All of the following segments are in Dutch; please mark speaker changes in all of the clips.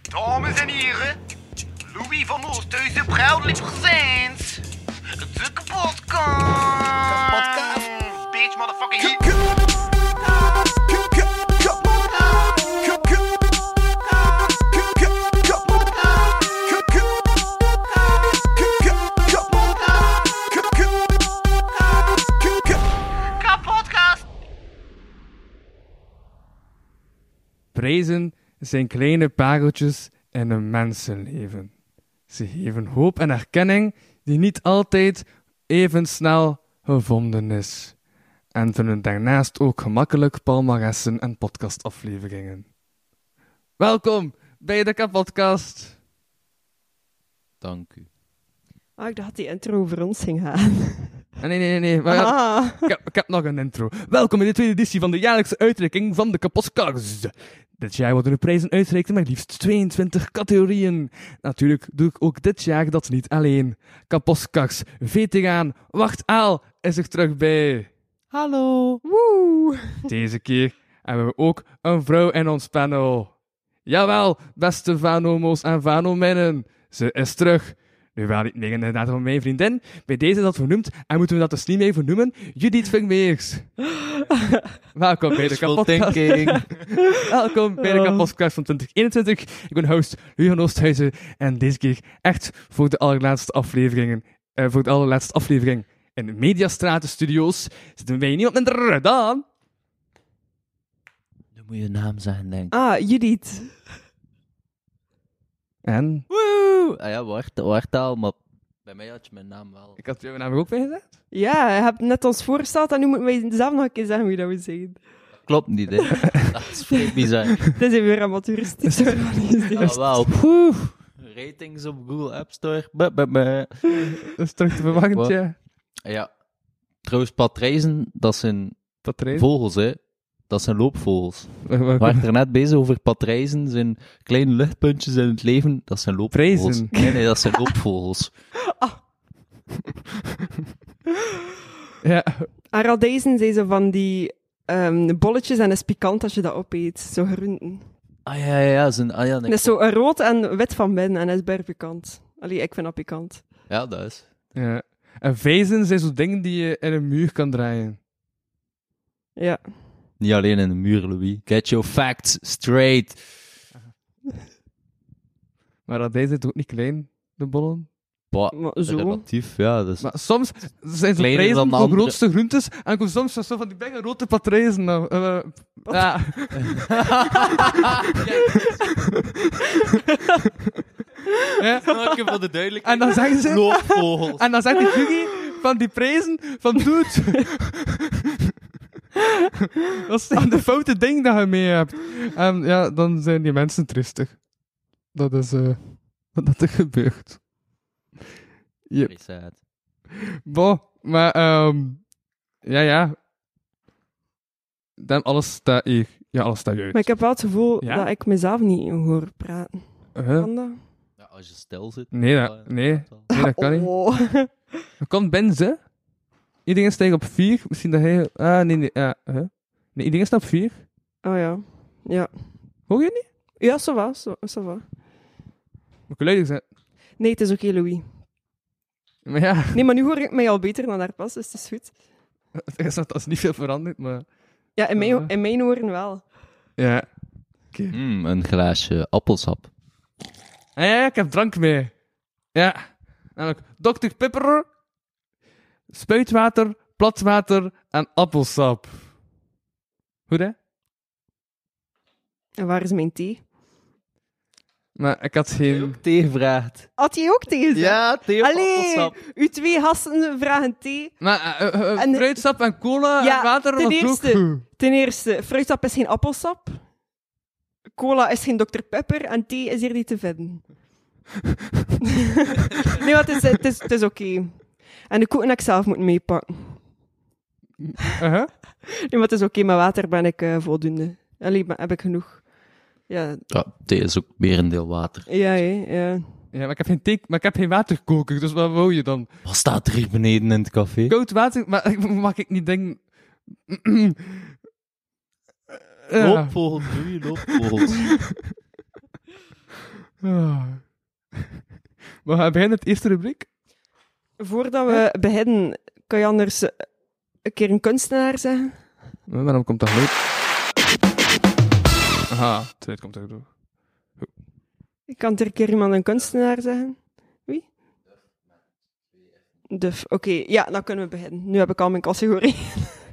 Speaker 1: Dames en heren, Louis van Oosthuizen, proudly presents de kapotkast.
Speaker 2: Kapotkast.
Speaker 1: Bitch, motherfucking hit. Kapotkast.
Speaker 3: Prijzen zijn kleine pareltjes in een mensenleven. Ze geven hoop en erkenning die niet altijd even snel gevonden is. En vullen daarnaast ook gemakkelijk palmaressen en podcastafleveringen. Welkom bij de Kapodcast.
Speaker 4: Dank u.
Speaker 5: Ah, ik dacht dat die intro over ons ging gaan.
Speaker 3: Ah, Nee, nee, nee, nee. maar ja,
Speaker 5: Ah.
Speaker 3: ik, heb, ik heb nog een intro. Welkom in de tweede editie van de jaarlijkse uitreiking van de Kapodcast. Dit jaar worden de prijzen uitgereikt met liefst 22 categorieën. Natuurlijk doe ik ook dit jaar dat niet alleen. Kapodcast, veteraan, wacht Aal is er terug bij.
Speaker 4: Hallo.
Speaker 5: Woe.
Speaker 3: Deze keer hebben we ook een vrouw in ons panel. Jawel, beste Vanomo's en Vanominnen, ze is terug. Nu wel niet meer inderdaad van mijn vriendin. Bij deze is dat vernoemd en moeten we dat dus niet meer vernoemen. Judith Vermeers. Welkom bij de kapotkast.
Speaker 4: thinking.
Speaker 3: Welkom bij de
Speaker 5: Oh.
Speaker 3: kapotkast van 2021. Ik ben host Louis van Oosthuizen en deze keer echt voor de allerlaatste afleveringen, eh, voor de allerlaatste aflevering in de Mediastraten Studios zitten wij niemand minder dan...
Speaker 4: Nu moet je naam zeggen, denk ik.
Speaker 5: Ah, Judith.
Speaker 3: En?
Speaker 4: Woe! Ah ja, wart, wart al, maar bij mij had je mijn naam wel.
Speaker 3: Ik had jouw naam er ook bij gezet.
Speaker 5: Ja, je hebt net ons voorgesteld en nu moeten wij zelf nog een keer zeggen wie dat we zijn.
Speaker 4: Klopt niet, hè. dat is vrij bizar.
Speaker 5: Dit is weer amateuristisch
Speaker 4: Ah,
Speaker 5: georganiseerd.
Speaker 4: wauw. Woe. Ratings op Google App Store. Buh, buh, buh.
Speaker 3: Dat is terug te verwachten,
Speaker 4: Wat?
Speaker 3: ja.
Speaker 4: Ja. Trouwens, patrijzen, dat zijn
Speaker 3: Patrick.
Speaker 4: vogels, hè. Dat zijn loopvogels.
Speaker 3: Welkom.
Speaker 4: We waren er net bezig over patrijzen, zijn kleine luchtpuntjes in het leven. Dat zijn loopvogels.
Speaker 3: Prijzen.
Speaker 4: Nee, nee, dat zijn loopvogels.
Speaker 3: Ja,
Speaker 5: En radijzen zijn zo van die ehm, bolletjes en is pikant als je dat opeet. Zo groenten.
Speaker 4: Ah ja, ja, ja. Zijn, ah, ja, nee.
Speaker 5: Het is zo rood en wit van binnen en is bij pikant. Allee, ik vind dat pikant.
Speaker 4: ja, dat is.
Speaker 3: ja. En vijzen zijn zo dingen die je in een muur kan draaien.
Speaker 5: Ja.
Speaker 4: Niet alleen in de muur, Louis. Get your facts straight.
Speaker 3: Maar dat deze is ook niet klein, de bollen.
Speaker 4: Bah,
Speaker 5: Maar zo.
Speaker 4: relatief, ja. Dus.
Speaker 3: Maar soms zijn ze
Speaker 4: Kleiner
Speaker 3: prijzen
Speaker 4: dan de
Speaker 3: voor
Speaker 4: andere.
Speaker 3: grootste groentes en komen soms zo van die benge rode patrijzen. Nou, eh, eh, ja. Ja.
Speaker 4: Dank je voor de duidelijkheid.
Speaker 3: En dan zeggen ze...
Speaker 4: Loopvogels.
Speaker 3: En dan zegt die Jugi van die prijzen van dude. Dat is dan de foute ding dat je mee hebt. En ja, dan zijn die mensen tristig. Dat is eh, wat dat er gebeurt.
Speaker 4: Very sad.
Speaker 3: Bon, maar ehm ja, ja. Dan alles staat hier. Ja, alles staat hier.
Speaker 5: Maar ik heb wel het gevoel
Speaker 3: Ja?
Speaker 5: dat ik mezelf niet hoor praten.
Speaker 3: Huh?
Speaker 5: Kan dat?
Speaker 4: Ja, als je stil zit.
Speaker 3: Nee, dat, nee, nee, dat kan niet.
Speaker 5: Oh.
Speaker 3: Dat kan Ben ze. Iedereen stijgt op 4. Misschien dat hij. Ah, nee, nee. ja, huh? Nee, iedereen staat op 4.
Speaker 5: Oh ja. Ja.
Speaker 3: Hoor je
Speaker 5: Ja, ça va, ça, ça va.
Speaker 3: Moet ik luider zijn?
Speaker 5: Nee, het is oké, Louis.
Speaker 3: Maar ja,
Speaker 5: Nee, maar nu hoor ik mij al beter dan daar pas, dus het is goed.
Speaker 3: het is, dat is niet veel veranderd, maar...
Speaker 5: Ja, in mijn,
Speaker 3: Eh.
Speaker 5: in mijn oren wel.
Speaker 3: Ja.
Speaker 4: Mm, een glaasje appelsap.
Speaker 3: Ah, ja, ja, ik heb drank mee. Ja. Namelijk Dr. Pepper, spuitwater, platwater en appelsap. Goed, hè?
Speaker 5: En waar is mijn thee?
Speaker 3: Maar ik had geen...
Speaker 4: Thee vraagt.
Speaker 5: Had jij ook thee gezegd?
Speaker 4: Ja, thee op
Speaker 5: Allee,
Speaker 4: appelsap.
Speaker 5: uw twee gasten vragen thee.
Speaker 3: Maar eh, eh, eh,
Speaker 5: En-
Speaker 3: fruitsap en cola
Speaker 5: Ja,
Speaker 3: en water
Speaker 5: ten
Speaker 3: was
Speaker 5: eerste.
Speaker 3: ook goed.
Speaker 5: Ten eerste, fruitsap is geen appelsap. Cola is geen Dr. Pepper en thee is hier niet te vinden. nee, want het is, het is, het is oké. En de koeken heb ik zelf moeten meepakken.
Speaker 3: Uh-huh.
Speaker 5: Nee, maar het is oké, met water ben ik eh, voldoende. Allee, maar heb ik genoeg. Ja,
Speaker 4: Ja, thee is ook merendeel water.
Speaker 5: ja, hè, ja.
Speaker 3: Ja, maar ik heb geen thee, maar ik heb geen waterkoker, dus wat wou je dan?
Speaker 4: Wat staat er hier beneden in het café?
Speaker 3: Koud water? Maar mag ik niet denken... Ja. Eh.
Speaker 4: Loopvogels, Louis, loopvogels.
Speaker 3: Ah. We gaan beginnen met de eerste rubriek.
Speaker 5: Voordat we beginnen, kan je anders eh, een keer een kunstenaar zeggen?
Speaker 3: Maar waarom komt dat geluid? Aha, het geluid komt ook door.
Speaker 5: Ik kan er een keer iemand een kunstenaar zeggen. Wie? Duf. Oké, ja, dan kunnen we beginnen. Nu heb ik al mijn categorie.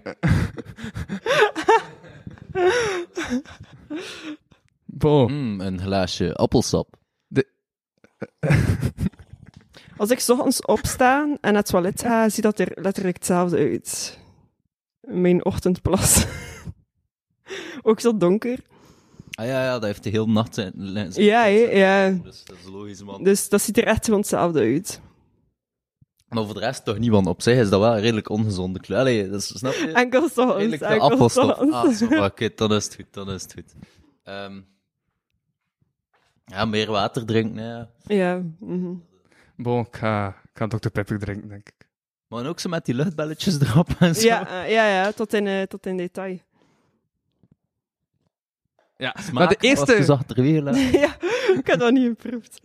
Speaker 3: Bon.
Speaker 4: Mm, een glaasje appelsap.
Speaker 5: Als ik 's ochtends opsta en naar het toilet ga, ziet dat er letterlijk hetzelfde uit. Mijn ochtendplas. Ook zo donker.
Speaker 4: Ah ja, ja dat heeft de hele nacht zijn... zijn- zijn-
Speaker 5: Ja, hè, ja.
Speaker 4: Dus dat is logisch, man.
Speaker 5: Dus dat ziet er echt gewoon hetzelfde uit.
Speaker 4: Maar voor de rest toch niet, want op zich is dat wel een redelijk ongezonde kleur. Allee, dat is, snap je?
Speaker 5: Enkel 's ochtends.
Speaker 4: Redelijk de
Speaker 5: Enkel 's
Speaker 4: appelstof.
Speaker 5: ochtends.
Speaker 4: Ah, zo, oké, dan is het goed, dan is het goed. Ehm, ja, meer water drinken, hè, ja.
Speaker 5: Ja. mhm.
Speaker 3: Bon, ik ga, ik ga Dr. Pepper drinken, denk ik.
Speaker 4: Maar ook zo met die luchtbelletjes erop en zo.
Speaker 5: Ja, eh, ja, ja, tot in, eh, tot in detail.
Speaker 3: Ja, maar
Speaker 4: Smaak
Speaker 3: de
Speaker 4: was
Speaker 3: eerste...
Speaker 4: achterwege laten.
Speaker 5: ja, ik had dat niet geproefd.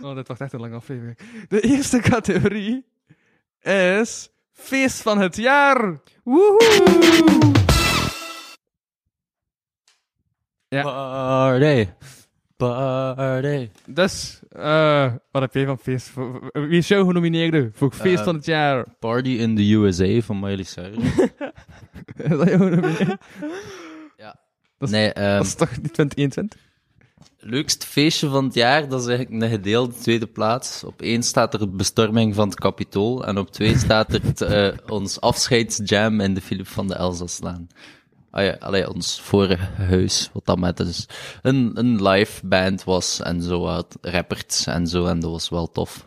Speaker 3: Oh, dit wordt echt een lange aflevering. De eerste categorie is... Feest van het jaar!
Speaker 5: Woehoe!
Speaker 3: Ja.
Speaker 4: Party. Party.
Speaker 3: Dus, eh, wat heb jij van feest? voor- Wie is jouw genomineerde voor feest
Speaker 4: Eh.
Speaker 3: van het jaar?
Speaker 4: Party in the USA van Miley Cyrus.
Speaker 3: Is dat jouw genomineerde? Dat is-
Speaker 4: nee, ehm,
Speaker 3: Dat is toch niet 2021?
Speaker 4: leukst feestje van het jaar, dat is eigenlijk een gedeelde tweede plaats. Op één staat er de bestorming van het Capitool en op twee staat er het, eh, ons afscheidsjam in de Philip van de Elzaslaan. Ah ja, allee, ons vorige huis, wat dat met dus een, een live band was en zo, wat rappers en zo, en dat was wel tof.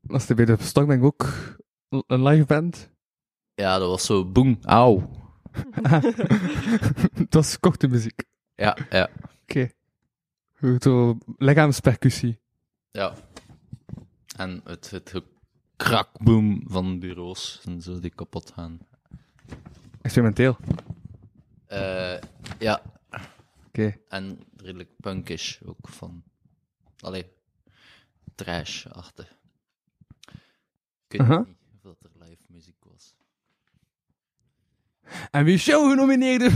Speaker 3: Was er bij de Stockbank ook een live band?
Speaker 4: Ja, dat was zo boem, auw.
Speaker 3: Het was gekochte muziek.
Speaker 4: Ja, ja,
Speaker 3: Oké. Goed, zo lichaamspercussie.
Speaker 4: ja. En het, het gekrakboem van bureaus en zo die kapot gaan.
Speaker 3: Experimenteel. Oké.
Speaker 4: Eh, ja, En redelijk punkish ook van. Allee, trash-achtig. Ik weet
Speaker 3: Aha.
Speaker 5: Uh-huh.
Speaker 4: niet of dat er live muziek was.
Speaker 3: En wie is jouw genomineerde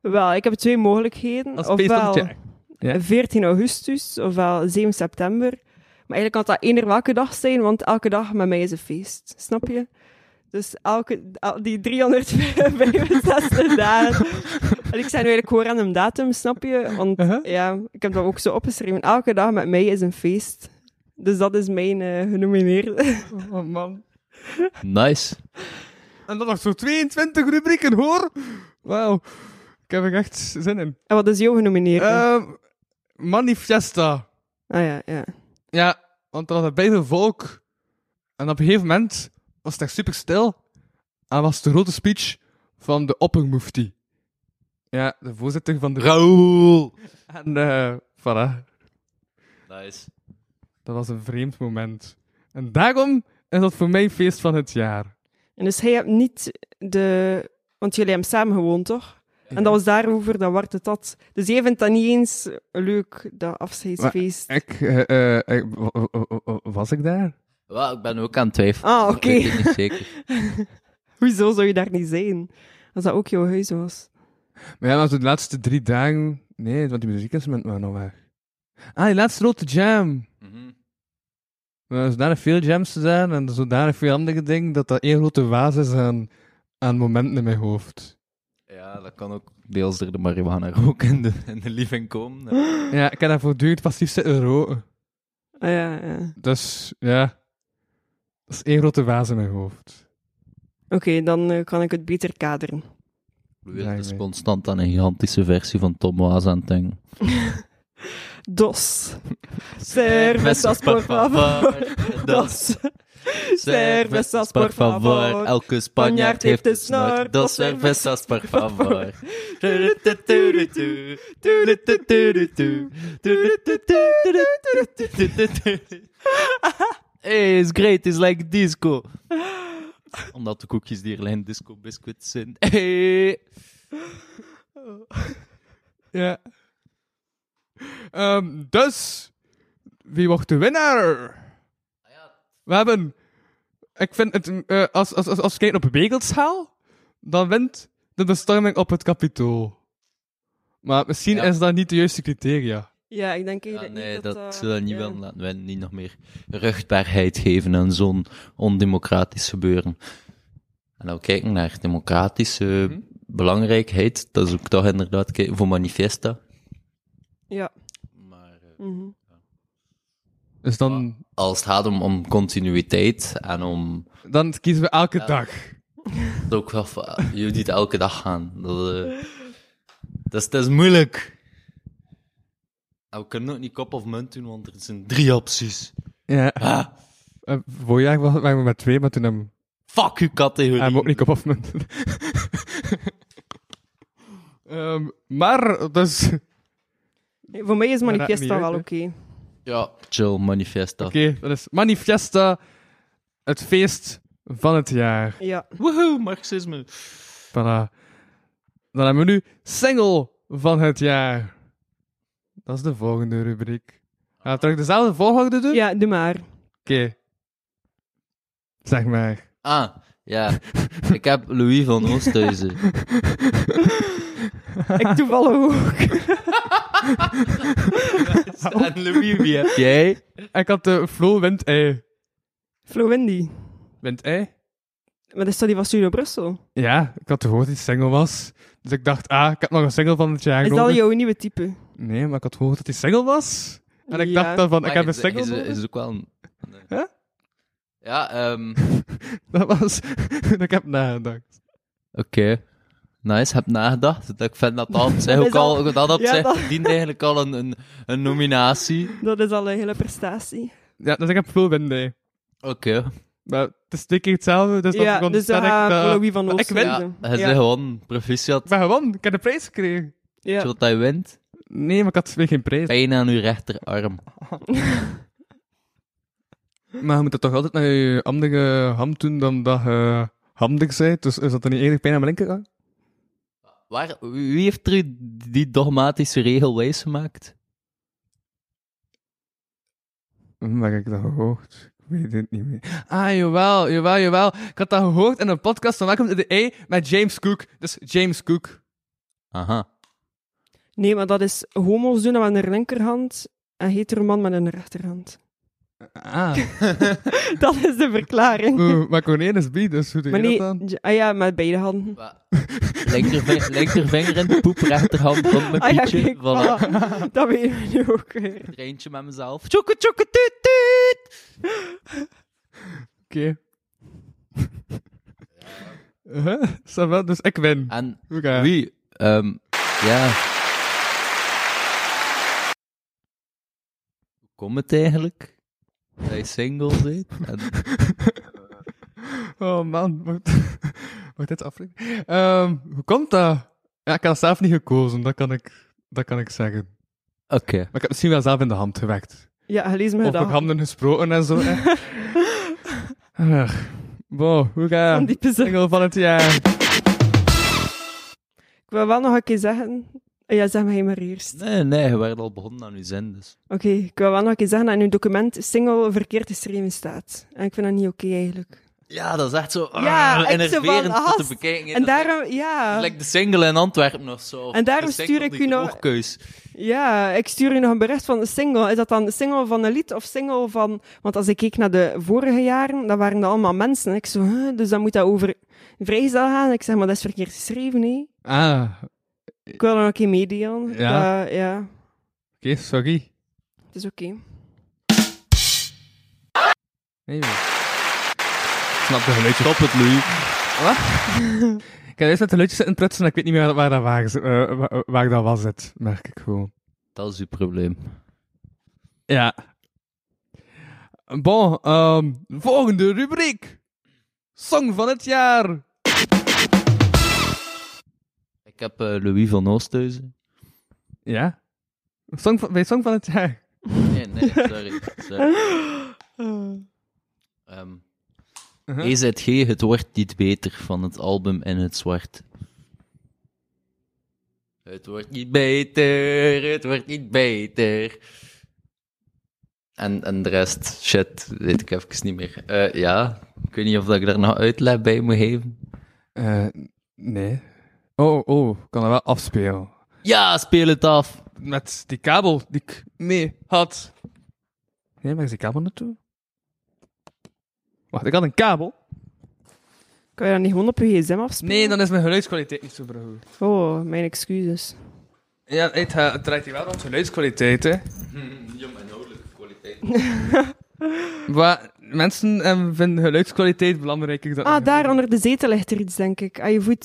Speaker 5: Wel, ik heb twee mogelijkheden.
Speaker 3: als feest van
Speaker 5: ofwel
Speaker 3: het jaar?
Speaker 5: 14 augustus, ofwel 7 september. Maar eigenlijk kan dat eender welke dag zijn, want elke dag met mij is een feest. Snap je? Dus elke, el- die 365 dagen. En ik zei nu eigenlijk gewoon random datum, snap je? Want
Speaker 3: Uh-huh.
Speaker 5: ja, ik heb dat ook zo opgeschreven. Elke dag met mij is een feest. Dus dat is mijn eh, genomineerde.
Speaker 3: Oh man.
Speaker 4: Nice.
Speaker 3: En dan nog zo 22 rubrieken, hoor. Wauw. Ik heb er echt zin in.
Speaker 5: En wat is jouw genomineerde?
Speaker 3: Ehm Manifesta.
Speaker 5: ah ja, ja.
Speaker 3: Ja, want er was een bijzonder volk. En op een gegeven moment was het echt super stil. En was de grote speech van de oppermufti. Ja, de voorzitter van de...
Speaker 4: Raoul!
Speaker 3: En eh, voilà.
Speaker 4: Nice.
Speaker 3: Dat was een vreemd moment. En daarom is dat voor mij feest van het jaar.
Speaker 5: En dus hij hebt niet de... Want jullie hebben samen gewoond, toch? En dat was daarover dat Wart het had. Dus jij vindt dat niet eens leuk, dat afscheidsfeest.
Speaker 3: Ik, eh, eh, ik- w- w- w- w- was ik daar?
Speaker 4: Wel, ik ben ook aan het twijfelen.
Speaker 5: Ah,
Speaker 4: Ik
Speaker 5: oké.
Speaker 4: weet het niet zeker.
Speaker 5: Hoezo zou je daar niet zijn? Als dat ook jouw huis was.
Speaker 3: Maar ja, maar zo de laatste drie dagen... Nee, want die muziekinstrumenten waren nog weg. Ah, die laatste grote jam.
Speaker 4: Mhm.
Speaker 3: Er zodanig veel jams te zijn en zodanig veel andere dingen, dat dat één grote waas is aan, aan momenten in mijn hoofd.
Speaker 4: Ja, dat kan ook deels door de marihuana rook in de, in de living komen.
Speaker 3: Ja, ik heb daar voortdurend passief zitten roken.
Speaker 5: Ah, ja, ja. Oké,
Speaker 3: Dus, ja... Dat is één grote waas in mijn hoofd.
Speaker 5: dan eh, kan ik het beter kaderen.
Speaker 4: De wereld is
Speaker 3: Blijkbaar.
Speaker 4: dus constant aan een gigantische versie van Tom Waas aan het denken.
Speaker 5: Dos. Service als por favor. Dos. Cervezas, por favor.
Speaker 4: Elke
Speaker 5: Spanjaard
Speaker 4: Spanjaard
Speaker 5: heeft
Speaker 4: heeft
Speaker 5: een
Speaker 4: een
Speaker 5: snor.
Speaker 4: snor.
Speaker 5: Dos
Speaker 4: Dos cervezas, por favor. Hey, it's great, it's like disco. Omdat de koekjes die er liggen disco biscuits zijn. Hey.
Speaker 3: Ja. Ehm, dus, wie wordt de winnaar? We hebben, ik vind het, eh, als, als, als, als we kijken op wereldschaal, dan wint de bestorming op het kapitool. Maar misschien
Speaker 4: Ja.
Speaker 3: is dat niet de juiste criteria.
Speaker 5: Ja, ik denk
Speaker 4: Ja,
Speaker 5: eigenlijk
Speaker 4: Ah, nee,
Speaker 5: niet
Speaker 4: dat,
Speaker 5: dat...
Speaker 4: zullen
Speaker 5: eh,
Speaker 4: we niet
Speaker 5: ja.
Speaker 4: willen laten. We willen niet nog meer ruchtbaarheid geven aan zo'n ondemocratisch gebeuren. En dan kijken naar democratische belangrijkheid. Dat is ook toch inderdaad kijken voor manifesta.
Speaker 5: Ja.
Speaker 4: Maar eh,
Speaker 5: mhm.
Speaker 3: Dus dan,
Speaker 4: als het gaat om, om continuïteit en om
Speaker 3: dan kiezen we elke
Speaker 4: Ja.
Speaker 3: dag.
Speaker 4: dat ook wel van, jullie niet elke dag gaan. Dat, eh, dat, is, dat is moeilijk. En we kunnen ook niet kop of munt doen, want er zijn drie opties.
Speaker 3: Ja.
Speaker 4: Ah,
Speaker 3: Eh, vorig jaar wa- waren we met twee, maar toen hebben
Speaker 4: fuck uw categorie.
Speaker 3: hebben we ook niet op afmunten. Ehm, maar, dus, oké,
Speaker 5: Nee, voor mij is
Speaker 3: dat
Speaker 5: manifest
Speaker 3: maakt
Speaker 5: dan
Speaker 3: niet
Speaker 5: wel
Speaker 3: uit,
Speaker 5: oké.
Speaker 4: Ja, chill, manifesta.
Speaker 3: dat is Manifesta, het feest van het jaar.
Speaker 5: Ja.
Speaker 4: Woehoe, marxisme.
Speaker 3: Voilà. Dan hebben we nu single van het jaar. Dat is de volgende rubriek. Gaan we terug dezelfde volgorde doen?
Speaker 5: ja, doe maar.
Speaker 3: Oké. Zeg maar.
Speaker 4: Ah, ja. Ik heb Louis van Oosthuizen.
Speaker 5: Ik toevallig ook.
Speaker 4: en Louis, wie heb jij?
Speaker 3: Ik had de Flo Windei.
Speaker 5: Flo Windy.
Speaker 3: Windei?
Speaker 5: Maar dat is dat die van Studio Brussel?
Speaker 3: Ja, ik had gehoord dat hij single was. Dus ik dacht, ah, ik heb nog een single van het jaar
Speaker 5: Is dat
Speaker 3: nodig.
Speaker 5: al jouw nieuwe type?
Speaker 3: Nee, maar ik had gehoord dat hij single was. En ik
Speaker 5: Ja.
Speaker 3: dacht dan van, ik
Speaker 4: Maar
Speaker 3: heb een
Speaker 4: is-
Speaker 3: single
Speaker 4: Is,
Speaker 3: nodig.
Speaker 4: is, ook wel een... nee.
Speaker 3: Huh?
Speaker 4: Ja, ehm...
Speaker 3: Dat was... ik heb nagedacht.
Speaker 4: Oké. Nice, heb nagedacht. Ik vind dat dat op zich
Speaker 5: Dat
Speaker 4: ook
Speaker 5: is al-
Speaker 4: al... Dat op
Speaker 5: Ja,
Speaker 4: zich
Speaker 5: dat-
Speaker 4: verdient eigenlijk al een, een, een nominatie.
Speaker 5: Dat is al een hele prestatie.
Speaker 3: Ja, dus ik heb Flo Windei.
Speaker 4: Oké.
Speaker 3: Maar het is twee keer hetzelfde, dus dat
Speaker 5: ja,
Speaker 3: begon
Speaker 5: dus dan
Speaker 3: sterk,
Speaker 5: gaat
Speaker 3: dat-
Speaker 5: Louis van
Speaker 3: ik win.
Speaker 4: Ja,
Speaker 5: Oosthuizen.
Speaker 4: hij is gewoon proficiat.
Speaker 3: Ik ben gewonnen, ik heb de prijs gekregen.
Speaker 5: Ja.
Speaker 4: Zodat hij wint.
Speaker 3: Nee, maar ik had weer geen prijs.
Speaker 4: Pijn aan uw rechterarm.
Speaker 3: Maar je moet dat toch altijd naar je handige hand doen dan dat je handig bent? Dus is dat dan niet eerlijk pijn aan mijn linkerarm?
Speaker 4: Waar, wie heeft er u die dogmatische regel wijsgemaakt?
Speaker 3: Maar ik dat gehoord? Ik weet het niet meer. Ah, jawel, jawel, jawel. Ik had dat gehoord in een podcast van Welcome to the E met James Cook. Dus James Cook.
Speaker 4: Aha.
Speaker 5: Nee, maar dat is homo's doen dat met een linkerhand en hetero man met een rechterhand.
Speaker 3: Ah.
Speaker 5: Dat is de verklaring.
Speaker 3: Oeh, maar Cornelis B, dus hoe doe
Speaker 5: Maar
Speaker 3: je dat
Speaker 5: nee,
Speaker 3: dan?
Speaker 5: j- ah ja, met beide handen.
Speaker 4: Wa- Linkervinger, linkervinger in de poep, rechterhand rond mijn
Speaker 5: Ah ja,
Speaker 4: pietje.
Speaker 5: kijk,
Speaker 4: voilà.
Speaker 5: voilà. dat weten we nu ook weer.
Speaker 4: Treintje met mezelf. Tjoeke, tjoeke, tuut, tuut.
Speaker 3: Oké. Huh? Ça va? Dus ik win.
Speaker 5: Ah,
Speaker 4: En
Speaker 3: Oké.
Speaker 4: wie? Ehm, ja. Hoe komt het eigenlijk? Dat je single bent? En-
Speaker 3: Oh man, wordt, wordt dit aflevering? Ehm, hoe komt dat? Ja, ik had zelf niet gekozen, dat kan ik, dat kan ik zeggen. Maar
Speaker 4: Oké.
Speaker 3: ik heb misschien wel zelf in de hand gewerkt.
Speaker 5: Ja, gelees me
Speaker 3: Of met
Speaker 5: dat.
Speaker 3: handen gesproken en zo. hè. Ach, wow, hoe ga
Speaker 5: Van
Speaker 3: je?
Speaker 5: diepe zin.
Speaker 3: Single van het jaar.
Speaker 5: Ik wil wel nog een keer zeggen... Ah Ja, zeg maar maar eerst.
Speaker 4: Nee, nee, je werd al begonnen aan je zin, dus.
Speaker 5: Oké, ik wil wel nog een keer zeggen dat in uw document single verkeerd geschreven staat. En ik vind dat niet oké eigenlijk.
Speaker 4: Ja, dat is echt zo
Speaker 5: Ja,
Speaker 4: ah,
Speaker 5: echt zo van,
Speaker 4: enerverend om te
Speaker 5: gast.
Speaker 4: bekijken. Dat
Speaker 5: En
Speaker 4: is
Speaker 5: daarom,
Speaker 4: echt-
Speaker 5: ja...
Speaker 4: Like de single in Antwerpen of zo. of
Speaker 5: En daarom
Speaker 4: de single
Speaker 5: stuur ik
Speaker 4: die
Speaker 5: u nou-
Speaker 4: Oogkeus.
Speaker 5: Ja, ik stuur u nog een bericht van de single. Is dat dan de single van een lied of single van... Want als ik keek naar de vorige jaren, dan waren dat allemaal mensen. Ik zo, huh, dus dan moet dat over vrijgezel gaan. Ik zeg, maar dat is verkeerd geschreven, nee.
Speaker 3: Ah, oké,
Speaker 5: Ik wil er nog een keer meedelen.
Speaker 3: Ja.
Speaker 5: Dat- ja,
Speaker 3: sorry.
Speaker 5: het is oké.
Speaker 3: Nee, joh. Ik snap de geluidjes.
Speaker 4: Stop het, Louis.
Speaker 3: Ik heb eerst met de geluidjes zitten prutsen en ik weet niet meer waar, waar, dat, wagens- eh, waar, waar dat was, het, merk ik gewoon.
Speaker 4: Dat is uw probleem.
Speaker 3: Ja. Bon, ehm, volgende rubriek. Song van het jaar.
Speaker 4: Ik heb eh, Louis van Oosthuizen.
Speaker 3: Ja? Song van, bij Song van het jaar.
Speaker 4: Nee, nee, sorry. sorry. Ehm,
Speaker 3: Uh-huh.
Speaker 4: EZG, het wordt niet beter van het album In het Zwart. Het wordt niet beter, het wordt niet beter. En, en de rest, shit, weet ik even niet meer. Eh, ja, ik weet niet of dat ik daar nog uitleg bij moet geven.
Speaker 3: Eh, nee. Oh, oh, oh, ik kan dat wel afspelen.
Speaker 4: Ja, speel het af.
Speaker 3: Met die kabel die ik mee had. Nee, maar is die kabel naartoe? Wacht, ik had een kabel.
Speaker 5: Kan je dat niet gewoon op je gsm afspelen?
Speaker 3: Nee, dan is mijn geluidskwaliteit niet zo goed.
Speaker 5: Oh, mijn excuses.
Speaker 3: Ja, het, eh, het draait hier wel om geluidskwaliteit, hè.
Speaker 4: Jong inhoudelijke kwaliteit.
Speaker 3: Maar mensen eh, vinden geluidskwaliteit belangrijker
Speaker 4: Eh,
Speaker 3: dan...
Speaker 5: Ah, daar onder de zetel ligt er iets, denk ik. Aan je voet.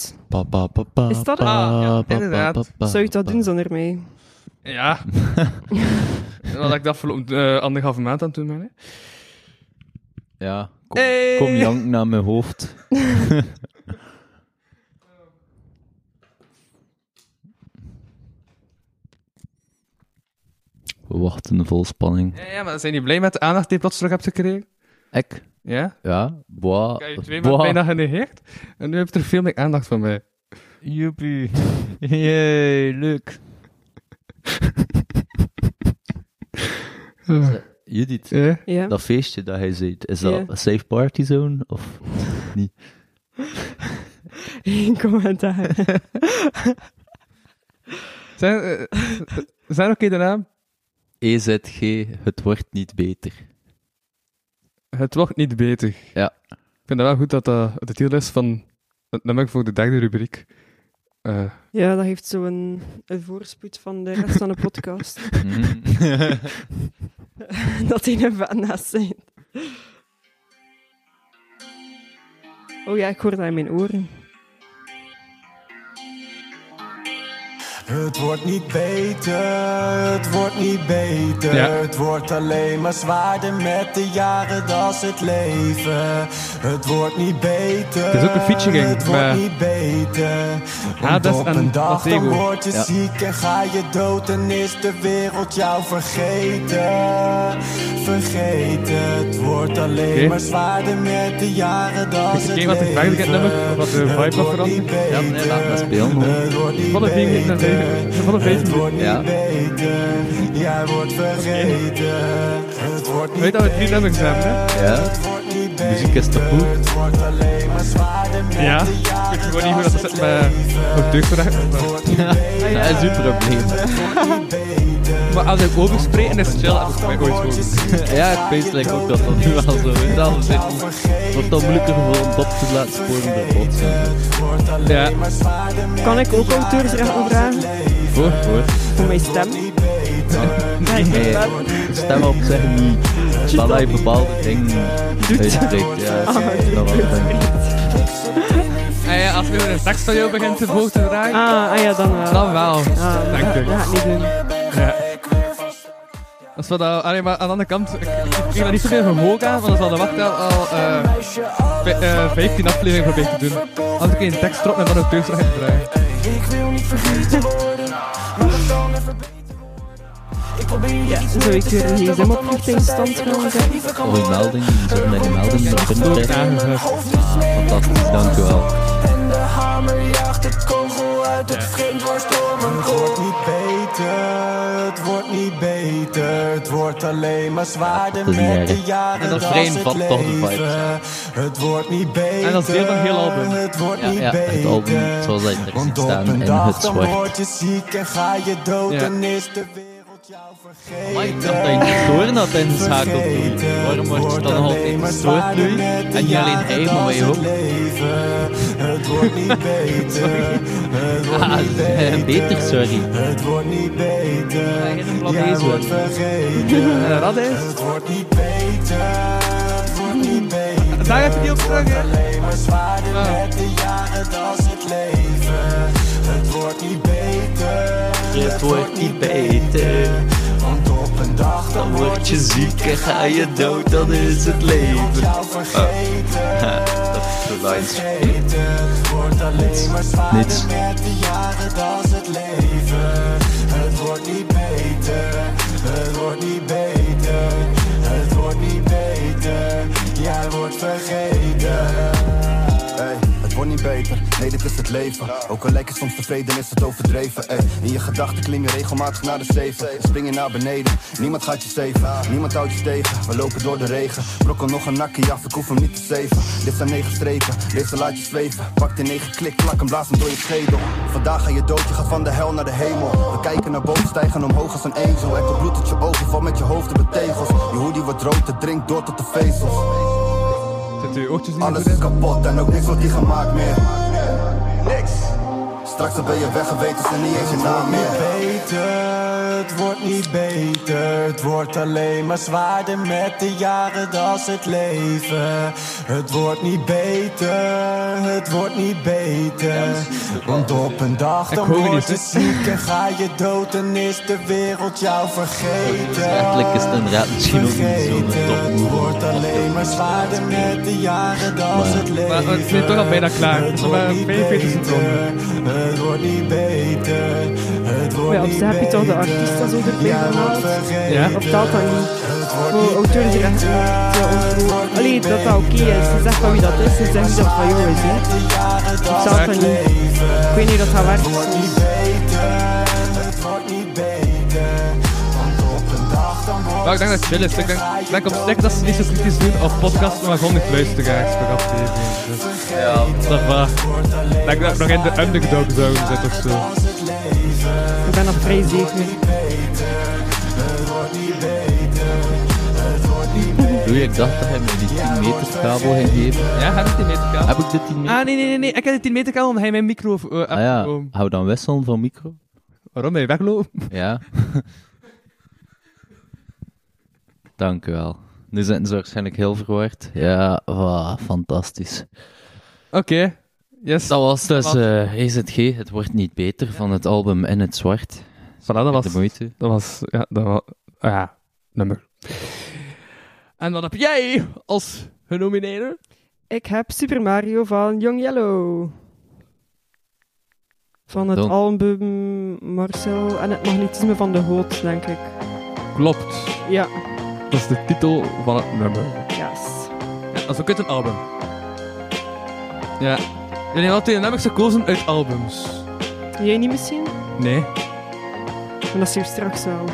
Speaker 5: Is dat het?
Speaker 3: Ah, ja, inderdaad.
Speaker 5: Zou je dat doen zonder mij?
Speaker 3: Ja. Wat ik dat voor eh, anderhalve maand aan het doen ben, hè.
Speaker 4: Ja, kom,
Speaker 3: Hey.
Speaker 4: kom jank naar mijn hoofd. We wachten vol spanning.
Speaker 3: Ja, ja, maar zijn jullie blij met de aandacht die je plots terug hebt gekregen?
Speaker 4: Ik?
Speaker 3: Ja?
Speaker 4: Ja, boah.
Speaker 3: Ik heb je twee maanden
Speaker 4: boah.
Speaker 3: bijna genegeerd. En nu heb je er veel meer aandacht van mij.
Speaker 4: Joepie. Jee, leuk. Judith,
Speaker 3: Ja?
Speaker 5: Ja.
Speaker 4: dat feestje dat hij ziet, is dat
Speaker 5: Ja.
Speaker 4: een safe party zone? Of niet?
Speaker 5: Geen commentaar.
Speaker 3: Zijn, eh, zijn oké de naam?
Speaker 4: EZG, E het wordt niet beter.
Speaker 3: Het wordt niet beter.
Speaker 4: Ja.
Speaker 3: Ik vind het wel goed dat dat de titel is van het nummer voor de derde rubriek. Eh,
Speaker 5: Ja, dat heeft zo'n een voorspoed van de rest van de podcast.
Speaker 4: Mhm.
Speaker 5: dat die een fan naast zijn. Oh ja, ik hoor dat in mijn oren.
Speaker 2: Het wordt niet beter, het wordt niet beter.
Speaker 3: Ja.
Speaker 2: Het wordt alleen maar zwaarder met de jaren, dat is het leven. Het wordt niet beter.
Speaker 3: Het is ook een Ah, featuring
Speaker 2: Het wordt
Speaker 3: met
Speaker 2: niet beter. Want
Speaker 3: Hades
Speaker 2: op
Speaker 3: en
Speaker 2: een dag dan
Speaker 3: Matego.
Speaker 2: word je
Speaker 4: Ja.
Speaker 2: ziek en ga je dood en is de wereld jou vergeten. Vergeten, het wordt alleen
Speaker 3: Oké.
Speaker 2: maar zwaarder met de jaren, dat
Speaker 3: Weet
Speaker 2: is
Speaker 3: je
Speaker 2: het
Speaker 3: geen wat de
Speaker 2: leven.
Speaker 3: vergelijking nummer, wat de vibe
Speaker 2: Het
Speaker 3: wat
Speaker 2: wordt
Speaker 3: verandert?
Speaker 2: niet
Speaker 3: Ja,
Speaker 4: nee, laat maar spelen, man.
Speaker 2: Het wordt niet
Speaker 3: Van de vinger naar
Speaker 2: beter.
Speaker 3: vijf- van de vijf
Speaker 2: Het wordt niet
Speaker 4: Ja.
Speaker 2: beter, jij wordt vergeten. Het wordt niet
Speaker 3: weet dat we drie
Speaker 2: beter,
Speaker 3: nummers hebben, hè?
Speaker 4: ja,
Speaker 2: het wordt niet
Speaker 4: muziek is toch
Speaker 2: beter.
Speaker 4: goed?
Speaker 2: Het wordt alleen maar zwaarder met
Speaker 3: Ja.
Speaker 2: de jaren,
Speaker 3: Ik weet gewoon niet hoe dat
Speaker 2: is
Speaker 3: zit
Speaker 2: het
Speaker 3: met met deugd vandaag.
Speaker 4: Dat is uw probleem.
Speaker 3: Maar als ik over spreken is het chill. Dat is mij ooit
Speaker 2: Word je
Speaker 3: goed.
Speaker 2: ziek en
Speaker 4: Ja, ik weet like ook dat dat nu wel zo is. Anders is het wordt dan moeilijker voor een bot te laten sporen door bots.
Speaker 3: Ja,
Speaker 5: Kan ik ook auteursrecht aanvragen
Speaker 4: Voor, voor.
Speaker 5: voor mijn stem? Ja, ik
Speaker 4: Nee,
Speaker 5: ben-
Speaker 4: stem op zeggen niet. Dat hij bepaalde dingen uitspreekt. Ja, dat wel.
Speaker 3: en ja, als nu een tekst van jou begint te voor te dragen,
Speaker 5: Ah, ah ja, dan wel.
Speaker 3: dan wel.
Speaker 5: Ah,
Speaker 3: Dank
Speaker 5: dat
Speaker 3: u.
Speaker 5: ga ik niet doen.
Speaker 3: Als we dat, allee, maar aan de andere kant, ik ik kreeg daar niet zoveel gehoord aan, want dan zal de wacht wel al eh, vij- eh, 15 afleveringen proberen te doen. Als ik een tekst erop en dan ook thuis ga dragen.
Speaker 5: Ja, zou ik er een gsm op vliegtuigstand gaan zetten?
Speaker 4: Of een melding, zorg dat je melding dan binnen
Speaker 3: Door
Speaker 4: krijgt.
Speaker 3: nagevraagd.
Speaker 4: Fantastisch, dank u wel.
Speaker 2: wordt niet beter, het wordt niet beter. Het wordt alleen maar zwaarder
Speaker 4: dat is niet
Speaker 2: met
Speaker 4: erg.
Speaker 2: de jaren.
Speaker 4: En dat
Speaker 2: is
Speaker 4: vreemd
Speaker 2: het
Speaker 4: vat toch de
Speaker 2: leven.
Speaker 4: vibes
Speaker 2: Het wordt niet beter.
Speaker 3: En dat is deel van heel album.
Speaker 2: Het wordt
Speaker 4: Ja,
Speaker 2: niet
Speaker 4: ja,
Speaker 2: beter.
Speaker 4: het album zoals hij er ziet
Speaker 2: Want op
Speaker 4: staan
Speaker 2: een
Speaker 4: in het
Speaker 2: dag dan
Speaker 4: zwart.
Speaker 2: word je ziek en ga je dood
Speaker 3: Ja.
Speaker 2: en is de wereld jou vergeten.
Speaker 4: Maar ik dacht dat je niet door had ingeschakeld, Louis. Waarom wordt je dan nog altijd gestoord, Louis? En niet alleen hij, maar wij ook.
Speaker 2: Leven. Het wordt niet beter. Het wordt
Speaker 4: Ah,
Speaker 2: niet beter.
Speaker 4: eh, beter, sorry.
Speaker 2: Het wordt niet beter.
Speaker 4: helemaal
Speaker 2: Jij
Speaker 4: deze.
Speaker 2: wordt vergeten.
Speaker 3: En dat is.
Speaker 2: Het wordt niet beter. Het wordt niet beter.
Speaker 3: Daar heb je die op terug, hè?
Speaker 2: Alleen maar zwaarder
Speaker 3: Ja.
Speaker 2: met de jaren, dat is het leven. Het wordt niet beter.
Speaker 4: Het wordt niet beter.
Speaker 2: Want op een dag dan word je ziek en ga je dood, dan is het leven. Jou vergeten,
Speaker 4: Oh. Dat is de lines.
Speaker 2: vergeten. Het wordt alleen maar zwaarder
Speaker 4: Niets.
Speaker 2: met de jaren, dat is het leven. Het wordt niet beter, het wordt niet beter. Het wordt niet beter, jij wordt vergeten. Hey, het wordt niet beter, Nee, dit is het leven. Ook al lijkt het soms tevreden, is het overdreven. ey. In je gedachten klim je regelmatig naar de zeven. Spring je naar beneden, niemand gaat je zeven. Niemand houdt je tegen, we lopen door de regen. Brokkel nog een nakkie af, ik hoef hem niet te zeven. Dit zijn negen strepen, deze laat je zweven. Pak de negen klik, plak en blaas hem door je schedel. Vandaag ga je dood, je gaat van de hel naar de hemel. We kijken naar boven, stijgen omhoog als een ezel. Enkel bloed uit je ogen, val met je hoofd in de tegels. Je hoodie wordt rood, het drinkt door tot de vezels.
Speaker 3: Zitten uw oortjes niet meer
Speaker 2: Alles
Speaker 3: goed
Speaker 2: is
Speaker 3: in?
Speaker 2: kapot en ook niks wordt hier gemaakt meer. Niks. Straks dan ben je weggeweten en niet eens je naam meer.
Speaker 6: beter, het wordt niet beter. Het wordt alleen maar zwaarder met de jaren, dat is het leven. Het wordt niet beter, het wordt niet beter. Want op een dag dan
Speaker 3: Ik hoor
Speaker 6: word
Speaker 3: niet, hè.
Speaker 6: je ziek en ga je dood en is de wereld jou vergeten.
Speaker 4: Eigenlijk is het inderdaad misschien ook niet zo'n
Speaker 6: Vergeten,
Speaker 4: top
Speaker 6: Het
Speaker 4: move.
Speaker 6: wordt alleen maar zwaarder met de jaren, dat is het leven.
Speaker 3: Maar we zijn toch al eh, bijna klaar.
Speaker 6: Het
Speaker 3: We
Speaker 6: wordt
Speaker 3: hebben
Speaker 6: niet
Speaker 3: 42 seconden.
Speaker 6: het wordt niet beter. Het wordt
Speaker 5: Maar ja,
Speaker 6: niet
Speaker 5: dus heb je toch de
Speaker 6: beter.
Speaker 5: artiest als ook erbij
Speaker 6: Jij wordt
Speaker 5: gehaald?
Speaker 6: vergeten.
Speaker 3: Ja.
Speaker 5: Of dat dan niet? Voor auteurs die eh, recht Allee, dat dat oké is. Ze zegt van wie dat is, ze zegt dat van jou is. Hè. Ik zou het dan niet. Ik weet niet of dat gaat werken.
Speaker 3: Maar ik denk dat het chill is. Ik denk, ik denk op zich dat ze niet zo kritisch doen op podcasts, maar gewoon de luisteraars per aflevering. Dus. Ja. Dat va. Ik denk dat we nog in de underdog zone zitten of zo.
Speaker 5: Ik ben nog vrij zeker.
Speaker 4: Doe ik dacht dat hij me die 10 meter kabel ging geven.
Speaker 3: Ja, heb ik die meter kabel?
Speaker 4: Heb ik de 10 meter?
Speaker 3: Ah, nee, nee, nee, nee. Ik heb de 10 meter kabel omdat hij mijn micro... eh,
Speaker 4: Ah ja,
Speaker 3: afgenomen.
Speaker 4: hou dan wisselen van micro.
Speaker 3: Waarom? Hij weglopen?
Speaker 4: Ja. Dank u wel. Nu zijn ze waarschijnlijk heel verward. Ja, wauw, fantastisch.
Speaker 3: Oké. Yes.
Speaker 4: Dat was dus
Speaker 3: Wat?
Speaker 4: eh EZG, Het Wordt Niet Beter, van het album In Het Zwart.
Speaker 3: Voilà, dat was...
Speaker 4: De moeite.
Speaker 3: Dat was... Ja, dat was... ah ja, nummer. En wat heb jij als genomineerde?
Speaker 5: Ik heb Super Mario van Young Yellow. Van het
Speaker 4: Don.
Speaker 5: album Marcel en het magnetisme van de hoot, denk ik.
Speaker 3: Klopt.
Speaker 5: Ja,
Speaker 3: Dat is de titel van het nummer.
Speaker 5: yes.
Speaker 3: Ja, dat is ook uit een album. Ja. Jullie hebben altijd nummers gekozen uit albums.
Speaker 5: Jij niet misschien?
Speaker 3: Nee.
Speaker 5: Maar dat zie je straks wel.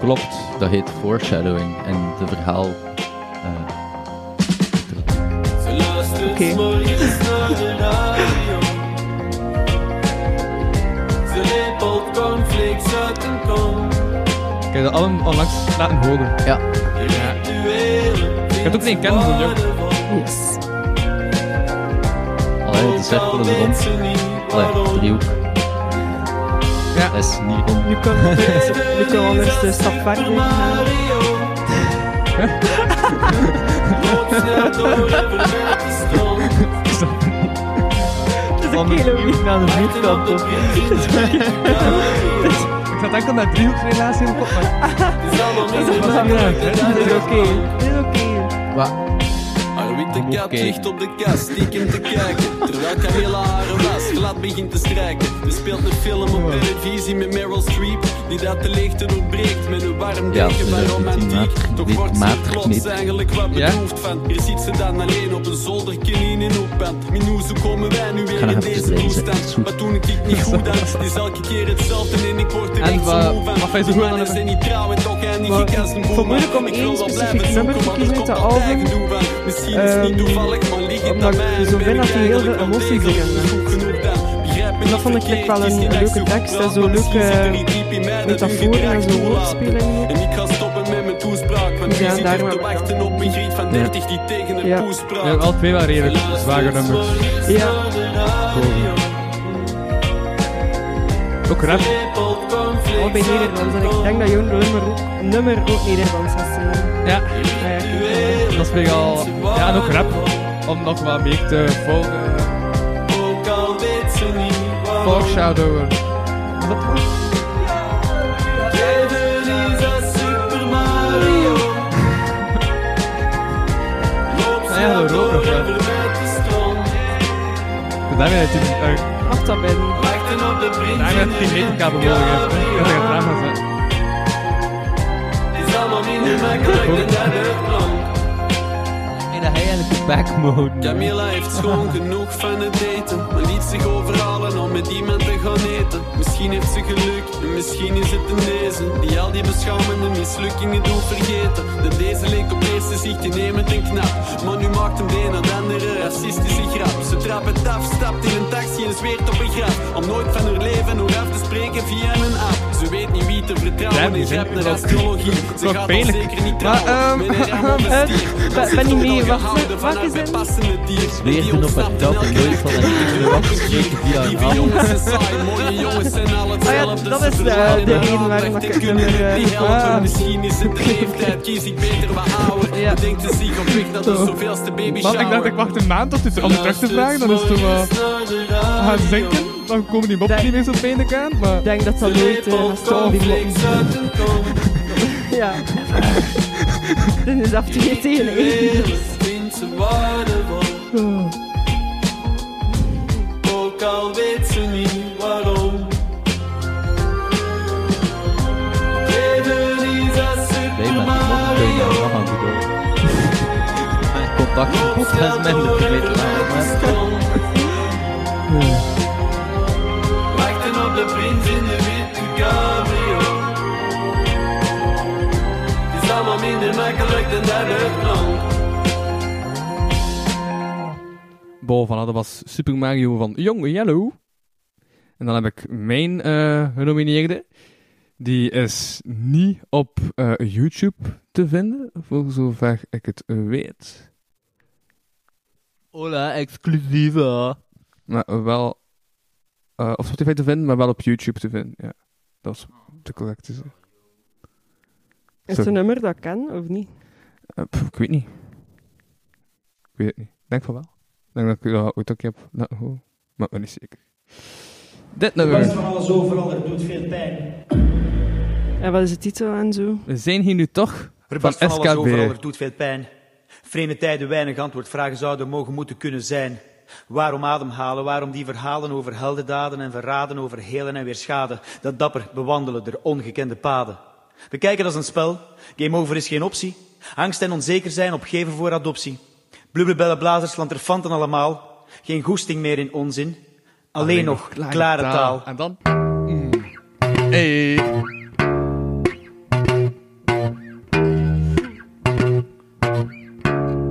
Speaker 4: Klopt. Dat heet Foreshadowing. En de verhaal... eh,
Speaker 5: Oké.
Speaker 3: Ik heb dat album onlangs laten horen.
Speaker 4: Ja.
Speaker 3: Ik heb het ook niet kennen van jou.
Speaker 5: Yes.
Speaker 4: allee, de cirkel is rond. Allee, driehoek.
Speaker 3: Ja.
Speaker 4: Dat is niet rond.
Speaker 5: Nu kan, nu kan anders de stap verder gaan. Het is een kilo
Speaker 3: naar de vierkant op. Ik zat enkel naar driehoeksrelatie in de kop, maar... Dat is belangrijk, hè?
Speaker 5: Dit is oké. Dit is oké.
Speaker 4: Wat?
Speaker 7: Witte
Speaker 4: Moet
Speaker 7: kat
Speaker 4: kijken.
Speaker 7: ligt op de kast, stiekem te kijken. Terwijl Camilla haar was, glad begint te strijken. Er speelt een film op televisie met Meryl Streep. Die dat de leegte doorbreekt met een warm
Speaker 4: Ja,
Speaker 7: deken van
Speaker 4: dus dat is niet
Speaker 7: romantiek.
Speaker 4: maat-
Speaker 7: Toch
Speaker 4: niet
Speaker 7: wordt ze
Speaker 4: maatgeknipt.
Speaker 7: plots eigenlijk wat
Speaker 3: Ja?
Speaker 7: bedoeld van. Hier ziet ze dan alleen op een zolderkin in een opband. Minu, zo komen wij nu
Speaker 4: ga
Speaker 7: weer
Speaker 4: nog
Speaker 7: in
Speaker 4: even
Speaker 7: deze
Speaker 4: lezen.
Speaker 7: toestand.
Speaker 4: Zoet.
Speaker 7: Maar toen ik het niet goed had, het is elke keer hetzelfde en ik word er
Speaker 3: En
Speaker 7: echt
Speaker 3: wa-
Speaker 7: zo moe van.
Speaker 3: wat vind je
Speaker 7: Die
Speaker 3: goed aan
Speaker 7: mannen
Speaker 3: het-
Speaker 7: zijn niet trouw en toch eindig
Speaker 5: Maar
Speaker 7: ik als een
Speaker 5: ik vond het
Speaker 7: boemer.
Speaker 5: moeilijk om
Speaker 7: Ik wil
Speaker 5: één
Speaker 7: wel blijven
Speaker 5: specifiek
Speaker 7: zoeken,
Speaker 5: nummer te
Speaker 7: want er
Speaker 5: kiezen uit
Speaker 7: komt
Speaker 5: dat
Speaker 7: altijd
Speaker 5: album.
Speaker 7: gedoe van. Misschien is het niet
Speaker 5: Ehm,
Speaker 7: toevallig, maar ligt het
Speaker 5: omdat
Speaker 7: aan
Speaker 5: ik
Speaker 7: mij.
Speaker 5: zo
Speaker 7: Ben
Speaker 5: ben dat hij heel
Speaker 7: eigenlijk
Speaker 5: veel
Speaker 7: wel
Speaker 5: emotie
Speaker 7: degelijk
Speaker 5: brengt, hè.
Speaker 7: goed genoeg dan. Begrijp me
Speaker 5: En
Speaker 7: niet
Speaker 5: dat vond ik
Speaker 7: verkeerd,
Speaker 5: wel
Speaker 7: het is
Speaker 5: een
Speaker 7: niet dat ik
Speaker 5: leuke
Speaker 7: zo
Speaker 5: tekst en
Speaker 7: goed
Speaker 5: zo
Speaker 7: praat, maar
Speaker 5: leuke
Speaker 7: misschien zit er iets diep in mij dat hun
Speaker 5: metaforen en
Speaker 7: gedrag
Speaker 5: zo
Speaker 7: toelaat.
Speaker 5: woordspelingen.
Speaker 7: En ik ga stoppen met mijn toespraak, want
Speaker 5: Ja,
Speaker 7: wie zit
Speaker 5: daar
Speaker 7: er te
Speaker 5: maar-
Speaker 7: wachten op een griet van 30 die tegen
Speaker 5: Ja.
Speaker 7: een poes
Speaker 3: We hebben
Speaker 7: praat.
Speaker 3: alle twee wel redelijk zware nummers.
Speaker 5: Ja,
Speaker 3: Ook rap.
Speaker 5: allebei Nederlands. En ik denk dat jouw nummer ook, nummer ook Nederlands gaat zijn.
Speaker 3: Ja,
Speaker 5: Ah ja, ik weet het wel.
Speaker 3: dat vind ik al... Ja, en ook rap. Om nog wat meer te volgen.
Speaker 7: Ook al weet ze niet waarom.
Speaker 3: Foreshadowen. Is dat goed?
Speaker 7: Jij verliest als Super Mario. Loop
Speaker 3: Ah ja,
Speaker 7: snel
Speaker 3: dat
Speaker 7: door
Speaker 3: rook nog, hè.
Speaker 7: en verwijt de stroom.
Speaker 3: Daar ben je tien... eh,
Speaker 5: Mag dat ben?
Speaker 7: Wachten op de prins
Speaker 3: Daar ben
Speaker 7: in
Speaker 3: je
Speaker 7: de
Speaker 3: tien meterkabel nodig. hè. Dat is een drama, hè.
Speaker 7: Het is allemaal minder makkelijk dan dat het klonk.
Speaker 4: En dat hij eigenlijk op back mode.
Speaker 7: Camilla heeft schoon genoeg van het daten. Maar liet zich overhalen om met iemand te gaan eten. Misschien heeft ze geluk en misschien is het een deze. Die al die beschamende mislukkingen doet vergeten. De deze leek op eerste zicht innemend en knap. Maar nu maakt hem de een en andere racistische grap. Ze trapt het af, stapt in een taxi en zweert op een grap. Om nooit van haar leven nog af te spreken via een app. Ze weet niet wie te
Speaker 3: Damn,
Speaker 7: vertrouwen
Speaker 3: die
Speaker 7: en
Speaker 3: zijn
Speaker 7: rapt naar
Speaker 3: ook-
Speaker 7: astrologie. Ze
Speaker 3: ook
Speaker 7: gaat al
Speaker 3: pijnlijk.
Speaker 7: zeker niet
Speaker 3: Maar,
Speaker 7: trouwen.
Speaker 3: ehm,
Speaker 7: met een ram op een stier.
Speaker 5: ben-
Speaker 7: Ze
Speaker 5: ben niet
Speaker 7: is
Speaker 5: mee,
Speaker 7: toch al
Speaker 5: wacht,
Speaker 7: gehouden van
Speaker 5: wat
Speaker 7: haar
Speaker 5: is het?
Speaker 7: bijpassende dier.
Speaker 4: Zweerden op haar dak en nooit van haar kinderen wat gesproken via haar
Speaker 7: Lieve
Speaker 4: hand.
Speaker 7: jongens en saai, mooie jongens zijn al
Speaker 5: Ah
Speaker 7: hetzelfde.
Speaker 5: ja, dat is,
Speaker 7: Ze
Speaker 5: eh, de
Speaker 7: verlangen naar
Speaker 5: reden waarom
Speaker 7: aandacht
Speaker 5: ik
Speaker 7: en
Speaker 5: het
Speaker 7: kunnen
Speaker 5: nummer, eh,
Speaker 7: niet helpen.
Speaker 5: ah.
Speaker 7: Misschien is het de leeftijd, kies ik beter wat ouder.
Speaker 5: Ja.
Speaker 7: Bedenkt ze zich op weg naar de zoveelste baby
Speaker 3: Want ik dacht, ik wacht een maand tot dit om het terug te vragen. Dan is het wel gaan zinken. Dan komen die moppen
Speaker 5: Nee.
Speaker 3: niet meer zo pijnlijk aan. Maar
Speaker 5: Ik denk dat dat nooit eh, als het om die mop- Ja. Dit is af twee tegen één. Oh.
Speaker 7: Ook al weet ze niet waarom. Reden is als
Speaker 4: Nee, maar die mop kun je
Speaker 7: Super Mario.
Speaker 4: nou wel gaan doen. Mijn contact met podcast met de privé laag.
Speaker 7: Hmm. Wachten op de prins in de witte cabrio. Het is allemaal minder makkelijk dan dat het klonk.
Speaker 3: Bon, voilà, dat was Super Mario van Young Yellow. En dan heb ik mijn eh, genomineerde. Die is niet op eh, YouTube te vinden, voor zover ik het weet.
Speaker 4: Hola, exclusiva.
Speaker 3: Maar wel eh, op Spotify te vinden, maar wel op YouTube te vinden. Ja, dat is
Speaker 8: Oh.
Speaker 3: de correcte zin.
Speaker 5: Is het
Speaker 3: Sorry.
Speaker 5: een nummer dat ik ken, of niet?
Speaker 3: Eh, pff, ik weet niet. Ik weet het niet. Ik denk van wel. Ik denk dat ik dat ooit ook heb laten horen. Maar ik ben niet zeker. Dit
Speaker 8: was
Speaker 3: nummer.
Speaker 8: er al zo veranderd, doet veel pijn.
Speaker 5: En wat is de titel en zo?
Speaker 3: We zijn hier nu toch van
Speaker 8: Er was van alles
Speaker 3: SKB.
Speaker 8: overal, er doet veel pijn. Vreemde tijden, weinig antwoordvragen zouden mogen moeten kunnen zijn. Waarom ademhalen, waarom die verhalen over heldendaden en verraden, over helen en weer schade? Dat dapper bewandelen der ongekende paden. We kijken als een spel, game over is geen optie. Angst en onzeker zijn opgeven voor adoptie. Blubberbellen, blazers, lanterfanten allemaal. Geen goesting meer in onzin. Alleen, nog klare, taal. Mm.
Speaker 3: En dan. Hey.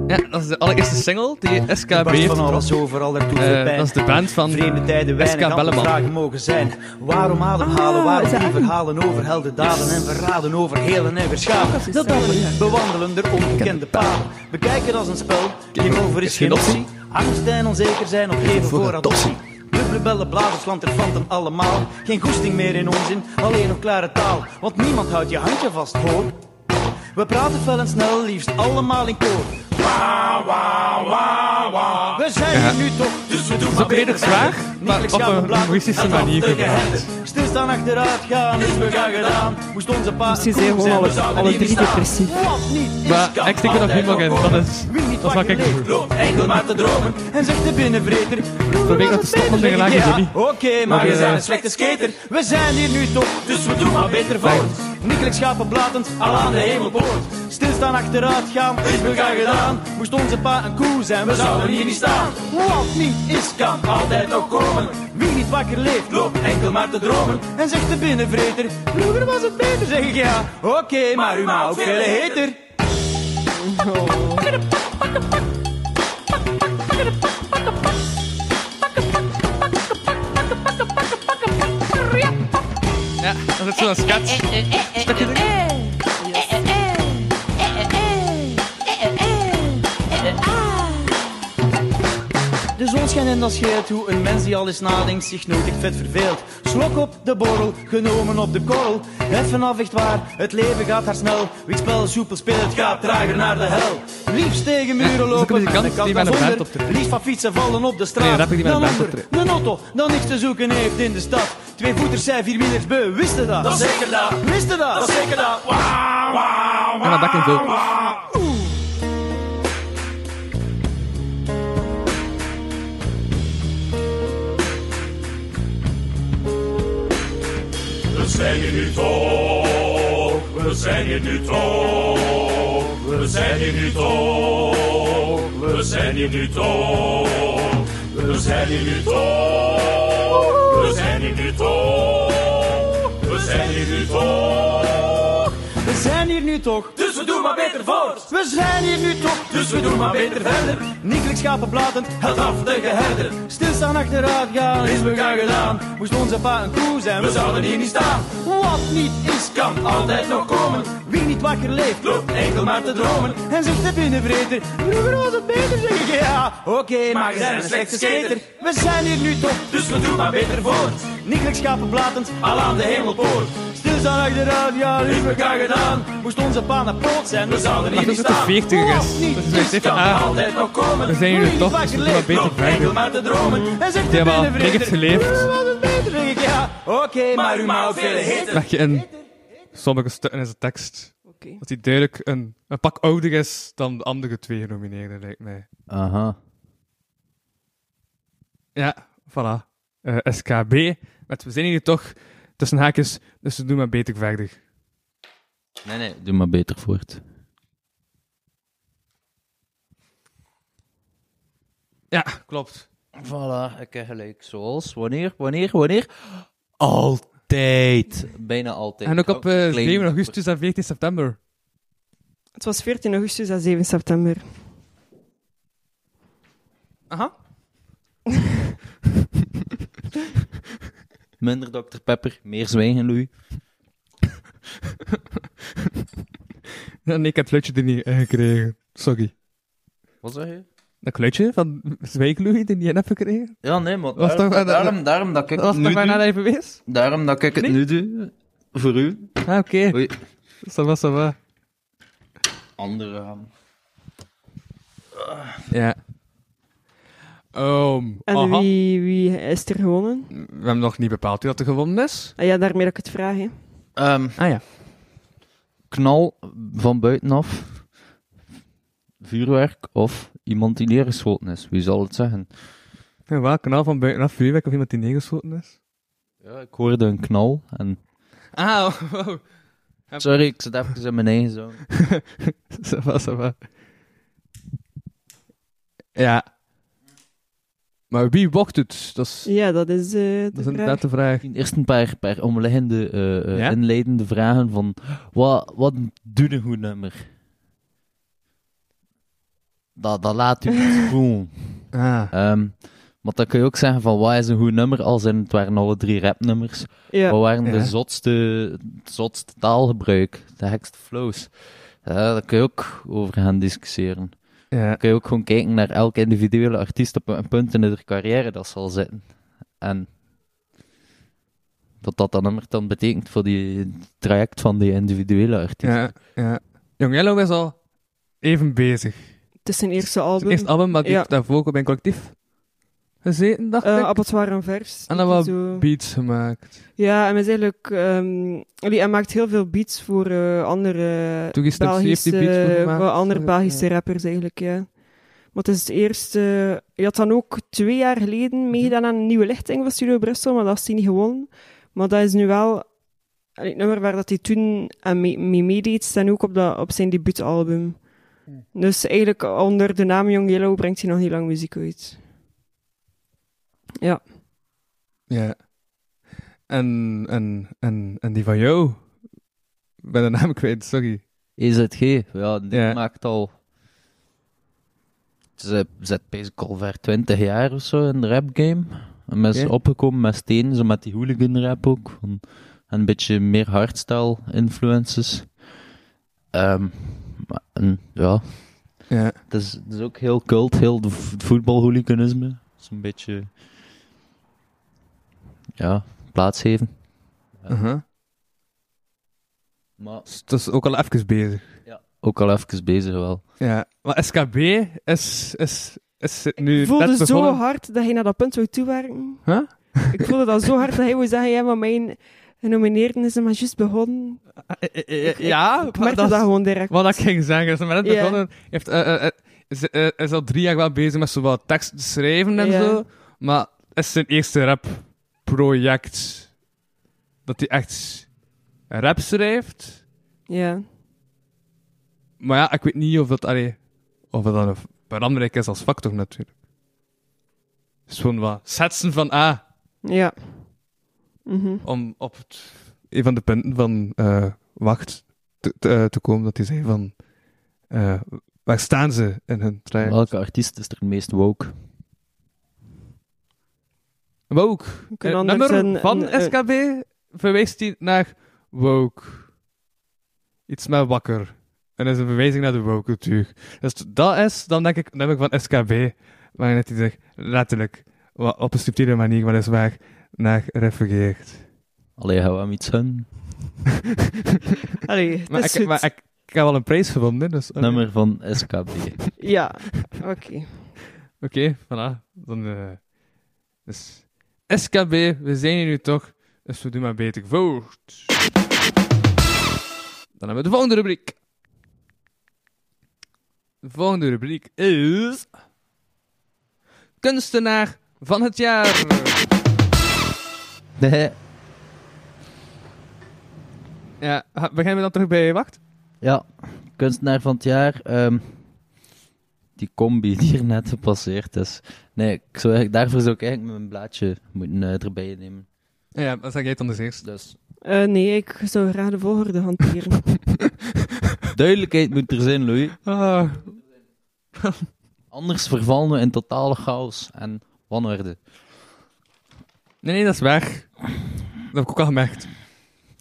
Speaker 3: Ja, dat is de allereerste single die SKB heeft
Speaker 8: Barst van
Speaker 3: gebracht.
Speaker 8: alles overal, er doet
Speaker 3: Eh,
Speaker 8: veel pijn.
Speaker 3: dat is de band van
Speaker 8: Vreemde tijden,
Speaker 3: SK
Speaker 8: weinig andere
Speaker 3: Belleman.
Speaker 8: vragen mogen zijn. Waarom ademhalen,
Speaker 5: Ah,
Speaker 8: waarom
Speaker 5: is dat
Speaker 8: die
Speaker 5: hem?
Speaker 8: verhalen over heldendaden en verraden, over helen en verschaven. Dat dapper, bewandelen er onbekende paden. Bekijken als een spel, game over is geen optie. Angst en onzeker zijn opgeven voor adoptie. Dubbele bellen, blazers, lanterfanten allemaal. Geen goesting meer in onzin, alleen nog klare taal. Want niemand houdt je handje vast, hoor. We praten fel en snel, liefst allemaal in koor. We zijn er nu toch, dus we doen maar
Speaker 3: redelijk zwaar, maar
Speaker 8: Niet
Speaker 3: op
Speaker 8: gaan we
Speaker 3: een
Speaker 8: blazen,
Speaker 3: humoristische
Speaker 8: en
Speaker 3: manier
Speaker 8: dan tegen
Speaker 3: gebracht.
Speaker 8: hen. Stilstaan achteruit gaan, is we gaan gedaan. Moest onze pa
Speaker 5: Misschien zijn we gewoon alle- alle drie depressief.
Speaker 3: Maar ik stik er nog helemaal in. Dat is, dat is wat ik doe.
Speaker 8: Loopt enkel maar te dromen en zegt de binnenvreter.
Speaker 3: Probeer dat te stoppen, want dan raak je er
Speaker 8: Ja,
Speaker 3: niet.
Speaker 8: Oké, maar
Speaker 3: eh,
Speaker 8: we zijn een slechte skater. We zijn hier nu toch, dus we doen maar beter voort. Nikkelijk schapenblatend, al aan de hemelpoort. Stilstaan achteruit gaan, is we gaan gedaan. Moest onze pa een koe zijn, we zouden hier niet staan. Wat niet is, kan altijd nog komen. Wie niet wakker leeft, loopt enkel maar te dromen. En zegt de binnenvreter, vroeger was het beter. Zeg ik ja, oké, maar u maakt veel heter.
Speaker 3: Ja, dat is zo'n sketch.
Speaker 8: De zon schijnt en dat schijnt hoe een mens die al eens nadenkt zich nooit echt vet verveelt. Slok op de borrel, genomen op de korrel. Heffen af echt waar, het leven gaat haar snel. Wie het spel soepel speelt, gaat trager naar de hel. Liefst tegen
Speaker 3: Ja, dat
Speaker 8: muren
Speaker 3: is ook
Speaker 8: lopen,
Speaker 3: een muzikant die met een
Speaker 8: naar
Speaker 3: band
Speaker 8: onder.
Speaker 3: optreedt.
Speaker 8: Liefst van fietsen vallen op de straat.
Speaker 3: Nee, dat heb ik niet met een
Speaker 8: Dan
Speaker 3: band
Speaker 8: onder,
Speaker 3: optreedt.
Speaker 8: Een auto, dan niks te zoeken heeft in de stad. Twee voeters zijn vierwielers beu, wist je dat? Dat zeker dat. Wist je dat? Dat zeker dat.
Speaker 3: En dan bak in veel.
Speaker 9: We zijn hier nu toch, we zijn hier nu toch. We zijn hier nu toch, we zijn hier nu toch, we zijn hier nu toch, we zijn hier nu toch, we zijn hier nu toch.
Speaker 8: We zijn hier nu toch,
Speaker 9: Dus we doen maar beter voort,
Speaker 8: we zijn hier nu toch.
Speaker 9: dus we doen maar beter verder.
Speaker 8: Nikkelijk schapen blaten,
Speaker 9: Het af de geherder,
Speaker 8: stilstaan achteruit gaan.
Speaker 9: is we gaan gedaan,
Speaker 8: Moest onze pa een koe zijn,
Speaker 9: we zouden hier niet staan.
Speaker 8: Wat niet is,
Speaker 9: Kan altijd nog komen,
Speaker 8: wie niet wakker leeft.
Speaker 9: loopt enkel maar te dromen.
Speaker 8: En zegt de binnenvreter, vroeger was het beter, zeg ik ja. Oké, maar
Speaker 9: zijn
Speaker 8: je bent
Speaker 9: een
Speaker 8: een slechte
Speaker 9: slechte
Speaker 8: skater. We zijn hier nu toch,
Speaker 9: Dus we doen maar beter voort,
Speaker 8: nikkelijk schapen blatend.
Speaker 9: al aan de hemelpoort.
Speaker 8: Stilstaan achteruit, ja,
Speaker 9: Is
Speaker 8: lieve
Speaker 9: dus we gaan gedaan,
Speaker 8: Moest onze pa naar poot zijn,
Speaker 9: we zouden hier
Speaker 3: Maar
Speaker 9: niet
Speaker 3: dat is de
Speaker 9: staan. dus
Speaker 3: 40 is. Dat is mijn
Speaker 9: Kan
Speaker 3: even A.
Speaker 9: altijd nog komen,
Speaker 3: We zijn jullie toch, dus we doen maar beter
Speaker 9: loopt enkel
Speaker 3: verder.
Speaker 9: maar te dromen.
Speaker 8: En zegt
Speaker 3: Die
Speaker 8: de
Speaker 3: hebben al
Speaker 8: binnenvreter,
Speaker 3: dikwijls geleefd.
Speaker 8: "Vroeger was het beter, zeg ik ja. Oké,
Speaker 9: Maar
Speaker 8: maar
Speaker 9: u maar vele heten.
Speaker 3: Leg je in sommige stukken in zijn tekst.
Speaker 5: Oké.
Speaker 3: Dat hij duidelijk een, een pak ouder is dan de andere twee genomineerden, lijkt mij.
Speaker 4: Aha.
Speaker 3: Ja, voilà. Eh, SKB. Met we zijn hier toch tussen haakjes, dus we doen maar beter verder.
Speaker 4: Nee, nee, doe maar beter voort.
Speaker 3: Ja, klopt.
Speaker 4: Voilà, ik heb gelijk. Zoals, wanneer, wanneer, wanneer? Altijd. Bijna altijd.
Speaker 3: En ook op eh,
Speaker 4: Klein
Speaker 3: 7 augustus en 14 september.
Speaker 5: Het was 14 augustus en 7 september.
Speaker 3: Aha.
Speaker 4: Minder Dr. Pepper, meer zwijgen, Louis.
Speaker 3: Ja, nee, ik heb het geluidje er niet in gekregen. Sorry.
Speaker 4: Wat zeg je?
Speaker 3: Dat geluidje van Zwijkloei die je net hebt gekregen?
Speaker 4: Ja, nee, maar
Speaker 3: Was
Speaker 4: daarom,
Speaker 3: toch wel-
Speaker 4: daarom, daarom dat ik
Speaker 3: Dat was
Speaker 4: het nu
Speaker 3: nog
Speaker 4: doe.
Speaker 3: bijna even wees?
Speaker 4: Daarom dat ik het nu doe. Voor u.
Speaker 3: Ah, oké.
Speaker 4: Oei.
Speaker 3: Ça va, ça va.
Speaker 4: Andere aan.
Speaker 3: Ja. Ehm,
Speaker 5: En
Speaker 3: aha.
Speaker 5: wie, wie is er gewonnen?
Speaker 3: We hebben nog niet bepaald wie dat er gewonnen is.
Speaker 5: Ah ja, daarmee dat ik het vraag. Hè.
Speaker 4: Ehm,
Speaker 3: Ah ja.
Speaker 4: knal van buitenaf. Vuurwerk of iemand die neergeschoten is. Wie zal het zeggen?
Speaker 3: En welk kanaal van buitenaf vuurwerk of iemand die neergeschoten is?
Speaker 4: Ja, ik hoorde een knal en...
Speaker 3: Ah, wow.
Speaker 4: Sorry, ik zit even in mijn eigen zone.
Speaker 3: ça va, ça va. Ja. Maar wie wordt het? Dat is,
Speaker 5: Ja, dat is eh, de
Speaker 3: dat is
Speaker 5: vraag.
Speaker 3: inderdaad de vraag.
Speaker 4: Eerst een paar, paar omliggende, eh, eh,
Speaker 3: Ja?
Speaker 4: inleidende vragen van... Wat, wat doet een goed nummer? Dat, dat laat u iets voelen.
Speaker 3: Ah.
Speaker 4: Ehm, maar dan kun je ook zeggen van, wat is een goed nummer? Als in, het waren alle drie rapnummers.
Speaker 5: Ja.
Speaker 4: Wat waren
Speaker 3: Ja.
Speaker 4: de zotste, het zotste taalgebruik? De hekste flows? Eh, daar kun je ook over gaan discussiëren.
Speaker 3: Ja.
Speaker 4: kun je ook gewoon kijken naar elke individuele artiest op een punt in haar carrière dat zal zitten. En wat dat dan nummer dan betekent voor die het traject van die individuele artiest.
Speaker 3: Ja, ja. Jong Jello is al even bezig.
Speaker 5: Het is zijn eerste
Speaker 3: Zijn
Speaker 5: album.
Speaker 3: eerste album, maar die
Speaker 5: Ja.
Speaker 3: heeft daarvoor ook bij een collectief gezeten, dacht
Speaker 5: Eh,
Speaker 3: ik.
Speaker 5: Abattoir en vers.
Speaker 3: En dan wat
Speaker 5: Zo.
Speaker 3: beats gemaakt.
Speaker 5: Ja, en hij is eigenlijk... ehm, allee, hij maakt heel veel beats voor eh, andere
Speaker 3: Toen is Stepsy heeft
Speaker 5: Belgische,
Speaker 3: die beats voor gemaakt.
Speaker 5: voor andere
Speaker 3: Ja.
Speaker 5: Belgische rappers eigenlijk, ja. Maar het is het eerste... Je had dan ook twee jaar
Speaker 3: Mhm.
Speaker 5: geleden meegedaan aan een nieuwe lichting van Studio Brussel, maar dat is hij niet gewonnen. Maar dat is nu wel allee, het nummer waar dat hij toen aan mee, mee meedeed, staan ook op, dat, op zijn debuutalbum.
Speaker 3: Mhm.
Speaker 5: Dus eigenlijk onder de naam Young Yellow brengt hij nog niet lang muziek uit.
Speaker 3: Ja. En, en, en, en die van jou? Ik ben de naam kwijt, sorry.
Speaker 4: EZG, ja, die
Speaker 3: Ja.
Speaker 4: maakt al. Ze zit basic al ver 20 jaar of zo in de rap game. En men is
Speaker 3: Oké.
Speaker 4: opgekomen met steen, zo met die hooligan rap ook. Van, en een beetje meer hardstyle influences. Ehm, maar- en, ja,
Speaker 3: Ja.
Speaker 4: Het is, het is ook heel cult, heel de v- het voetbalhooliganisme. Het is een beetje... Ja, plaatsgeven.
Speaker 3: Uh-huh.
Speaker 4: Maar
Speaker 3: Dus dat is ook al even bezig.
Speaker 4: ook al even bezig wel.
Speaker 3: Ja. Maar SKB is, is, is nu net
Speaker 5: Ik voelde zo
Speaker 3: begonnen.
Speaker 5: hard dat hij naar dat punt zou toewerken.
Speaker 3: Huh?
Speaker 5: Ik voelde dat zo hard dat hij wou zeggen, ja, maar mijn genomineerden is er maar juist begonnen.
Speaker 3: Eh, Ja,
Speaker 5: Ik merkte dat, gewoon direct.
Speaker 3: Wat ik ging zeggen, ze net
Speaker 5: Ja.
Speaker 3: begonnen. Heeft, eh, eh, eh, ze, eh, is al drie jaar wel bezig met zowel tekst te schrijven en
Speaker 5: Ja.
Speaker 3: zo. Maar het is zijn eerste rapproject dat hij echt rap schrijft.
Speaker 5: Ja.
Speaker 3: Maar ja, ik weet niet of dat, allee, of dat dan een belangrijk is als factor natuurlijk. Het is gewoon wat schetsen van A
Speaker 5: Ja. Mhm.
Speaker 3: om op het, een van de punten van eh, Wacht te, te, eh, te komen, dat hij zei van eh, waar staan ze in hun trein?
Speaker 4: Welke artiest is er het meest woke?
Speaker 3: Woke.
Speaker 5: kan
Speaker 3: Het
Speaker 5: anders
Speaker 3: nummer
Speaker 5: een-
Speaker 3: van
Speaker 5: een- eh, een-
Speaker 3: SKB verwijst hij naar woke. Iets met wakker. En dat is een verwijzing naar de woke cultuur. Dus dat is, dan denk ik, het nummer van SKB, waarin hij zich letterlijk wa- op een subtiele manier weliswaar naar refereert.
Speaker 4: Allee, hou hem iets hun.
Speaker 5: Allee, het
Speaker 3: Maar,
Speaker 5: is
Speaker 3: ik,
Speaker 5: goed.
Speaker 3: maar ik, ik heb al een prijs gevonden, dus... oké.
Speaker 4: Nummer van SKB.
Speaker 5: Ja, oké.
Speaker 3: Oké, voilà. Dan, eh, dus SKB, we zijn hier nu toch, dus we doen maar beter voort. Dan hebben we de volgende rubriek. De volgende rubriek is... Kunstenaar van het jaar.
Speaker 4: Nee.
Speaker 3: Ja, ha- beginnen we dan terug bij Wacht?
Speaker 4: Ja, kunstenaar van het jaar. ehm, die combi die er net gepasseerd is. Nee, ik zou, eigenlijk- daarvoor zou ik eigenlijk mijn blaadje moeten eh, erbij nemen.
Speaker 3: Ja, dat zeg jij het dan dus eerst.
Speaker 4: Dus
Speaker 5: Eh, nee, ik zou graag de volgorde hanteren.
Speaker 4: duidelijkheid moet er zijn, Louis.
Speaker 3: Ah,
Speaker 4: Anders vervallen we in totale chaos en wanorde.
Speaker 3: nee, nee, dat is weg. Dat heb ik ook al gemerkt.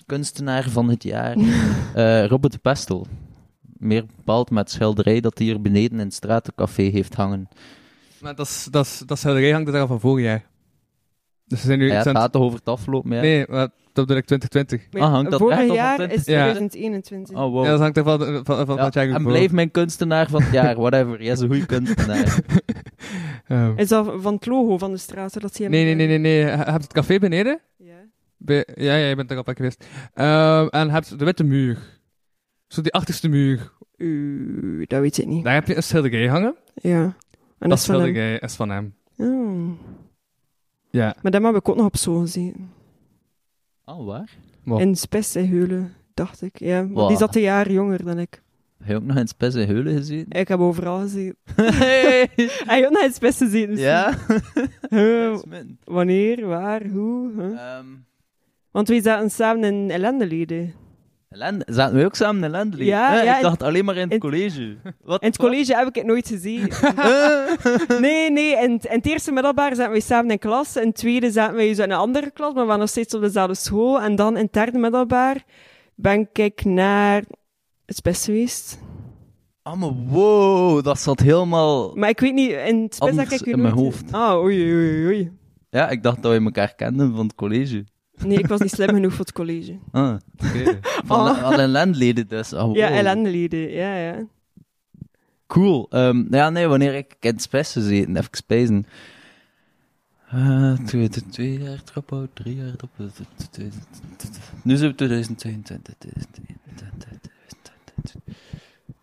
Speaker 4: Kunstenaar van het jaar, eh, Robert de Pestel. Meer bepaald met schilderij dat hij hier beneden in het stratencafé heeft hangen.
Speaker 3: Maar dat is, dat is, dat is schilderij hangt er al van vorig jaar. Dus ze zijn nu...
Speaker 4: Ja,
Speaker 3: ze
Speaker 4: het
Speaker 3: zijn-
Speaker 4: gaat toch over het afgelopen jaar?
Speaker 3: Nee, maar dat bedoel ik 2020.
Speaker 5: Maar
Speaker 4: Ah, hangt dat echt
Speaker 5: Vorig
Speaker 4: op
Speaker 5: jaar
Speaker 4: het-
Speaker 5: is
Speaker 3: Ja.
Speaker 5: 2021.
Speaker 4: Oh, wow.
Speaker 3: Ja, dat hangt er van, van, van,
Speaker 4: Ja,
Speaker 3: wat jij
Speaker 4: en
Speaker 3: ervoor-
Speaker 4: blijf mijn kunstenaar van het jaar, whatever. Jij is een goede kunstenaar.
Speaker 3: Ehm,
Speaker 5: Is dat van het logo van de straat? Dat zie je
Speaker 3: nee, nee, nee, nee, nee. Heb je het café beneden?
Speaker 5: Ja.
Speaker 3: Bij- ja, ja, je bent er al bij geweest. Ehm, en heb je de witte muur. Zo die achterste muur.
Speaker 5: Oeh, dat weet ik niet.
Speaker 3: Daar heb je een schilderij hangen.
Speaker 5: Ja. En dat,
Speaker 3: dat
Speaker 5: is van hem.
Speaker 3: schilderij is van hem.
Speaker 5: Oh.
Speaker 3: Ja.
Speaker 5: Maar dat heb ik ook nog op zo gezien.
Speaker 4: Oh, waar?
Speaker 3: Oh.
Speaker 5: In Spes en Heulen, dacht ik. Ja. want
Speaker 4: Wow.
Speaker 5: Die zat een jaar jonger dan ik.
Speaker 4: Heb je ook nog in Spes en Heulen gezien?
Speaker 5: Ik heb overal gezien. Hij had nog in Spes gezien. dus-
Speaker 4: ja?
Speaker 5: Huh,
Speaker 4: Dat is min.
Speaker 5: wanneer, waar, hoe? huh?
Speaker 4: Ehm,
Speaker 5: Want wij zaten samen in ellendeleden.
Speaker 4: Lende- Zaten we ook samen in Lendely?
Speaker 5: Ja,
Speaker 4: Eh,
Speaker 5: ja,
Speaker 4: Ik
Speaker 5: in-
Speaker 4: dacht alleen maar in het
Speaker 5: in-
Speaker 4: college. Wat
Speaker 5: In het
Speaker 4: de fuck?
Speaker 5: college heb ik het nooit gezien. nee, nee. In, het- in het eerste middelbaar zaten wij samen in klas. In het tweede zaten wij zo in een andere klas, maar we waren nog steeds op dezelfde school. En dan in het derde middelbaar ben ik naar het Spes geweest.
Speaker 4: Oh, maar wow, dat zat helemaal...
Speaker 5: Maar ik weet niet, in het Spes
Speaker 4: Anders
Speaker 5: heb ik je
Speaker 4: in mijn
Speaker 5: nooit-
Speaker 4: hoofd.
Speaker 5: Ah, oei, oei, oei.
Speaker 4: Ja, ik dacht dat we elkaar kenden van het college.
Speaker 5: Nee, ik was niet slim genoeg voor het college.
Speaker 4: Ah.
Speaker 3: Oké.
Speaker 4: Van
Speaker 5: Oh.
Speaker 4: wel in Lendleden dus. Oh,
Speaker 5: Ja,
Speaker 4: wow.
Speaker 5: ellendeleden. Ja, ja.
Speaker 4: Cool. Ehm, ja, nee, wanneer ik in het Spes gezeten, even spijzen. Eh, twee, twee, twee jaar dropout, drie jaar dropout. twee- twee- twee- Nu zijn we 2022. 2022.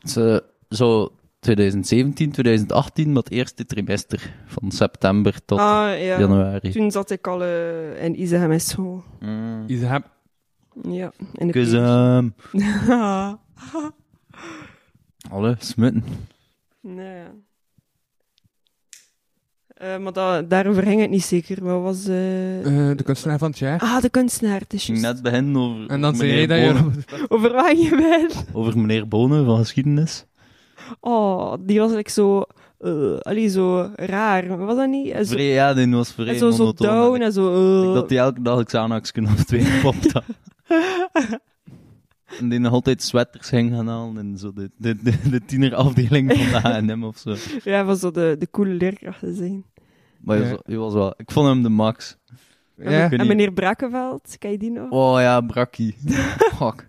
Speaker 4: Zo- eh, Zo 2017, 2018, maar het eerste trimester. Van september tot
Speaker 5: Ah, ja.
Speaker 4: januari.
Speaker 5: Toen zat ik al eh, in Isegem en school.
Speaker 4: Mm.
Speaker 3: Is hem-
Speaker 5: Ja, in de
Speaker 4: Kus
Speaker 5: peer.
Speaker 4: hem. Alle smutten.
Speaker 5: nee. ja. Eh, maar dat, daarover ging het niet zeker. Wat was... eh,
Speaker 3: eh, de kunstenaar van het jaar.
Speaker 5: Ah, de kunstenaar. Het is
Speaker 4: Ik ging
Speaker 5: juist.
Speaker 4: net beginnen over,
Speaker 3: En dan
Speaker 4: over
Speaker 3: zei jij dat
Speaker 4: meneer Bonen,
Speaker 3: je...
Speaker 5: Over waar je bent.
Speaker 4: over meneer Bonen van geschiedenis.
Speaker 5: Oh, die was like zo... eh, allee, zo raar. Was dat niet? En zo,
Speaker 4: Vrij, ja, die was
Speaker 5: en
Speaker 4: vrij
Speaker 5: zo, zo
Speaker 4: monotoon.
Speaker 5: down en zo... eh.
Speaker 4: Ik dat hij elke dag Xanax kunnen of twee popt had. En die nog altijd sweaters ging gaan halen en zo de, de, de, de tienerafdeling van de H&M of zo.
Speaker 5: Ja, was zo de, de coole leerkracht te zijn.
Speaker 4: Maar hij was, hij was wel... Ik vond hem de max.
Speaker 3: Ja.
Speaker 4: Ik weet
Speaker 5: En
Speaker 4: niet-
Speaker 5: meneer Brakenveld, ken je die nog?
Speaker 4: Oh ja, brakkie. Fuck.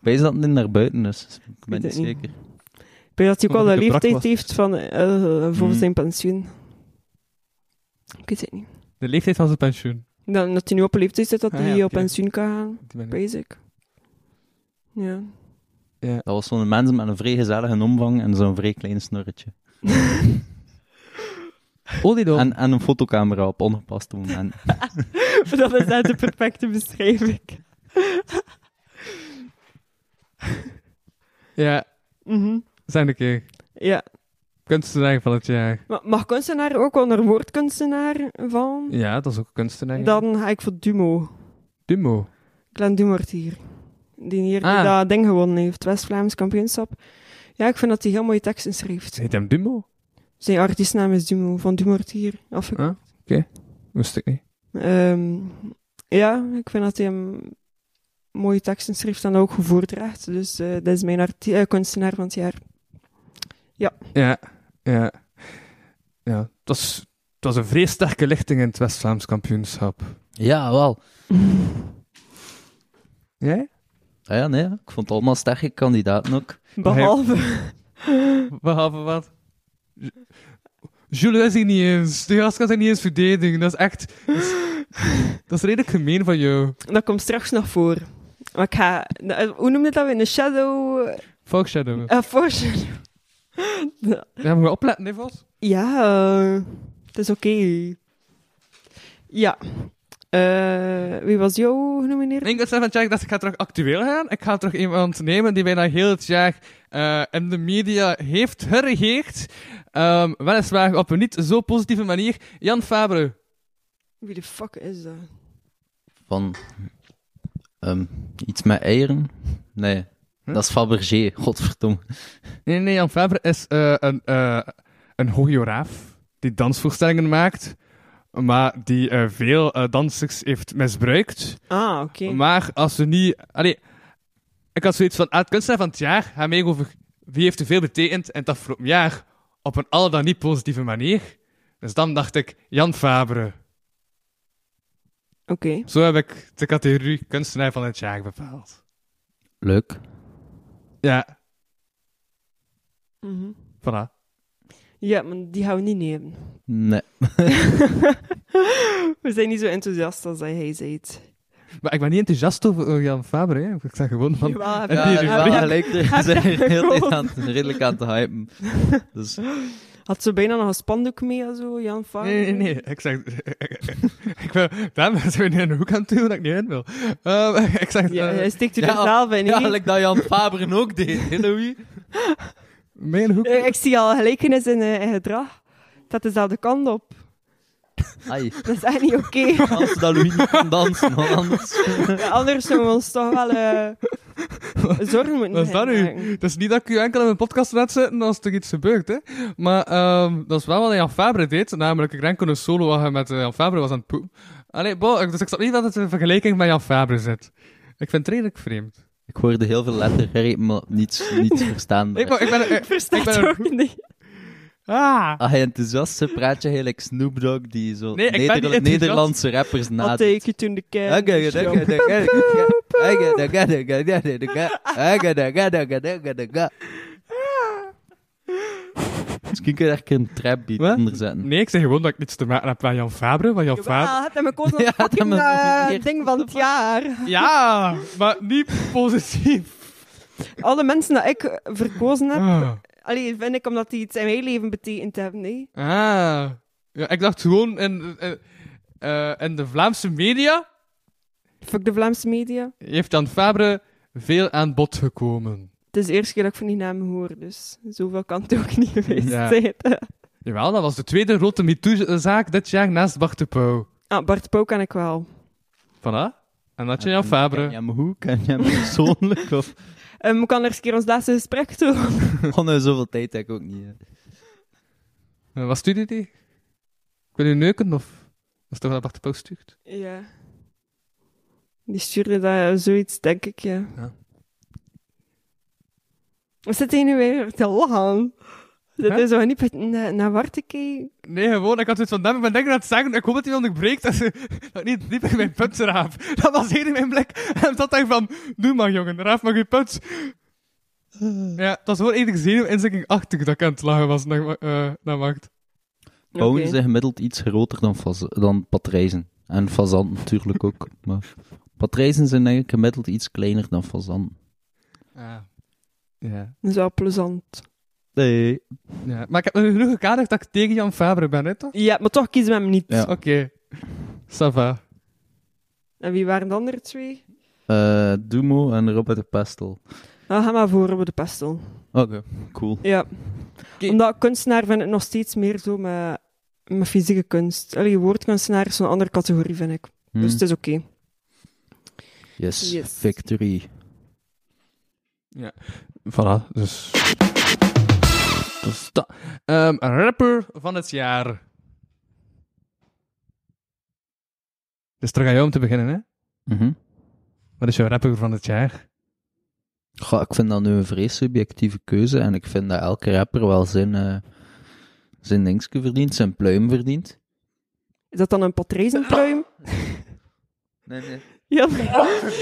Speaker 4: Wij zaten niet naar buiten, dus ik ben
Speaker 5: Weet
Speaker 4: niet
Speaker 5: het niet.
Speaker 4: zeker.
Speaker 5: Ik weet dat hij
Speaker 3: Omdat
Speaker 5: ook al
Speaker 3: hij
Speaker 5: een
Speaker 3: te brak
Speaker 5: leeftijd
Speaker 3: was.
Speaker 5: heeft van, eh, voor
Speaker 4: Hmm.
Speaker 5: zijn pensioen. Ik weet het niet.
Speaker 3: De leeftijd van zijn pensioen.
Speaker 5: Dan, dat hij nu op een leeftijd zit dat
Speaker 3: Ah,
Speaker 5: hij
Speaker 3: ja,
Speaker 5: op
Speaker 3: oké.
Speaker 5: pensioen kan gaan.
Speaker 3: Die ben ik.
Speaker 5: Basic. Ja.
Speaker 4: Dat was zo'n mens met een vrij gezellige omvang en zo'n vrij klein snorretje.
Speaker 3: Oliedom.
Speaker 4: En, en een fotocamera op ongepaste momenten.
Speaker 5: dat is net de perfecte beschrijving.
Speaker 3: Ja,
Speaker 5: Mhm.
Speaker 3: zijn de keer.
Speaker 5: Ja.
Speaker 3: Kunstenaar van het jaar.
Speaker 5: Maar mag kunstenaar ook onder woordkunstenaar vallen?
Speaker 3: Ja, dat is ook een kunstenaar. ja.
Speaker 5: Dan ga ik voor Dumo.
Speaker 3: Dumo.
Speaker 5: Glenn Dumort hier. Die hier die
Speaker 3: Ah.
Speaker 5: dat ding gewonnen heeft. West-Vlaams kampioenschap. Ja, ik vind dat hij heel mooie teksten schrijft.
Speaker 3: Heet hem Dumo?
Speaker 5: Zijn artiestnaam is Dumo. Van Dumort hier. Afgekort.
Speaker 3: Ah. Wist ik niet.
Speaker 5: Ehm, ja, ik vind dat hij hem mooie teksten schrijft en dat ook goed voordraagt. Dus eh, dat is mijn arti- eh, kunstenaar van het jaar.
Speaker 3: Ja, ja. Ja, het was, het was een vrij sterke lichting in het West-Vlaams kampioenschap.
Speaker 4: Ja, wel.
Speaker 3: Jij?
Speaker 4: Ah ja, nee, ik vond het allemaal sterke kandidaten ook.
Speaker 5: Behalve...
Speaker 3: Behalve wat? Ju- Jules is hier niet eens. De gast kan zich niet eens verdedigen. Dat is echt... Dat is, dat is redelijk gemeen van jou.
Speaker 5: Dat komt straks nog voor. Maar ik ga... eh, Hoe noemde dat we in de shadow...
Speaker 3: Volkshadow.
Speaker 5: eh foreshadow.
Speaker 3: Ja, moet je opletten, hè, Vos?
Speaker 5: Ja, eh, het is oké. Ja. Eh, wie was jou genomineerd?
Speaker 3: Ik denk van Jack dat ik ga terug actueel gaan. Ik ga terug iemand nemen die bijna heel het jaar eh, in de media heeft geregeerd. Ehm, weliswaar op een niet zo positieve manier. Jan Fabre.
Speaker 5: Wie de fuck is dat?
Speaker 4: Van ehm, iets met eieren? Nee,
Speaker 3: Hm?
Speaker 4: dat is Fabergé, godverdomme.
Speaker 3: Nee, nee, Jan Fabre is eh, een, eh een choreograaf die dansvoorstellingen maakt. Maar die eh, veel eh, dansers heeft misbruikt.
Speaker 5: Ah, oké.
Speaker 3: Maar als we niet... Allee, ik had zoiets van, ah, het kunstenaar van het jaar gaat mee over wie heeft er veel betekend in het afgelopen jaar op een al dan niet positieve manier. Dus dan dacht ik, Jan Fabre.
Speaker 5: Oké.
Speaker 3: Zo heb ik de categorie kunstenaar van het jaar bepaald.
Speaker 4: Leuk.
Speaker 3: Ja,
Speaker 5: Mhm.
Speaker 3: voilà.
Speaker 5: Ja, maar die gaan we niet nemen.
Speaker 4: Nee.
Speaker 5: We zijn niet zo enthousiast als dat hij zei.
Speaker 3: Maar ik ben niet enthousiast over over Jan Fabre. Hè. Ik zeg gewoon van...
Speaker 5: Jawel,
Speaker 3: Ja,
Speaker 4: Ja,
Speaker 3: die-
Speaker 4: ja,
Speaker 3: die-
Speaker 4: wel
Speaker 3: die-
Speaker 4: gelijk. Er zijn heel tijd aan, redelijk aan te hypen. Dus,
Speaker 5: Had ze bijna nog een spandoek mee, en zo, Jan Vaar?
Speaker 3: Nee, nee, nee. Ik zeg... ik wil... Daarom zijn we nu in een hoek aan het doen dat ik niet in wil. Ehm, ik zeg...
Speaker 5: Ja,
Speaker 3: eh,
Speaker 5: hij steekt u
Speaker 4: Ja,
Speaker 5: er zelf in.
Speaker 4: ja,
Speaker 5: hè?
Speaker 4: gelijk dat Jan Faberen ook deed, hè, Louis?
Speaker 3: mijn hoek...
Speaker 5: Eh, Ik zie al gelijkenis in, eh, in gedrag. Dat is dezelfde kant op.
Speaker 4: Ai,
Speaker 5: Dat is echt niet oké.
Speaker 4: als dat Louis niet kon dansen, want anders...
Speaker 5: Ja, anders zouden we ons toch wel eh, zorgen moeten
Speaker 3: Wat is dat nu?
Speaker 5: maken.
Speaker 3: Het is niet dat ik u enkel in mijn podcast laat zitten als er iets gebeurt, hè. Maar ehm, dat is wel wat Jan Fabre deed. Namelijk, ik denk een solo waar hij met eh, Jan Fabre was aan het poepen. Allee, bo, ik- dus ik snap niet dat het in vergelijking met Jan Fabre zit. Ik vind het redelijk vreemd.
Speaker 4: Ik hoorde heel veel lettergrepen, maar niets, niets verstaan.
Speaker 3: Ik, ben- ik ben... eh,
Speaker 5: Ik versta
Speaker 3: Ik ben
Speaker 5: het
Speaker 3: een-
Speaker 5: ook niet.
Speaker 3: ah!
Speaker 4: Ah, hij enthousiaste praatje, heel like Snoop Dogg, die zo
Speaker 3: Nee, ik ben niet
Speaker 4: Nederla-
Speaker 3: enthousiast.
Speaker 4: Nederlandse rappers
Speaker 5: I'll
Speaker 4: nadoet.
Speaker 5: take you to the cat.
Speaker 4: Oké, oké, oké, oké, oké, oké, oké, oké, oké, oké, oké, oké, oké, oké, oké, oké, oké. Misschien kun je daar een keer een trap beat
Speaker 3: Wat?
Speaker 4: onder zetten.
Speaker 3: Nee, ik zeg gewoon dat ik niets te maken heb met Jan Fabre, want Jan Fabre...
Speaker 5: Ja, het mijn koos
Speaker 4: Ja, dat
Speaker 5: fucking
Speaker 4: me-
Speaker 5: eh,
Speaker 4: hier.
Speaker 5: ding van het jaar.
Speaker 3: Ja, maar niet positief.
Speaker 5: Alle mensen dat ik verkozen heb,
Speaker 3: Ah.
Speaker 5: allee, vind ik omdat die iets in mijn leven betekend hebben. Nee?
Speaker 3: Ah. Ja, ik dacht gewoon in, in, eh, in de Vlaamse media
Speaker 5: Fuck de Vlaamse media.
Speaker 3: heeft Jan Fabre veel aan bod gekomen.
Speaker 5: Het is de eerste keer dat ik van die naam hoor, dus zoveel kan het ook niet geweest
Speaker 3: Ja.
Speaker 5: zijn.
Speaker 3: Jawel, dat was de tweede grote MeToo-zaak dit jaar naast Bart de Pauw.
Speaker 5: Ah, Bart Pauw ken ik wel.
Speaker 3: Voilà. En dat je Jan Fabre.
Speaker 4: Ken je hem hoe? Ken je hem persoonlijk? Of
Speaker 5: Ehm we kunnen eens een keer ons laatste gesprek doen.
Speaker 4: kon hij zoveel tijd heb ik ook niet. hè.
Speaker 3: Eh, Wat stuurde die? Kun je neuken of? Dat is toch wat Bart de Pauw stuurt?
Speaker 5: Ja. Die stuurde dat zoiets, denk ik, ja.
Speaker 3: Ja.
Speaker 5: Wat zit hij nu weer te lachen? Zit
Speaker 3: Hè?
Speaker 5: hij zo niet na- naar Bart te kijken?
Speaker 3: Nee, gewoon. Ik had het van hem. Ik ben denken aan het zeggen. Ik hoop dat hij onderbreekt. Dat, ze- dat ik niet diep in mijn punt raaf. Dat was eerder mijn blik. En dat dacht van, doe maar jongen, raaf maar je punt. Ja, het was gewoon eerder zenuwinzikkingachtig dat ik aan het lachen was naar, eh naar Macht.
Speaker 4: Pauwen
Speaker 5: Oké.
Speaker 4: zijn gemiddeld iets groter dan, faz- dan patrijzen. En fazanten natuurlijk ook. Maar patrijzen zijn eigenlijk gemiddeld iets kleiner dan fazanten.
Speaker 3: Ja. Ja.
Speaker 5: Dat is wel plezant.
Speaker 4: Nee.
Speaker 3: Ja, maar ik heb me genoeg gekaderd dat ik tegen Jan Fabre ben, hè, toch?
Speaker 5: Ja, maar toch kiezen we hem niet.
Speaker 4: Ja.
Speaker 3: Oké. Ça va.
Speaker 5: En wie waren de andere twee?
Speaker 4: Eh Dumo en Robert de Pestel.
Speaker 5: Dan gaan we Ah, maar voor op de pestel.
Speaker 4: Oké, cool.
Speaker 5: Ja. Omdat kunstenaar vind ik nog steeds meer zo met, met fysieke kunst. Allee, woordkunstenaar is zo'n andere categorie, vind ik.
Speaker 4: Hmm.
Speaker 5: Dus het is oké.
Speaker 4: yes.
Speaker 5: Yes.
Speaker 4: victory.
Speaker 3: Voilà, dus... Dus dat. Ehm, rapper van het jaar. Dus terug aan jou om te beginnen, hè?
Speaker 4: Mhm.
Speaker 3: Wat is jouw rapper van het jaar?
Speaker 4: Goh, ik vind dat nu een vrees subjectieve keuze en ik vind dat elke rapper wel zijn, eh, zijn dingetje verdient, zijn pluim verdient.
Speaker 5: Is dat dan een patrijzenpluim?
Speaker 4: Nee, nee.
Speaker 5: Heel,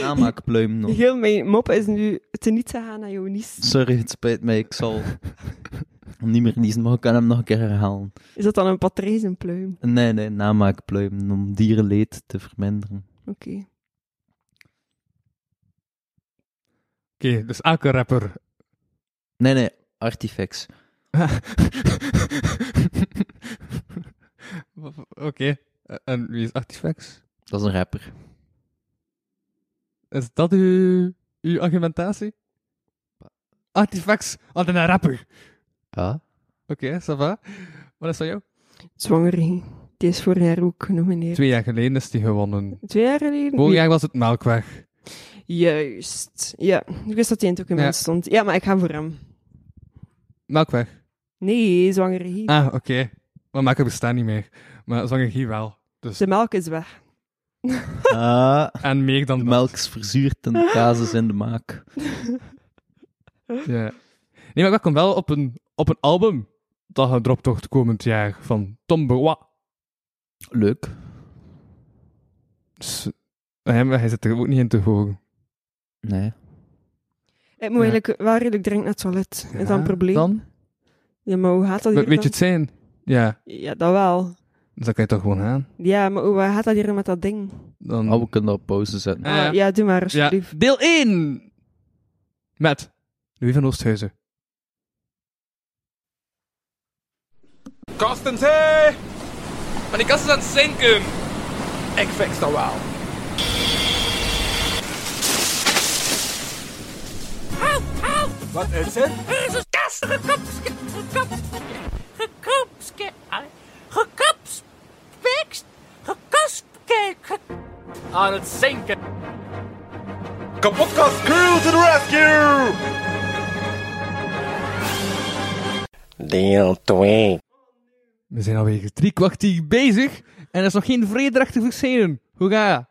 Speaker 4: Namaakpluim Nou, nog.
Speaker 5: heel mijn mop is nu te niet te gaan naar jouw nies.
Speaker 4: Sorry, het spijt mij, ik zal niet meer niezen, maar ik kan hem nog een keer herhalen.
Speaker 5: Is dat dan een patrijzenpluim?
Speaker 4: Nee, nee, namaakpluim, om dierenleed te verminderen.
Speaker 5: Oké.
Speaker 3: Oké, dus elke rapper.
Speaker 4: Nee, nee, Artifex.
Speaker 3: Oké. Eh, En wie is Artifacts?
Speaker 4: Dat is een rapper.
Speaker 3: Is dat uw, uw argumentatie? Artifacts, wat een rapper.
Speaker 4: Ja?
Speaker 3: Oké, ça va. Wat is dat jou?
Speaker 5: Zwangerie. Die is vorig jaar ook genomineerd.
Speaker 3: Twee jaar geleden is die gewonnen.
Speaker 5: Twee jaar geleden?
Speaker 3: Vorig jaar was het Melkweg.
Speaker 5: Juist. Ja, ik wist dat hij in het document
Speaker 3: Ja.
Speaker 5: stond. Ja, maar ik ga voor hem.
Speaker 3: Melkweg.
Speaker 5: Nee, zwangerie.
Speaker 3: Ah, oké. Maar Melkweg bestaat niet meer. Maar zwanger hier wel. Dus.
Speaker 5: De melk is weg.
Speaker 4: Ah,
Speaker 3: En meer dan
Speaker 4: de
Speaker 3: dat.
Speaker 4: melk is verzuurd en de kaas is in de maak.
Speaker 3: Ja. Nee, maar dat komt wel op een, op een album dat gedropt wordt komend jaar van Tom Berwa.
Speaker 4: Leuk.
Speaker 3: Dus, eh, maar hij zit er ook niet in te horen.
Speaker 4: Nee.
Speaker 5: Ik moet
Speaker 3: Ja.
Speaker 5: eigenlijk wel redelijk dringend naar het toilet. Is dat
Speaker 3: Ja,
Speaker 5: een probleem?
Speaker 3: Dan?
Speaker 5: Ja, maar hoe gaat dat
Speaker 3: We-
Speaker 5: hier
Speaker 3: weet je
Speaker 5: dan?
Speaker 3: het zijn? Ja,
Speaker 5: Ja, dat wel.
Speaker 3: dus dan kan je toch gewoon aan.
Speaker 5: Ja, maar hoe gaat dat hier met dat ding?
Speaker 3: Dan...
Speaker 4: Oh, we kunnen dat op pauze zetten.
Speaker 3: Ah, ja.
Speaker 5: Ah, ja, doe maar
Speaker 3: ja.
Speaker 5: alsjeblieft.
Speaker 3: Deel 1! Met Louis van Oosthuizen.
Speaker 10: Kastens, hé! Hey! Maar die kast is aan het zinken. Ik fix dat wel.
Speaker 6: Wat is er?
Speaker 11: Jezus, kast, gekapske, gekapske, gekapske,
Speaker 6: eh,
Speaker 11: gekapspekst, gekapske,
Speaker 10: Aan het zinken.
Speaker 6: Kapotkast Girl to the rescue!
Speaker 3: We zijn alweer drie kwartier bezig en er is nog geen vrederecht te verschenen. Hoera!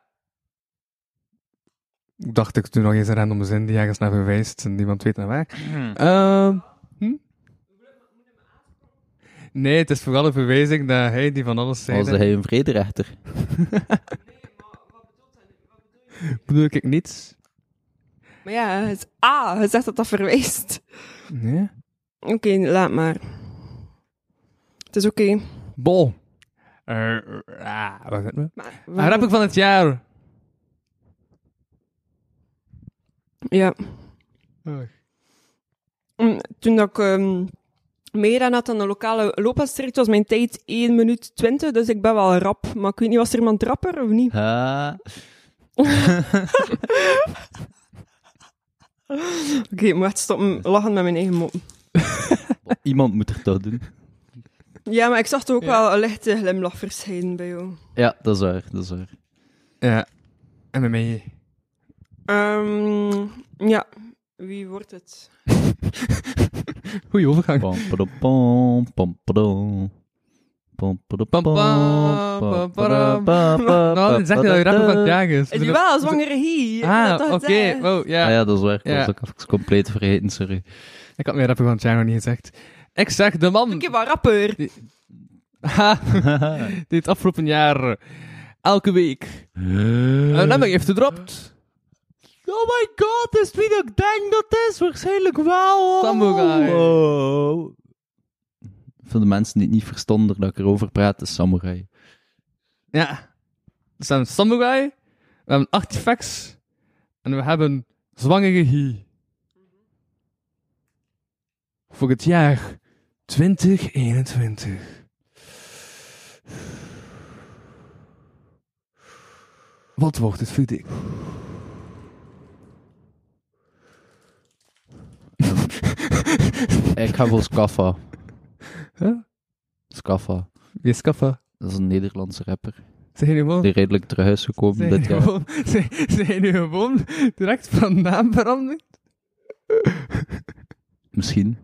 Speaker 3: Ik dacht ik toen nog eens een random zin die ergens naar verwijst en niemand weet naar waar.
Speaker 4: Hmm.
Speaker 3: Ehm, hm? Nee, het is vooral een verwijzing naar hij die van alles zei.
Speaker 4: Was hij een vrederechter?
Speaker 3: Bedoel ik niets?
Speaker 5: Maar ja, het is A. Hij zegt dat dat verwijst.
Speaker 3: Nee.
Speaker 5: Oké, laat maar. Het is oké.
Speaker 3: Bol. Eh, ah, waar gaat het?
Speaker 5: Maar
Speaker 3: Ah,
Speaker 5: waarom-
Speaker 3: Rapper van het jaar.
Speaker 5: Ja.
Speaker 3: Oh.
Speaker 5: Mm, Toen dat ik ehm, meer aan had dan de lokale loopbaanstreek, was mijn tijd 1 minuut 20, dus ik ben wel rap. Maar ik weet niet, was er iemand rapper of niet?
Speaker 4: Ah,
Speaker 5: Oké, ik moet echt stoppen lachen met mijn eigen mop.
Speaker 4: iemand moet er dat doen.
Speaker 5: Ja, maar ik zag toch ook wel een lichte glimlach verschijnen bij jou.
Speaker 4: Ja, dat is waar, dat is waar.
Speaker 3: Ja. En met mij.
Speaker 5: Ehm, ja, wie wordt het?
Speaker 3: Goeie overgang.
Speaker 4: Pom, padom, pom, pom, padom. Pom, padom, pom,
Speaker 3: Pam, pam,
Speaker 4: pam,
Speaker 3: pam, padam.
Speaker 4: padam, pam,
Speaker 3: Nou, dan zeg je dat je rapper van het jaar is.
Speaker 5: Is die wel zwangere hier?
Speaker 3: Ah, oké. Oh, ja.
Speaker 4: Ah ja, dat is waar. Ik
Speaker 3: Ja.
Speaker 4: was ook even compleet vergeten, sorry.
Speaker 3: Ik had mijn rapper van het jaar nog niet gezegd. Ik zeg de man
Speaker 5: Ik heb wel rapper.
Speaker 3: die het afgelopen jaar elke week Eh, een nummer heeft gedropt.
Speaker 4: Oh my god, is wie dat ik denk dat is? Waarschijnlijk wel.
Speaker 3: Samurai.
Speaker 4: Oh, Wow. Voor de mensen die het niet verstonden dat ik erover praat, is Samurai.
Speaker 3: Ja. Dus we hebben Samurai, we hebben Artifacts en we hebben Zwangere Hi. Voor het jaar 2021. Wat wordt het voor dik?
Speaker 4: Ik ga voor Scaffa.
Speaker 3: Huh?
Speaker 4: Scaffa.
Speaker 3: Wie is Scaffa?
Speaker 4: Dat is een Nederlandse rapper.
Speaker 3: Zijn jullie gewoon...
Speaker 4: Die redelijk terug is gekomen
Speaker 3: Zijn
Speaker 4: dit
Speaker 3: jullie
Speaker 4: jaar.
Speaker 3: gewoon... Zijn, zijn jullie gewoon direct van naam veranderd?
Speaker 4: Misschien.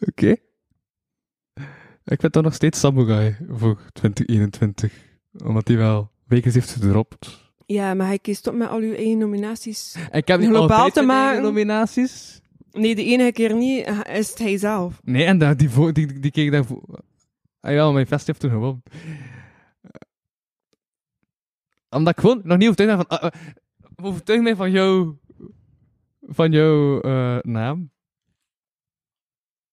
Speaker 3: Oké. Ik vind dan nog steeds Samurai voor 2021. Omdat die wel weken heeft gedropt.
Speaker 5: Ja, maar hij kiest op met al uw eigen nominaties.
Speaker 3: Ik heb
Speaker 5: niet Globaal altijd te mijn eigen maken.
Speaker 3: nominaties.
Speaker 5: Nee, de enige keer niet eh, is het hij zelf.
Speaker 3: Nee, en daar, die, vo- die, die keek daarvoor... Ah ja, mijn vest heeft toen gewonnen. Omdat ik gewoon nog niet overtuigd ben van... ah, eh, overtuig mij van jouw... Van jouw eh, naam.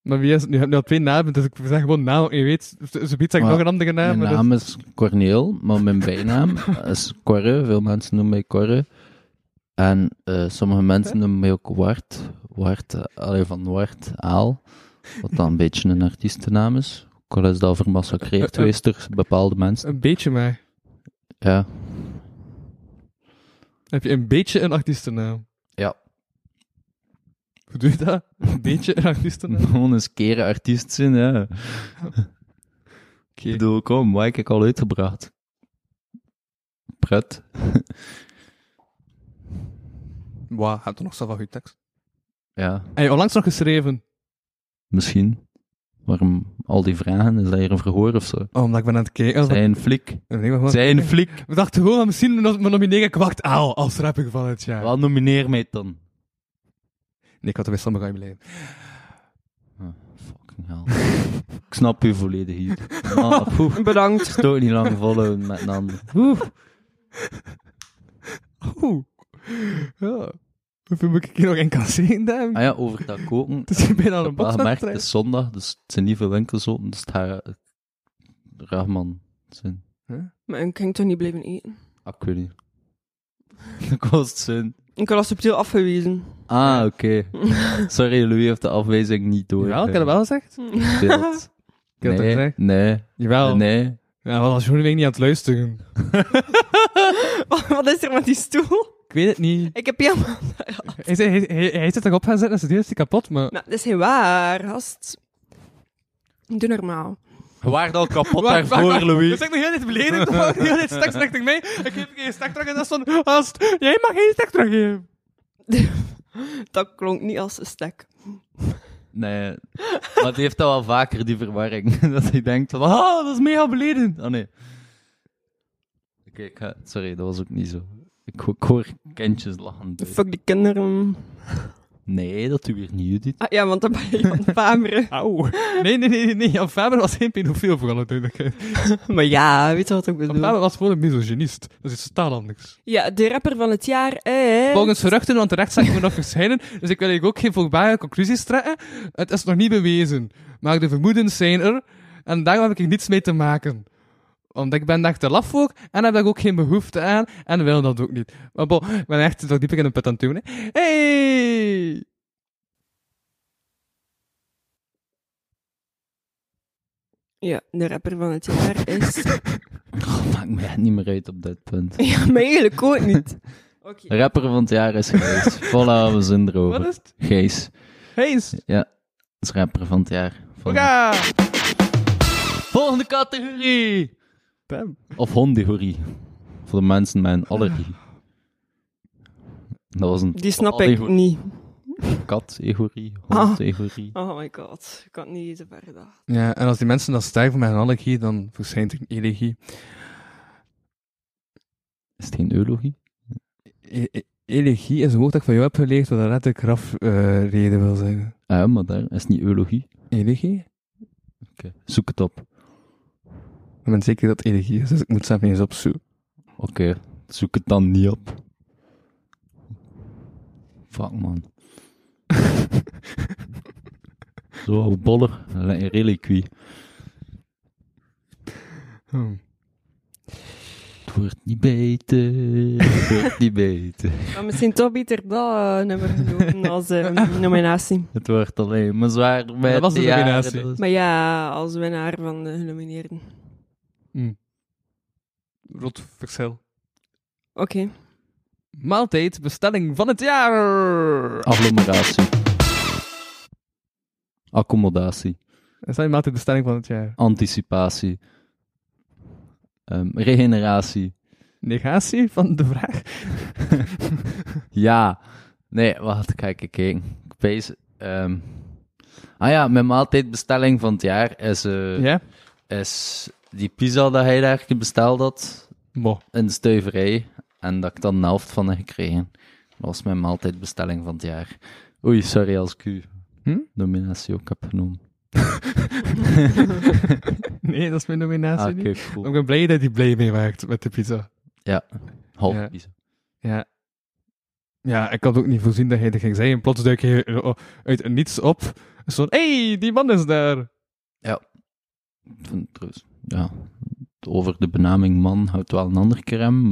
Speaker 3: Maar wie is het nu? Je hebt nu al twee namen, dus ik zeg gewoon naam. Je weet, ze- ze biedt zeg ik
Speaker 4: Maar
Speaker 3: nog een andere naam.
Speaker 4: mijn
Speaker 3: maar dat-
Speaker 4: naam is Corneel, maar mijn bijnaam is Corre. Veel mensen noemen mij Corre. En eh, sommige mensen noemen mij ook Wart. Wart, eh, allee, van Wart Aal. Wat dan een beetje een artiestennaam is. Ook al is dat vermassacreerd geweest door bepaalde mensen.
Speaker 3: Een beetje maar.
Speaker 4: Ja.
Speaker 3: Heb je een beetje een artiestennaam?
Speaker 4: Ja.
Speaker 3: Hoe doe je dat? Een beetje een artiestennaam?
Speaker 4: Gewoon eens keren artiest zijn, ja. Ik bedoel, kom, wat heb ik al uitgebracht? Pret.
Speaker 3: Wauw, heb je nog zoveel goede tekst?
Speaker 4: Ja,
Speaker 3: Heb je onlangs nog geschreven?
Speaker 4: misschien. Waarom al die vragen? Is dat hier een verhoor of zo?
Speaker 3: Oh, omdat ik ben aan het kijken. als-
Speaker 4: Zijn flik.
Speaker 3: Nee, maar gewoon-
Speaker 4: Zijn flik.
Speaker 3: We dachten gewoon, misschien no- me nomineren ik Wacht Aal als rapper van het jaar.
Speaker 4: Wat nomineer mij dan?
Speaker 3: Nee, ik had er bij Samurai blijven.
Speaker 4: Ah, fucking hell. ik snap u volledig hier. Maar, poeh,
Speaker 5: Bedankt.
Speaker 4: stoot niet lang volhouden met een ander.
Speaker 3: Oeh. Ja. Hoeveel moet ik hier nog in kasseren, dan?
Speaker 4: Ah ja, over dat koken.
Speaker 3: Het is hier bijna
Speaker 4: Ik
Speaker 3: een
Speaker 4: heb wel gemerkt, het
Speaker 3: box
Speaker 4: is zondag, dus het zijn niet veel winkels open, dus het gaat eh, Rahman zijn.
Speaker 5: Maar ik ging toch niet blijven eten.
Speaker 4: Ah, ik weet niet. Dat kost zijn.
Speaker 5: Ik was subtiel afgewezen.
Speaker 4: Ah, oké. Sorry, Louis heeft de afwijzing niet door.
Speaker 3: Jawel, ik heb dat wel gezegd.
Speaker 4: Beeld.
Speaker 3: Ik heb dat
Speaker 4: Nee,
Speaker 3: gezegd.
Speaker 4: nee,
Speaker 3: Jawel.
Speaker 4: nee.
Speaker 3: Ja, want als jullie niet aan het luisteren.
Speaker 5: Wat, wat is er met die stoel?
Speaker 3: Ik weet het niet.
Speaker 5: Ik heb helemaal...
Speaker 3: Hij, zei- hij, hij, hij zit erop gaan zitten en zijn deur is die kapot, maar...
Speaker 5: Nou, dat is heel waar, gast. Doe normaal.
Speaker 4: We waren al kapot
Speaker 3: Wacht,
Speaker 4: daarvoor,
Speaker 3: wacht, wacht.
Speaker 4: Louis.
Speaker 3: Dat is echt nog heel dit beledigend. toch? Die hele tijd stek richting mij. Ik geef geen stek terug. En dat is van... Gast, jij mag geen stek teruggeven.
Speaker 5: Dat klonk niet als een stek.
Speaker 4: Nee, maar die heeft dat wel vaker, die verwarring. dat hij denkt van, ah, dat is mega beledigend. Oh nee. Oké, ik ga- sorry, dat was ook niet zo. Ik, ho- ik hoor kindjes lachen.
Speaker 5: Fuck die kinderen.
Speaker 4: Nee, dat doe weer niet, Judith.
Speaker 5: Ah ja, want dan ben je van Pameren.
Speaker 3: Auw. Nee, nee, nee, nee, nee. Jan Faber was geen pedofiel, voor alle duidelijkheid.
Speaker 5: Maar ja, weet je wat ik bedoel?
Speaker 3: Jan Faber was gewoon een misogynist. Dat is iets totaal anders.
Speaker 5: Ja, de rapper van het jaar is...
Speaker 3: Volgens geruchten, want de rechtszaak moet nog verschijnen, dus ik wil eigenlijk ook geen volgbare conclusies trekken. Het is nog niet bewezen, maar de vermoedens zijn er en daarom heb ik er niets mee te maken. Want ik ben daar te laf voor en heb daar ook geen behoefte aan en wil dat ook niet. Maar bon, ik ben echt toch dieper in een put aan het doen, hè. Hey!
Speaker 5: Ja, de rapper van het jaar is...
Speaker 4: Oh, maakt me echt niet meer uit op dit punt.
Speaker 5: ja, maar eigenlijk ook niet. Oké.
Speaker 4: Rapper van het jaar is Gijs. Voilà, we zijn
Speaker 3: Wat
Speaker 4: erover.
Speaker 3: is het?
Speaker 4: Gijs
Speaker 3: Hees!
Speaker 4: is rapper van het jaar. Volgende,
Speaker 3: Hoera!
Speaker 4: Volgende categorie!
Speaker 3: Damn.
Speaker 4: Of hondegorie. Voor de mensen met een allergie. Dat was een
Speaker 5: Die snap ik niet.
Speaker 4: kat-egorie,
Speaker 5: Ah.
Speaker 4: hond-egorie.
Speaker 5: Oh my god, ik kan het niet te ver gedacht.
Speaker 3: Ja, en als die mensen dan sterven met een allergie, dan verschijnt er een elegie.
Speaker 4: Is het geen eulogie?
Speaker 3: E- e- elegie is een woord dat ik van jou heb geleerd, wat een letterlijk grafreden reden wil zeggen.
Speaker 4: Ah, ja, maar daar is het niet eulogie.
Speaker 3: Elegie?
Speaker 4: Oké, Zoek het op.
Speaker 3: Ik ben zeker dat het energie is, dus ik moet zelf eens opzoeken.
Speaker 4: Oké, zoek het dan niet op. Fuck man. Zo oude boller, een reliquie.
Speaker 3: Hmm.
Speaker 4: Het wordt niet beter, het wordt niet beter.
Speaker 5: Maar misschien toch beter dat eh, nummer genomen als eh, nominatie.
Speaker 4: Het wordt alleen maar zwaarder met
Speaker 3: Dat was de
Speaker 4: jaren.
Speaker 3: nominatie.
Speaker 4: Dat is-
Speaker 5: Maar ja, als winnaar van de genomineerden.
Speaker 3: Rot verschil.
Speaker 5: Oké.
Speaker 3: Maaltijd, bestelling van het jaar!
Speaker 4: Agglomeratie. Accommodatie.
Speaker 3: Is dat je maat de bestelling van het jaar?
Speaker 4: Anticipatie. Ehm, regeneratie.
Speaker 3: Negatie van de vraag?
Speaker 4: Ja. Nee, wacht, kijk, ik kijk. Ik pees, ehm. Ah ja, mijn maaltijdbestelling van het jaar is, eh,
Speaker 3: Ja?
Speaker 4: is die pizza dat hij daar besteld had
Speaker 3: Mo.
Speaker 4: in de stuiverij. En dat ik dan de helft van heb gekregen. Dat was mijn maaltijdbestelling van het jaar. Oei, sorry als ik u
Speaker 3: Hm?
Speaker 4: nominatie ook heb genoemd.
Speaker 3: Nee, dat is mijn nominatie
Speaker 4: Ah,
Speaker 3: niet.
Speaker 4: oké, cool.
Speaker 3: Ik ben blij dat hij blij mee maakt met de pizza.
Speaker 4: Ja, half
Speaker 3: Ja.
Speaker 4: pizza.
Speaker 3: Ja. Ja, ik had ook niet voorzien dat hij dat ging zeggen. Plots duik je eh, oh, uit het niets op. Zo hey, die man is daar.
Speaker 4: Ik vind het trouwens, ja, over de benaming man houdt wel een ander crème.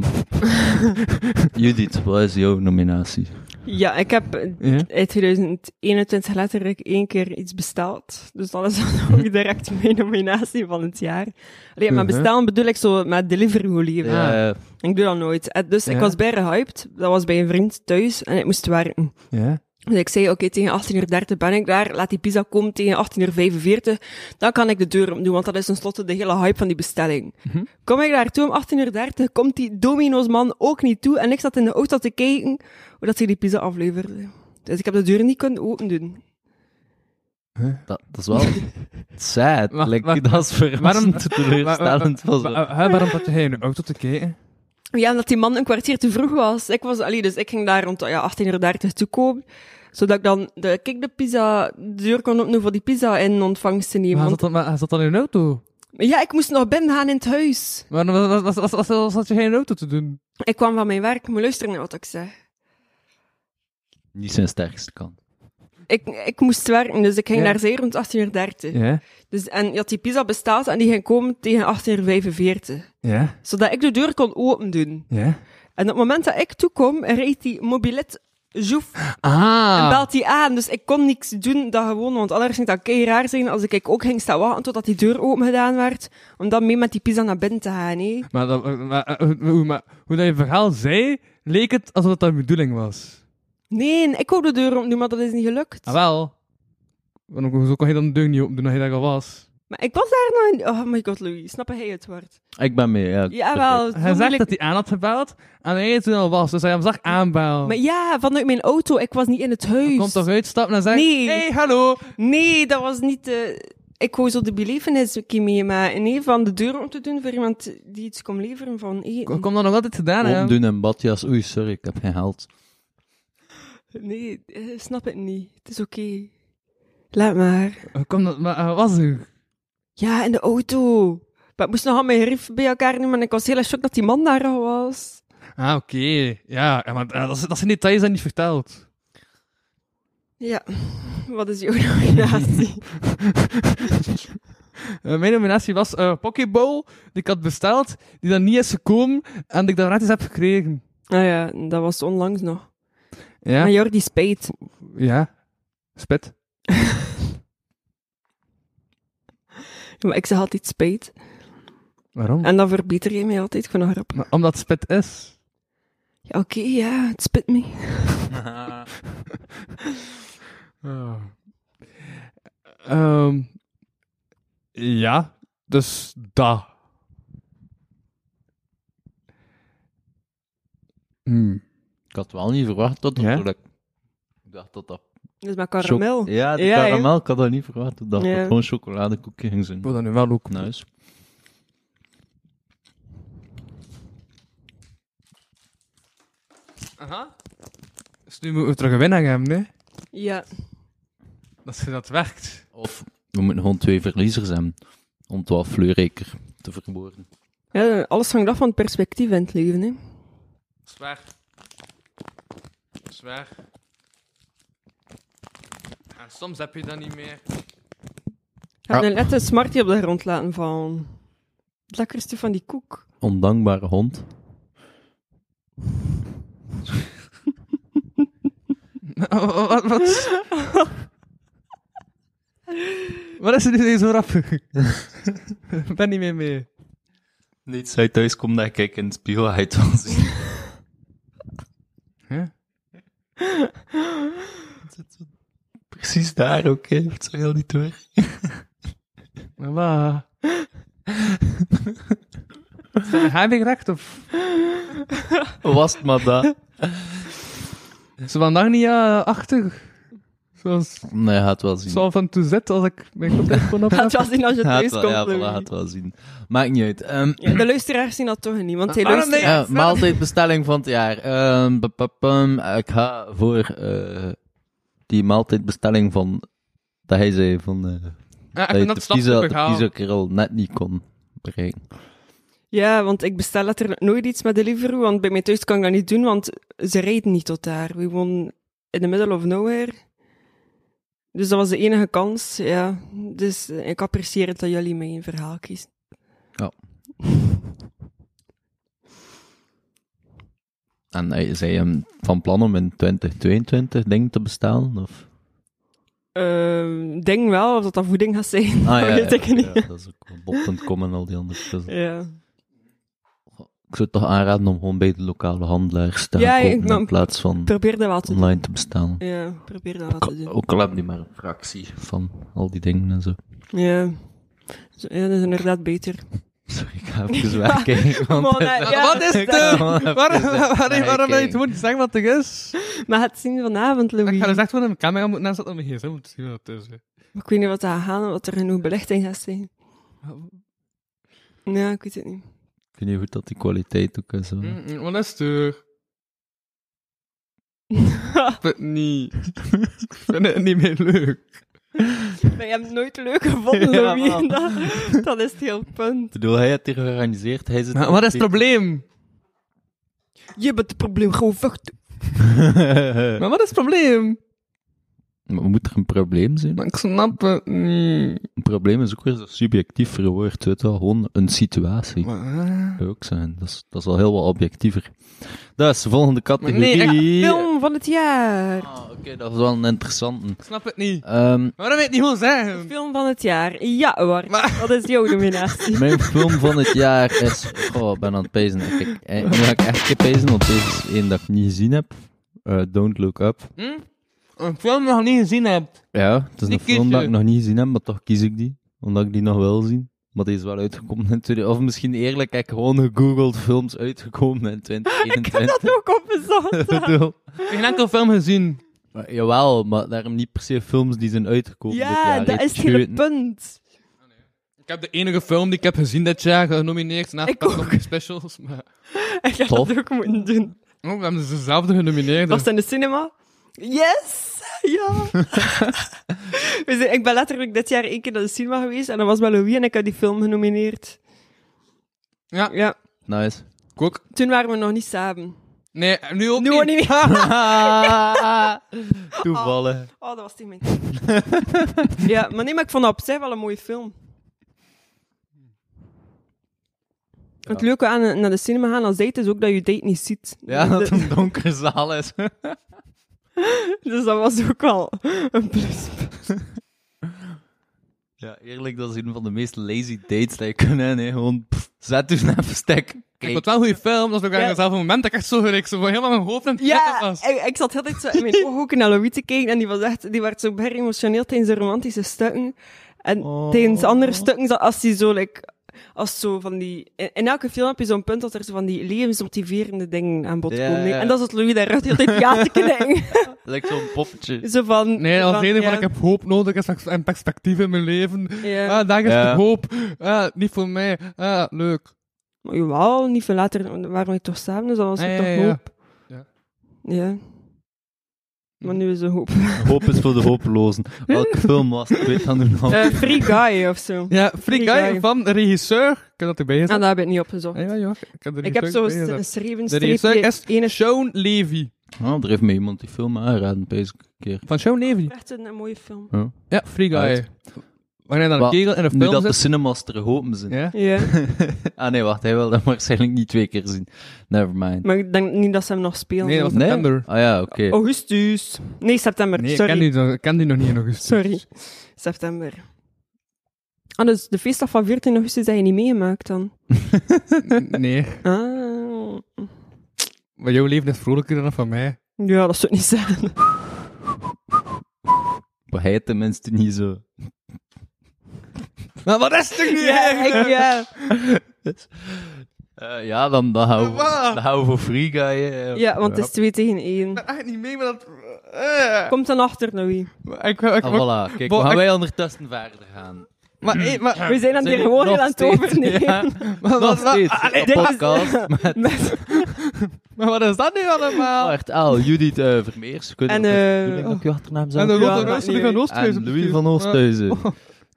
Speaker 4: Judith, wat is jouw nominatie?
Speaker 5: Ja, ik heb eh,
Speaker 3: Ja?
Speaker 5: in 2021 letterlijk één keer iets besteld. Dus dat is dan ook direct mijn nominatie van het jaar. Allee, maar
Speaker 3: Mhm.
Speaker 5: bestellen bedoel ik zo met delivery leven.
Speaker 4: Ja,
Speaker 5: Ik doe dat nooit. En Dus
Speaker 3: Ja.
Speaker 5: ik was bij gehyped. Dat was bij een vriend thuis en ik moest werken.
Speaker 3: Ja?
Speaker 5: Dus ik zei, oké, tegen 18.30 ben ik daar. Laat die pizza komen tegen 18.45 Dan kan ik de deur omdoen, want dat is tenslotte de hele hype van die bestelling. Kom ik daartoe om 18.30 komt die Domino's-man ook niet toe. En ik zat in de auto te kijken hoe dat hij die pizza afleverde. Dus ik heb de deur niet kunnen opendoen.
Speaker 4: dat, dat is wel sad.
Speaker 3: Wacht,
Speaker 4: Like,
Speaker 3: wacht,
Speaker 4: dat is
Speaker 3: Waarom-
Speaker 4: verrassend teleurstellend. was
Speaker 3: Maar,
Speaker 4: wel.
Speaker 3: eh, hè, waarom had jij in de auto te kijken?
Speaker 5: Ja, omdat die man een kwartier te vroeg was. Ik was allee, dus ik ging daar rond ja, 18.30 toe komen. Zodat ik dan de, kijk, de pizza, de deur kon openen voor die pizza in ontvangst te nemen.
Speaker 3: Maar hij, zat
Speaker 5: want-
Speaker 3: dan, maar hij zat dan in de auto.
Speaker 5: Ja, ik moest nog binnen gaan in het huis.
Speaker 3: Maar dan was, was, was, was, was, was had je geen auto te doen?
Speaker 5: Ik kwam van mijn werk, maar luister naar wat ik zeg.
Speaker 4: Niet zijn sterkste kant.
Speaker 5: ik, ik moest werken, dus ik ging
Speaker 3: Ja.
Speaker 5: naar zee rond 18.30 uur.
Speaker 3: Ja?
Speaker 5: Dus, en je had die pizza besteld en die ging komen tegen 18.45 uur.
Speaker 3: Ja?
Speaker 5: Zodat ik de deur kon open doen.
Speaker 3: Ja?
Speaker 5: En op het moment dat ik toekom, reed die mobilet zoef en
Speaker 3: Ah!
Speaker 5: belt die aan. Dus ik kon niks doen dat gewoon, want anders ging dat kei raar zijn als ik ik ook ging staan wachten totdat die deur open gedaan werd. Om dan mee met die pizza naar binnen te gaan, hè.
Speaker 3: Maar, dat, eh, maar, eh, hoe- hoe- maar hoe dat je verhaal zei, leek het alsof dat de bedoeling was.
Speaker 5: Nee, ik wou de deur open doen, maar dat is niet gelukt.
Speaker 3: Ah, wel. Want hoezo kon je dan de deur niet open doen als je daar al was?
Speaker 5: Maar ik was daar nog in... Oh my god, Louis, snap jij het woord?
Speaker 4: Ik ben mee, ja.
Speaker 5: Jawel, zo
Speaker 3: Hij zegt
Speaker 5: moeilijk
Speaker 3: dat hij aan had gebeld en hij toen al was, dus hij hem zag aanbellen.
Speaker 5: Maar ja, vanuit mijn auto. Ik was niet in het huis.
Speaker 3: Komt toch uit, stapt en zegt:
Speaker 5: Nee.
Speaker 3: Hey, hallo.
Speaker 5: Nee, dat was niet de... Ik wou zo de belevenis mee, maar nee, van de deur om te doen voor iemand die iets kon leveren van eten.
Speaker 3: Kom dan nog altijd gedaan, hè?
Speaker 4: Omdoen en badjas. Oei, sorry, ik heb geen geld.
Speaker 5: Nee, eh, snap het niet. Het is oké. Laat maar.
Speaker 3: Kom dan, maar eh, was u?
Speaker 5: Ja, in de auto. Maar ik moest nog al mijn grief bij elkaar nemen en ik was heel erg shock dat die man daar al was.
Speaker 3: Ah, oké. Ja, ja, maar eh, dat, is- dat zijn details die niet verteld.
Speaker 5: Ja, wat is jouw nominatie?
Speaker 3: Eh, mijn nominatie was eh Pokéball, die ik had besteld, die dan niet is gekomen en die ik dan gratis heb gekregen.
Speaker 5: nou ja, dat was onlangs nog.
Speaker 3: Ja?
Speaker 5: Maar Jordi, spijt.
Speaker 3: Ja. Spit.
Speaker 5: Maar ik zeg altijd spijt.
Speaker 3: Waarom?
Speaker 5: En dan verbeter je mij altijd. Ik vind dat grappig.
Speaker 3: Maar omdat spit is.
Speaker 5: Ja, oké, ja, het spit me.
Speaker 3: Oh. Ehm, ja, dus dat. Hmm.
Speaker 4: Ik had wel niet verwacht dat dat...
Speaker 3: Ja?
Speaker 4: dat- Ik dacht dat dat...
Speaker 5: Dus met karamel.
Speaker 4: Choc- Ja, die
Speaker 5: Ja, ja.
Speaker 4: karamel. Ik had dat niet verwacht. Ik dacht dat
Speaker 5: Ja.
Speaker 4: het gewoon chocoladekoekje ging zijn.
Speaker 3: Ik wil dat nu wel ook.
Speaker 4: Nice.
Speaker 3: Aha. Dus nu moeten we terug een winnaar hebben, hè?
Speaker 5: Ja.
Speaker 3: Dat ze dat werkt.
Speaker 4: Of we moeten gewoon twee verliezers hebben. Om het wel fleurrijker te verwoorden.
Speaker 5: ja, alles hangt af van het perspectief in het leven. Hè.
Speaker 3: Zwaar. Zwaar. En soms heb je dat niet meer.
Speaker 5: Je hebt
Speaker 4: Ja.
Speaker 5: een lette smartie op de grond laten vallen. Het lekkerste van die koek.
Speaker 4: Ondankbare hond.
Speaker 3: wat, wat? wat is er nu zo rap? Ik ben niet meer mee.
Speaker 4: Niet als je thuis komt dat ik in de spiegel uit wil zien.
Speaker 3: Huh?
Speaker 4: Precies daar ook, hè. Heeft ze heel niet door.
Speaker 3: Mama. Heb ik recht of?
Speaker 4: Was het maar dat.
Speaker 3: Ze waren daar niet eh, achter. Zoals
Speaker 4: Nee, gaat wel zien.
Speaker 3: zal van Toezet als ik mijn koptelefoon op
Speaker 5: Gaat wel zien als je
Speaker 4: Gaat
Speaker 5: thuis
Speaker 4: wel-
Speaker 5: komt.
Speaker 4: ja, voilà,
Speaker 5: Louis.
Speaker 4: gaat wel zien. Maakt niet uit. Ehm,
Speaker 5: Ja, de luisteraars zien dat toch niet, want hij
Speaker 3: Ah,
Speaker 5: luistert...
Speaker 3: nee.
Speaker 4: eh, maaltijdbestelling van het jaar. Ehm, pa, pa, pam. ik ga voor eh, die maaltijdbestelling van... Dat hij zei van... eh,
Speaker 3: Ja, ik
Speaker 4: dat je
Speaker 3: vind
Speaker 4: de
Speaker 3: dat snap
Speaker 4: pizza,
Speaker 3: ik
Speaker 4: de
Speaker 3: verhaal.
Speaker 4: pizza kerel net niet kon bereiken.
Speaker 5: Ja, want ik bestel letterlijk nooit iets met Deliveroo, want bij mij thuis kan ik dat niet doen, want ze rijden niet tot daar. We wonen in the middle of nowhere. Dus dat was de enige kans, ja. Dus eh, ik apprecieer het dat jullie mijn verhaal kiezen.
Speaker 4: En hij zei hem van plan om in 2022 dingen te bestellen? Of?
Speaker 5: Ehm, denk wel of dat dat voeding gaat zijn,
Speaker 4: Ah,
Speaker 5: dat weet ik Oh, niet.
Speaker 4: ja, dat is ook wel bol.com en al die andere. Dus
Speaker 5: Ja.
Speaker 4: Ik zou toch aanraden om gewoon bij de lokale handelaars te gaan
Speaker 5: Ja, ik
Speaker 4: kopen
Speaker 5: nam-
Speaker 4: in plaats van
Speaker 5: Probeer dat wel te doen.
Speaker 4: online te bestellen.
Speaker 5: Ja, dus- probeer dat wel te doen.
Speaker 4: Ook al hebben die maar een fractie van al die dingen en zo.
Speaker 5: Ja. Zo- Ja, dat is inderdaad beter.
Speaker 4: Sorry, ik ga even wegkijken. want-
Speaker 5: Maar, eh, ja,
Speaker 3: Wat is
Speaker 5: dat-
Speaker 3: het? eh? Waarom, waarom, waarom wil je het
Speaker 4: kijken.
Speaker 3: gewoon niet zeggen wat het is?
Speaker 5: Maar het zien vanavond, Louis.
Speaker 3: Ik ga dus echt gewoon een camera moeten aanzetten op mijn gsm om te zien wat het is. hè.
Speaker 5: Maar Ik weet niet wat dat gaat gaan, wat er genoeg belichting gaat zijn. Ja, ik weet het niet.
Speaker 4: Ik weet niet goed dat die kwaliteit ook is. hoor.
Speaker 3: Mm, mm, Wat is het? eh? Ik vind het niet. Ik vind het niet meer leuk.
Speaker 5: Maar je hebt het nooit leuk gevonden,
Speaker 4: Ja,
Speaker 5: Louis.
Speaker 4: man.
Speaker 5: dat, dat is het heel punt.
Speaker 4: Ik bedoel, hij heeft het hier georganiseerd. Hij zit
Speaker 3: Maar wat is het probleem?
Speaker 5: Je bent het probleem, gewoon vechten.
Speaker 3: Maar wat is het probleem?
Speaker 4: Maar moet er een probleem zijn?
Speaker 3: Maar ik snap het niet.
Speaker 4: Een probleem is ook weer zo subjectief verwoord. Weet je wel. Gewoon een situatie.
Speaker 3: Maar, eh,
Speaker 4: Kan ook zijn. Dat is, dat is al heel wat objectiever. Dus, volgende
Speaker 3: Maar
Speaker 4: categorie.
Speaker 3: nee, echt
Speaker 5: Film van het jaar.
Speaker 4: Ah, Oké, dat is wel een interessante.
Speaker 3: ik snap het niet.
Speaker 4: Ehm,
Speaker 3: Waarom weet ik niet gewoon zeggen?
Speaker 5: Film van het jaar. Ja, hoor. Dat is jouw nominatie.
Speaker 4: mijn film van het jaar is... Oh, ik ben aan het pezen. Kijk, eh, nu ga ik echt pezen, want deze is één dat ik niet gezien heb. Eh, Don't Look Up.
Speaker 3: Een film die je nog niet gezien hebt.
Speaker 4: Ja, het is
Speaker 3: Die
Speaker 4: een film
Speaker 3: kies
Speaker 4: dat
Speaker 3: je.
Speaker 4: ik nog niet gezien heb, maar toch kies ik die. Omdat ik die nog wil zien. Maar die is wel uitgekomen in 20... Of misschien eerlijk, ik heb gewoon gegoogeld films uitgekomen in 2021.
Speaker 5: Dat ook op
Speaker 4: Ik
Speaker 5: bezocht.
Speaker 4: bedoel,
Speaker 3: Geen enkel film gezien.
Speaker 4: maar Jawel, maar daarom niet per se films die zijn uitgekomen dit jaar.
Speaker 5: Ja, dat
Speaker 4: Heet
Speaker 5: is het hele
Speaker 4: Scheuten.
Speaker 5: punt.
Speaker 3: Ik heb de enige film die ik heb gezien dit jaar genomineerd na
Speaker 5: Ik
Speaker 3: Pet
Speaker 5: ook.
Speaker 3: Comedy Specials. Maar...
Speaker 5: Ik had
Speaker 4: Tof.
Speaker 5: dat ook moeten doen.
Speaker 3: Oh, we hebben ze zelfde genomineerd.
Speaker 5: Was het in de cinema? Yes! Ja! We zijn- ik ben letterlijk dit jaar één keer naar de cinema geweest en dat was met Louis en ik had die film genomineerd.
Speaker 3: Ja.
Speaker 5: ja.
Speaker 4: Nice.
Speaker 3: Ik ook.
Speaker 5: Toen waren we nog niet samen.
Speaker 3: Nee, nu ook
Speaker 5: Nu
Speaker 3: niet.
Speaker 5: ook niet meer.
Speaker 4: Toevallig.
Speaker 5: Oh, dat was die mijn Ja, maar nee, maar ik vond dat op zich wel een mooie film. Het leuke aan eh, naar de cinema gaan als date is ook dat je date niet ziet.
Speaker 4: Ja, dat
Speaker 5: Dus-
Speaker 4: het een donkere zaal is.
Speaker 5: Dus dat was ook wel een plus.
Speaker 4: Ja, eerlijk, dat is een van de meest lazy dates die je kunt hebben. hè. Gewoon, pff, zet dus naar verstek.
Speaker 3: Ik vond het wel een goede film, dat was ook
Speaker 5: Ja.
Speaker 3: eigenlijk zelf een moment dat ik echt zo gelijk zo helemaal mijn hoofd in het
Speaker 5: Ja,
Speaker 3: was.
Speaker 5: ik, ik zat heel tijd zo in mijn ooghoeken naar Louis te kijken en die was echt, die werd zo berg emotioneel tijdens de romantische stukken. En
Speaker 3: Oh.
Speaker 5: tijdens andere stukken, zat- als die zo, like, als zo van die, in, in elke film heb je zo'n punt dat er zo van die levensmotiverende dingen aan bod
Speaker 4: Ja,
Speaker 5: komen.
Speaker 4: ja.
Speaker 5: En dat zat Louis daar echt heel tijd ja te knikken.
Speaker 4: Lijkt zo'n poppetje.
Speaker 5: zo van,
Speaker 3: Nee,
Speaker 5: zo
Speaker 3: als
Speaker 5: van,
Speaker 3: enige
Speaker 5: ja.
Speaker 3: van ik heb hoop nodig is pers- en perspectief in mijn leven.
Speaker 5: Ja.
Speaker 3: Ah, daar is
Speaker 4: Ja.
Speaker 3: de hoop. Ah, niet voor mij. Ah, leuk.
Speaker 5: Maar jawel, niet veel later waren we toch samen, dus dat was
Speaker 3: Ah, ja,
Speaker 5: toch
Speaker 3: ja, ja.
Speaker 5: hoop.
Speaker 3: Ja.
Speaker 5: Ja. Maar nu is de hoop.
Speaker 4: Hoop is voor de hopelozen. Welke film was het? Ik weet dat nu nog.
Speaker 5: Eh, free guy of zo.
Speaker 3: Ja, Free
Speaker 5: Free
Speaker 3: Guy
Speaker 5: Guy.
Speaker 3: van de regisseur. Ik heb dat erbij
Speaker 5: En
Speaker 3: gezet.
Speaker 5: daar heb ik niet opgezocht.
Speaker 3: Ah, ja, ja, ik heb de
Speaker 5: Ik heb
Speaker 3: regisseur
Speaker 5: zo
Speaker 3: erbij gezet.
Speaker 5: geschreven
Speaker 3: De regisseur is
Speaker 5: streepje ene
Speaker 3: Sean Levy.
Speaker 4: Oh, er heeft me iemand die film aangeraden, bezig een keer.
Speaker 3: Van Sean Levy?
Speaker 5: Echt een, een mooie film.
Speaker 3: Ja, Free Guy.
Speaker 4: Uit.
Speaker 3: Wanneer dan een
Speaker 4: Wel,
Speaker 3: kegel in een
Speaker 4: Nu
Speaker 3: film
Speaker 4: dat de
Speaker 3: zit.
Speaker 4: cinemas er open zijn.
Speaker 3: Ja.
Speaker 5: Ja,
Speaker 4: Ah nee, wacht, hij wil dat waarschijnlijk niet twee keer zien. Never mind.
Speaker 5: maar ik denk niet dat ze hem nog spelen.
Speaker 3: Nee, dat was september. Oh,
Speaker 4: Ah ja, oké.
Speaker 5: Augustus. Nee, september.
Speaker 3: Nee, ik
Speaker 5: Sorry.
Speaker 3: ken, die, nog- ik ken die nog niet in augustus.
Speaker 5: Sorry. September. Ah, dus de feestdag van 14 augustus heb je niet meegemaakt dan?
Speaker 3: Nee,
Speaker 5: Ah.
Speaker 3: maar jouw leven is vrolijker dan dat van mij.
Speaker 5: Ja, dat zou ik niet zijn.
Speaker 4: Maar hij tenminste niet zo. Maar wat is het toch niet
Speaker 5: Ja, ik, ja.
Speaker 4: Eh, ja, dan, dan, gaan we,
Speaker 3: Wat?
Speaker 4: dan gaan we voor Free Guy. eh. hè.
Speaker 5: ja, want het is 2 tegen 1.
Speaker 3: Echt niet mee, maar dat... eh.
Speaker 5: Komt dan achter, nou wie?
Speaker 3: Maar Ik, ik, ik,
Speaker 4: Ah, voilà. Kijk,
Speaker 3: Bo-
Speaker 4: we gaan
Speaker 3: ik-
Speaker 4: wij ondertussen verder gaan.
Speaker 3: maar, eh, maar,
Speaker 5: We zijn aan
Speaker 4: Zijn
Speaker 5: die
Speaker 4: we
Speaker 5: gewoon
Speaker 4: nog
Speaker 5: heel aan het
Speaker 4: steeds-
Speaker 5: overnemen.
Speaker 4: Ja,
Speaker 3: maar,
Speaker 4: nog
Speaker 3: wat, Ah,
Speaker 4: steeds.
Speaker 5: dit
Speaker 4: Een
Speaker 5: is-
Speaker 4: podcast met
Speaker 5: Met-
Speaker 3: maar wat is dat nu allemaal?
Speaker 4: Bart L, Judith eh, Vermeers. Ik weet
Speaker 5: En,
Speaker 4: niet of
Speaker 5: eh,
Speaker 4: ik bedoel dat ik je achternaam zou
Speaker 3: en de
Speaker 4: kunnen.
Speaker 3: Lotte
Speaker 5: Ja,
Speaker 3: Roos,
Speaker 5: dat
Speaker 3: die van
Speaker 5: niet.
Speaker 3: Oosthuizen.
Speaker 4: En Louis van Oosthuizen.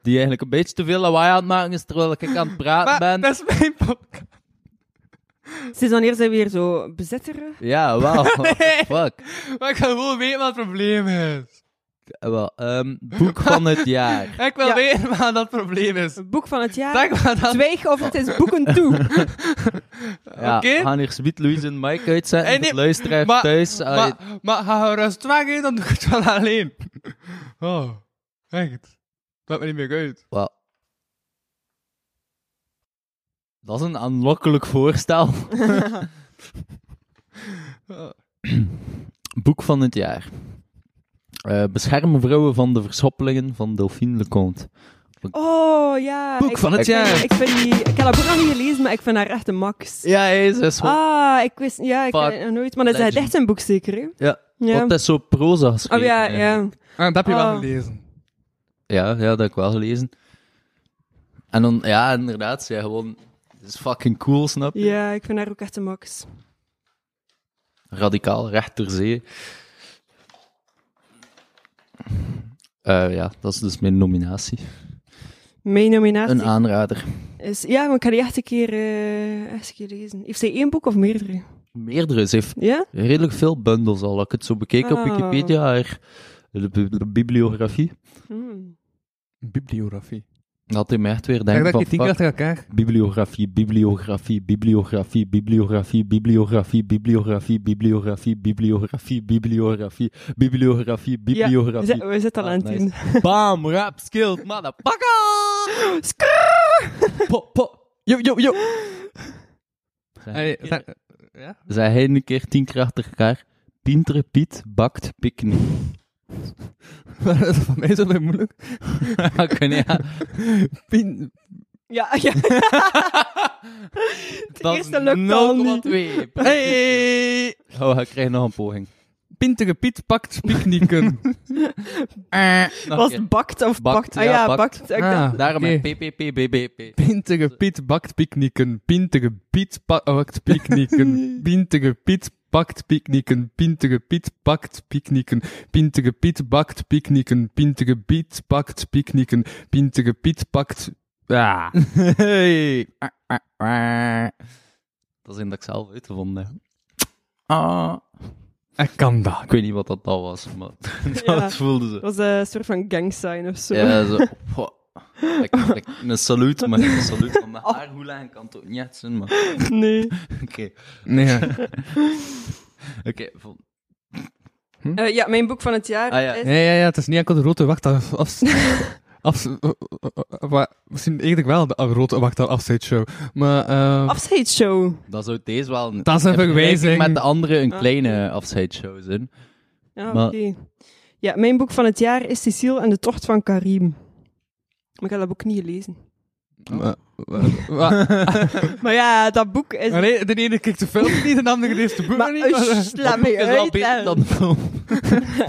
Speaker 4: Die eigenlijk een beetje te veel lawaai aan het maken is terwijl ik aan het praten
Speaker 3: Maar
Speaker 4: ben.
Speaker 3: dat is mijn podcast.
Speaker 5: Sinds wanneer zijn we hier zo bezitteren?
Speaker 4: Ja, wauw. what the Fuck.
Speaker 3: Maar ik wil gewoon weten wat het probleem is.
Speaker 4: Eh, Wel, ehm, boek van het jaar.
Speaker 3: Ik wil
Speaker 5: Ja.
Speaker 3: weten wat dat probleem is.
Speaker 5: Boek van het jaar.
Speaker 3: Zeg maar dat.
Speaker 5: Zwijg of het is boeken toe.
Speaker 4: Ja,
Speaker 3: Oké.
Speaker 4: We gaan hier Sweet Louise en Mike uitzetten.
Speaker 3: Eh,
Speaker 4: Hey,
Speaker 3: nee,
Speaker 4: luisteraar
Speaker 3: maar-
Speaker 4: thuis. Ah,
Speaker 3: Maar, maar ga je rust weg, hè, dan doe ik het wel alleen. Oh, echt. Dat me niet meer uit.
Speaker 4: wel. Dat is een aanlokkelijk voorstel. Boek van het jaar. Eh bescherm vrouwen van de verschoppelingen van Delphine Leconte.
Speaker 5: Oh ja.
Speaker 3: Boek
Speaker 5: ik-
Speaker 3: van het
Speaker 5: ik vind-
Speaker 3: jaar.
Speaker 5: Ik, vind die, ik heb dat boek nog niet gelezen, maar ik vind haar echt een max.
Speaker 4: Ja, hij is dus gewoon-
Speaker 5: Ah, ik wist. Ja, ik
Speaker 4: Fuck.
Speaker 5: had het nog nooit. Maar dat is
Speaker 4: Legend.
Speaker 5: echt een boek, zeker? Hè?
Speaker 4: Ja.
Speaker 5: Ja.
Speaker 4: Want dat is zo proza
Speaker 5: Oh
Speaker 4: geschreven.
Speaker 5: ja,
Speaker 4: eigenlijk.
Speaker 5: ja.
Speaker 3: En Ah, dat heb je wel
Speaker 5: Oh.
Speaker 3: gelezen.
Speaker 4: Ja, ja, dat heb ik wel gelezen. En dan, ja, inderdaad, ja, gewoon, het is fucking cool, snap je?
Speaker 5: Ja, ik vind haar ook echt een max.
Speaker 4: Radicaal, recht ter zee. Eh, ja, dat is dus mijn nominatie.
Speaker 5: Mijn nominatie
Speaker 4: Een aanrader.
Speaker 5: is. Ja, maar ik ga die echt een keer, eh, echt een keer lezen. Heeft zij één boek of meerdere?
Speaker 4: Meerdere, ze heeft
Speaker 5: Ja?
Speaker 4: redelijk veel bundels al. Als ik het zo bekeken op
Speaker 5: Ah.
Speaker 4: Wikipedia, haar de, bi- de bibliografie,
Speaker 5: Hmm.
Speaker 3: Bibliografie.
Speaker 4: dan had hij me echt weer
Speaker 3: Denk
Speaker 4: denken
Speaker 3: dat
Speaker 4: van,
Speaker 3: ik die tien
Speaker 4: fuck,
Speaker 3: achter elkaar.
Speaker 4: bibliografie, bibliografie, bibliografie, bibliografie, bibliografie, bibliografie, bibliografie, bibliografie, bibliografie, bibliografie,
Speaker 5: Ja, we
Speaker 4: bibliografie.
Speaker 5: zitten- we zitten al
Speaker 4: Ah,
Speaker 5: aan het
Speaker 4: nice.
Speaker 5: doen.
Speaker 4: Bam, rap, skilled, motherfucker! Po, po. Yo, yo, yo.
Speaker 3: Allee,
Speaker 4: Zei
Speaker 3: zeg- Ja?
Speaker 4: zei hij een keer tien keer achter elkaar. Pinter Piet bakt picknick.
Speaker 3: Dat is voor mij zo weer moeilijk.
Speaker 4: Oké, nee, ja.
Speaker 3: Pin...
Speaker 5: Ja, ja. Het
Speaker 4: Dat
Speaker 5: eerste lukt al niet.
Speaker 4: 0,2. Hey! Oh, ik krijg nog een poging.
Speaker 3: Pintige Piet pakt picknicken. Eh,
Speaker 4: Nog
Speaker 5: Was
Speaker 4: een keer.
Speaker 5: het bakt of
Speaker 4: Bakt,
Speaker 5: pakt? Ah
Speaker 4: ja,
Speaker 5: ja,
Speaker 4: bakt.
Speaker 5: pakt. Ik dacht-
Speaker 3: ah,
Speaker 4: Daarom
Speaker 3: oké.
Speaker 4: een PPPBBP.
Speaker 3: Pintige Piet bakt picknicken. Pintige Piet pa- pakt picknicken. Pintige Piet pakt picknicken. Pintige Piet pakt picknicken. Pintige Piet bakt picknicken. Pintige Piet pakt picknicken. Pintige Ah. Piet pakt... Ja.
Speaker 4: Hey. Dat is in dat ik zelf uitgevonden heb. Ah.
Speaker 3: Ik kan dat.
Speaker 4: Ik weet niet wat dat al was, maar
Speaker 5: Ja.
Speaker 4: dat voelde ze.
Speaker 5: Het was eh, een soort van gang sign of zo.
Speaker 4: Ja, zo. Poh. Like, like een saluut, maar een saluut van de haar hoe lang kan het ook niet zijn, maar... Oké,
Speaker 5: Nee.
Speaker 3: Nee.
Speaker 4: oké. vol-
Speaker 5: Eh, ja, mijn boek van het jaar
Speaker 4: Hm? Ah, ja.
Speaker 5: is...
Speaker 3: Ja, ja, ja, het is niet enkel de rode wachttaal af... af- eh, eh, eh, maar misschien eigenlijk wel de rode wachttaal afzijd-show. Maar... eh,
Speaker 5: Afscheidsshow.
Speaker 4: Dan zou deze wel... Een,
Speaker 3: Dat is een
Speaker 4: in vergelijking
Speaker 3: verwijzing.
Speaker 4: Met de andere een
Speaker 5: Ah.
Speaker 4: kleine afscheidsshow zijn.
Speaker 5: Ja,
Speaker 4: Maar-
Speaker 5: oké. Ja, mijn boek van het jaar is Cecile en de tocht van Karim. Maar ik heb dat boek niet gelezen.
Speaker 3: maar- maar- maar-
Speaker 5: Maar ja, dat boek is...
Speaker 3: maar nee, de ene kijkt de film niet, de andere leest de boek
Speaker 5: Maar,
Speaker 3: niet. maar-
Speaker 5: ush, laat mij
Speaker 4: is al beter
Speaker 5: uitleggen.
Speaker 4: dan de film.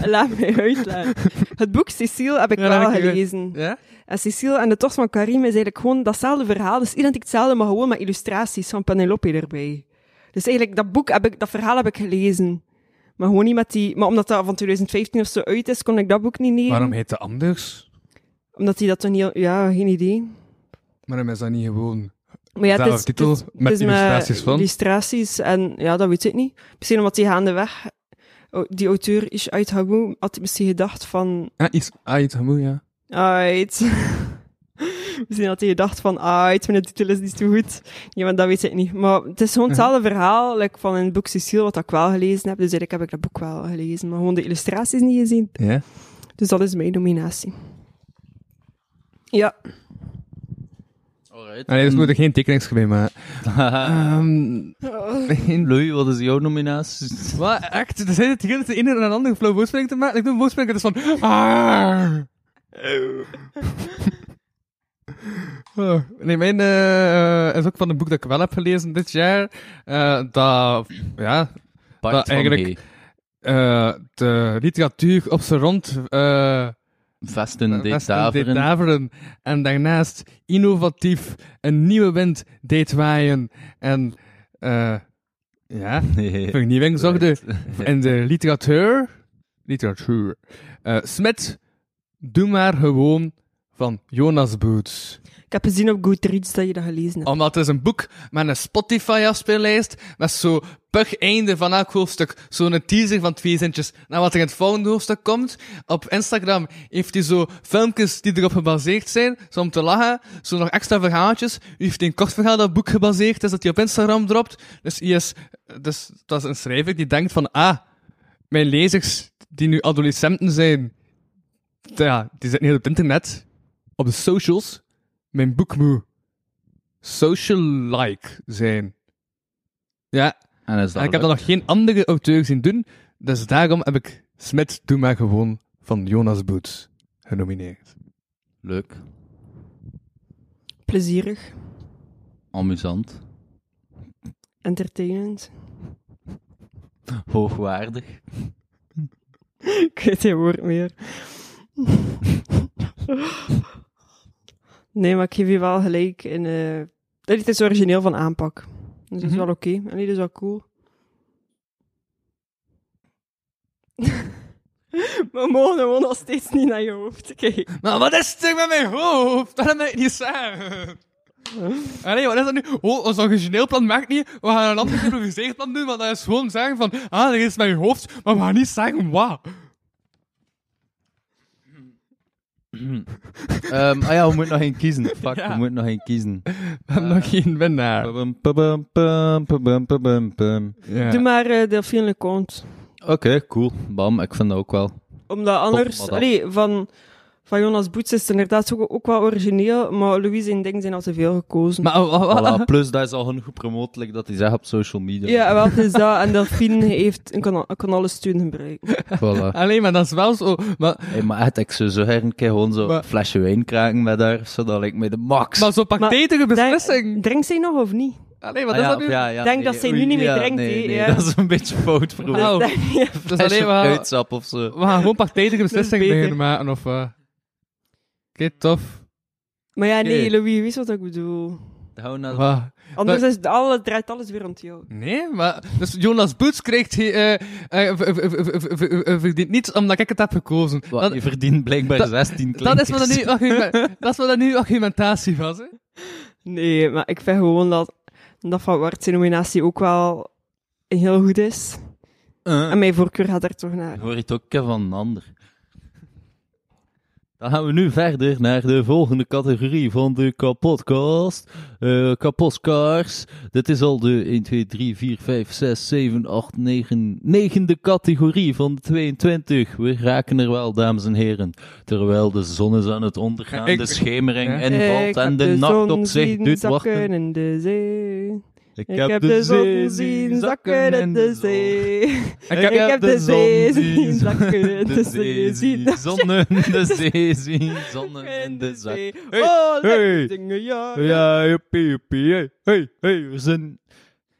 Speaker 5: Laat mij uitleggen. Het boek Cecile heb ik
Speaker 3: Ja, dat
Speaker 5: wel
Speaker 3: heb ik gelezen.
Speaker 5: gelezen.
Speaker 3: Ja?
Speaker 5: En Cecile en de tocht van Karim is eigenlijk gewoon datzelfde verhaal. Het is identiek hetzelfde, maar gewoon met illustraties van Penelope erbij. Dus eigenlijk, dat boek heb ik, dat verhaal heb ik gelezen. Maar gewoon niet met die... Maar omdat dat van 2015 of zo uit is, kon ik dat boek niet nemen.
Speaker 3: Waarom heet dat anders?
Speaker 5: Omdat hij dat toen niet... Ja, geen idee.
Speaker 3: Waarom is dat niet gewoon
Speaker 5: Maar ja, het
Speaker 3: Zelf
Speaker 5: is,
Speaker 3: titel,
Speaker 5: het is-
Speaker 3: met
Speaker 5: het is
Speaker 3: illustraties van.
Speaker 5: illustraties en ja, dat weet ik niet. Misschien omdat die gaandeweg, oh, die auteur is uit Hagoe, had misschien gedacht van,
Speaker 3: Ah, iets, ah, iets moet, ja.
Speaker 5: uit. misschien had hij gedacht van, uit, mijn titel is niet zo goed. Ja, maar dat weet ik niet. Maar het is gewoon hetzelfde verhaal like, van in het boek Cecile, wat ik wel gelezen heb. Dus eigenlijk heb ik dat boek wel gelezen, maar gewoon de illustraties niet gezien.
Speaker 3: Ja?
Speaker 5: Dus dat is mijn nominatie. Ja,
Speaker 4: Oké, Alright.
Speaker 3: Nee, dus we moeten geen tekeningsgeweer maken. Ehm,
Speaker 4: Louis, wat is jouw nominatie?
Speaker 3: Wat? Echt? Er zijn het hier de ene en een andere flow woordspeling te maken. Ik doe een woordspeling dat is van... Arr. Oh, Nee, mijn eh, is ook van een boek dat ik wel heb gelezen dit jaar. eh, dat, ja,
Speaker 4: Bart
Speaker 3: dat
Speaker 4: van
Speaker 3: eigenlijk
Speaker 4: G.
Speaker 3: eh, de literatuur op zijn rond eh,
Speaker 4: Vesten de
Speaker 3: Westen deed
Speaker 4: Taveren.
Speaker 3: daveren. En daarnaast innovatief een nieuwe wind deed waaien. En eh, ja, vernieuwing zorgde in de literatuur. Literatuur. eh Smet, doe maar gewoon van Jonas Boots.
Speaker 5: Ik heb gezien op Goodreads dat je dat gelezen hebt.
Speaker 3: Omdat het is een boek met een Spotify-afspeellijst, met zo per einde van elk hoofdstuk zo'n teaser van twee zintjes naar wat er in het volgende hoofdstuk komt. Op Instagram heeft hij zo filmpjes die erop gebaseerd zijn, zo om te lachen, zo nog extra verhaaltjes. U heeft een kort verhaal dat op boek gebaseerd is, dat hij op Instagram dropt. Dus, hij is, dus dat is een schrijver die denkt van, ah, mijn lezers die nu adolescenten zijn, ja, die zitten heel op het internet, op de socials, mijn boek moet social-like zijn. Ja,
Speaker 4: En is dat
Speaker 3: en ik heb dat
Speaker 4: gelukt?
Speaker 3: nog geen andere auteur zien doen, dus daarom heb ik Smet Doe Maar Gewoon van Jonas Boots genomineerd.
Speaker 4: Leuk.
Speaker 5: Plezierig,
Speaker 4: Amusant.
Speaker 5: entertainend.
Speaker 4: Hoogwaardig.
Speaker 5: Ik weet geen woord meer. nee, maar ik geef je wel gelijk. In, eh, dit is origineel van aanpak. Dus dat is
Speaker 3: Mhm.
Speaker 5: wel oké. En dit is wel cool. We mogen gewoon nog steeds niet naar je hoofd kijken.
Speaker 3: Maar wat is er met mijn hoofd? Dat heb ik niet samen. Allee, wat is dat nu? Oh, ons origineel plan maakt niet. We gaan een ander geïmproviseerd plan doen, want dat is gewoon zeggen van... Ah, er is mijn hoofd, maar we gaan niet zeggen wat.
Speaker 4: Ehm, ah ja, we moeten nog één kiezen. Fuck,
Speaker 3: Ja.
Speaker 4: we moeten nog één kiezen.
Speaker 3: We hebben nog geen winnaar.
Speaker 4: Pabum, pabum, pam, pabum, pabum, pam.
Speaker 3: Ja.
Speaker 5: Doe maar eh Delphine Leconte.
Speaker 4: Oké, cool. Bam, ik vind dat ook wel.
Speaker 5: Omdat anders...
Speaker 4: maar dat-
Speaker 5: allee, van, van Jonas Boets is het inderdaad ook, ook wel origineel, maar Louise en Ding zijn al te veel gekozen.
Speaker 3: Maar oh, oh, oh,
Speaker 4: Voilà, plus, dat is al genoeg gepromoot, like dat hij zegt op social media.
Speaker 5: Ja, wel, het is dat. En Delphine heeft een kan, kan alle steun gebruiken.
Speaker 4: Voilà.
Speaker 3: Allee, maar dat is wel zo... Maar,
Speaker 4: Hey, maar echt, ik zou zo her een keer gewoon zo
Speaker 3: Maar-
Speaker 4: een flesje wijn kraken met haar, zo dat lijkt mij de max.
Speaker 3: maar zo'n partijdige
Speaker 5: Denk-
Speaker 3: beslissing.
Speaker 5: Drinkt zij nog of niet?
Speaker 3: Allee, wat
Speaker 4: Ah
Speaker 3: is
Speaker 4: ja,
Speaker 3: dat nu?
Speaker 4: of ja, ja,
Speaker 5: Denk dat zij nu
Speaker 4: oei,
Speaker 5: niet meer
Speaker 4: ja,
Speaker 5: drinkt,
Speaker 4: nee,
Speaker 5: hè,
Speaker 4: nee,
Speaker 5: ja.
Speaker 4: Dat is een beetje fout, broer.
Speaker 3: Oh,
Speaker 5: Dat- ja.
Speaker 3: dus alleen maar...
Speaker 4: fruitsap of zo.
Speaker 3: We gaan gewoon partijdige beslissingen
Speaker 5: Dat is beter.
Speaker 3: beginnen maken, of... eh. Oké, tof.
Speaker 5: Maar ja, nee,
Speaker 4: Oké.
Speaker 5: Louis, je weet wat ik bedoel.
Speaker 4: Hou nou
Speaker 3: Wat?
Speaker 5: Anders
Speaker 3: Maar-
Speaker 5: is het alle, draait alles weer rond jou.
Speaker 3: Nee, maar... Dus Jonas Boots krijgt... hij, eh, eh, v- v- v- v- v- v- verdient niets omdat ik het heb gekozen.
Speaker 4: Wat,
Speaker 3: Dat-
Speaker 4: je verdient blijkbaar
Speaker 3: dat-
Speaker 4: 16
Speaker 3: Dat is
Speaker 4: klinkers.
Speaker 3: wat er nu, argumen- dat is wat er nu argumentatie was, hè.
Speaker 5: Nee, maar ik vind gewoon dat, dat Van Wart zijn nominatie ook wel heel goed is.
Speaker 4: Eh.
Speaker 5: En mijn voorkeur gaat daar toch naar.
Speaker 4: Dan hoor je het ook een keer van een ander. Dan gaan we nu verder naar de volgende categorie van de kapotcast. Eh kapotcars. Dit is al de 1, 2, 3, 4, 5, 6, 7, 8, 9, negende categorie van de 22. We raken er wel, dames en heren. Terwijl de zon is aan het ondergaan,
Speaker 3: Ik-
Speaker 4: de schemering
Speaker 3: Ja.
Speaker 4: invalt
Speaker 5: Ik
Speaker 4: en
Speaker 5: heb
Speaker 4: de, nacht
Speaker 5: zon
Speaker 4: op zich
Speaker 5: zien
Speaker 4: doet
Speaker 5: zakken
Speaker 4: wachten.
Speaker 5: in de zee.
Speaker 4: Ik
Speaker 5: Ik heb de zon zien zakken in de zee.
Speaker 3: Ik
Speaker 5: Ik
Speaker 3: heb...
Speaker 5: heb de zee zien zakken in de zee. Zien
Speaker 4: zonnen, de zee zien, zonnen
Speaker 5: in
Speaker 4: en
Speaker 5: de
Speaker 4: de zak.
Speaker 5: zee.
Speaker 4: Hey,
Speaker 5: Oh,
Speaker 4: hey.
Speaker 5: lekker dingen, ja.
Speaker 4: Ja, joepie, joepie, hey, hey, hey, we zijn...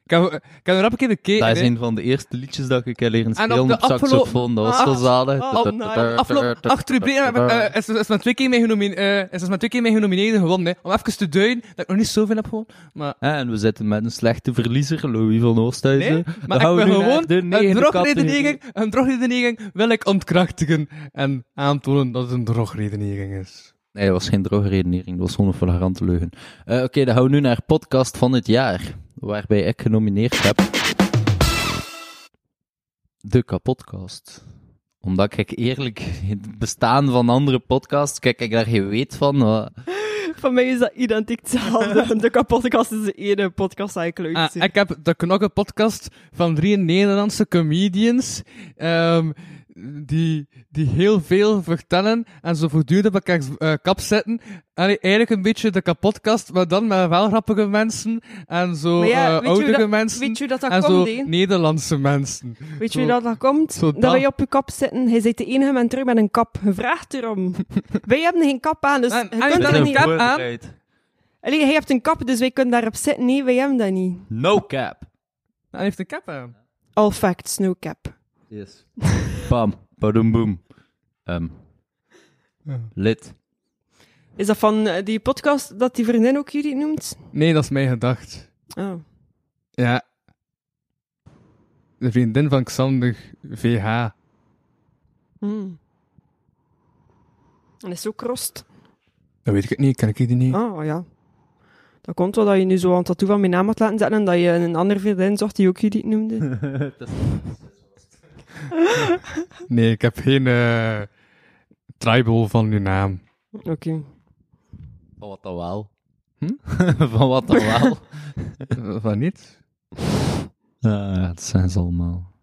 Speaker 3: Ik heb- ik heb er rap een keer gekeken,
Speaker 4: Dat
Speaker 3: hè.
Speaker 4: is een van de eerste liedjes dat ik heb leren
Speaker 3: En op
Speaker 4: spelen op,
Speaker 3: de
Speaker 4: saxofoon, dat was zo
Speaker 5: afgelopen-
Speaker 4: zalig.
Speaker 5: Ah, oh, nee.
Speaker 3: Afgelopen acht rubrieken eh, eh, is, is maar twee keer mee genomineerd, is, is maar twee keer mee genomineerd gewonnen, hè. Om even te duiden dat ik nog niet zoveel heb gewonnen, maar...
Speaker 4: En we zitten met een slechte verliezer, Louis van Oosthuizen.
Speaker 3: Nee,
Speaker 4: Dan
Speaker 3: maar
Speaker 4: gaan
Speaker 3: ik
Speaker 4: we
Speaker 3: wil
Speaker 4: nu
Speaker 3: gewoon
Speaker 4: naar de
Speaker 3: een
Speaker 4: negende categorie.
Speaker 3: drogredenering, een drogredenering wil ik ontkrachtigen en aantonen dat het een drogredenering is.
Speaker 4: Nee, dat was geen drogredenering, dat was gewoon een flagrante leugen. Eh, Oké, dan gaan we nu naar podcast van het jaar, waarbij ik genomineerd heb... De kapotcast. Omdat ik eerlijk het bestaan van andere podcasts, kijk ik daar geen weet van. maar-
Speaker 5: Van mij is dat identiek hetzelfde. De kapotkast is de ene podcast die ik leuk
Speaker 3: Ah,
Speaker 5: vind.
Speaker 3: ik heb de Knokken podcast van drie Nederlandse comedians ehm, die, die heel veel vertellen en zo voortdurend op elkaar eh, kap zetten. Allee, eigenlijk een beetje de kapotkast, maar dan met wel grappige mensen en zo
Speaker 5: Maar ja,
Speaker 3: eh,
Speaker 5: weet je hoe
Speaker 3: oudere
Speaker 5: dat-
Speaker 3: mensen
Speaker 5: weet je hoe dat dat
Speaker 3: en
Speaker 5: komt,
Speaker 3: zo
Speaker 5: hè?
Speaker 3: Nederlandse mensen.
Speaker 5: Weet je
Speaker 3: Zo-
Speaker 5: wie dat dat komt?
Speaker 3: zo
Speaker 5: Dat
Speaker 3: dat-
Speaker 5: wij op je kap zitten. Hij zit de enige man terug met een kap. Je vraagt erom. wij hebben geen kap aan, dus je
Speaker 3: en
Speaker 5: kunt
Speaker 3: met
Speaker 5: er
Speaker 3: een
Speaker 5: niet...
Speaker 3: kap aan.
Speaker 5: Allee, hij heeft een kap, dus wij kunnen daarop zitten. Nee, wij hebben dat niet.
Speaker 12: No cap.
Speaker 3: Hij heeft een kap aan.
Speaker 5: All facts, no cap.
Speaker 4: Yes. Bam. Badum boom. Ehm. Lid.
Speaker 5: Is dat van eh, die podcast dat die vriendin ook jullie noemt?
Speaker 3: Nee, dat is mijn gedacht.
Speaker 5: Oh.
Speaker 3: Ja. De vriendin van Xander, VH.
Speaker 5: Hmm. En is ook rost.
Speaker 3: Dat weet ik het niet, kan ik die niet?
Speaker 5: Ah, ja. Dat komt wel dat je nu zo een tattoo van mijn naam had laten zetten en dat je een andere vriendin zocht die ook Judith noemde.
Speaker 3: Nee, ik heb geen eh, tribal van uw naam.
Speaker 5: Oké.
Speaker 4: Van wat dan wel? Hm? Van wat dan wel?
Speaker 3: Van niet?
Speaker 4: Ja, dat zijn ze allemaal.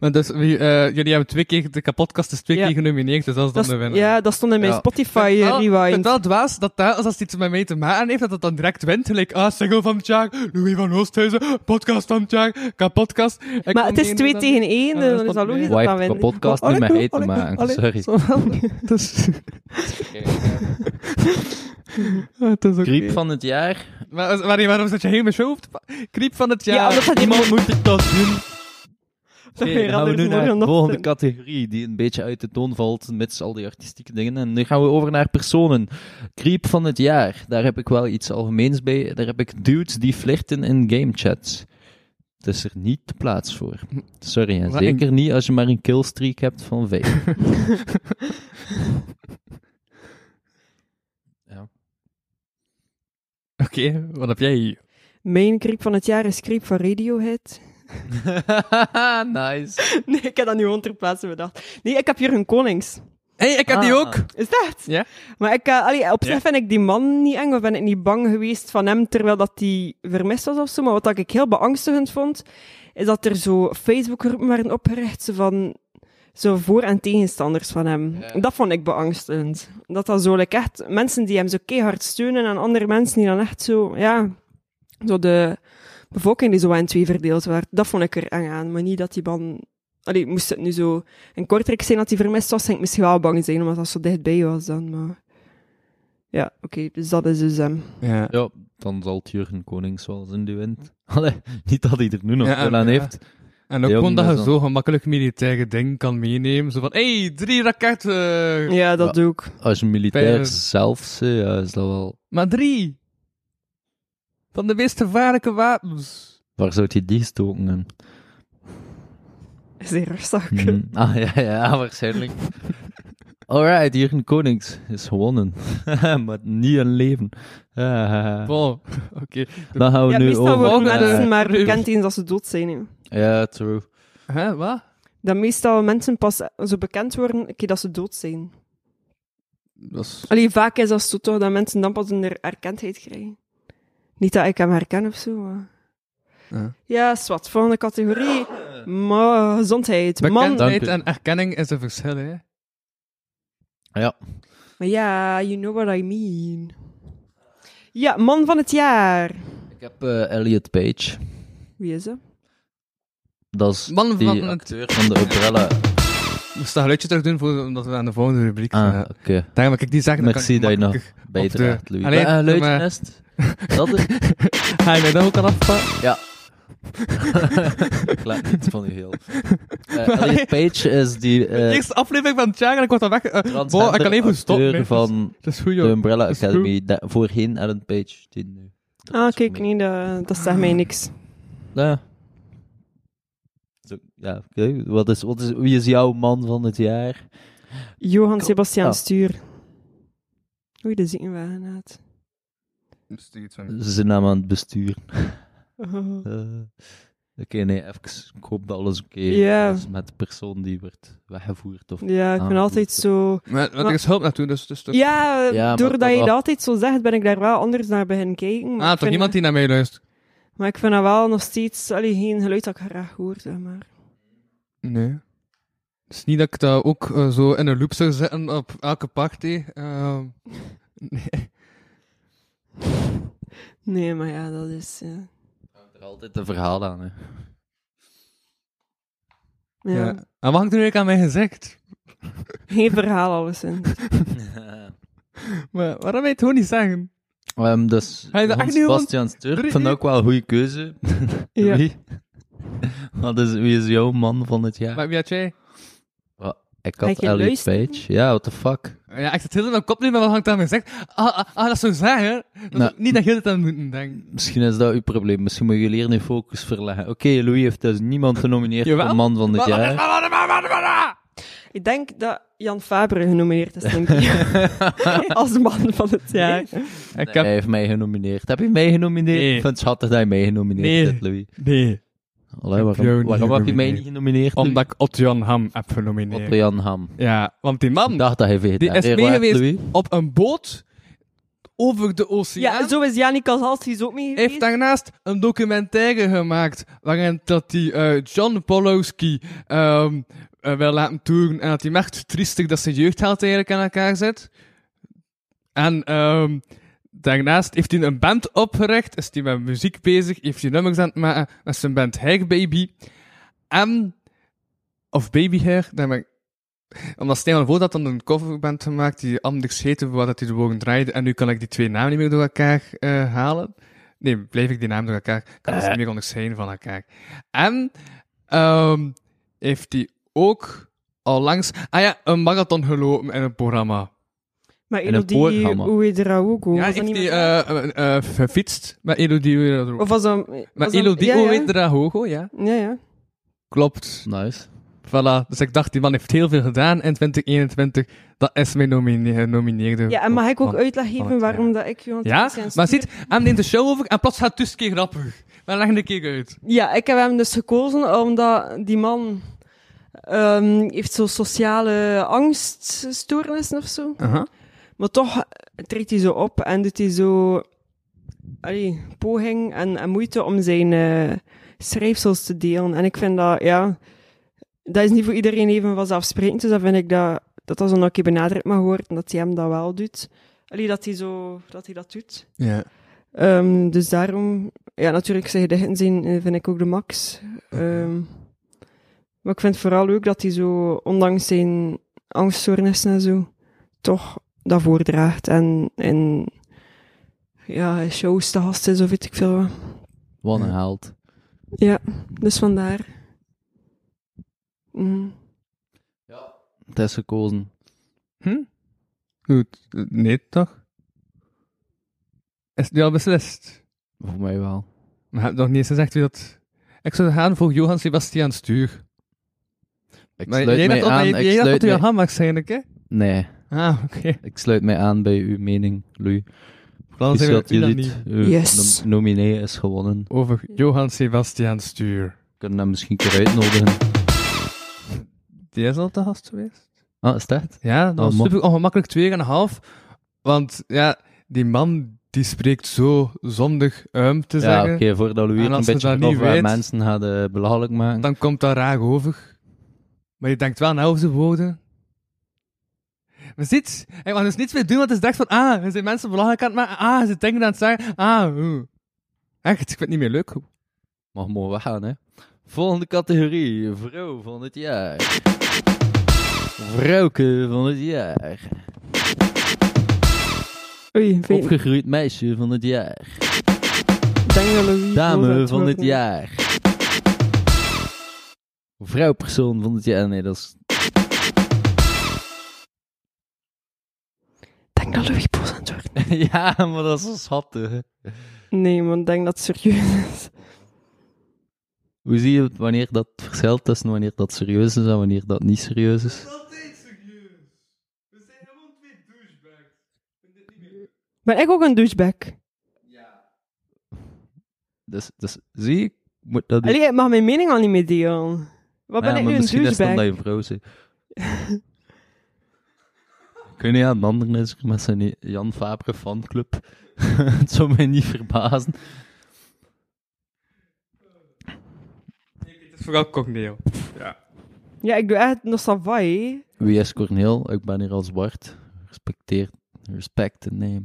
Speaker 3: Maar dus, wie, eh, jullie hebben twee keer, de kapotkast is twee
Speaker 5: Ja.
Speaker 3: keer genomineerd, dus dat is dan
Speaker 5: Dat
Speaker 3: de
Speaker 5: is-
Speaker 3: winnaar.
Speaker 5: ja, dat stond in mijn Spotify,
Speaker 3: Ik vind
Speaker 5: eh,
Speaker 3: wel-
Speaker 5: rewind.
Speaker 3: Ik vind wel dwaas dat dat, als dat iets met mij te maken heeft, dat dat dan direct wint. Gelijk, ah, single van het jaar, Louis van Oosthuizen, podcast van het jaar, kapotkast. Ik
Speaker 5: maar het
Speaker 3: kom
Speaker 5: is
Speaker 3: niet
Speaker 5: twee
Speaker 3: in,
Speaker 5: tegen één,
Speaker 3: Ah,
Speaker 5: eh,
Speaker 3: dat
Speaker 5: dan is
Speaker 3: staat
Speaker 5: dat logisch
Speaker 3: mee.
Speaker 5: dat
Speaker 4: Wife,
Speaker 5: dat
Speaker 4: de
Speaker 5: wint.
Speaker 4: podcast niet met eten maken, sorry.
Speaker 3: Dus, het is oké.
Speaker 4: Griep van het jaar.
Speaker 3: Maar, maar waarom zit je helemaal zo op te pa- Griep van het jaar.
Speaker 5: Ja, anders gaat iemand...
Speaker 12: moet ik dat doen.
Speaker 5: Dat je
Speaker 4: Oké, gaan we
Speaker 5: anders
Speaker 4: nu naar
Speaker 5: morgen
Speaker 4: de
Speaker 5: nog
Speaker 4: volgende
Speaker 5: vindt.
Speaker 4: categorie, die een beetje uit de toon valt, mits al die artistieke dingen. En nu gaan we over naar personen. Creep van het jaar, daar heb ik wel iets algemeens bij. Daar heb ik dudes die flirten in gamechats. Het is er niet de plaats voor. Sorry, en
Speaker 3: Wat
Speaker 4: zeker niet als je maar een killstreak hebt van vijf.
Speaker 3: Oké, wat heb jij hier?
Speaker 5: Mijn creep van het jaar is creep van Radiohead.
Speaker 4: nice.
Speaker 5: Nee, ik heb dat nu gewoon ter plaatse bedacht. Nee, ik heb Jurgen Konings.
Speaker 3: hey, ik heb die
Speaker 4: Ah.
Speaker 3: ook.
Speaker 5: Is dat?
Speaker 3: Ja.
Speaker 5: Maar ik, eh, allee, op zich vind ik die man niet eng, of ben ik niet bang geweest van hem, terwijl dat die vermist was of zo. Maar wat dat ik heel beangstigend vond, is dat er zo Facebookgroepen waren opgericht zo van zo voor- en tegenstanders van hem. Dat vond ik beangstigend. Dat dat zo like, echt mensen die hem zo keihard steunen en andere mensen die dan echt zo, ja, zo de bevolking die zo in twee verdeeld werd. Dat vond ik er eng aan, maar niet dat die man... Allee, moest het nu zo een kortrijk zijn dat hij vermist was, zou ik misschien wel bang zijn, omdat dat zo dichtbij was dan. Maar... Ja, oké, dus dat is dus hem.
Speaker 3: Ja.
Speaker 4: Ja, dan zal het Jurgen Konings wel zijn die wint. Allee, niet dat hij er nu nog
Speaker 3: Ja,
Speaker 4: veel aan
Speaker 3: ja.
Speaker 4: heeft.
Speaker 3: En ook
Speaker 4: Die
Speaker 3: gewoon
Speaker 4: ook
Speaker 3: dat je
Speaker 4: niet zo.
Speaker 3: zo gemakkelijk militaire dingen kan meenemen. Zo van, hey, drie raketten.
Speaker 5: Ja, dat doe ik.
Speaker 4: Als je militair
Speaker 3: Vijf.
Speaker 4: zelf zit, ja, is dat wel...
Speaker 3: Maar drie. Van de meest gevaarlijke wapens.
Speaker 4: Waar zou je die gestoken hebben?
Speaker 5: Is die rustig?
Speaker 4: Mm. Ah, ja, ja, waarschijnlijk. Alright, Jurgen Konings is gewonnen. maar niet een leven. Ah.
Speaker 3: Wow, oké.
Speaker 4: dan gaan we
Speaker 5: Ja,
Speaker 4: nu
Speaker 5: meestal
Speaker 4: over...
Speaker 5: worden
Speaker 4: naar-
Speaker 5: mensen maar
Speaker 3: eh,
Speaker 5: bekend eens als ze dood zijn. hè.
Speaker 4: Ja, true.
Speaker 3: Hè, wat?
Speaker 5: Dat meestal mensen pas eh, zo bekend worden een keer dat ze dood zijn.
Speaker 3: Dat is...
Speaker 5: Allee, vaak is dat zo toch, dat mensen dan pas een er- erkendheid krijgen. Niet dat ik hem herken of zo, maar...
Speaker 3: Ja.
Speaker 5: Ja, zwart. Volgende categorie. Maar gezondheid. Man.
Speaker 4: Dank
Speaker 3: Bekendheid
Speaker 4: u.
Speaker 3: en erkenning is een verschil, hè.
Speaker 4: Ja.
Speaker 5: Maar ja, you know what I mean. Ja, man van het jaar.
Speaker 4: Ik heb eh, Elliot Page.
Speaker 5: Wie is dat?
Speaker 4: Dat is
Speaker 3: Man
Speaker 4: die
Speaker 3: van het-
Speaker 4: acteur van de Umbrella.
Speaker 3: Moest dat geluidje terug doen, voor, omdat we aan de volgende rubriek zijn.
Speaker 4: Ah,
Speaker 3: hè.
Speaker 4: oké.
Speaker 3: Daarom heb ik die zeggen. dan kan
Speaker 4: Merci
Speaker 3: ik
Speaker 4: dat je nog
Speaker 3: makkelijk-
Speaker 4: bijdraagt,
Speaker 3: de-
Speaker 4: Louis.
Speaker 3: Allee,
Speaker 4: Eh,
Speaker 3: doe
Speaker 4: Luidnest. Dat is...
Speaker 3: Ga je mij dat ook al afpakken?
Speaker 4: ik laat niet van u heel. Eh, Elliot Page is die... eh,
Speaker 3: Eerste aflevering van het jaar en ik word dan weg. eh, wow, ik kan even
Speaker 4: transgender
Speaker 3: stoppen.
Speaker 4: acteur van
Speaker 3: Dat is goed,
Speaker 4: de
Speaker 3: joh.
Speaker 4: Umbrella
Speaker 3: Dat is
Speaker 4: Academy. Da- voorheen Ellen Page. Die nu.
Speaker 5: Ah, kijk, nee, dat, dat zegt mij niks.
Speaker 4: Ja. Zo, ja, oké. Wat is, wat is, wie is jouw man van het jaar?
Speaker 5: Johan Sebastian
Speaker 4: Ah.
Speaker 5: Stuur. Oei, de ziekenwagen uit.
Speaker 4: Ze zijn naam aan het bestuur.
Speaker 5: Oh.
Speaker 4: Eh, oké, nee, even. Ik hoop dat alles oké
Speaker 5: Ja.
Speaker 4: is met de persoon die wordt weggevoerd. Of,
Speaker 5: Ja, ik ben
Speaker 4: Ah,
Speaker 5: altijd
Speaker 4: goed.
Speaker 5: zo...
Speaker 3: Maar, maar er is hulp naartoe, dus... dus toch-
Speaker 5: Ja, eh,
Speaker 4: Ja, maar
Speaker 5: doordat
Speaker 4: dat-
Speaker 5: je dat
Speaker 4: dat-
Speaker 5: altijd zo zegt, ben ik daar wel anders naar beginnen kijken. Maar,
Speaker 3: Ah, toch
Speaker 5: ik vind
Speaker 3: niemand die
Speaker 5: dat,
Speaker 3: naar mij luistert.
Speaker 5: maar ik vind dat wel nog steeds... Allee, geen geluid dat ik graag hoor, zeg maar.
Speaker 3: Nee. Het is niet dat ik dat ook eh, zo in een loop zou zetten op elke party. Ehm, nee.
Speaker 5: Nee, maar ja, dat is... eh, ja.
Speaker 4: Er altijd een verhaal aan, hè.
Speaker 5: Ja.
Speaker 3: Ja. En wat hangt er nu eigenlijk aan mij gezegd?
Speaker 5: Geen verhaal, alleszins.
Speaker 3: Maar waarom wil je het gewoon niet zeggen?
Speaker 4: Ehm, dus
Speaker 3: Hij is echt
Speaker 4: Hans
Speaker 3: niet gewoon-
Speaker 4: Bastiaan Sturp
Speaker 3: Drie-
Speaker 4: vond ook wel een goede keuze.
Speaker 5: Ja.
Speaker 4: Wie? Wat is, wie is jouw man van het jaar?
Speaker 3: Maar wie had jij?
Speaker 4: Wa- ik
Speaker 5: Heb
Speaker 4: had
Speaker 5: je
Speaker 4: Elliot
Speaker 5: luisteren?
Speaker 4: Page. Ja, what the fuck.
Speaker 3: Ja, ik zit heel in mijn kop nu, maar wat hangt er aan mij gezegd? Ah, ah, ah, dat zou zeggen. Dat is
Speaker 4: Nou.
Speaker 3: Niet dat je het aan moet denken.
Speaker 4: Misschien is dat uw probleem. Misschien moet je leren je focus verleggen. Oké, Louis heeft dus niemand genomineerd
Speaker 3: Jawel.
Speaker 4: voor man van het jaar.
Speaker 5: Ik denk dat Jan Fabre genomineerd is, denk ik. Als man van het jaar.
Speaker 3: Ik
Speaker 4: Hij
Speaker 3: heb...
Speaker 4: heeft mij genomineerd. Heb je mij genomineerd?
Speaker 3: Nee.
Speaker 4: Ik vind het schattig dat je mij
Speaker 3: Nee.
Speaker 4: genomineerd hebt, Louis.
Speaker 3: Nee.
Speaker 4: Allee,
Speaker 3: heb jou
Speaker 4: waarom
Speaker 3: niet
Speaker 4: waarom heb je mij
Speaker 3: genomineerd.
Speaker 4: niet genomineerd?
Speaker 3: Omdat ik Otto-Jan Ham heb genomineerd.
Speaker 4: Op Jan Ham.
Speaker 3: Ja, want die man
Speaker 4: Ik dacht dat hij
Speaker 3: die is
Speaker 4: vegetariër
Speaker 3: mee
Speaker 4: was,
Speaker 3: geweest
Speaker 4: Louis.
Speaker 3: op een boot over de oceaan.
Speaker 5: Ja, zo is Janik Kazalskis ook mee
Speaker 3: heeft
Speaker 5: geweest.
Speaker 3: daarnaast een documentaire gemaakt waarin dat hij eh, John Polowski ehm, eh, wil laten toeren en dat hij merkt triestig dat zijn jeugdheld eigenlijk aan elkaar zit. En ehm, daarnaast heeft hij een band opgericht, is hij met muziek bezig, heeft hij nummers aan het maken met zijn band Hair Baby. En, of Baby Hair, daar ben ik omdat Stijn van Voort had dan een coverband gemaakt die anders heette, waar dat hij de woorden draaide. En nu kan ik die twee namen niet meer door elkaar eh, halen. Nee, blijf ik die naam door elkaar. Ik kan
Speaker 5: Eh.
Speaker 3: ze niet meer onderscheiden van elkaar. En ehm, heeft hij ook onlangs... Ah ja, een marathon gelopen in een programma.
Speaker 5: Maar
Speaker 4: in een
Speaker 5: Elodie
Speaker 4: voorprogramma.
Speaker 5: Ouedraogo.
Speaker 3: ja,
Speaker 5: was dat
Speaker 3: heeft hij
Speaker 5: niet meer-
Speaker 3: eh, eh, eh, gefietst met Elodie Oedra-
Speaker 5: Of was dat... was
Speaker 3: Met
Speaker 5: dat-
Speaker 3: Elodie
Speaker 5: ja, ja.
Speaker 3: Oedrahogo, ja.
Speaker 5: Ja, ja.
Speaker 3: Klopt.
Speaker 4: Nice.
Speaker 3: Voilà. Dus ik dacht, die man heeft heel veel gedaan in 2021. Dat is mijn nomine- genomineerde.
Speaker 5: Ja, en mag ik ook
Speaker 3: man.
Speaker 5: uitleg
Speaker 3: van
Speaker 5: geven
Speaker 3: het
Speaker 5: waarom dat ik Johan
Speaker 3: Ja,
Speaker 5: Sebastian
Speaker 3: maar
Speaker 5: stuur?
Speaker 3: ziet, hem neemt de show over en plots gaat het dus een keer grappig. Maar leg een keer uit.
Speaker 5: Ja, ik heb hem dus gekozen omdat die man ehm, heeft zo'n sociale angststoornissen of zo. Maar toch eh, treedt hij zo op en doet hij zo allee, poging en, en moeite om zijn eh, schrijfsels te delen. En ik vind dat, ja, dat is niet voor iedereen even vanzelfsprekend. Dus dan vind ik dat dat, dat zo nog een keer benadrukt mag worden, dat hij hem dat wel doet. Allee, dat hij, zo, dat, hij dat doet.
Speaker 3: Ja.
Speaker 5: Ehm, dus daarom, ja, natuurlijk zijn gedichten zijn, eh, vind ik ook de max. Ehm, maar ik vind het vooral leuk dat hij zo, ondanks zijn angststoornissen en zo, toch dat voordraagt. En, en ja, in shows te gast is of weet ik veel wat.
Speaker 4: Wat een held.
Speaker 5: Ja, dus vandaar. Mm.
Speaker 4: Het is gekozen.
Speaker 3: Goed. Nee, toch? Is het nu al beslist?
Speaker 4: Voor mij wel.
Speaker 3: Maar heb nog niet eens gezegd wie dat... Ik zou gaan voor Johan Sebastian Stuur.
Speaker 4: Ik
Speaker 3: Maar
Speaker 4: sluit
Speaker 3: jij
Speaker 4: mij
Speaker 3: dacht
Speaker 4: aan.
Speaker 3: dat
Speaker 4: Ik
Speaker 3: jij- jij dacht
Speaker 4: sluit
Speaker 3: dat je
Speaker 4: mij-
Speaker 3: ham waarschijnlijk, hè?
Speaker 4: Nee,
Speaker 3: Ah, oké.
Speaker 4: ik sluit mij aan bij uw mening, Louis.
Speaker 3: Dan
Speaker 4: Is
Speaker 3: zijn we
Speaker 4: dat
Speaker 3: u dan
Speaker 4: jullie
Speaker 3: niet.
Speaker 4: uw
Speaker 5: Yes.
Speaker 4: eh, nom- nominee is gewonnen.
Speaker 3: Over Johan Sebastian Stuur.
Speaker 4: kunnen hem misschien een keer uitnodigen.
Speaker 3: Die is al te gast geweest?
Speaker 4: Ah, is dat?
Speaker 3: Ja, dat
Speaker 4: Oh,
Speaker 3: was
Speaker 4: man.
Speaker 3: super ongemakkelijk 2,5. Want ja, die man die spreekt zo zondig uim te
Speaker 4: Ja, oké,
Speaker 3: zeggen.
Speaker 4: voordat
Speaker 3: En
Speaker 4: Louis het
Speaker 3: als
Speaker 4: een
Speaker 3: ze
Speaker 4: beetje
Speaker 3: dat
Speaker 4: vanaf
Speaker 3: niet
Speaker 4: waar
Speaker 3: weet-
Speaker 4: mensen hadden belachelijk maken.
Speaker 3: Dan komt dat raar over. Maar je denkt wel na over zijn woorden. Maar ziet, hij kan dus niets meer doen, want hij dacht van, ah, er zijn mensen belangrijk aan het maken. Ah, ze denken aan het zeggen. Ah, oeh. Echt, ik vind het niet meer leuk.
Speaker 4: Mag mooi weggaan, hè. Volgende categorie, vrouw van het jaar. Vrouwke van het jaar.
Speaker 5: Oei, ik weet-
Speaker 4: Opgegroeid meisje van het jaar.
Speaker 5: ik denk dat Louis boos aan
Speaker 4: Dame van het
Speaker 5: worden is.
Speaker 4: jaar. Vrouwpersoon van het jaar. Nee, dat is...
Speaker 5: Ik denk dat Louis boos aan het worden
Speaker 4: ja, maar dat is een schattig.
Speaker 5: is. Nee, maar ik denk dat het serieus is.
Speaker 4: Hoe zie je het wanneer dat verschilt tussen wanneer dat serieus is en wanneer dat niet serieus is?
Speaker 5: Ben ik ook een douchebag?
Speaker 4: Dus, dus zie ik, moet dat
Speaker 5: Allee, ik mag mijn mening al niet meer delen. Wat ben
Speaker 4: Ja,
Speaker 5: ik
Speaker 4: maar
Speaker 5: nu een
Speaker 4: misschien is het dan
Speaker 5: douchebag?
Speaker 4: dat je vrouw zit. Kun je aan het anderen is met zijn Jan Fabre fanclub? het zou mij niet verbazen.
Speaker 3: Het is vooral cogneo.
Speaker 5: Ja, ik doe echt nog savai, hè.
Speaker 4: Wie is Corneel? Ik ben hier als Bart. Respecteer, respect the name.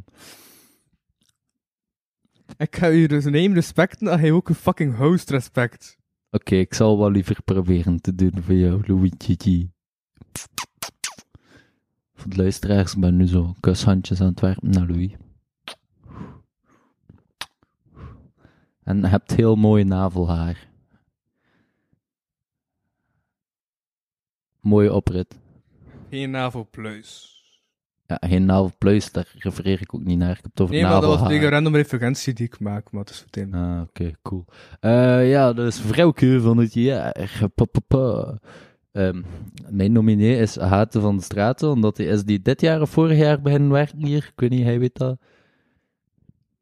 Speaker 3: Ik ga je dus neem respecten, dan ga je ook een fucking host respect.
Speaker 4: Oké, ik zal wel liever proberen te doen voor jou, Luigi. Voor de luisteraars, ik ben nu zo kushandjes aan het werpen naar Louis. En je hebt heel mooi navelhaar. Mooie oprit.
Speaker 3: Geen navelpluis.
Speaker 4: Ja, geen navelpluis, daar refereer ik ook niet naar. Ik heb het over
Speaker 3: Nee, maar dat
Speaker 4: navelhaar.
Speaker 3: was tegen een random referentie die ik maak, maar het is meteen.
Speaker 4: Ah, oké, cool. Eh, ja, dus vrouwke van het jaar. Pa, pa, pa. Ehm, mijn nominee is Hate van de Straten, omdat hij is die dit jaar of vorig jaar beginnen werken hier. Ik weet niet, hij weet dat.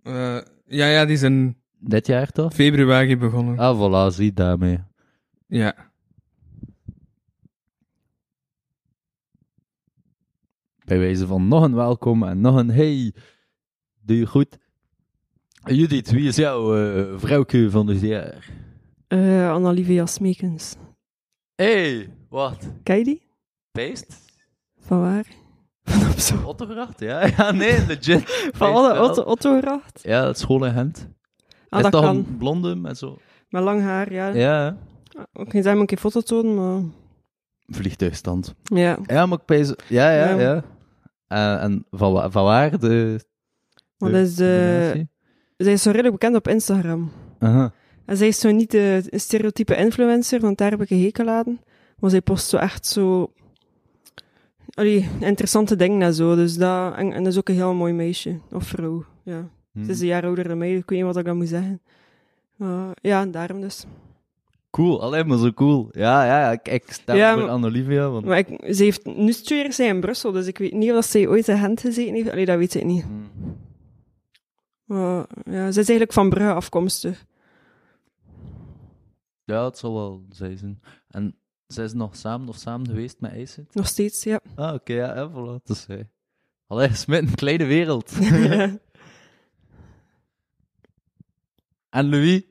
Speaker 3: Eh, ja, ja, die is in
Speaker 4: Dit jaar toch?
Speaker 3: februari begonnen.
Speaker 4: Ah, voilà, zie daarmee.
Speaker 3: Ja.
Speaker 4: Bij wijze van nog een welkom en nog een hey, doe je goed? Judith, wie is jouw eh vrouwke van het jaar?
Speaker 5: Eh Annalieve Jasmekens.
Speaker 4: hey, wat?
Speaker 5: Ken je die?
Speaker 4: Beest?
Speaker 5: Van waar? Van op zo.
Speaker 4: Ottogracht? Ja, ja, nee, legit.
Speaker 5: Van
Speaker 4: Beest
Speaker 5: alle
Speaker 4: wel.
Speaker 5: Otto, Ottogracht.
Speaker 4: Ja, het school in Gent.
Speaker 5: Ah,
Speaker 4: is
Speaker 5: dat
Speaker 4: toch
Speaker 5: kan.
Speaker 4: een blonde met zo...
Speaker 5: Met lang haar, ja.
Speaker 4: Ja,
Speaker 5: Ik ga hem een keer foto tonen, maar...
Speaker 4: vliegtuigstand.
Speaker 5: Ja.
Speaker 4: Ja, maar ik pees... Ja, ja,
Speaker 5: Ja.
Speaker 4: ja. Eh, en van, wa- van waar de...
Speaker 5: Maar dat is eh, de... Zij is zo redelijk bekend op Instagram.
Speaker 4: Aha.
Speaker 5: En zij is zo niet de stereotype influencer, want daar heb ik een hekel aan. Maar zij post zo echt zo... Allee, interessante dingen en zo. Dus dat, en, en dat is ook een heel mooi meisje. Of vrouw, ja.
Speaker 4: Hm.
Speaker 5: Ze is een jaar ouder dan mij, dus ik weet niet wat ik dan moet zeggen. Maar ja, daarom dus.
Speaker 4: Cool, alleen maar zo cool. Ja, ja, ik, ik sta
Speaker 5: Ja,
Speaker 4: voor
Speaker 5: maar-
Speaker 4: Annolivia, want...
Speaker 5: Maar ik, ze heeft, nu studeert zij in Brussel, dus ik weet niet of zij ooit in Gent gezeten heeft. Allee, dat weet ik niet.
Speaker 4: Hm.
Speaker 5: Maar ja, ze is eigenlijk van Brugge afkomstig.
Speaker 4: Ja, het zal wel zij zijn. En zij is nog samen of samen geweest met Eisen?
Speaker 5: Nog steeds, ja.
Speaker 4: Ah, oké, ja, ja, voilà, dat is zij. Allee, Smit, een kleine wereld. en Louis?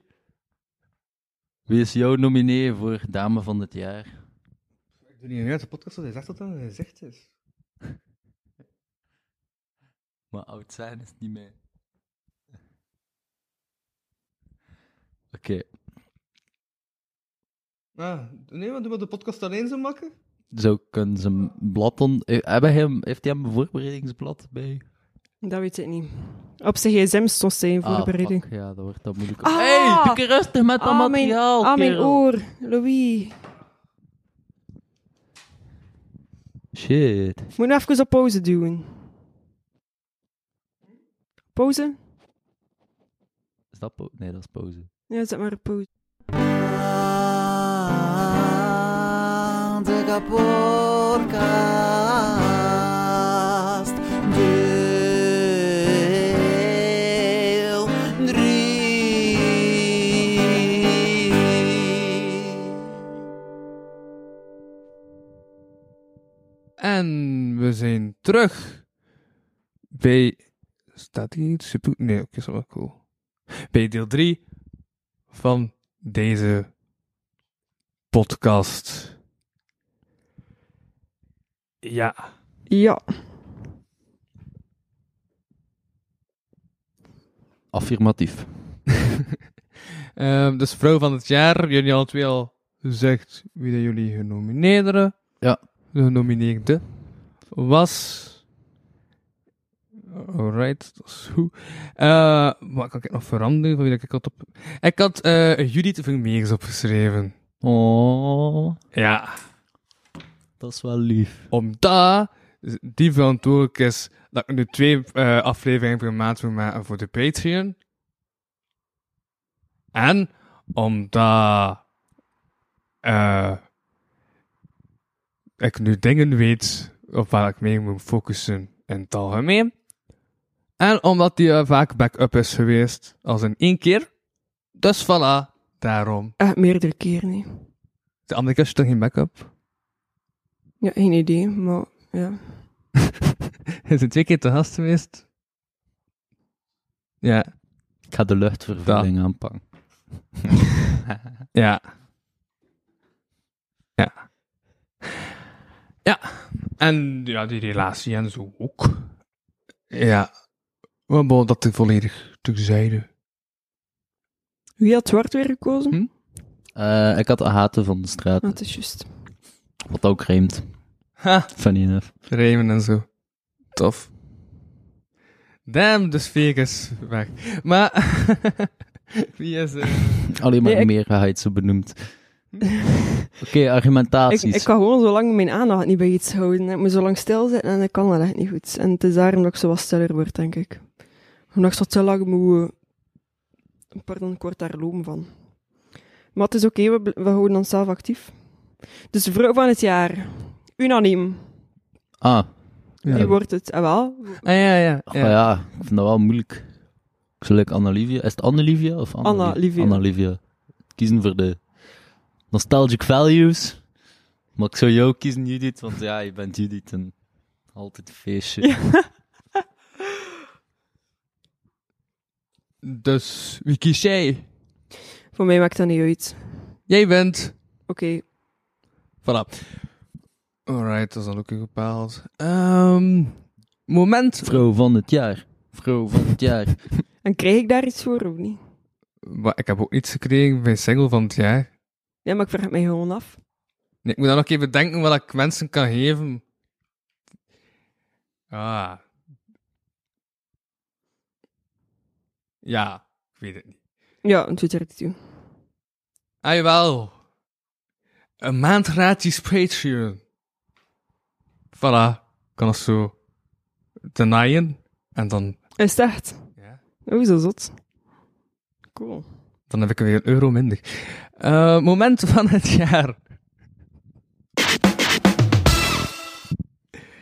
Speaker 4: Wie is jouw nominee voor Dame van het Jaar?
Speaker 3: Ik doe niet uit de podcast dat hij zegt dat dan hij zegt is.
Speaker 4: Maar oud zijn is niet mee. Oké.
Speaker 3: Ah, nee, maar doen we de podcast alleen zo makken?
Speaker 4: Zo kunnen ze een blad on... eh, Hebben hem, heeft hij hem een voorbereidingsblad bij?
Speaker 5: Dat weet ik niet. Op zijn gsm stond zij in voorbereiding.
Speaker 4: Ah, fuck, ja, dat wordt dat moeilijk.
Speaker 5: Ah!
Speaker 4: hey, doe keer rustig met dat materiaal,
Speaker 5: mijn, ah, mijn
Speaker 4: kerel.
Speaker 5: oor. Louis.
Speaker 4: Shit.
Speaker 5: Ik moet nou even op pauze duwen. Pauze?
Speaker 4: Is dat pauze? Nee, dat is pauze.
Speaker 5: Ja, zet maar op pauze.
Speaker 12: De podcast deel
Speaker 3: En we zijn terug bij. Staat hier iets? Super- Nee, oké, is wel cool. Bij deel 3 van deze podcast. Ja.
Speaker 5: Ja.
Speaker 4: Affirmatief.
Speaker 3: Ehm, dus vrouw van het jaar. Jullie al twee al gezegd wie dat jullie genomineerden.
Speaker 4: Ja.
Speaker 3: De genomineerde was... Alright, dat is goed. Eh, wat kan ik nog veranderen? Van wie dat ik had op... Ik had eh Judith Vermeers opgeschreven.
Speaker 4: Oh,
Speaker 3: Ja.
Speaker 4: dat is wel lief.
Speaker 3: Omdat die verantwoordelijk is dat ik nu twee eh, afleveringen per maand wil maken voor de Patreon. En omdat eh, ik nu dingen weet op waar ik mee moet focussen in het algemeen. En omdat die eh, vaak back-up is geweest als in één keer. Dus voilà, daarom.
Speaker 5: Echt Eh, meerdere keer, nee.
Speaker 3: De andere keer is er toch geen backup.
Speaker 5: Ja, geen idee, maar ja.
Speaker 3: Is het twee keer te gast geweest? Ja.
Speaker 4: Ik ga de luchtvervuiling aanpakken.
Speaker 3: Ja. Ja. En ja, die relatie en zo ook. Ja. Maar bon, dat is volledig terzijde.
Speaker 5: Wie had zwart weer
Speaker 4: Mm.
Speaker 5: gekozen?
Speaker 4: Eh, ik had Ahate van de straat,
Speaker 5: Dat is juist.
Speaker 4: wat ook rijmt. Funny enough.
Speaker 3: Rijmen en zo. Tof. Damn, de sfeer is weg. Maar... Wie is er?
Speaker 4: Alleen maar
Speaker 5: Nee, ik-
Speaker 4: meerderheid zo benoemd. Oké, argumentaties.
Speaker 5: Ik, ik kan gewoon zo lang mijn aandacht niet bij iets houden. Ik moet zo lang stilzitten en ik kan dat echt niet goed. En het is daarom dat ik zo wat stiller word, denk ik. Omdat ik zo te lang moet... eh, Pardon, ik word daar loom van. Maar het is oké, we, bl- we houden onszelf actief. Dus vrouw van het jaar. Unaniem.
Speaker 4: Ah.
Speaker 5: Wie
Speaker 4: Ja.
Speaker 5: wordt het? Ah, wel.
Speaker 3: Ah, ja, ja.
Speaker 4: Ah, ja, ik vind dat wel moeilijk. Ik zou like Anna-Livia... Is het Anna-Livia of Anna-Livia?
Speaker 5: Anna-Livia.
Speaker 4: Anna-Livia. Kiezen voor de nostalgic values. Maar ik zou jou kiezen, Judith, want ja, je bent Judith en altijd een feestje.
Speaker 3: Dus, wie kies jij?
Speaker 5: Voor mij maakt dat niet uit.
Speaker 3: Jij bent...
Speaker 5: Oké.
Speaker 3: Voilà. Alright, dat is dan ook weer bepaald. Ehm, moment.
Speaker 4: Vrouw van het jaar. Vrouw van het jaar.
Speaker 5: En krijg ik daar iets voor of niet?
Speaker 3: Maar ik heb ook iets gekregen bij single van het jaar.
Speaker 5: Ja, maar ik vraag het mij gewoon af.
Speaker 3: Nee, ik moet dan nog even denken wat ik mensen kan geven. Ah. Ja, ik weet het niet.
Speaker 5: Ja, een Twitter attitude.
Speaker 3: Ah, jawel. Een maand gratis Patreon. Voilà. Kan dat zo denyen. En dan,
Speaker 5: Is het echt?
Speaker 3: Ja.
Speaker 5: Oh, zo zot. Cool.
Speaker 3: dan heb ik weer een euro minder. Eh, moment van het jaar.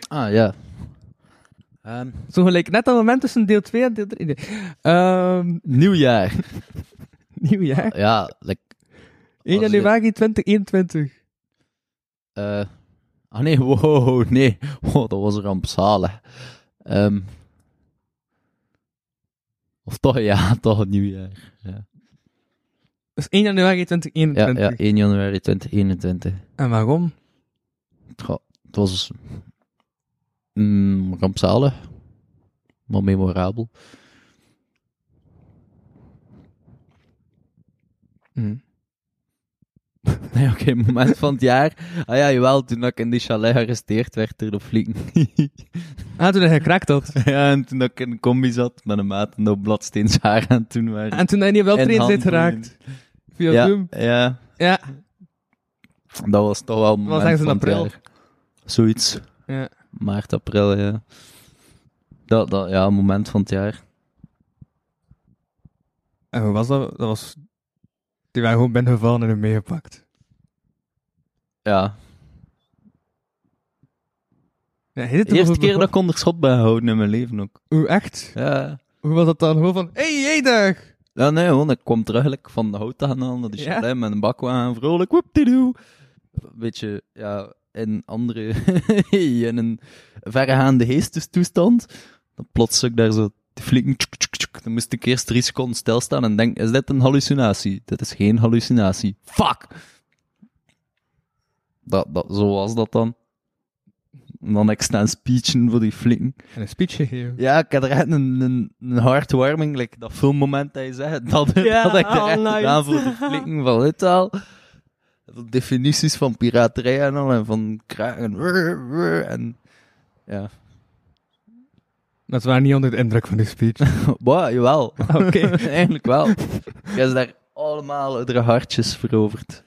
Speaker 4: Ah, ja. Ehm,
Speaker 3: Zo gelijk net dat moment tussen deel 2 en deel 3. Nee. Ehm,
Speaker 4: nieuwjaar.
Speaker 3: nieuwjaar.
Speaker 4: Ja, like...
Speaker 3: 1
Speaker 4: als je-
Speaker 3: januari 2021.
Speaker 4: Eh, ah nee, wow, nee. Oh, dat was rampzalig. Ehm of toch, ja, toch het nieuwjaar. Ja,
Speaker 3: Dus 1 januari
Speaker 4: ja, ja,
Speaker 3: 2021.
Speaker 4: 1 januari 2021.
Speaker 3: En waarom?
Speaker 4: Goh, het was mm, rampzalig, maar memorabel. Hmm. Nee, oké, moment van het jaar. Ah ja, jawel, toen ik in die chalet gearresteerd werd door de flieken.
Speaker 3: Ah, toen hij gekraakt had.
Speaker 4: ja, en toen ik in een combi zat met een maat en dat bladsteens haar aan toen waren.
Speaker 3: En toen hij niet wel
Speaker 4: In
Speaker 3: train zit
Speaker 4: handboeien.
Speaker 3: geraakt. Via
Speaker 4: ja,
Speaker 3: Zoom.
Speaker 4: Ja,
Speaker 3: Ja.
Speaker 4: dat was toch wel een
Speaker 3: was
Speaker 4: moment
Speaker 3: ergens in
Speaker 4: van het
Speaker 3: april.
Speaker 4: jaar. Zoiets.
Speaker 3: Ja.
Speaker 4: Maart, april, ja. Dat, dat, ja, moment van het jaar.
Speaker 3: En hoe was dat? Dat was... Die waren gewoon binnengevallen en hem meegepakt.
Speaker 4: Ja.
Speaker 3: Ja, hij zit
Speaker 4: De
Speaker 3: er
Speaker 4: eerste
Speaker 3: nog
Speaker 4: keer
Speaker 3: op-
Speaker 4: dat ik onder schot ben gehouden in mijn leven ook.
Speaker 3: Hoe echt?
Speaker 4: Ja.
Speaker 3: Hoe was dat dan? Gewoon van... Hey, hey, dag!
Speaker 4: Ja, nee, gewoon, ik kwam terug like, van de hout aan naar de
Speaker 3: Ja.
Speaker 4: chalet met een bakwagen, vrolijk, woepdedoe. Beetje, ja, in andere, in een verregaande geestestoestand. Dan plots zag ik daar zo te flikken, tjuk, tjuk, tjuk. dan moest ik eerst drie seconden stilstaan en denk, is dit een hallucinatie? Dit is geen hallucinatie. Fuck! Dat, dat, zo was dat dan. En dan ik staan speechen voor die flikken.
Speaker 3: En een speech gegeven.
Speaker 4: Ja, ik had er echt een, een, een heartwarming, like dat filmmoment dat je zegt, dat,
Speaker 5: Ja,
Speaker 4: dat ik er
Speaker 5: oh,
Speaker 4: echt
Speaker 5: nice.
Speaker 4: gedaan voor de flikken van dit al. De definities van piraterij en al, en van kraken, rrr, rrr, en ja.
Speaker 3: Maar ze waren niet onder de indruk van die speech.
Speaker 4: Wow, jawel.
Speaker 3: Oké.
Speaker 4: Eigenlijk wel. Ik heb ze daar allemaal de hartjes veroverd.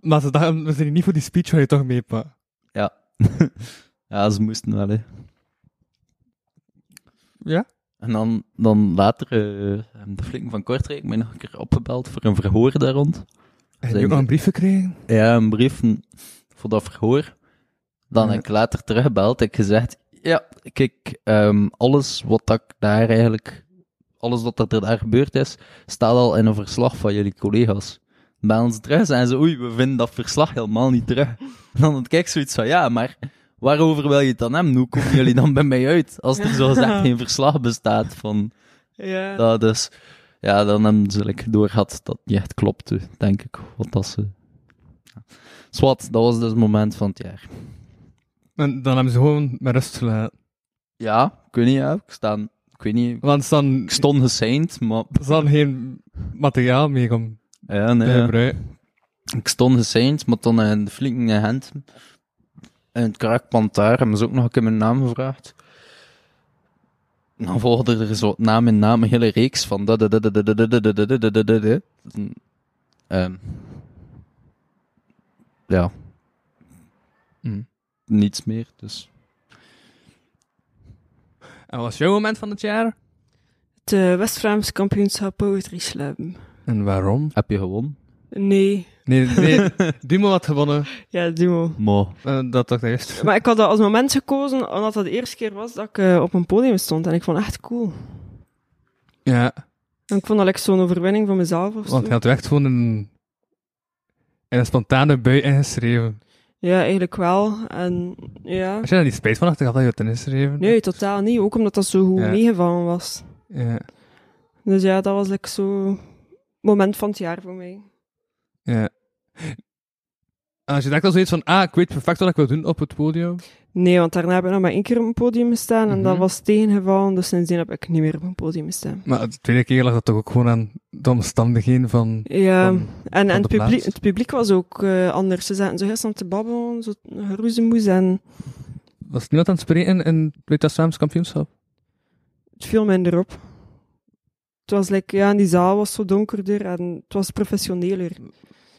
Speaker 3: maar ze dachten, we zijn hier niet voor die speech waar je toch meepakt.
Speaker 4: Ja. ja, ze moesten wel, hè.
Speaker 3: Ja?
Speaker 4: En dan, dan later, eh, de flikken van Kortrijk, mij nog een keer opgebeld voor een verhoor daar rond.
Speaker 3: Heb je
Speaker 4: Zijn
Speaker 3: ook nog
Speaker 4: ze-
Speaker 3: een brief gekregen?
Speaker 4: Ja, een brief n- voor dat verhoor. Dan
Speaker 3: Ja.
Speaker 4: heb ik later teruggebeld. Heb ik gezegd, ja, kijk, ehm, alles wat dat ik daar eigenlijk, alles wat dat er daar gebeurd is, staat al in een verslag van jullie collega's. Bij ons terug zijn ze, oei, we vinden dat verslag helemaal niet terug. En dan had ik zoiets van, ja, maar waarover wil je het dan hebben? Hoe komen jullie dan bij mij uit? Als er zogezegd geen verslag bestaat van
Speaker 5: Ja.
Speaker 4: dat. Dus ja, dan hebben ze like, doorgehad dat niet echt klopte, denk ik. Wat dat ze... Zwat, dat was dus het moment van het jaar.
Speaker 3: En dan hebben ze gewoon met rust gelaten.
Speaker 4: Ja, ik weet niet, ja. Ik, sta, ik weet niet.
Speaker 3: Want ze hadden-
Speaker 4: Ik stond gesigned, maar...
Speaker 3: ze hadden geen materiaal meer om
Speaker 4: Ja, nee.
Speaker 3: te
Speaker 4: ja.
Speaker 3: gebruiken.
Speaker 4: Ik stond gesigned, maar dan in de flinke hand. En het kraakpand daar hebben ze ook nog een keer mijn naam gevraagd. Dan volgde er zo naam in naam een hele reeks van... da- da- da- da- da- da- da- da- da- da- da- da- da- da. Ehm. Ja. Niets meer, dus...
Speaker 3: En wat was jouw moment van het jaar?
Speaker 5: Het eh, West-Vlaams kampioenschap Poetry Slam.
Speaker 3: En waarom?
Speaker 4: Heb je gewonnen?
Speaker 5: Nee.
Speaker 3: Nee, nee. Dumo had gewonnen. Eh,
Speaker 5: Ja, Dumo.
Speaker 4: Mo.
Speaker 3: dat dacht ik eerst.
Speaker 5: Maar ik had dat als moment gekozen, omdat dat de eerste keer was dat ik eh, op een podium stond. En ik vond het echt cool.
Speaker 3: Ja,
Speaker 5: En ik vond dat like, zo'n overwinning van mezelf of zo.
Speaker 3: want hij had er echt gewoon een, in een spontane bui ingeschreven.
Speaker 5: Ja, eigenlijk wel. En ja...
Speaker 3: Als je daar niet spijt van had, had dat je het ingeschreven.
Speaker 5: Nee, totaal niet. Ook omdat dat zo goed
Speaker 3: Ja.
Speaker 5: meegevallen was.
Speaker 3: Ja,
Speaker 5: Dus ja, dat was like, zo'n moment van het jaar voor mij.
Speaker 3: ja. En Als je denkt al zoiets van, ah, ik weet perfect wat ik wil doen op het podium.
Speaker 5: Nee, want daarna heb ik nog maar één keer op een podium gestaan. En dat
Speaker 3: Mhm.
Speaker 5: was tegengevallen. Dus sindsdien heb ik niet meer op een podium gestaan.
Speaker 3: Maar de tweede keer lag dat toch ook gewoon aan de omstandigheden van...
Speaker 5: Ja,
Speaker 3: van-
Speaker 5: en, en
Speaker 3: de
Speaker 5: het, publiek,
Speaker 3: plaats.
Speaker 5: het publiek was ook eh, anders. Ze zaten zo gisteren te babbelen, zo geroezemoes. En
Speaker 3: Was niemand aan het spreken in het West-Vlaams kampioenschap?
Speaker 5: het viel minder op. Het was like, ja, en die zaal was zo donkerder en het was professioneler.
Speaker 3: Mm,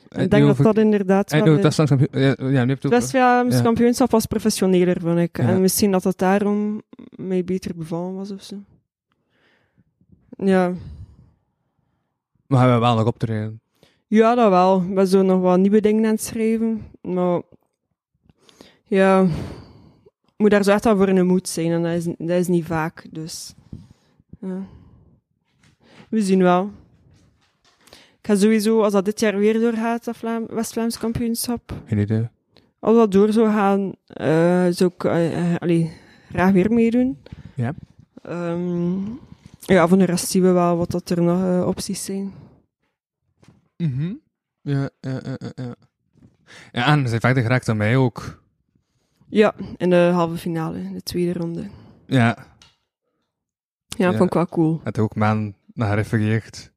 Speaker 3: eh,
Speaker 5: Ik denk dat dat inderdaad
Speaker 3: En
Speaker 5: wel
Speaker 3: over het
Speaker 5: is.
Speaker 3: West-Vlaams kampioenschap... Ja, ja, nu heb je het
Speaker 5: Het
Speaker 3: over-
Speaker 5: West-Vlaams
Speaker 3: Ja.
Speaker 5: kampioenschap was professioneler, vond ik.
Speaker 3: Ja.
Speaker 5: En misschien dat dat daarom mij beter bevallen was of zo. Ja.
Speaker 3: Maar we hebben wel nog optreden.
Speaker 5: ja, dat wel. Ik ben zo nog wat nieuwe dingen aan het schrijven. Maar ja, ik moet daar zo echt wel voor in de moed zijn. En dat is, dat is niet vaak. Dus ja. we zien wel. Ik ga sowieso, als dat dit jaar weer doorgaat, dat Vlaam- West-Vlaams kampioenschap,
Speaker 3: Geen idee.
Speaker 5: als dat door zou gaan, eh, zou ik eh, eh, allee, graag weer meedoen.
Speaker 3: Ja.
Speaker 5: Ehm, ja, van de rest zien we wel wat dat er nog eh, opties zijn.
Speaker 3: Mhm. Ja, ja, ja, ja, ja. Ja, en ze zijn verder geraakt dan mij ook.
Speaker 5: Ja, in de halve finale, in de tweede ronde.
Speaker 3: Ja.
Speaker 5: Ja, vond ik wel cool.
Speaker 3: Het ook man naar gerefereerd.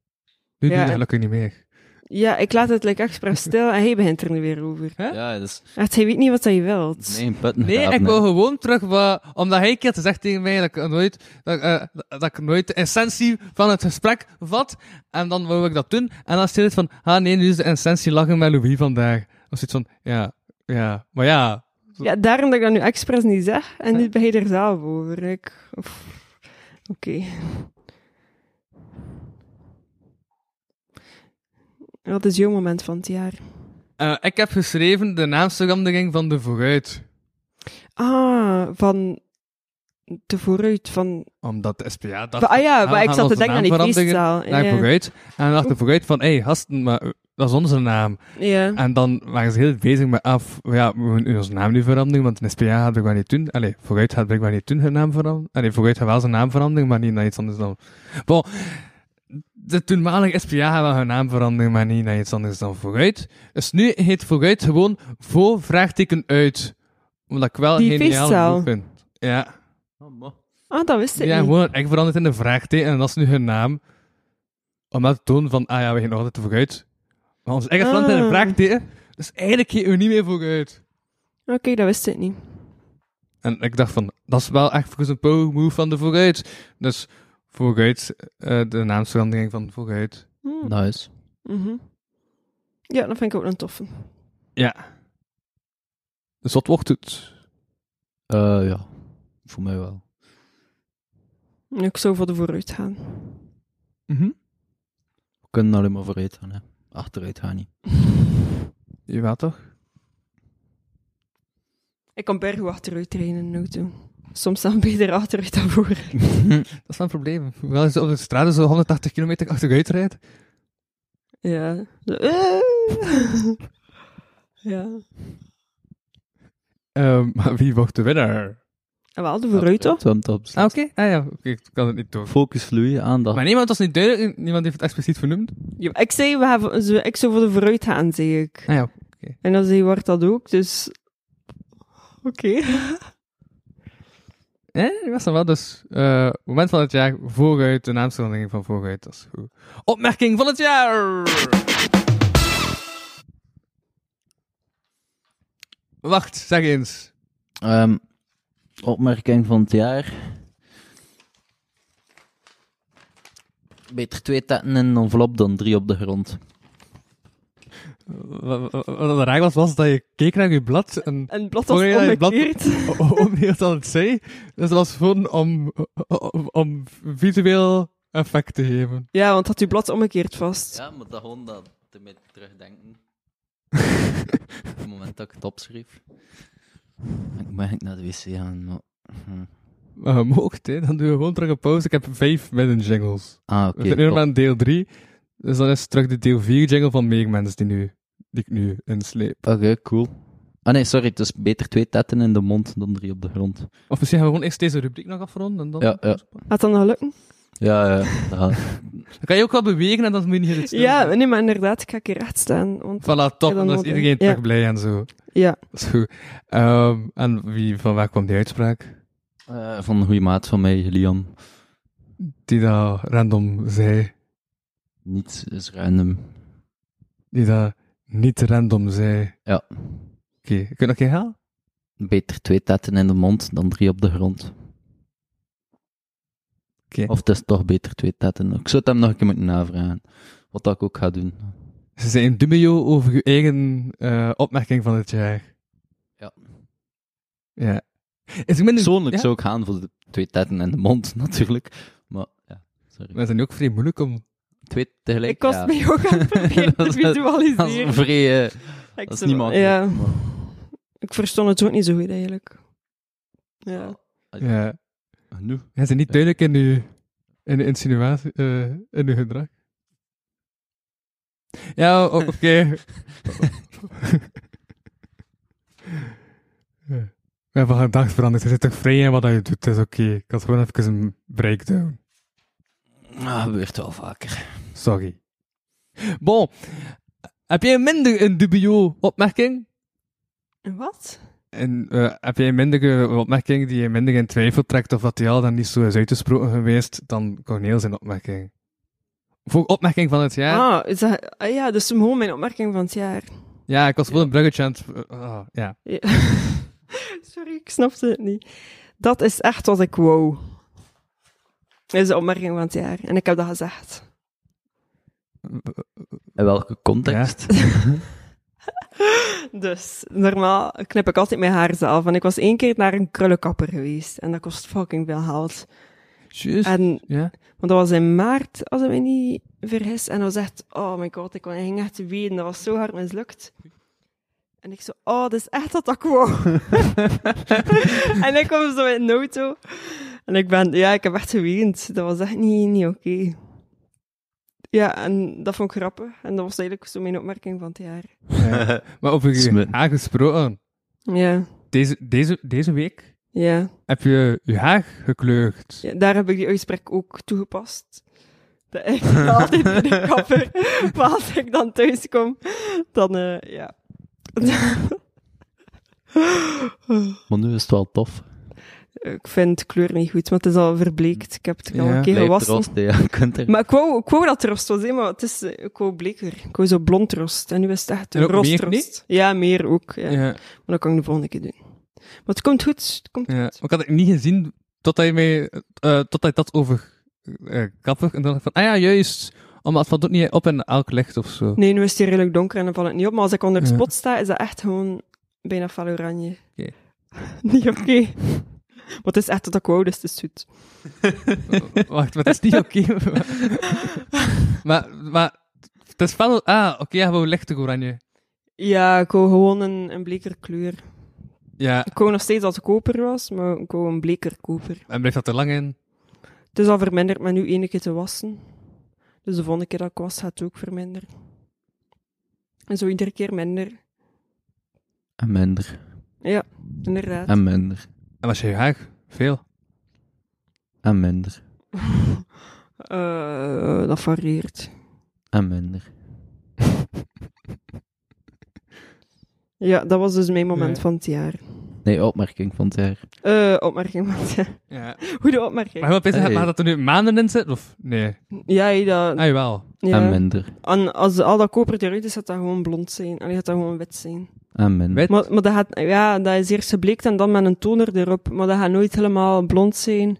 Speaker 3: Nu doe
Speaker 5: Ja,
Speaker 3: je dat
Speaker 5: en-
Speaker 3: gelukkig niet meer.
Speaker 5: Ja, ik laat het like, expres stil en hij begint er nu weer over.
Speaker 4: Ja, dat is...
Speaker 5: Echt, hij weet niet wat hij wilt.
Speaker 4: Nee, putten
Speaker 3: Nee,
Speaker 4: gaat,
Speaker 3: ik wil gewoon terug, wat, omdat hij een keer te zeggen tegen mij dat ik, nooit, dat, ik, eh, dat ik nooit de essentie van het gesprek vat. En dan wou ik dat doen. En dan stel het van, ah nee, nu is de essentie lachen met Louis vandaag. Of zoiets van, ja, ja, maar ja.
Speaker 5: Ja, daarom dat ik dat nu expres niet zeg en nu ben je er zelf over. Ik, of- Oké. Wat is jouw moment van het jaar?
Speaker 3: Eh, ik heb geschreven de naamsverandering van de vooruit.
Speaker 5: Ah, van de vooruit van...
Speaker 3: Omdat de SPA dacht...
Speaker 5: Van- ah ja,
Speaker 3: we
Speaker 5: maar ik
Speaker 3: gaan
Speaker 5: zat te
Speaker 3: onze
Speaker 5: denken aan
Speaker 3: naam
Speaker 5: die
Speaker 3: veranderen
Speaker 5: feestzaal.
Speaker 3: Naar
Speaker 5: Ja.
Speaker 3: vooruit. En dan dacht de vooruit van, hé, hey, gasten, maar eh, dat is onze naam.
Speaker 5: Ja.
Speaker 3: En dan waren ze heel bezig met af, ja, we moeten onze naam nu veranderen, want een SPA gaat blijkbaar niet doen. Allee, vooruit gaat blijkbaar niet doen hun naam veranderen. Allee, vooruit gaat wel zijn naam veranderen, maar niet naar iets anders dan... Bon, de toenmalige SPA gaat wel hun naam veranderen, maar niet naar iets anders dan vooruit. Dus nu heet vooruit gewoon voor vraagteken uit. Omdat ik wel
Speaker 5: Die
Speaker 3: geniaal
Speaker 5: feestzaal.
Speaker 3: genoeg vind. Ja.
Speaker 5: Ah, dat wist ik
Speaker 3: Ja,
Speaker 5: niet.
Speaker 3: gewoon het echt veranderd in een vraagteken en dat is nu hun naam. Om dat te tonen van, ah ja, we gaan nog altijd vooruit. Maar ons eigen veranderd in een
Speaker 5: Ah.
Speaker 3: vraagteken, dus eigenlijk gingen we niet meer vooruit.
Speaker 5: Oké, dat wist ik niet.
Speaker 3: En ik dacht van, dat is wel echt volgens een power move van de vooruit. Dus vooruit, eh, de naamsverandering van vooruit.
Speaker 5: Hm.
Speaker 4: Nice.
Speaker 5: Mhm. Ja, dat vind ik ook een toffe.
Speaker 3: Ja. Dus wat wordt het?
Speaker 4: Eh, ja, voor mij wel.
Speaker 5: Ik zou voor de vooruit gaan.
Speaker 3: Mhm.
Speaker 4: We kunnen alleen maar vooruit gaan, hè. Achteruit gaan niet.
Speaker 3: Jawel toch?
Speaker 5: Ik kan berg achteruit trainen in een auto. Soms dan beter achteruit dan vooruit.
Speaker 3: Dat is wel een probleem. Hoewel je zo op de straten zo 180 kilometer achteruit rijdt.
Speaker 5: Ja. Zo, eh. ja.
Speaker 3: Eh, maar wie wordt de winnaar?
Speaker 5: En wel, de vooruit toch?
Speaker 4: Zwem top.
Speaker 3: Ah, oké. Ah ja, oké, ik kan het niet door.
Speaker 4: Focus, Louis, aandacht.
Speaker 3: Maar niemand was niet duidelijk, niemand heeft het expliciet vernoemd.
Speaker 5: Ja, ik zei, we hebben, zo- ik zou voor de vooruit gaan, zei ik.
Speaker 3: Ah ja,
Speaker 5: En dan zei Wart dat ook, dus... Oké.
Speaker 3: Eh, die was dan wel dus eh, moment van het jaar vooruit, de naamstelling van vooruit, dat is goed. Opmerking van het jaar! Wacht, zeg eens.
Speaker 4: Ehm, opmerking van het jaar. Beter twee tetten in een envelop dan drie op de grond.
Speaker 3: Wat wat- wat raar was, was dat je keek naar je blad en...
Speaker 5: En het blad was
Speaker 3: hoor je dat je
Speaker 5: omgekeerd.
Speaker 3: o- o- omgekeerd aan het zij. Dus dat was gewoon om, om, om visueel effect te geven.
Speaker 5: Ja, want had uw blad omgekeerd vast.
Speaker 4: Ja, maar dat gewoon dat te mee terugdenken. Op het moment dat ik het opschreef. Ik moet eigenlijk naar de wc gaan. Maar... hm.
Speaker 3: Maar je mocht, hè. dan doen we gewoon terug een pauze. Ik heb vijf midden jingles.
Speaker 4: Ah, oké,
Speaker 3: We zitten nu nog
Speaker 4: top.
Speaker 3: aan deel 3. Dus dan is terug de deel 4 jingle van Megamens die, nu, die ik nu insleep.
Speaker 4: Oké, cool. Ah nee, sorry, het is beter twee tetten in de mond dan drie op de grond.
Speaker 3: Of misschien gaan we gewoon eerst deze rubriek nog afronden. En dan...
Speaker 4: Ja, ja.
Speaker 5: Had dat nog lukken?
Speaker 4: Ja, ja. dat gaat.
Speaker 3: Dan kan je ook wel bewegen en dan moet je niet het stil.
Speaker 5: Ja, nee, maar inderdaad, ik ga een keer recht staan. Want
Speaker 3: Voilà, top.
Speaker 5: Ja,
Speaker 3: Dan is
Speaker 5: moet-
Speaker 3: iedereen
Speaker 5: ja.
Speaker 3: terug blij en zo.
Speaker 5: Ja.
Speaker 3: Dat is goed. Ehm, en wie, van waar kwam die uitspraak?
Speaker 4: Eh, van een goede maat van mij, Liam.
Speaker 3: Die dat random zei.
Speaker 4: Niets is random.
Speaker 3: Die dat niet random zei.
Speaker 4: Ja.
Speaker 3: Oké, kun je nog een halen?
Speaker 4: Beter twee tetten in de mond dan drie op de grond.
Speaker 3: Oké.
Speaker 4: Of het is toch beter twee tetten. Ik zou het hem nog een keer moeten navragen. Wat dat ik ook ga doen.
Speaker 3: Ze zijn dubio over uw eigen eh, opmerking van het jaar.
Speaker 4: Ja.
Speaker 3: Ja. Is ik minder...
Speaker 4: Persoonlijk
Speaker 3: ja?
Speaker 4: zou ik gaan voor de twee tetten in de mond, natuurlijk. Maar ja, sorry.
Speaker 3: Maar het is nu ook vrij moeilijk om...
Speaker 4: Twee tegelijk.
Speaker 5: Ik was
Speaker 4: ja.
Speaker 5: mij ook aan het proberen te
Speaker 4: Dat is- Dat is
Speaker 5: visualiseren.
Speaker 4: een vrij... eh,
Speaker 5: Ik
Speaker 4: dat is
Speaker 5: zo-
Speaker 4: niet makkelijk.
Speaker 5: Ja.
Speaker 4: maar-
Speaker 5: Ik verstond het ook niet zo goed eigenlijk. Ja.
Speaker 3: Ja.
Speaker 4: Nu?
Speaker 3: Hij is niet duidelijk in uw, in uw insinuatie, eh, in uw gedrag. Ja, o- oké. ja. We hebben gedacht veranderd. Je zit toch vrij in wat je doet. Het is oké. Ik had gewoon even een breakdown.
Speaker 4: Ah, gebeurt wel vaker.
Speaker 3: Sorry. Bon. Heb jij minder een dubio opmerking?
Speaker 5: Wat?
Speaker 3: En eh, heb jij minder eh, opmerking die je minder in twijfel trekt of dat die al dan niet zo is uitgesproken geweest dan Corneel zijn opmerking? Voor opmerking van het jaar?
Speaker 5: Ah, is dat, ah ja, dus gewoon mijn opmerking van het jaar.
Speaker 3: Ja, ik was gewoon een bruggetje aan het... eh, ah, ja.
Speaker 5: Ja. Sorry, ik snapte het niet. Dat is echt wat ik wou. Dat is de opmerking van het jaar. En ik heb dat gezegd.
Speaker 4: In welke context?
Speaker 5: Dus, normaal knip ik altijd mijn haar zelf. En ik was één keer naar een krullenkapper geweest. En dat kost fucking veel geld.
Speaker 3: Juist.
Speaker 5: En,
Speaker 3: ja.
Speaker 5: Want dat was in maart, als ik me niet vergis. En dat was echt, oh my god, ik kon- ik ging echt ween. Dat was zo hard mislukt. En ik zo, oh, dat is echt wat ik wou. en ik kwam zo in de auto. En ik ben, ja, ik heb echt geweend. Dat was echt niet, niet oké. Ja, en dat vond ik grappig. En dat was eigenlijk zo mijn opmerking van het jaar.
Speaker 3: Ja. Maar over je
Speaker 4: Smitten.
Speaker 3: haar gesproken.
Speaker 5: Ja,
Speaker 3: Deze, deze, deze week
Speaker 5: ja.
Speaker 3: heb je je haar gekleurd.
Speaker 5: Ja, daar heb ik die uitspraak ook toegepast. Dat ik altijd bij de kapper, maar als ik dan thuis kom, dan eh, ja.
Speaker 4: Maar nu is het wel tof.
Speaker 5: ik vind de kleur niet goed, maar het is al verbleekt. Ik heb het al
Speaker 3: Ja.
Speaker 5: een keer
Speaker 4: Blijft
Speaker 5: gewassen.
Speaker 4: rosten, ja. Je kunt er...
Speaker 5: Maar ik wou, ik wou dat rost was, hè, maar het is, eh, ik wou bleker. Ik wou zo blond rost. En nu is het echt
Speaker 3: En ook
Speaker 5: rost,
Speaker 3: meer
Speaker 5: rost.
Speaker 3: niet?
Speaker 5: Ja, meer ook. Ja.
Speaker 3: Ja.
Speaker 5: Maar dat kan ik de volgende keer doen. Maar het komt goed. Het komt
Speaker 3: Ja,
Speaker 5: goed.
Speaker 3: ik had het niet gezien totdat je, mij, eh, totdat je dat over eh kapper. En dan dacht ik van, ah ja, juist. Omdat het valt ook niet op in elk licht of zo.
Speaker 5: Nee, nu is het hier redelijk donker en dan valt het niet op. Maar als ik onder het
Speaker 3: Ja.
Speaker 5: spot sta, is dat echt gewoon bijna fel oranje.
Speaker 3: Oké.
Speaker 5: niet oké. Maar het is echt dat ik wou, dus het is zoet.
Speaker 3: Wacht, maar het is niet oké. maar, maar het is wel... Ah, oké, ja, gewoon lichtig oranje.
Speaker 5: Ja, ik wou gewoon een, een bleker kleur.
Speaker 3: Ja,
Speaker 5: Ik wou nog steeds dat het koper was, maar ik wou een bleker koper.
Speaker 3: en blijft dat er lang in?
Speaker 5: Het is al verminderd, maar nu één keer te wassen. Dus de volgende keer dat ik was, gaat het ook verminderen. En zo iedere keer minder.
Speaker 4: En minder.
Speaker 5: Ja, inderdaad.
Speaker 4: En minder.
Speaker 3: En was je je haar? Veel.
Speaker 4: En minder.
Speaker 5: Eh, dat varieert.
Speaker 4: En minder.
Speaker 5: Ja, dat was dus mijn moment
Speaker 3: Ja.
Speaker 5: van het jaar.
Speaker 4: Nee, opmerking van het jaar.
Speaker 5: Eh, opmerking, man.
Speaker 3: Ja.
Speaker 5: Goede opmerking.
Speaker 3: Maar je opeens
Speaker 4: Hey.
Speaker 3: maar dat er nu maanden in zit, of? Nee.
Speaker 5: Ja, ja, dat...
Speaker 3: Ah, jawel.
Speaker 5: Ja.
Speaker 4: En minder.
Speaker 5: En als al dat koper eruit is, gaat dat gewoon blond zijn. Allee, gaat dat gewoon wit zijn.
Speaker 4: En minder.
Speaker 5: Maar, maar dat, gaat, ja, dat is eerst gebleekt en dan met een toner erop. Maar dat gaat nooit helemaal blond zijn.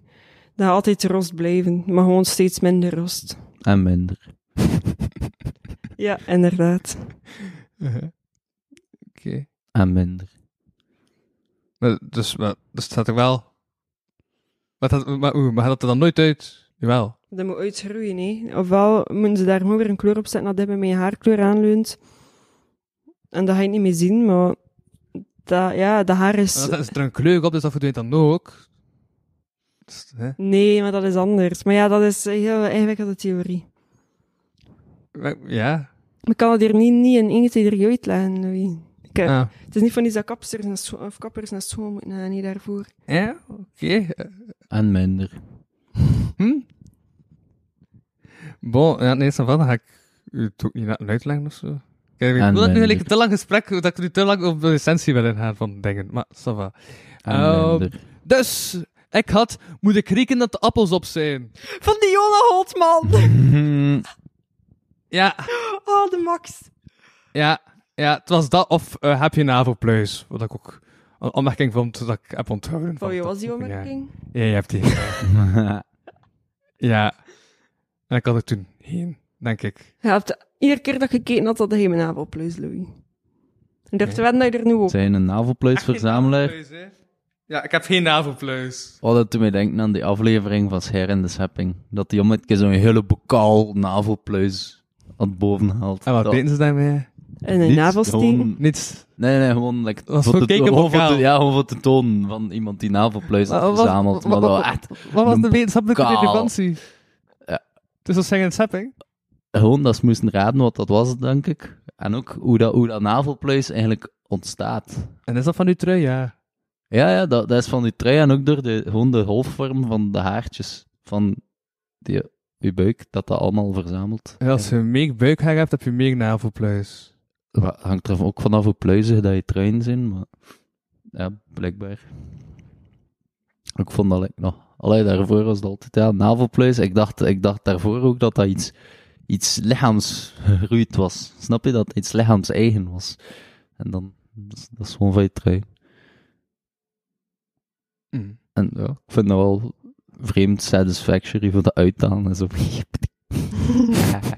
Speaker 5: Dat gaat altijd rost blijven, maar gewoon steeds minder rost.
Speaker 4: En minder.
Speaker 5: Ja, inderdaad.
Speaker 3: Oké.
Speaker 4: En minder.
Speaker 3: Maar Dus, maar, dus het staat er wel. Maar, dat, maar, oeh, maar gaat het er dan nooit uit? Jawel.
Speaker 5: Dat moet uitgroeien, hè. Ofwel moeten ze daar gewoon weer een kleur op zetten dat dit bij mijn haarkleur aanleunt. En dat ga je niet meer zien, maar... Dat, ja, dat haar is...
Speaker 3: Maar Dan is er een kleur op, dus dat verdwijnt dan ook. Dus, hè?
Speaker 5: Nee, maar dat is anders. Maar ja, dat is een heel ingewikkelde theorie.
Speaker 3: Maar- Ja.
Speaker 5: Ik kan het hier niet, niet in 1, 2, 3 uitleggen, Louis. Ik, eh,
Speaker 3: Ah.
Speaker 5: Het is niet van iets dat kapsters naar school, of kappers naar school moeten gaan, niet daarvoor.
Speaker 3: Ja, oké. Eh,
Speaker 4: En minder.
Speaker 3: Hm? Bon, ja, nee, van dan ga ik u het ook niet laten uitleggen of zo. Kijk, ik
Speaker 4: En
Speaker 3: voel dat nu
Speaker 4: minder.
Speaker 3: eigenlijk een te lang gesprek, dat ik nu te lang op de essentie wil ingaan van dingen. Maar, ça va.
Speaker 4: En
Speaker 3: Ehm,
Speaker 4: Ah, minder.
Speaker 3: dus, ik had, moet ik rekenen dat de appels op zijn?
Speaker 5: Van die Jona Holtman!
Speaker 3: Hmm. Ja,
Speaker 5: Oh, de Max.
Speaker 3: ja, ja, het was dat of eh, heb je een avondpluis, wat ik ook een opmerking vond dat ik heb onthouden. van
Speaker 5: Oh, je
Speaker 3: dat
Speaker 5: was die
Speaker 3: oefenjaar.
Speaker 5: opmerking?
Speaker 3: Ja, je hebt die. gedaan. ja. En ik had er toen heen, denk ik.
Speaker 5: Je hebt iedere keer dat je gekeken had, dat je mijn naam opleus, Louis. En durf te wedden dat je er nu op...
Speaker 4: Zijn een navelpluisverzamelaar.
Speaker 3: Ja, ik heb geen navelpluis.
Speaker 4: Oh, dat doet mij denken aan die aflevering van Scher en de Schepping. Dat die om het keer zo'n hele bokaal navelpluis aan het boven haalt.
Speaker 3: En Ah, wat
Speaker 4: Dat-
Speaker 3: deden ze daarmee?
Speaker 5: En een
Speaker 4: Niets,
Speaker 5: navelsteek.
Speaker 4: gewoon-
Speaker 3: Niets.
Speaker 4: Nee, nee, gewoon... Like,
Speaker 3: was
Speaker 4: voor
Speaker 3: voor
Speaker 4: te-
Speaker 3: keken
Speaker 4: gewoon voor te-
Speaker 3: bokaal.
Speaker 4: Ja, gewoon voor te tonen van iemand die navelpluis had
Speaker 3: Wat was-
Speaker 4: verzameld.
Speaker 3: wat-
Speaker 4: Maar
Speaker 3: wat-
Speaker 4: dat echt...
Speaker 3: Wat was
Speaker 4: een
Speaker 3: de wetenschappelijke
Speaker 4: bokaal.
Speaker 3: relevantie? Dus
Speaker 4: Ja.
Speaker 3: Tussen zeggen en schepping?
Speaker 4: Gewoon dat ze moesten raden wat dat was, denk ik. En ook hoe dat, hoe dat navelpluis eigenlijk ontstaat.
Speaker 3: En is dat van uw trui? Ja.
Speaker 4: Ja, ja dat, dat is van die trui en ook door de, gewoon de golfvorm van de haartjes van die, uw buik, dat dat allemaal verzamelt.
Speaker 3: En als je meer buikhaar hebt, heb je meer navelpluis.
Speaker 4: Wa- hangt er ook vanaf hoe pluizig dat je truien zijn, maar ja, blijkbaar. Ik vond dat like, nog. Allee, daarvoor was het altijd ja, navelpluis. Ik dacht, ik dacht daarvoor ook dat dat iets, iets lichaamsgeruid was. Snap je dat? het Iets lichaams eigen was. En dan, dat is, dat is gewoon van je trui.
Speaker 3: Mm.
Speaker 4: En ja, ik vind dat wel vreemd satisfactory voor de uithalen en zo.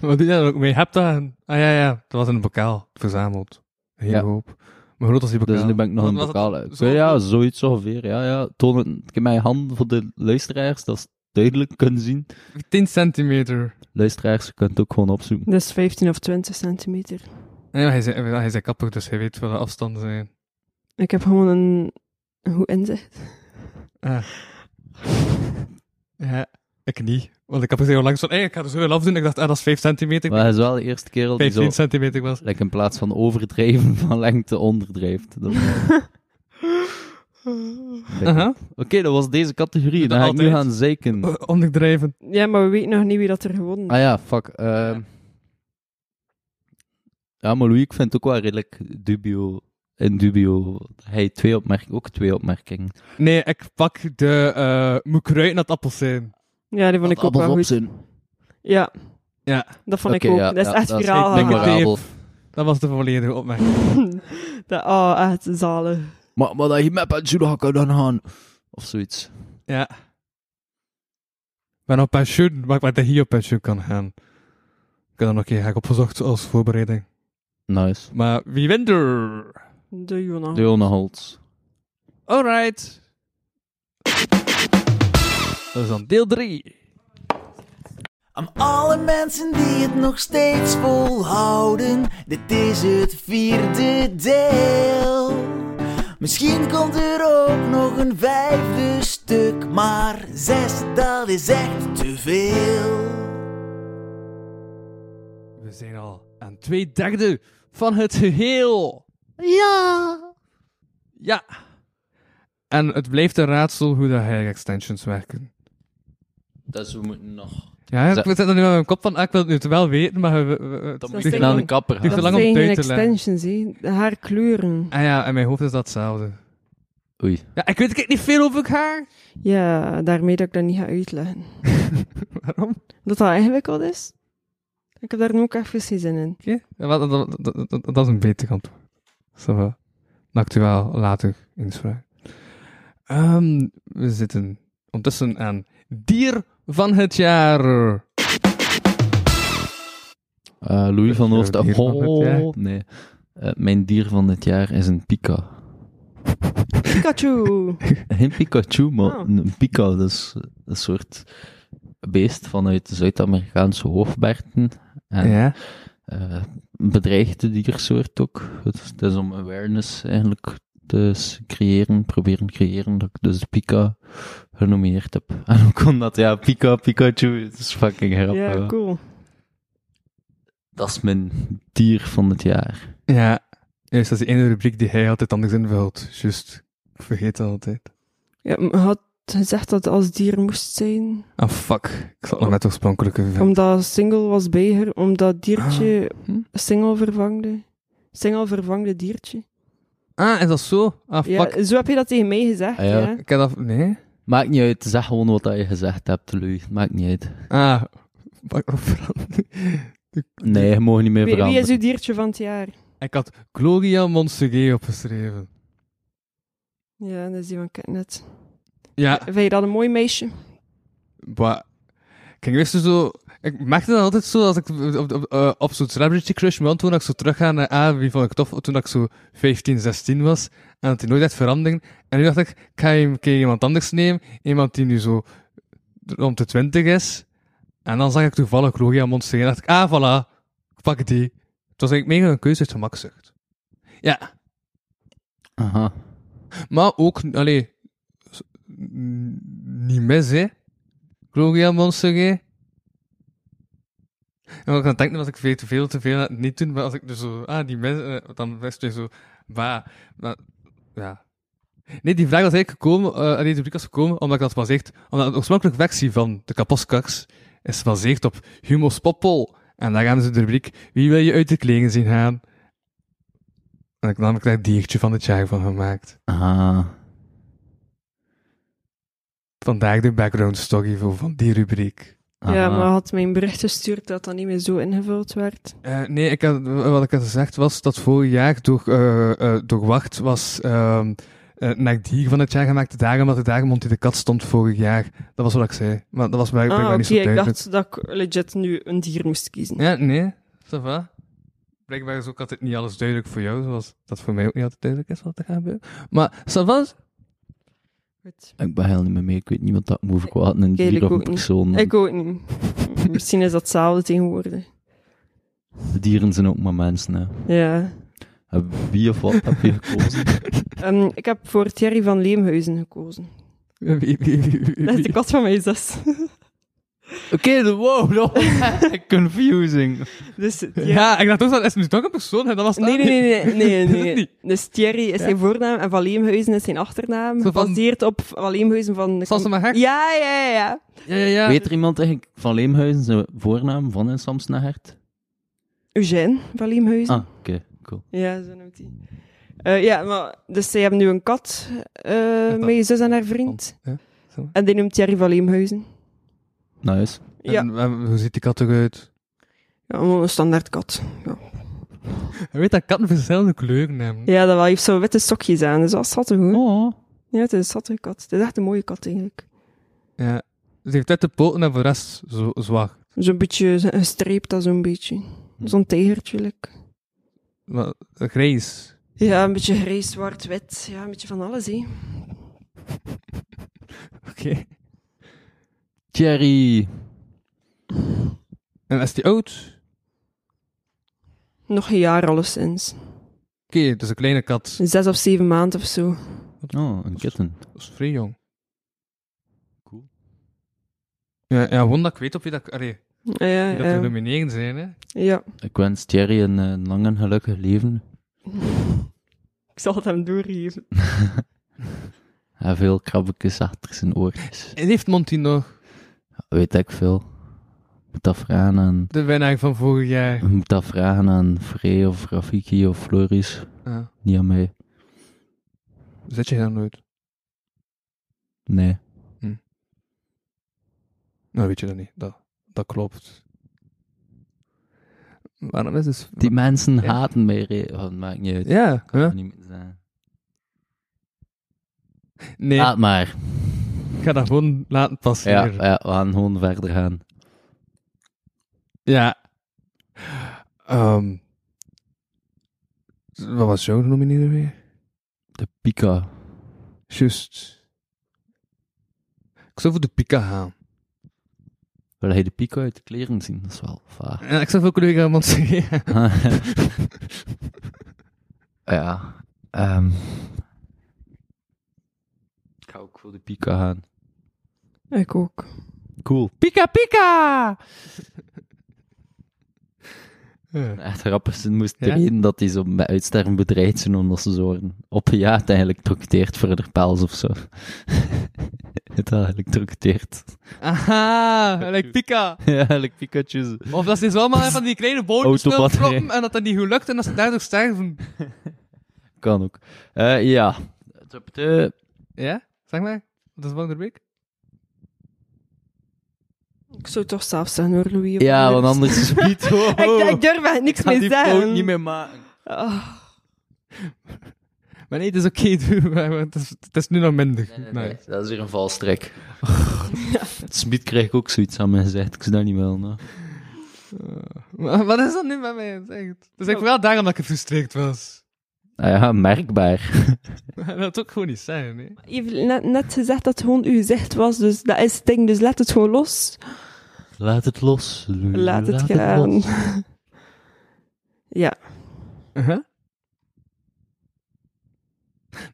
Speaker 3: Wat doe je daar ook mee? Heb dat? een- Ah ja, ja. Het was in een bokaal verzameld. Een hele
Speaker 4: Ja.
Speaker 3: hoop. Maar groot als die bokaal.
Speaker 4: Dus nu ben ik nog
Speaker 3: Wat
Speaker 4: een
Speaker 3: was
Speaker 4: bokaal
Speaker 3: het?
Speaker 4: uit.
Speaker 3: Zo-
Speaker 4: ja, zoiets ongeveer. Ja, ja. Toon het een keer met je hand voor de luisteraars, dat ze het duidelijk kunnen zien.
Speaker 3: 10 centimeter.
Speaker 4: Luisteraars, je kunt het ook gewoon opzoeken.
Speaker 5: Dat is 15 of 20 centimeter.
Speaker 3: Nee, maar hij is, hij is een kapper, dus hij weet wat de afstanden zijn.
Speaker 5: Ik heb gewoon een... een goed inzicht.
Speaker 3: Ah. Ja, ik niet. Want ik heb gezegd langs van, hey, ik ga er zo heel af doen. Ik dacht, ah, dat is 5 centimeter.
Speaker 4: Maar hij is wel de eerste kerel die
Speaker 3: 15
Speaker 4: zo,
Speaker 3: centimeter was.
Speaker 4: like, in plaats van overdreven van lengte, onderdrijft. Dat- Oké,
Speaker 3: Aha.
Speaker 4: dat was deze categorie.
Speaker 3: Doe
Speaker 4: Dan
Speaker 3: dat
Speaker 4: ga ik nu
Speaker 3: altijd.
Speaker 4: gaan zeiken.
Speaker 3: Eh, Onderdrijven.
Speaker 5: Ja, maar we weten nog niet wie dat er gewonnen heeft.
Speaker 4: Ah ja, fuck. ehm. Ja, maar Louis, ik vind het ook wel redelijk dubio. In dubio. Hij twee opmerkingen, ook twee opmerkingen.
Speaker 3: Nee, ik pak de eh moet kruiden dat appels zijn.
Speaker 4: Ah,
Speaker 5: Ja, die vond ik ook wel goed.
Speaker 4: zijn.
Speaker 5: Ja.
Speaker 3: Ja.
Speaker 5: Dat vond
Speaker 4: Oké,
Speaker 5: ik ook.
Speaker 4: ja,
Speaker 5: dat is
Speaker 4: ja,
Speaker 5: echt
Speaker 4: dat is
Speaker 5: viraal.
Speaker 4: echt
Speaker 5: gegaan.
Speaker 4: memorabel.
Speaker 3: Dat was de volledige opmerking.
Speaker 5: Dat, oh, echt zalig.
Speaker 4: Maar, maar dat je met pensioen gaat kunnen gaan. Of zoiets.
Speaker 3: Ja. Ik ben op pensioen, maar ik ben dat hier op pensioen kan gaan. Ik heb dat nog een keer gek opgezocht als voorbereiding.
Speaker 4: Nice.
Speaker 3: Maar wie wint er?
Speaker 5: De Jona.
Speaker 4: Leona Holtz.
Speaker 3: Alright. Dat is dan deel 3.
Speaker 12: Aan alle mensen die het nog steeds volhouden, dit is het vierde deel. Misschien komt er ook nog een vijfde stuk, maar zes, dat is echt te veel.
Speaker 3: We zijn al aan twee derde van het geheel.
Speaker 12: Ja,
Speaker 3: Ja. En het blijft een raadsel hoe de hair extensions werken.
Speaker 4: Dus we moeten nog
Speaker 3: Ja,
Speaker 4: Ze-
Speaker 3: ik zit er nu aan mijn kop van, ah, ik wil het nu wel weten, maar... We, we- we-
Speaker 4: Dan
Speaker 3: het
Speaker 4: moet
Speaker 3: duurt
Speaker 4: je
Speaker 3: te lang-
Speaker 4: naar de kapper
Speaker 3: het
Speaker 4: gaan.
Speaker 3: duurt te lang om
Speaker 5: zijn
Speaker 3: het
Speaker 5: geen
Speaker 3: uit te leggen.
Speaker 5: extensions, hè. Haar kleuren.
Speaker 3: Ah ja, in mijn hoofd is dat hetzelfde.
Speaker 4: Oei.
Speaker 3: Ja, ik weet ik niet veel over haar.
Speaker 5: Ja, daarmee dat ik dat niet ga uitleggen.
Speaker 3: Waarom?
Speaker 5: Dat dat ingewikkeld is. Ik heb daar nu ook even geen zin in.
Speaker 3: Ja, maar dat, dat, dat- dat- dat is een beter antwoord. Ça va. Dan ik u wel later eens vragen. Ehm, we zitten ondertussen aan dier van het jaar.
Speaker 4: Eh, Louis van Oost.
Speaker 3: dier van het jaar.
Speaker 4: Oh, nee. Eh, mijn dier van dit jaar is een pika.
Speaker 5: Pikachu!
Speaker 4: Geen Pikachu, maar
Speaker 5: Oh.
Speaker 4: een pika. Dat is een soort beest vanuit de Zuid-Amerikaanse hoofdberten. En,
Speaker 3: Ja.
Speaker 4: eh, een bedreigde diersoort ook. Het is, het is om awareness eigenlijk te s- creëren, proberen te creëren, dat ik dus pika genomineerd heb. En ook omdat, ja, pika, Pikachu, het is fucking grappig.
Speaker 5: Ja,
Speaker 4: hè.
Speaker 5: cool.
Speaker 4: Dat is mijn dier van het jaar.
Speaker 3: Ja, juist, dat is die ene rubriek die hij altijd anders invult. Juist, ik vergeet dat altijd.
Speaker 5: Ja, maar je had gezegd dat het als dier moest zijn.
Speaker 3: Ah, fuck. Ik zat nog met het oorspronkelijke vervelen.
Speaker 5: Omdat single was bij haar, omdat diertje
Speaker 3: Ah.
Speaker 4: hm?
Speaker 5: single vervangde. Single vervangde diertje.
Speaker 3: Ah, is dat zo? Ah, fuck.
Speaker 5: Ja, eh, zo heb je dat tegen mij gezegd,
Speaker 4: Ah,
Speaker 5: ja.
Speaker 4: ja.
Speaker 3: Ik heb dat... Nee?
Speaker 4: Maakt niet uit, zeg gewoon wat dat je gezegd hebt, Louis. Maakt niet uit.
Speaker 3: Ah, fuck. of veranderen.
Speaker 4: Nee, je mag niet
Speaker 5: Wie,
Speaker 4: meer
Speaker 5: wie
Speaker 4: veranderen.
Speaker 5: is uw diertje van het jaar?
Speaker 3: Ik had Gloria Monserrat opgeschreven.
Speaker 5: Ja, dat is die van Ketnet.
Speaker 3: Ja,
Speaker 5: Vind je dat een mooi meisje?
Speaker 3: maar... Kijk, wist je zo... Ik merkte dat altijd zo, als ik op, op, eh, op zo'n celebrity crush me toen ik zo terugga naar A, wie vond ik tof, toen ik zo 15, 16 was, en dat die nooit echt verandering. En nu dacht ik, ik ga een keer iemand anders nemen, iemand die nu zo rond de 20 is. En dan zag ik toevallig Gloria Monster en dacht ik, ah, voilà, ik pak die. Het was eigenlijk mega een keuze uit gemakzucht. Ja,
Speaker 4: Aha.
Speaker 3: Maar ook, allee, s- n- niet mis, hè? Gloria Monserrat. En wat ik aan het denken was, ik veel te veel, te veel aan het niet doen, maar als ik dus zo, ah, die mis, eh, dan is het weer zo, bah, maar, ja. Nee, die vraag was eigenlijk gekomen, eh allee, die rubriek was gekomen, omdat ik dat baseert, omdat de oorspronkelijke versie van de Kaposkaks is gebaseerd op Humo Spoppel. En daar gaan ze de rubriek, wie wil je uit de kleren zien gaan? En ik namelijk daar diertje van het jaar van gemaakt.
Speaker 4: Ah.
Speaker 3: Vandaag de background story voor van die rubriek.
Speaker 5: Ja,
Speaker 4: Aha.
Speaker 5: maar had mijn bericht gestuurd dat dat niet meer zo ingevuld werd.
Speaker 3: Eh, nee, ik had, wat ik had gezegd was dat vorig jaar door, eh, eh, door Wacht was ehm eh, naar dier van het jaar gemaakt. Daarom dat de Dagemond die de kat stond vorig jaar. Dat was wat ik zei. Maar dat was bij
Speaker 5: ah,
Speaker 3: blijkbaar
Speaker 5: oké,
Speaker 3: niet zo
Speaker 5: ik
Speaker 3: duidelijk.
Speaker 5: dacht dat ik legit nu een dier moest kiezen.
Speaker 3: Ja, nee. Ça va. Blijkbaar is ook altijd niet alles duidelijk voor jou, zoals dat voor mij ook niet altijd duidelijk is wat er gaat gebeuren. Maar, ça va?
Speaker 5: Goed.
Speaker 4: Ik ben helemaal niet meer mee. Ik weet niet wat dat moet verkwaden. Een
Speaker 5: Kijk, ik
Speaker 4: dier of een
Speaker 5: ook niet.
Speaker 4: persoon.
Speaker 5: Ik ook niet. Misschien is dat hetzelfde tegenwoordig.
Speaker 4: Dieren zijn ook maar mensen. Hè.
Speaker 5: Ja.
Speaker 4: En Wie of wat heb je gekozen?
Speaker 5: Ehm, ik heb voor Thierry van Leemhuizen gekozen.
Speaker 3: Wie- wie- wie- wie- wie-
Speaker 5: Dat is de
Speaker 3: wie-
Speaker 5: kat van mijn zus.
Speaker 4: Oké, de wow, no. confusing.
Speaker 5: Dus, ja.
Speaker 3: Ja, ik dacht ook dat is nu toch een persoon hè? Dat was
Speaker 5: Nee, nee, nee, nee, nee,
Speaker 3: Is het
Speaker 5: nee.
Speaker 3: niet?
Speaker 5: Dus Thierry is zijn voornaam en Van Leemhuizen is zijn achternaam.
Speaker 3: Zo van-
Speaker 5: Gebaseerd op Van Leemhuizen van... de-
Speaker 3: Sassen maar gek.
Speaker 5: Ja, ja, ja, ja.
Speaker 3: Ja, ja, ja.
Speaker 4: Weet er iemand eigenlijk van Leemhuizen zijn voornaam van in Samsnahert?
Speaker 5: Eugène Van Leemhuizen.
Speaker 4: Ah, oké, cool.
Speaker 3: Ah.
Speaker 5: Ja, zo noemt hij. Eh, ja, maar... Dus zij hebben nu een kat eh
Speaker 3: dat-
Speaker 5: met je zus en haar vriend.
Speaker 3: Ja,
Speaker 5: En die noemt Thierry Van Leemhuizen.
Speaker 4: Nice.
Speaker 5: Ja,
Speaker 3: En, en hoe ziet die kat eruit?
Speaker 5: ja gewoon een standaard kat. Ja,
Speaker 3: Hij weet dat katten verschillende kleuren hebben.
Speaker 5: ja dat wel, hij heeft zo witte sokjes aan, dus dat is schattig hoor.
Speaker 4: Oh.
Speaker 5: Ja, het is een schattige kat. Het is echt een mooie kat eigenlijk.
Speaker 3: Ja. Ze heeft uit de poten en voor de rest zo zwak.
Speaker 5: Zo'n beetje gestreept, dat zo'n beetje.
Speaker 3: Hm.
Speaker 5: Zo'n tijgertje, like.
Speaker 3: Maar, eh, grijs.
Speaker 5: Ja, een beetje grijs, zwart, wit. Ja, een beetje van alles, hè.
Speaker 3: Oké.
Speaker 4: Thierry.
Speaker 3: En is die oud?
Speaker 5: Nog een jaar alleszins.
Speaker 3: Oké, dus een kleine kat.
Speaker 5: Zes of zeven maanden of zo.
Speaker 4: Oh, een kitten.
Speaker 3: Dat is vrij jong.
Speaker 4: Cool.
Speaker 3: Ja, ja, gewoon dat ik weet op wie dat, allee,
Speaker 5: Ja, Ah, ja, ehm.
Speaker 3: wie dat
Speaker 5: ja.
Speaker 3: de nomineringen zijn, hè.
Speaker 5: Ja.
Speaker 4: Ik wens Thierry een, eh, lang en gelukkig leven.
Speaker 5: Ik zal het hem doorgeven.
Speaker 4: En veel krabbekjes achter zijn oortjes.
Speaker 3: En heeft Monty nog?
Speaker 4: Weet ik veel. moet dat vragen aan...
Speaker 3: De winnaar van vorig jaar.
Speaker 4: Je moet dat vragen aan Frey of Rafiki of Floris.
Speaker 3: Ja.
Speaker 4: Niet aan mij.
Speaker 3: Zit je daar nooit?
Speaker 4: Nee.
Speaker 3: Nou, weet je dat niet. Dat, dat klopt. Waarom is het...
Speaker 4: Die mensen haten mij. re- Oh, dat maakt niet uit.
Speaker 3: Ja,
Speaker 4: Ik kan
Speaker 3: hè?
Speaker 4: het niet meer zeggen.
Speaker 3: Nee.
Speaker 4: Laat maar.
Speaker 3: Ik ga dat gewoon laten
Speaker 4: Ja,
Speaker 3: passeren.
Speaker 4: ja, we gaan gewoon verder gaan.
Speaker 3: Ja. Ehm, wat was jouw genomineerde weer?
Speaker 4: De Pika.
Speaker 3: Juist. Ik zou voor de Pika gaan.
Speaker 4: Wil hij de Pika uit de kleren zien? Dat is wel vaag.
Speaker 3: Ja, ik zou voor collega Montseri gaan.
Speaker 4: Ja. ehm. Ik ga ook voor de Pika gaan.
Speaker 5: Ik ook.
Speaker 4: Cool.
Speaker 3: Pika Pika!
Speaker 4: Echt grappig. Ze moesten
Speaker 3: Ja?
Speaker 4: reden dat die zo met uitsterven bedreigd zijn omdat ze zo worden opgejaagd en geëlektrocuteerd voor de pels of zo. Het al geëlektrocuteerd.
Speaker 3: Aha, like Pika.
Speaker 4: ja, like Pikachu's.
Speaker 3: Of dat ze eens wel maar van die kleine bootjes wilden
Speaker 4: Autobatterij.
Speaker 3: proppen en dat dat niet gelukt en dat ze daardoor sterven.
Speaker 4: Kan ook. Eh, ja. Tup, tup.
Speaker 3: Ja? Zeg maar. Dat is volgende week.
Speaker 5: Ik zou het toch zelf zeggen hoor, Louis. of
Speaker 4: Ja,
Speaker 5: anders.
Speaker 4: want anders is het niet hoor.
Speaker 5: ik, ik durf echt niks
Speaker 4: Ik ga
Speaker 5: meer
Speaker 4: die
Speaker 5: zeggen.
Speaker 4: fout niet meer maken.
Speaker 5: Oh,
Speaker 3: Maar nee, het is oké, doe maar, want het, is, het is nu nog minder.
Speaker 4: Nee, dat is weer een valstrik. Smit krijg ik ook zoiets aan mijn gezegd. Ik zou dat niet wel. No.
Speaker 3: Maar Wat is dat nu bij mij? Zeg het. Dus ik vooral daarom dat ik gefrustreerd was.
Speaker 4: Ah ja, merkbaar.
Speaker 3: Dat had ook gewoon niet zijn, hè?
Speaker 5: je hebt net, net gezegd dat het gewoon uw zicht was, dus dat is het ding. Dus laat het gewoon los.
Speaker 4: Laat het los. Lulu,
Speaker 5: Laat het
Speaker 4: los.
Speaker 5: gaan. ja.
Speaker 3: Uh-huh.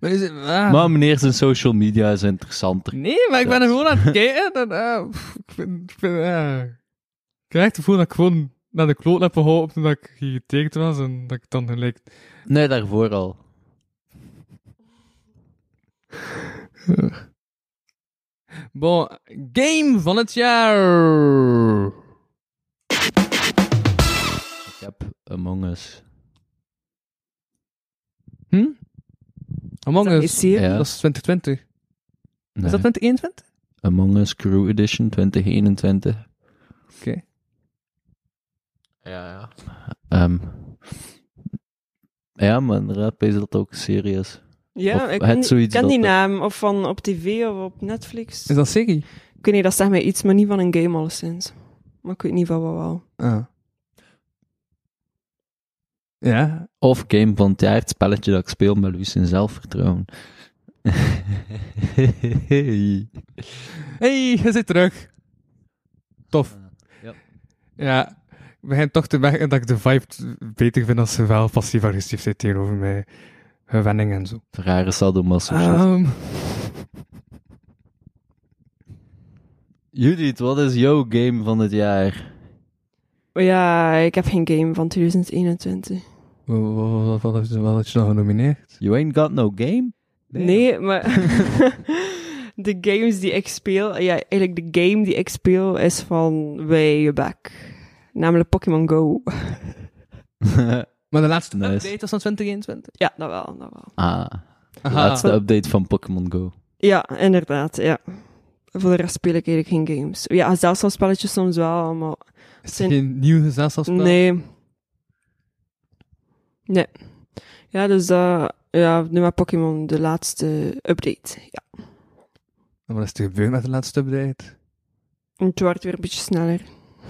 Speaker 3: Maar is het... ah.
Speaker 4: Maar meneer, zijn social media is interessanter.
Speaker 3: Nee, maar ik ben er gewoon aan het kijken. En, ah, pff, ik vind... Ik, vind, ah. ik krijg het gevoel dat ik gewoon naar de kloot heb geholpen toen ik getekend was en dat ik dan gelijk...
Speaker 4: Nee, daarvoor al.
Speaker 3: Bon, game van het jaar!
Speaker 4: Ik heb Among Us.
Speaker 3: Hm? Among Us.
Speaker 5: Dat is hier.
Speaker 4: Ja.
Speaker 3: Dat is 2020.
Speaker 4: Nee.
Speaker 3: Is dat 2021?
Speaker 4: Among Us Crew Edition 2021.
Speaker 3: Oké.
Speaker 4: Ja, ja. Ehm, ja, maar inderdaad, is dat ook serieus.
Speaker 5: Ja,
Speaker 4: Of
Speaker 5: ik
Speaker 4: het
Speaker 5: ken, die- ik
Speaker 4: zoiets
Speaker 5: ken
Speaker 4: dat
Speaker 5: die
Speaker 4: er-
Speaker 5: naam. Of van op tv of op Netflix.
Speaker 3: Is dat Siggy?
Speaker 5: Ik weet niet, dat zegt mij iets, maar niet van een game alleszins. Maar ik weet niet van wat wel.
Speaker 3: Ah. Ja.
Speaker 4: Of Game van het jaar, het spelletje dat ik speel met Luis in zelfvertrouwen.
Speaker 3: Hey, je zit terug.
Speaker 4: Ah.
Speaker 3: Tof.
Speaker 4: ja.
Speaker 3: Ja. Ik begin toch te merken dat ik de vibe t- beter vind als ze wel passief-agressief zit tegenover mij. Gewenning en zo.
Speaker 4: Rare sadomaso.
Speaker 3: Ehm,
Speaker 4: Judith, wat is jouw game van het jaar?
Speaker 5: Maar ja, ik heb geen game van 2021.
Speaker 3: wa- wa- wa- wat, had je- wat had je nog genomineerd?
Speaker 4: You ain't got no game?
Speaker 5: Nee, maar... de games die ik speel... Ja, eigenlijk de game die ik speel is van way back. Namelijk Pokémon Go.
Speaker 3: Maar de laatste
Speaker 4: Nice.
Speaker 3: update was van 2021?
Speaker 5: Ja, dat wel, dat wel.
Speaker 4: ah, de
Speaker 3: Aha.
Speaker 4: laatste update van Pokémon Go.
Speaker 5: Ja, inderdaad, ja. Voor de rest speel ik eigenlijk geen games. Ja, zelfspelletjes soms wel, maar...
Speaker 3: Is er geen nieuw gezelschapsspel?
Speaker 5: Nee. Nee. Ja, dus dat... Ja, nu maar Pokémon, de laatste update. Ja.
Speaker 3: Wat is er gebeurd met de laatste update?
Speaker 5: En het wordt weer een beetje sneller.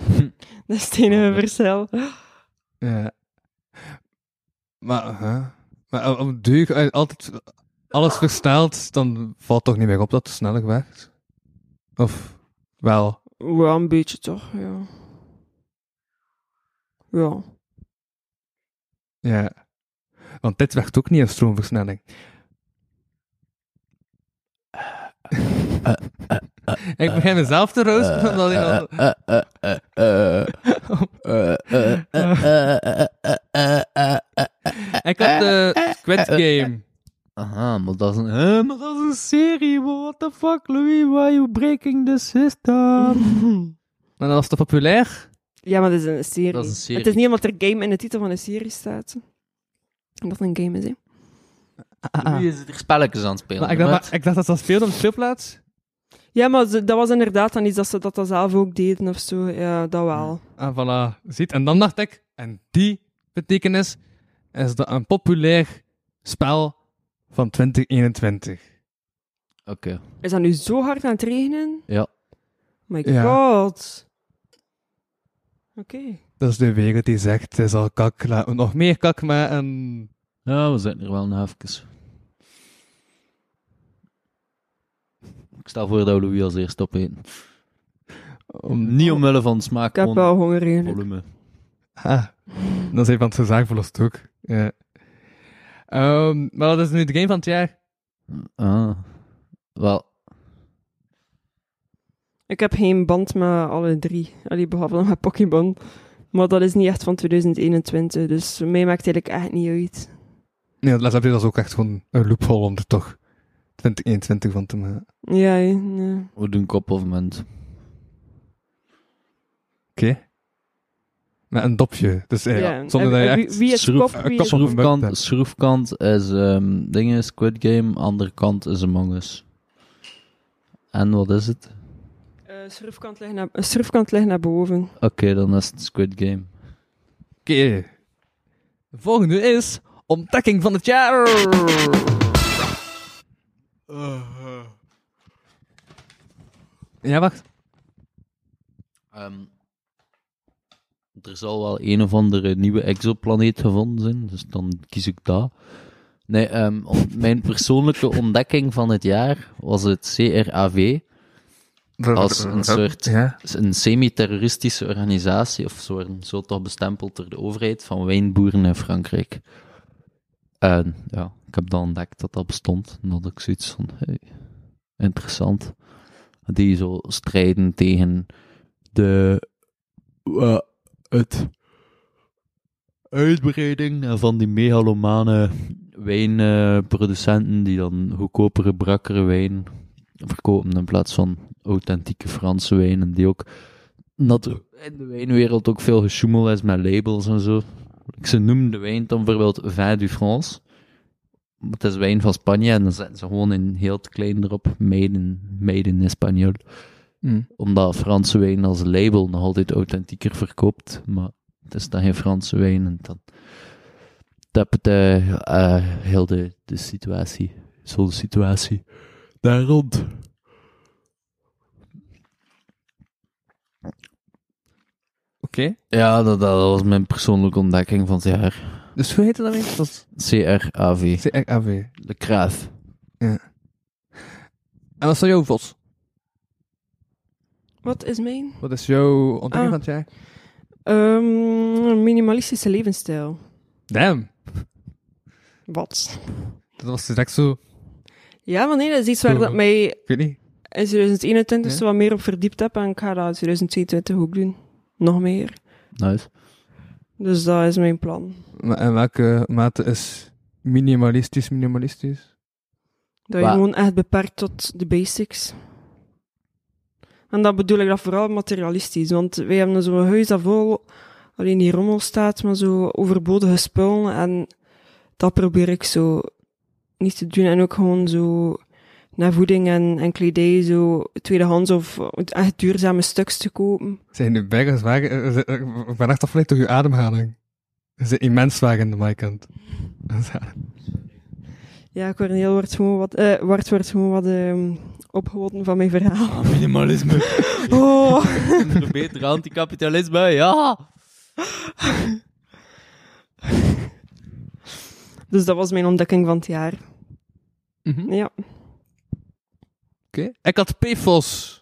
Speaker 5: Hm. dat is het enige verschil.
Speaker 3: Ja. Maar, hè? maar eh, om duur, als je altijd alles verstelt, dan valt toch niet meer op dat het sneller werkt? Of wel?
Speaker 5: Ja, een beetje toch, ja. Ja.
Speaker 3: Ja. Want dit werkt ook niet een stroomversnelling. Ik begin mezelf te
Speaker 4: Eh,
Speaker 3: roosteren, omdat ik al...
Speaker 4: eh, eh,
Speaker 3: Ik had de Squid Game.
Speaker 4: Aha, maar dat is een, hè, eh, maar dat is een serie, maar what the fuck, Louis, why you breaking the system?
Speaker 3: Maar dat was toch populair?
Speaker 5: Ja, maar dat is een serie.
Speaker 3: Dat is een serie.
Speaker 5: Het is niet omdat er game in de titel van een serie staat. Omdat het een game is, hè.
Speaker 4: Nu is het er spelletjes aan het spelen.
Speaker 3: Maar ik, dacht, maar ik dacht dat dat speelde op de speelplaats.
Speaker 5: Ja, maar ze- dat was inderdaad dan iets dat ze dat, dan zelf ook deden of zo. Ja, dat wel.
Speaker 3: En voilà, ziet. En dan dacht ik, en die betekenis is dat een populair spel van 2021.
Speaker 4: Oké.
Speaker 5: Is dat nu zo hard aan het regenen?
Speaker 4: Ja.
Speaker 5: My
Speaker 3: Ja.
Speaker 5: god. Oké.
Speaker 3: Dat is de wereld die zegt, het is al kak, laten we nog meer kak maken.
Speaker 4: Ja, we zitten er wel nog even. Ik stel voor dat we Louis als eerst opeten. Niet omwille van smaak,
Speaker 5: Ik heb
Speaker 4: gewoon
Speaker 5: wel honger, eigenlijk.
Speaker 4: volume.
Speaker 3: Ha, dat is even aan het zaak verlost ook. Ja. Ehm, maar dat is nu de game van het jaar.
Speaker 4: Ah. Wel,
Speaker 5: Ik heb geen band met alle drie. Allee, behalve dan met Pokémon. Maar dat is niet echt van 2021, dus voor mij maakt het eigenlijk echt niet uit.
Speaker 3: Nee, want laatst heb je dat ook echt gewoon een loophole om er toch 2021 van te maken.
Speaker 5: Ja, hè, nee.
Speaker 4: we doen kop of munt.
Speaker 3: Oké. Met een dopje. Dus eh,
Speaker 5: Ja,
Speaker 3: zonder dat
Speaker 5: en-
Speaker 3: je
Speaker 5: en wie-
Speaker 3: echt...
Speaker 5: wie is
Speaker 3: schroef-
Speaker 5: kop,
Speaker 3: eh,
Speaker 5: wie
Speaker 3: kop
Speaker 5: is-
Speaker 3: op een bak
Speaker 4: Schroefkant,
Speaker 3: hebt.
Speaker 4: schroefkant is ehm dingen, Squid Game, andere kant is Among Us. En wat is het?
Speaker 5: Eh, Surfkant ligt naar, eh, surfkant ligt naar boven.
Speaker 4: Oké, dan is het Squid Game.
Speaker 3: Oké. De volgende is ontdekking van het jaar. Ja, wacht.
Speaker 4: Ehm, er zal wel een of andere nieuwe exoplaneet gevonden zijn, dus dan kies ik dat. Nee, ehm, on- mijn persoonlijke ontdekking van het jaar was het CRAV. Als een soort
Speaker 3: Ja.
Speaker 4: een semi-terroristische organisatie, of zo, worden zo toch bestempeld door de overheid, van wijnboeren in Frankrijk. En ja, ik heb dan ontdekt dat dat bestond. En dat ik zoiets van, hey, interessant. Die zo strijden tegen de eh, het uitbreiding van die megalomane wijnproducenten die dan goedkopere, brakkere wijn verkopen in plaats van authentieke Franse wijnen die ook dat er in de wijnwereld ook veel gesjoemel is met labels en zo. Ze noemen de wijn dan bijvoorbeeld Vin du France. Maar het is wijn van Spanje en dan zetten ze gewoon in heel het klein erop made in, made in Espanol.
Speaker 3: Mm.
Speaker 4: Omdat Franse wijn als label nog altijd authentieker verkoopt, maar het is dan geen Franse wijn en dan tapt eh eh, heel de, de situatie, zo'n situatie daar rond.
Speaker 3: Oké.
Speaker 4: Ja, dat, dat was mijn persoonlijke ontdekking van het jaar.
Speaker 3: Dus hoe heette dat weer? Dat was
Speaker 4: CRAV.
Speaker 3: CRAV.
Speaker 4: De Kraaf.
Speaker 3: En wat is jouw vos?
Speaker 5: Wat is mijn?
Speaker 3: Wat is jouw ontdekking van
Speaker 5: Ah.
Speaker 3: het jaar?
Speaker 5: Ehm, minimalistische levensstijl.
Speaker 3: Damn.
Speaker 5: Wat?
Speaker 3: Dat was direct zo...
Speaker 5: Ja, maar nee, dat is iets waar
Speaker 3: Zo.
Speaker 5: dat mij
Speaker 3: Ik weet niet.
Speaker 5: in 2021
Speaker 3: Hm. Ja.
Speaker 5: zo wat meer op verdiept heb. En ik ga dat in 2022 ook doen. Nog meer.
Speaker 4: Nice.
Speaker 5: Dus dat is mijn plan.
Speaker 3: Maar in welke mate is minimalistisch minimalistisch?
Speaker 5: Dat je
Speaker 4: Wa-
Speaker 5: gewoon echt beperkt tot de basics. En dat bedoel ik dat vooral materialistisch. Want wij hebben zo'n huis dat vol alleen die rommel staat, maar zo overbodige spullen. En dat probeer ik zo niet te doen. En ook gewoon zo naar voeding en, en kledij, zo tweedehands of echt duurzame stuks te kopen.
Speaker 3: Zijn de bergen zwaar? eh, eh, eh, Ik ben echt afgeleid door uw ademhaling. Ze zijn immens zwaar in de mijkant.
Speaker 5: Ja, Corneel wordt gewoon wat, eh, Wart wordt gewoon wat ehm, opgewonden van mijn verhaal.
Speaker 4: Minimalisme.
Speaker 5: Oh.
Speaker 4: Beter anticapitalisme, ja.
Speaker 5: Dus dat was mijn ontdekking van het jaar.
Speaker 3: Mhm.
Speaker 5: Ja.
Speaker 3: Oké. Ik had PFOS.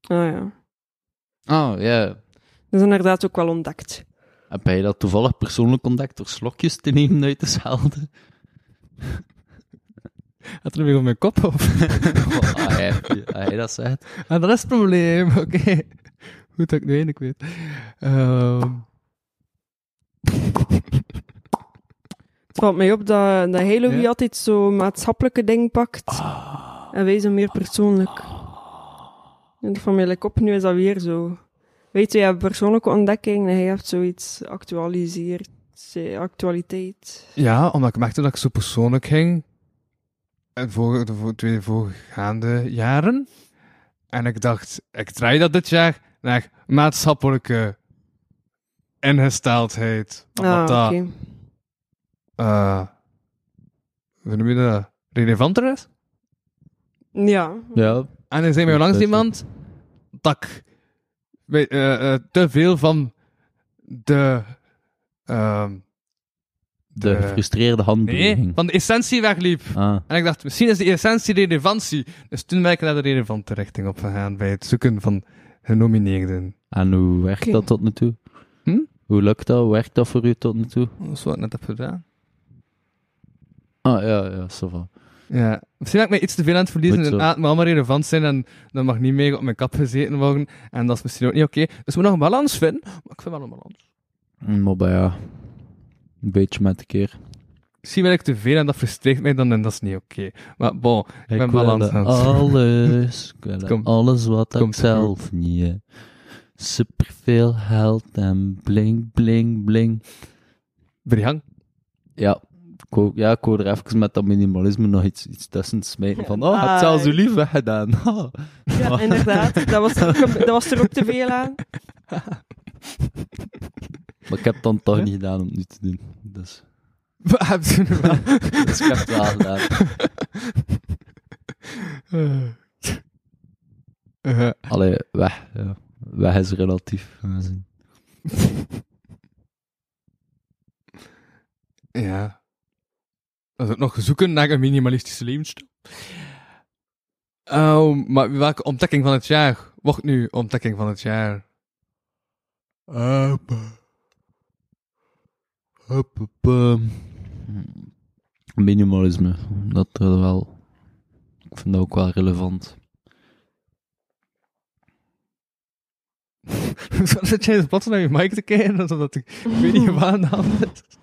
Speaker 5: Ah ja.
Speaker 4: Oh, ja.
Speaker 5: Dat is inderdaad ook wel ontdekt.
Speaker 4: Heb jij dat toevallig persoonlijk ontdekt door slokjes te nemen uit dezelfde?
Speaker 3: Had er weer op mijn kop op.
Speaker 4: Oh, ah, hij, hij dat zegt.
Speaker 3: Ah, dat is het probleem. Oké. Goed dat ik nu eindelijk weet. Ehm,
Speaker 5: Het valt mij op dat, dat Halo
Speaker 3: Ja. Ah.
Speaker 5: altijd zo maatschappelijke dingen pakt. En wij zo meer persoonlijk. En van mijn kop nu is dat weer zo. Weet je, ja, persoonlijke ontdekking, hij heeft zoiets actualiseerd, eh, actualiteit.
Speaker 3: Ja, omdat ik merkte dat ik zo persoonlijk ging. En voor de voor- twee voorgaande jaren. En ik dacht, ik draai dat dit jaar naar maatschappelijke ingesteldheid. Omdat
Speaker 5: Ah,
Speaker 3: dat,
Speaker 5: oké.
Speaker 3: eh, hoe noem je dat? Relevanter is.
Speaker 5: Ja.
Speaker 4: Ja.
Speaker 3: En er zijn mij langs iemand dat ik weet, eh, eh, te veel van de... ehm,
Speaker 4: De gefrustreerde handbeweging.
Speaker 3: Eh, Nee, van de essentie wegliep.
Speaker 4: Ah.
Speaker 3: En ik dacht, misschien is de essentie relevantie. Dus toen ben ik naar de relevante richting op gegaan bij het zoeken van genomineerden.
Speaker 4: En hoe werkt
Speaker 3: Oké.
Speaker 4: dat tot nu toe?
Speaker 3: Hm?
Speaker 4: Hoe lukt dat? Hoe werkt dat voor u tot nu toe?
Speaker 3: Dat is wat ik net heb gedaan.
Speaker 4: Ah, ja, ja, zo van.
Speaker 3: Ja. Misschien ben ik mij iets te veel aan het verliezen.
Speaker 4: Goed zo.
Speaker 3: En ah, het moet allemaal relevant zijn en dat mag niet meer op mijn kap gezeten worden. En dat is misschien ook niet oké. Dus we moeten nog een balans vinden. Maar ik vind wel een balans.
Speaker 4: Hm, Maar bij ja, een beetje met de keer.
Speaker 3: Misschien ben ik te veel en dat frustreert mij dan en dat is niet oké. Maar bon, ik, ben
Speaker 4: wil
Speaker 3: balans
Speaker 4: dat
Speaker 3: aan het zoeken.
Speaker 4: alles. Ik wil dat
Speaker 3: Komt-
Speaker 4: alles wat ik
Speaker 3: komt goed.
Speaker 4: zelf niet heb. Superveel geld en bling, bling, bling.
Speaker 3: Brihang?
Speaker 4: Ja. Ik wou, ja, ik wou er even met dat minimalisme nog iets, iets tussen smijten. Van, oh, heb zelfs uw lief weggedaan.
Speaker 5: Ja, inderdaad. Dat was, er ook, dat was er ook te veel aan.
Speaker 4: Maar ik heb het dan toch niet gedaan om het nu te doen. Dus, dus ik heb het wel gedaan.
Speaker 3: Eh,
Speaker 4: Allee, weg. Ja. Weg is relatief. gaan we zien.
Speaker 3: Ja. Dat is ook nog zoeken naar een minimalistische levensstijl. Ehm, maar welke ontdekking van het jaar wordt nu ontdekking van het jaar?
Speaker 4: Hup, hup, ehm. Minimalisme. Dat er wel... Ik vind dat ook wel relevant.
Speaker 3: Zo zit jij plots naar je mic te kijken, alsof dat ik, ik weet niet waar aan de hand is.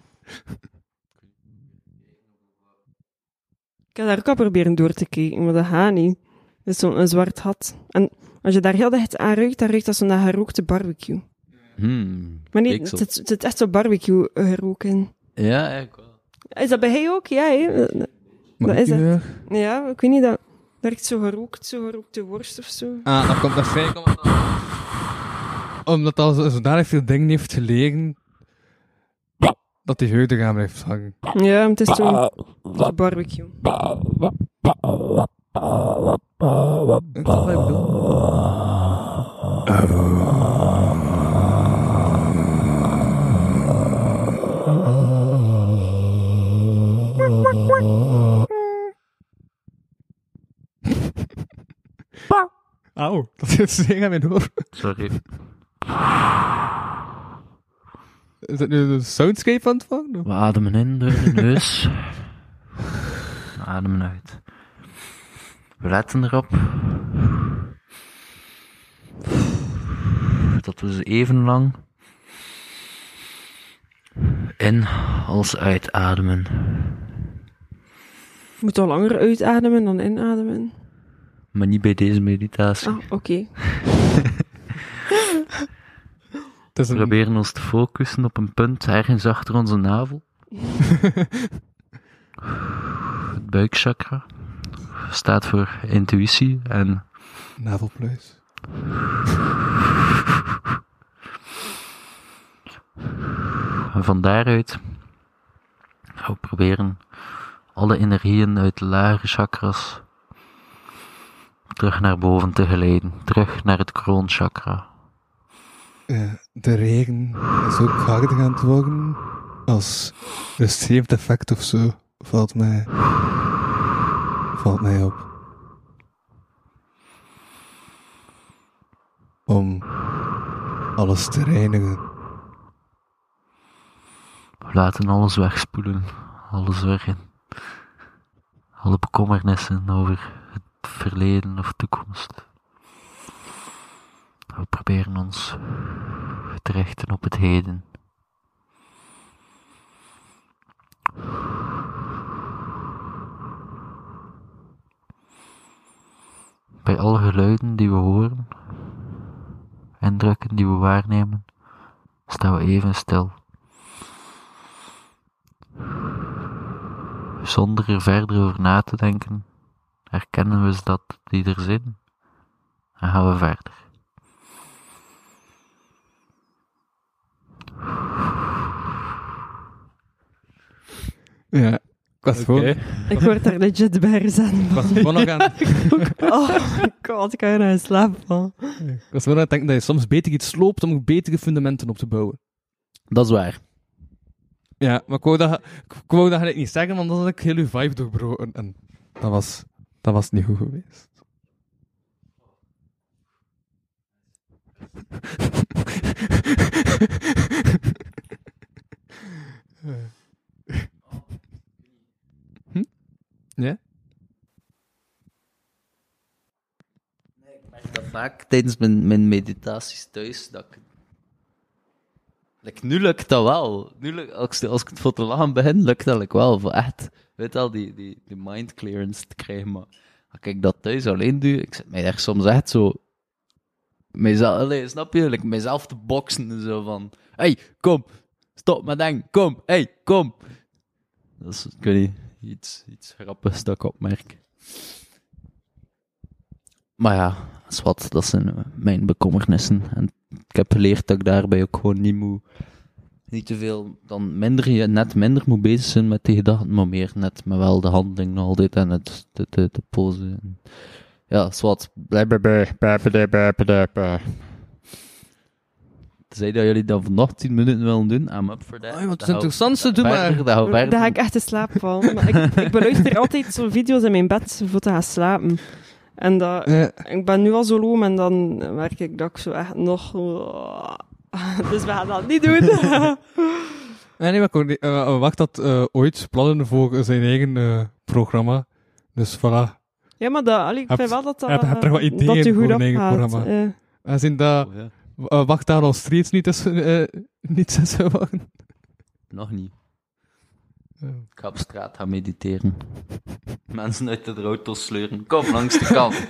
Speaker 5: Ik heb daar ook al proberen door te kijken, maar dat gaat niet. Dat is zo'n een zwart gat. En als je daar heel dicht aan ruikt, dan ruikt dat zo naar gerookte barbecue.
Speaker 4: Hmm,
Speaker 5: Maar nee,
Speaker 4: ik
Speaker 5: het
Speaker 4: zal-
Speaker 5: zit, het zit echt zo barbecue gerook in.
Speaker 4: Ja, eigenlijk wel.
Speaker 5: Is dat bij hij ook? Ja, hè?
Speaker 3: Mag ik
Speaker 5: dat is
Speaker 3: u,
Speaker 5: het. Ja, ik weet niet, dat dat ruikt zo gerookt, zo gerookte worst of zo.
Speaker 3: Ah, dat komt waarschijnlijk omdat dat... Omdat dat zo- zodanig veel dingen heeft gelegen, dat die geur er aan blijft hangen.
Speaker 5: Ja, het is zo'n zo'n barbecue.
Speaker 3: Dat is wat ik bedoel. Auw, dat is zeer aan mijn oor.
Speaker 4: Sorry.
Speaker 3: Is dat nu een soundscape aan het vangen?
Speaker 4: We ademen in door de neus. We ademen uit. We letten erop. Dat we ze even lang in als uitademen.
Speaker 5: Je moet al langer uitademen dan inademen.
Speaker 4: Maar niet bij deze meditatie.
Speaker 5: Ah, oké.
Speaker 3: We
Speaker 4: proberen ons te focussen op een punt ergens achter onze navel. Het buikchakra staat voor intuïtie en
Speaker 3: Navelpluis.
Speaker 4: van daaruit gaan we proberen alle energieën uit de lagere chakras terug naar boven te geleiden. Terug naar het kroonchakra.
Speaker 3: Ja, Eh, de regen is ook harder aan het worden als rustgevend effect of zo. Valt mij, valt mij op. Om alles te reinigen.
Speaker 4: We laten alles wegspoelen, alles weg in. Alle bekommernissen over het verleden of toekomst. We proberen ons te richten op het heden. Bij alle geluiden die we horen,
Speaker 13: indrukken die we waarnemen, staan we even stil. Zonder er verder over na te denken, herkennen we ze dat die er zijn en gaan we verder.
Speaker 3: Ja, ik was gewoon...
Speaker 5: Ik word daar legit bij zijn.
Speaker 3: Ik was gewoon nog aan-
Speaker 5: oh my god, ik kan er nou in slaap van.
Speaker 3: Ik was gewoon aan het denken dat je soms beter iets sloopt om betere fundamenten op te bouwen.
Speaker 4: Dat is waar.
Speaker 3: Ja, maar ik wou dat, ik wou dat eigenlijk niet zeggen, want dan had ik heel uw vibe doorbroken. En dat was, dat was niet goed geweest. Hm? Ja?
Speaker 4: Dat vaak tijdens mijn, mijn meditaties thuis. Dat ik... Like, nu lukt dat wel. Nu lukt, als, ik- als ik het voor te lachen begin, lukt dat like, wel. Voor echt, weet al, die, die, die mind clearance te krijgen. Maar als ik dat thuis alleen doe, ik zit mij daar soms echt zo. Mijzelf, allee, snap je? Like, mijzelf te boksen en zo van. hey, kom, stop met denken, kom, hey, kom. Dat is, ik weet niet, iets, iets grappigs dat ik opmerk. Maar ja, dat is wat, dat zijn eh, mijn bekommernissen. En ik heb geleerd dat ik daarbij ook gewoon niet moet, niet te veel, dan minder, je- net minder moet bezig zijn met die gedachten, maar meer net, maar wel de handeling nog altijd en het, de, de, de pose. En ja, dat is wat. Zei dat jullie dat nog 10 minuten willen doen, I'm up for that.
Speaker 3: Oh, wat
Speaker 4: Dat hou-
Speaker 3: interessantste, doe
Speaker 4: verder,
Speaker 3: maar.
Speaker 4: dat hou verder.
Speaker 5: Daar ga ik echt in slaap van. Maar ik, ik beluister altijd zo'n video's in mijn bed voor te gaan slapen. En dat,
Speaker 3: Ja.
Speaker 5: ik ben nu al zo loom en dan merk ik dat ik zo echt nog... Dus we gaan dat niet doen.
Speaker 3: Nee, nee, maar Corne- eh, wacht dat eh, ooit plannen voor zijn eigen eh, programma. Dus voilà.
Speaker 5: ja, maar dat, allee, ik
Speaker 3: Hebt-
Speaker 5: vind wel dat dat...
Speaker 3: heb, heb er wat
Speaker 5: eh,
Speaker 3: ideeën
Speaker 5: dat u goed
Speaker 3: voor een eigen
Speaker 5: opgaat,
Speaker 3: programma.
Speaker 5: eh.
Speaker 3: En zien dat... w- eh, wacht daar al streeds niet tussen... eh, niet tussen wachten.
Speaker 4: Nog niet.
Speaker 3: Ja.
Speaker 4: Ik ga op straat gaan mediteren. Mensen uit de auto sleuren. Kom langs de kant.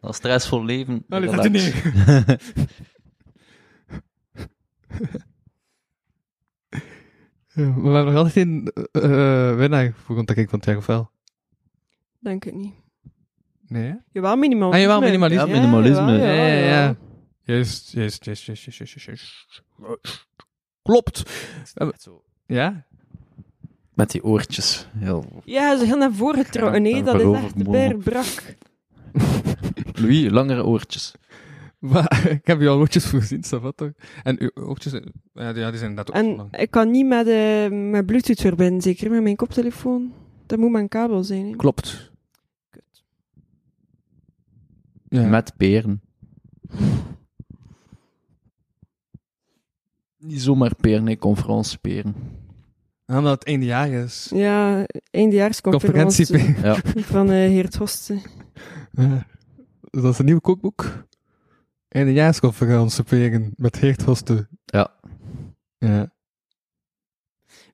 Speaker 4: Dat is stressvol leven.
Speaker 3: Allee,
Speaker 4: Relax.
Speaker 3: dat doe Ja, maar we hebben nog altijd geen eh, eh, winnaar voor contact ik van het jaar, of wel?
Speaker 5: Denk het niet.
Speaker 3: Nee, hè?
Speaker 5: Jawel, minimalisme.
Speaker 3: Ah, jawel, minimalisme.
Speaker 5: jawel,
Speaker 3: Ja,
Speaker 5: jawel,
Speaker 3: ja,
Speaker 5: jawel.
Speaker 3: ja. Juist, juist, juist, juist, juist, juist, juist. Klopt. Eh, Ja?
Speaker 4: Met die oortjes. Heel.
Speaker 5: Ja, ze gaan naar voren getrokken. Nee, dat is echt
Speaker 4: Voorovergebogen.
Speaker 5: per brak.
Speaker 4: Louis, langere oortjes.
Speaker 3: Maar, ik heb je al oortjes voor gezien, dat wat toch? En uw oortjes, eh, ja, die ja, die zijn inderdaad ook zo
Speaker 5: En
Speaker 3: lang.
Speaker 5: ik kan niet met, eh, met bluetooth verbinden, zeker met mijn koptelefoon. Dat moet mijn kabel zijn. hè.
Speaker 3: Klopt.
Speaker 4: Met peren. Niet zomaar peren, nee, conference peren.
Speaker 3: Ah, Omdat het eindejaar is.
Speaker 5: Ja, eindejaarsconferentie
Speaker 3: Conferentie.
Speaker 4: Ja.
Speaker 5: van eh Heert Hosten.
Speaker 3: Ja. Dus dat is een nieuw kookboek. Eindejaarsconferentie peren met Heert Hosten.
Speaker 4: Ja.
Speaker 3: Ja.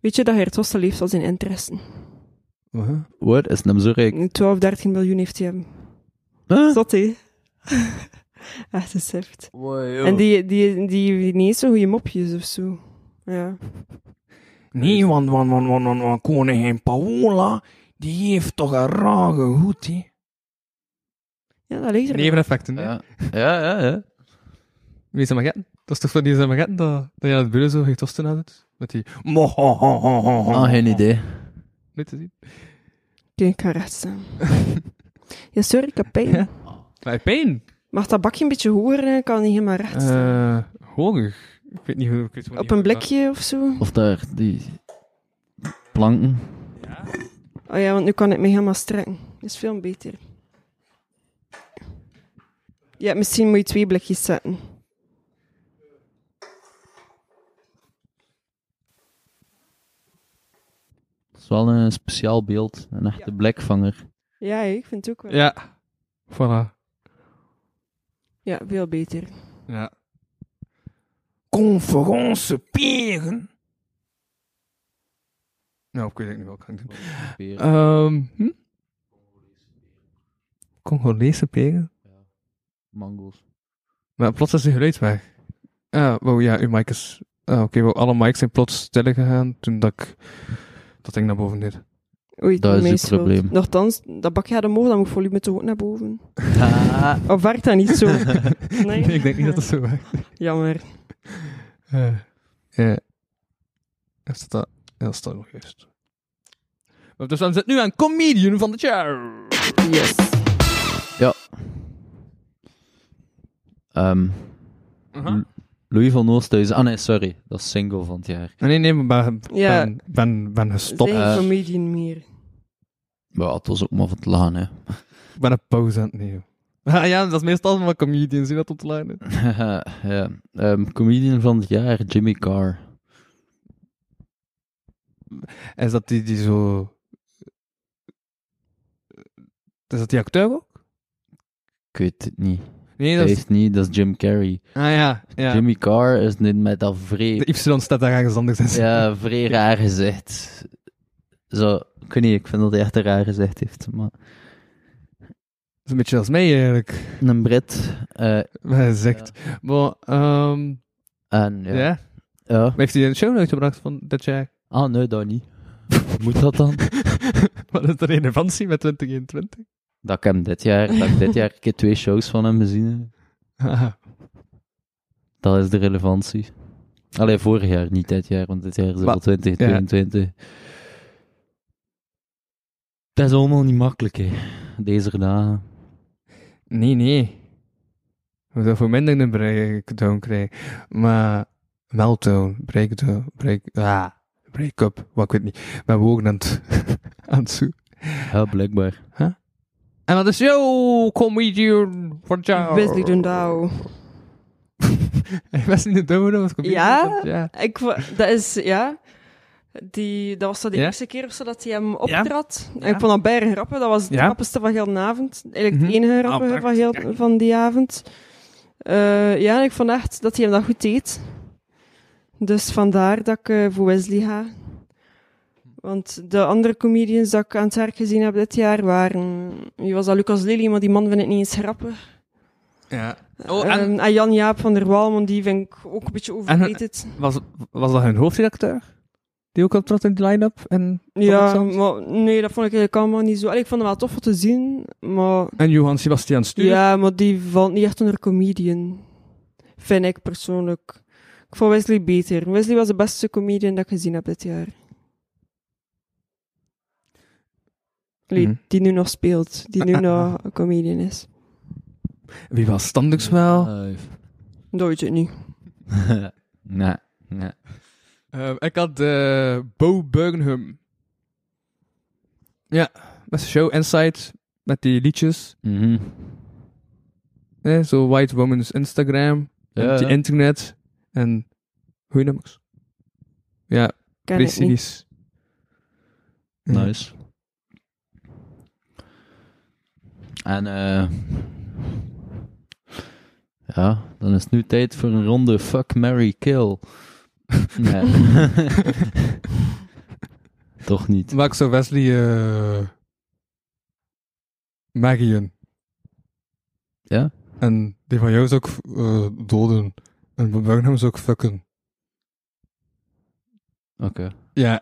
Speaker 5: Weet je dat Heert Hosten leeft van zijn interessen?
Speaker 4: Wat is hem zo rijk?
Speaker 5: 12, 13 miljoen heeft hij hem. Zot, hè? echt een sift. En die, die, die, heeft niet eens zo goede mopjes of zo. Ja.
Speaker 14: Nee, want, want, want, want, want, want koningin Paola, die heeft toch een rare hoed, hè?
Speaker 5: ja, dat ligt er.
Speaker 3: Neveneffecten,
Speaker 4: ja. Ja, ja, ja.
Speaker 3: Wie is een magetten? Dat is toch van die zijn magetten dat, dat je aan het buren zo Heert Hosten houdt? Met die...
Speaker 4: Ah, geen idee.
Speaker 3: Niet te zien.
Speaker 5: Oké, ik ga recht staan. ja, sorry, ik heb pijn.
Speaker 3: Maar pijn.
Speaker 5: Mag dat bakje een beetje horen? Ik kan niet helemaal recht staan.
Speaker 3: Eh, honger. Ik weet niet hoe... Ik weet gewoon
Speaker 5: Op
Speaker 3: niet
Speaker 5: een
Speaker 3: hoe-
Speaker 5: blikje of zo?
Speaker 4: Of daar, die planken.
Speaker 5: Oh ja, want nu kan ik me helemaal strekken. Dat is veel beter. Ja, misschien moet je twee blikjes zetten.
Speaker 4: Dat is wel een speciaal beeld. Een echte blikvanger.
Speaker 5: Ja, hè, ik vind het ook wel.
Speaker 3: Ja. Voilà.
Speaker 5: Ja, veel beter.
Speaker 3: Ja.
Speaker 14: Conference peren?
Speaker 3: Nou, ik weet het niet wel. Kan ik doen.
Speaker 4: Peren.
Speaker 3: Ehm, hm? Congolese peren?
Speaker 4: Mango's.
Speaker 3: Maar plots is de geluid weg. Ah, wauw, ja, uw mic is... Ah, oké, wauw, alle mics zijn plots stil gegaan toen dat ik dat ding naar boven deed.
Speaker 5: Oei, mijn schuld. Nochtans, dat bakje had omhoog, dan moet volume toch ook naar boven.
Speaker 3: Ah.
Speaker 5: Of werkt dat niet zo?
Speaker 3: Nee, ik denk niet dat dat zo werkt.
Speaker 5: Jammer.
Speaker 3: Eh, ja. Is dat dat? Ja, dat staat nog juist. Maar Dus dan zit nu aan Comedian van het jaar.
Speaker 5: Yes.
Speaker 4: Ja. Ehm,
Speaker 3: Uh-huh.
Speaker 4: L- Louis van Oosthuizen. Ah nee, sorry. Dat is single van het jaar.
Speaker 3: Nee, nee, maar ben,
Speaker 5: Ja.
Speaker 3: ben, ben, ben gestopt.
Speaker 5: Geen
Speaker 4: Eh.
Speaker 5: comedian meer.
Speaker 4: Maar het was ook maar van het lachen, hè.
Speaker 3: Ik ben een pauze aan het nemen. Ah, ja, dat is meestal van comedians die dat ontlijnen.
Speaker 4: ja. Ehm, comedian van het jaar, Jimmy Carr.
Speaker 3: Is dat die, die zo... eh, Is dat die acteur ook?
Speaker 4: Ik weet het niet.
Speaker 3: Nee, dat
Speaker 4: dat
Speaker 3: is-
Speaker 4: is niet, dat is Jim Carrey.
Speaker 3: Ah ja, ja.
Speaker 4: Jimmy Carr is niet met dat vrij...
Speaker 3: De Y staat daar ergens anders in.
Speaker 4: Ja, vrij raar gezicht. Zo, ik weet niet, ik vind dat hij echt een raar gezicht heeft, maar...
Speaker 3: is een beetje als mij eigenlijk.
Speaker 4: Een Brit. eh,
Speaker 3: Hij zegt. Maar, ehm,
Speaker 4: En, ja.
Speaker 3: Ja?
Speaker 4: Ja.
Speaker 3: Heeft hij een show notes gebracht van dat jaar?
Speaker 4: Ah, nee, dat niet. Moet dat dan?
Speaker 3: Wat is de relevantie met 2021?
Speaker 4: Dat ik hem dit jaar, dat ik dit jaar een keer twee shows van hem gezien heb.
Speaker 3: Ah,
Speaker 4: Dat is de relevantie. Alleen vorig jaar, niet dit jaar, want dit jaar is het al
Speaker 3: Maar-
Speaker 4: 2022. Dat is allemaal niet makkelijk, hè. Deze dagen.
Speaker 3: nee, nee. We zouden voor minder een breakdown krijgen. Maar meltdown, breakdown, break, ah, break-up, wat ik weet niet. Maar we ook aan het, aan het zoeken.
Speaker 4: Ja, blijkbaar.
Speaker 3: En wat is jouw comedian van het jaar?
Speaker 5: Wesley Dundau.
Speaker 3: Wesley Dundau was comedian van
Speaker 5: Ja?
Speaker 3: het jaar.
Speaker 5: Ik, wa- dat is, ja. Die, dat was zo de
Speaker 3: Ja?
Speaker 5: eerste keer of zo dat hij hem optrad.
Speaker 3: Ja.
Speaker 5: En ik vond dat bijna grappig. Dat was het
Speaker 3: Ja? Mhm. Ah,
Speaker 5: grappigste van heel de avond. Eigenlijk het enige grappige
Speaker 3: Apart.
Speaker 5: van, heel, van die avond. Eh, ja, en ik vond echt dat hij hem dat goed deed. Dus vandaar dat ik eh, voor Wesley ga. Want de andere comedians dat ik aan het werk gezien heb dit jaar waren... Wie was dat? Lucas Lely, maar die man vind ik niet eens grappig.
Speaker 3: Ja.
Speaker 5: Oh, en... Jan-Jaap van der Wal, want die vind ik ook een
Speaker 3: eh,
Speaker 5: beetje overrated.
Speaker 3: Was, was dat hun hoofdredacteur? Die ook optrad in die line-up? En,
Speaker 5: Ja, maar nee, dat vond ik eigenlijk allemaal niet zo. Allee, ik vond het wel tof om te zien, maar...
Speaker 3: en Johan Sebastian Stuur?
Speaker 5: Ja, maar die valt niet echt onder comedian. Vind ik persoonlijk. Ik vond Wesley beter. Wesley was de beste comedian dat ik gezien heb dit jaar. Allee,
Speaker 3: Mhm. Ah,
Speaker 5: Die nu nog speelt. Die nu nog een comedian is.
Speaker 3: Wie was standaards wel?
Speaker 5: Dat weet ik niet.
Speaker 4: Eh, nee, nee.
Speaker 3: Eh, ik had eh, Bo Burnham. Ja, met zijn show Insight, met die liedjes.
Speaker 4: Mhm.
Speaker 3: Eh, zo White Woman's Instagram,
Speaker 4: Ja,
Speaker 3: en
Speaker 4: ja.
Speaker 3: je internet en goeie nummers. Ja,
Speaker 5: Ken ik
Speaker 3: precies.
Speaker 4: Nice. En eh ja, dan is het nu tijd voor een ronde fuck, Mary kill. Nee. Toch niet.
Speaker 3: Maar ik zou Wesley... eh Magian.
Speaker 4: Ja?
Speaker 3: En die van jou is ook eh, doden. En Bo Burnham is ook fucken.
Speaker 4: Oké.
Speaker 3: Ja.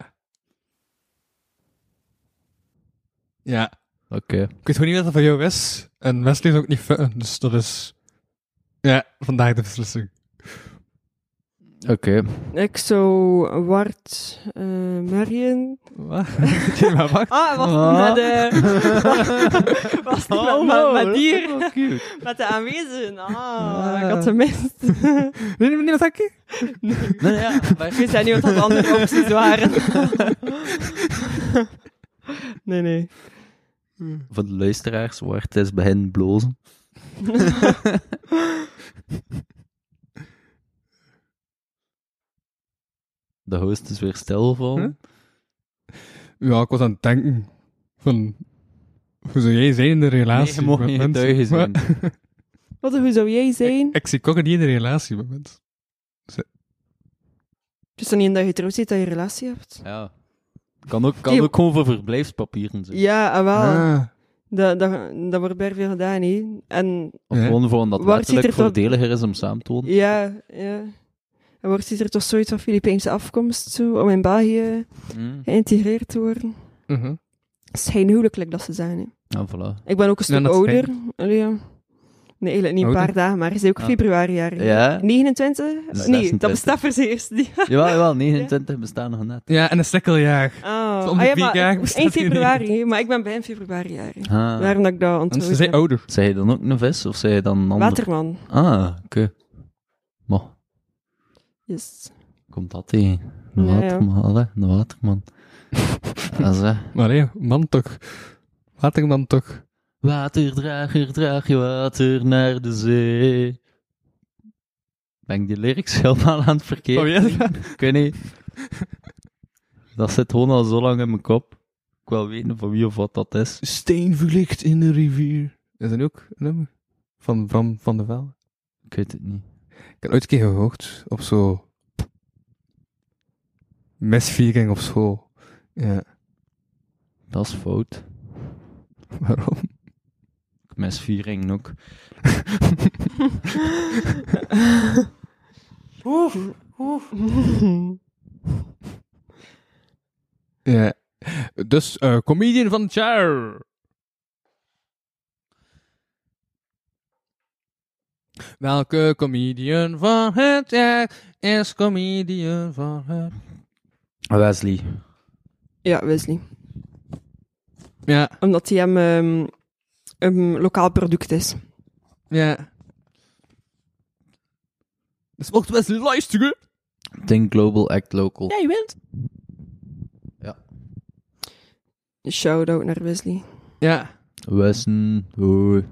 Speaker 3: Ja.
Speaker 4: Oké.
Speaker 3: Ik weet gewoon niet wat dat van jou is. En Wesley is ook niet fucken, dus dat is... Ja, vandaag de beslissing.
Speaker 4: Oké.
Speaker 5: Ik zou Wart eh Marion.
Speaker 3: Wat? Oké, maar wacht.
Speaker 5: Ah, was
Speaker 3: Ah.
Speaker 5: niet met de. was niet
Speaker 3: Oh,
Speaker 5: met,
Speaker 3: wow,
Speaker 5: met,
Speaker 3: dat
Speaker 5: met
Speaker 3: is
Speaker 5: dier.
Speaker 3: wel cute.
Speaker 5: met de aanwezigen. Ah,
Speaker 3: Ah.
Speaker 5: ik had ze mist.
Speaker 3: Nee, nee, nee, wat had ik?
Speaker 4: Nee, ja, maar-
Speaker 5: Ik wist dat niet wat dat de andere opties waren. nee, nee. Hm.
Speaker 4: Voor de luisteraars, waar het is bij hen blozen. De host is weer stilgevallen.
Speaker 3: Ja, ik was aan het denken van... Hoe zou jij zijn in de relatie
Speaker 4: Nee, je mag
Speaker 3: met
Speaker 4: geen
Speaker 3: mensen?
Speaker 4: getuige
Speaker 3: Maar-
Speaker 5: Wat, hoe zou jij zijn?
Speaker 3: ik zie kokken niet in de relatie met mensen.
Speaker 5: Het is dan niet omdat je getrouwd zit dat je een relatie hebt.
Speaker 4: Ja. Kan ook, kan
Speaker 5: Die-
Speaker 4: ook gewoon voor verblijfspapieren zijn.
Speaker 5: Ja, ah, wel.
Speaker 3: Ah.
Speaker 5: Dat, dat, dat wordt bij veel gedaan, hè. En...
Speaker 4: Of gewoon gewoon dat
Speaker 5: Waar
Speaker 4: het letterlijk
Speaker 5: zit er toch-
Speaker 4: voordeliger is om samen te wonen.
Speaker 5: Ja, ja. En wordt hij er toch zoiets van Filipijnse afkomst zo, om in België
Speaker 4: Mm.
Speaker 5: geïntegreerd te worden?
Speaker 3: Mhm.
Speaker 5: Het is geen huwelijk dat ze zijn. hè.
Speaker 4: Ja, voilà.
Speaker 5: Ik ben ook een
Speaker 4: Ja,
Speaker 5: stuk
Speaker 4: dat is
Speaker 5: ouder. Allee, ja. Nee, eigenlijk niet een
Speaker 4: Ouder?
Speaker 5: paar dagen, maar ze is ook
Speaker 4: Ah.
Speaker 5: februari jaar.
Speaker 4: Ja?
Speaker 5: 29?
Speaker 4: Dus
Speaker 5: nee, dat
Speaker 4: 26.
Speaker 5: bestaat voor ze eerst Ah. niet.
Speaker 4: Jawel, jawel, 29 bestaan nog net.
Speaker 3: Ja, en een sikkeljaar.
Speaker 5: Oh,
Speaker 3: Om de
Speaker 5: ah ja,
Speaker 3: vier
Speaker 5: maar
Speaker 3: jaar bestaat
Speaker 5: 1
Speaker 3: die niet.
Speaker 5: februari, hè, maar ik ben bij een februari jaar. hè.
Speaker 4: Ah.
Speaker 5: Daarom dat ik dat onthoud. heb.
Speaker 3: ouder.
Speaker 4: Zij je dan ook een vis of zij je dan een ander?
Speaker 5: Waterman.
Speaker 4: Ah, oké. Mo,
Speaker 5: Yes.
Speaker 4: komt dat tegen? Een
Speaker 5: Ja, ja.
Speaker 4: waterman, allee, een waterman. Dat is, hè.
Speaker 3: Maar nee, man toch. Waterman toch.
Speaker 4: Waterdrager, draag je water naar de zee. Ben ik die lyrics helemaal aan het verkeerd?
Speaker 3: Oh ja?
Speaker 4: doen? Ik weet niet. Dat zit gewoon al zo lang in mijn kop. Ik wil weten van wie of wat dat is.
Speaker 3: Steen verlicht in de rivier. Is dat ook een nummer? Van Bram van der Velde?
Speaker 4: Ik weet het niet.
Speaker 3: Ik heb ooit een keer gehoord op zo... Misviering op school. Ja.
Speaker 4: Dat is fout.
Speaker 3: Waarom?
Speaker 4: Ik mis viering ook.
Speaker 11: Oef, oef.
Speaker 3: Ja. Dus, eh, comedian van het jaar. Welke comedian van het jaar is comedian van het
Speaker 4: Wesley.
Speaker 5: Ja, Wesley.
Speaker 3: Ja.
Speaker 5: Omdat hij hem ehm, een lokaal product is.
Speaker 4: Oh.
Speaker 3: Ja. Dus mocht Wesley luisteren.
Speaker 4: Think global, act local.
Speaker 5: je wint.
Speaker 4: Ja.
Speaker 5: Shout-out naar Wesley.
Speaker 3: Ja.
Speaker 4: Wessen. Hoi.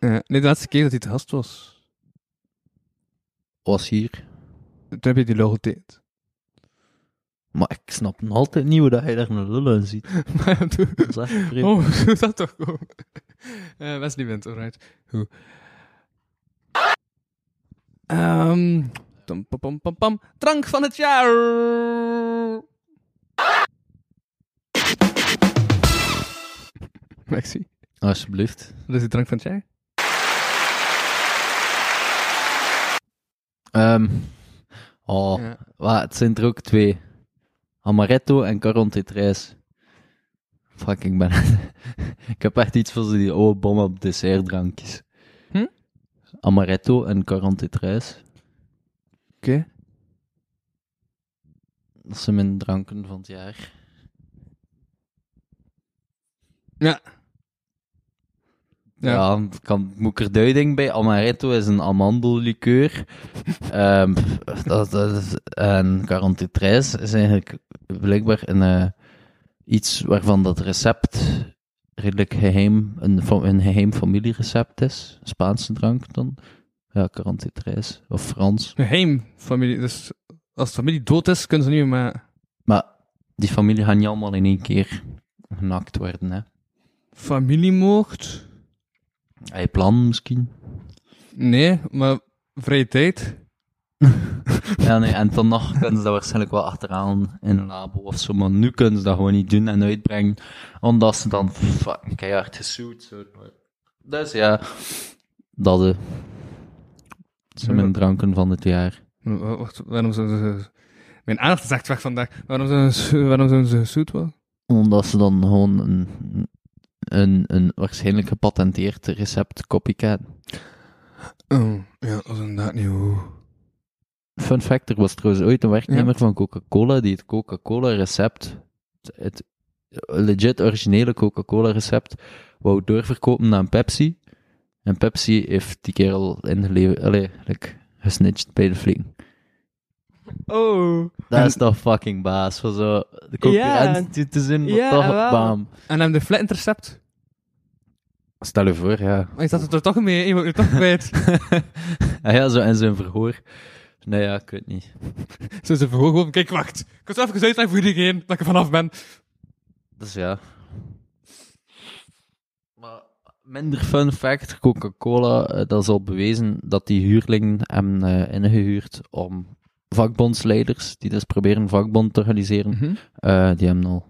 Speaker 3: Ja, nee, de laatste keer dat hij te gast was,
Speaker 4: Was hier.
Speaker 3: toen heb je die logo getekend.
Speaker 4: Maar ik snap nog altijd niet hoe dat hij daar een lullen ziet. dat is echt vreemd.
Speaker 3: Oh, dat toch gewoon. Eh Wesley wint, alright. Goed. Ehm, tum, pam, pam, pam, pam. Drank van het jaar! Maxi,
Speaker 4: Alsjeblieft.
Speaker 3: wat is de drank van het jaar?
Speaker 4: Ehm, oh, wa, het zijn er ook twee. Amaretto en Caron Tetrijs. Fuck, ik ben... ik heb echt iets van zo die oude bom op dessertdrankjes.
Speaker 3: Hm?
Speaker 4: Amaretto en Caron Tetrijs.
Speaker 3: Oké.
Speaker 4: Dat zijn mijn dranken van het jaar.
Speaker 3: Ja.
Speaker 4: Ja, kan, moet ik er duiding bij? Amaretto is een amandellikeur. Ehm, dat, dat is, en Carantetrijs is eigenlijk blijkbaar een, eh, iets waarvan dat recept redelijk geheim, een, fa- een geheim familierecept is. Spaanse drank dan. Ja, Carantetrijs. Of Frans.
Speaker 3: Heim, familie. Dus als de familie dood is, kunnen ze niet meer. maar-
Speaker 4: Maar die familie gaat niet allemaal in één keer genakt worden, hè.
Speaker 3: Familiemoord?
Speaker 4: Hij plan misschien?
Speaker 3: Nee, maar vrije tijd.
Speaker 4: Ja, nee, en dan nog kunnen ze dat waarschijnlijk wel achteraan in een labo of zo, maar nu kunnen ze dat gewoon niet doen en uitbrengen, omdat ze dan fucking keihard gesuwd worden. Dus ja, dat, eh, dat zijn mijn dranken van dit jaar.
Speaker 3: Wa- wa- Wacht, waarom zijn ze... Mijn aandacht is echt weg vandaag. Waarom zijn ze, waarom zijn ze zoet wel?
Speaker 4: Omdat ze dan gewoon een, een, een waarschijnlijk gepatenteerd recept copycat.
Speaker 3: Oh, ja, dat is inderdaad niet hoe.
Speaker 4: Fun fact, er was trouwens ooit een werknemer van Coca-Cola die het Coca-Cola-recept, het legit originele Coca-Cola-recept, wou doorverkopen naar Pepsi. En Pepsi heeft die kerel ingeleverd, allee, like, gesnitcht bij de fling.
Speaker 5: Oh.
Speaker 4: Dat is toch fucking baas, voor zo de concurrent
Speaker 3: Ja.
Speaker 4: te zien, maar
Speaker 3: Ja,
Speaker 4: toch,
Speaker 3: jawel.
Speaker 4: bam.
Speaker 3: En hem de flat intercept.
Speaker 4: Stel je voor, ja.
Speaker 3: Maar is dat het er toch mee? Je wordt er toch kwijt.
Speaker 4: Ah ja, zo in zijn verhoor. Nou ja, ik weet niet.
Speaker 3: Zo ze verhoog gewoon, kijk, wacht. Ik kan het even uitleggen voor iedereen dat ik er vanaf ben.
Speaker 4: Dus ja. Maar minder fun fact, Coca-Cola, eh, dat is al bewezen dat die huurlingen hem eh, ingehuurd om vakbondsleiders, die dus proberen een vakbond te organiseren,
Speaker 3: Mhm.
Speaker 4: eh, die hebben al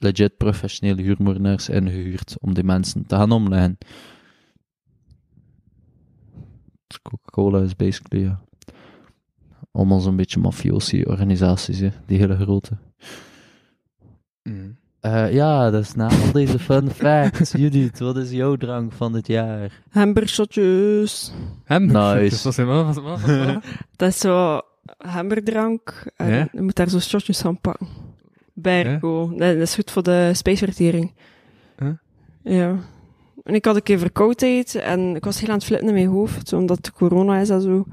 Speaker 4: legit professionele huurmoordenaars ingehuurd om die mensen te gaan omleggen. Dus Coca-Cola is basically, ja. Allemaal zo'n beetje mafiosi-organisaties, hè, die hele grote. Eh, ja, dat is na al deze fun facts. Judith, wat is jouw drank van dit jaar?
Speaker 5: Hamburgershotjes.
Speaker 4: Hamburgershotjes,
Speaker 3: Nice. wat zijn wat- wat- wat- wat?
Speaker 5: Dat is zo hamberdrank. En
Speaker 3: Ja?
Speaker 5: Je moet daar zo shotjes van pakken. Bergo. Dat dat is goed voor de spijsvertering.
Speaker 3: Huh?
Speaker 5: Ja. En ik had een keer verkoudheid en ik was heel aan het flippen in mijn hoofd, omdat het corona is en zo.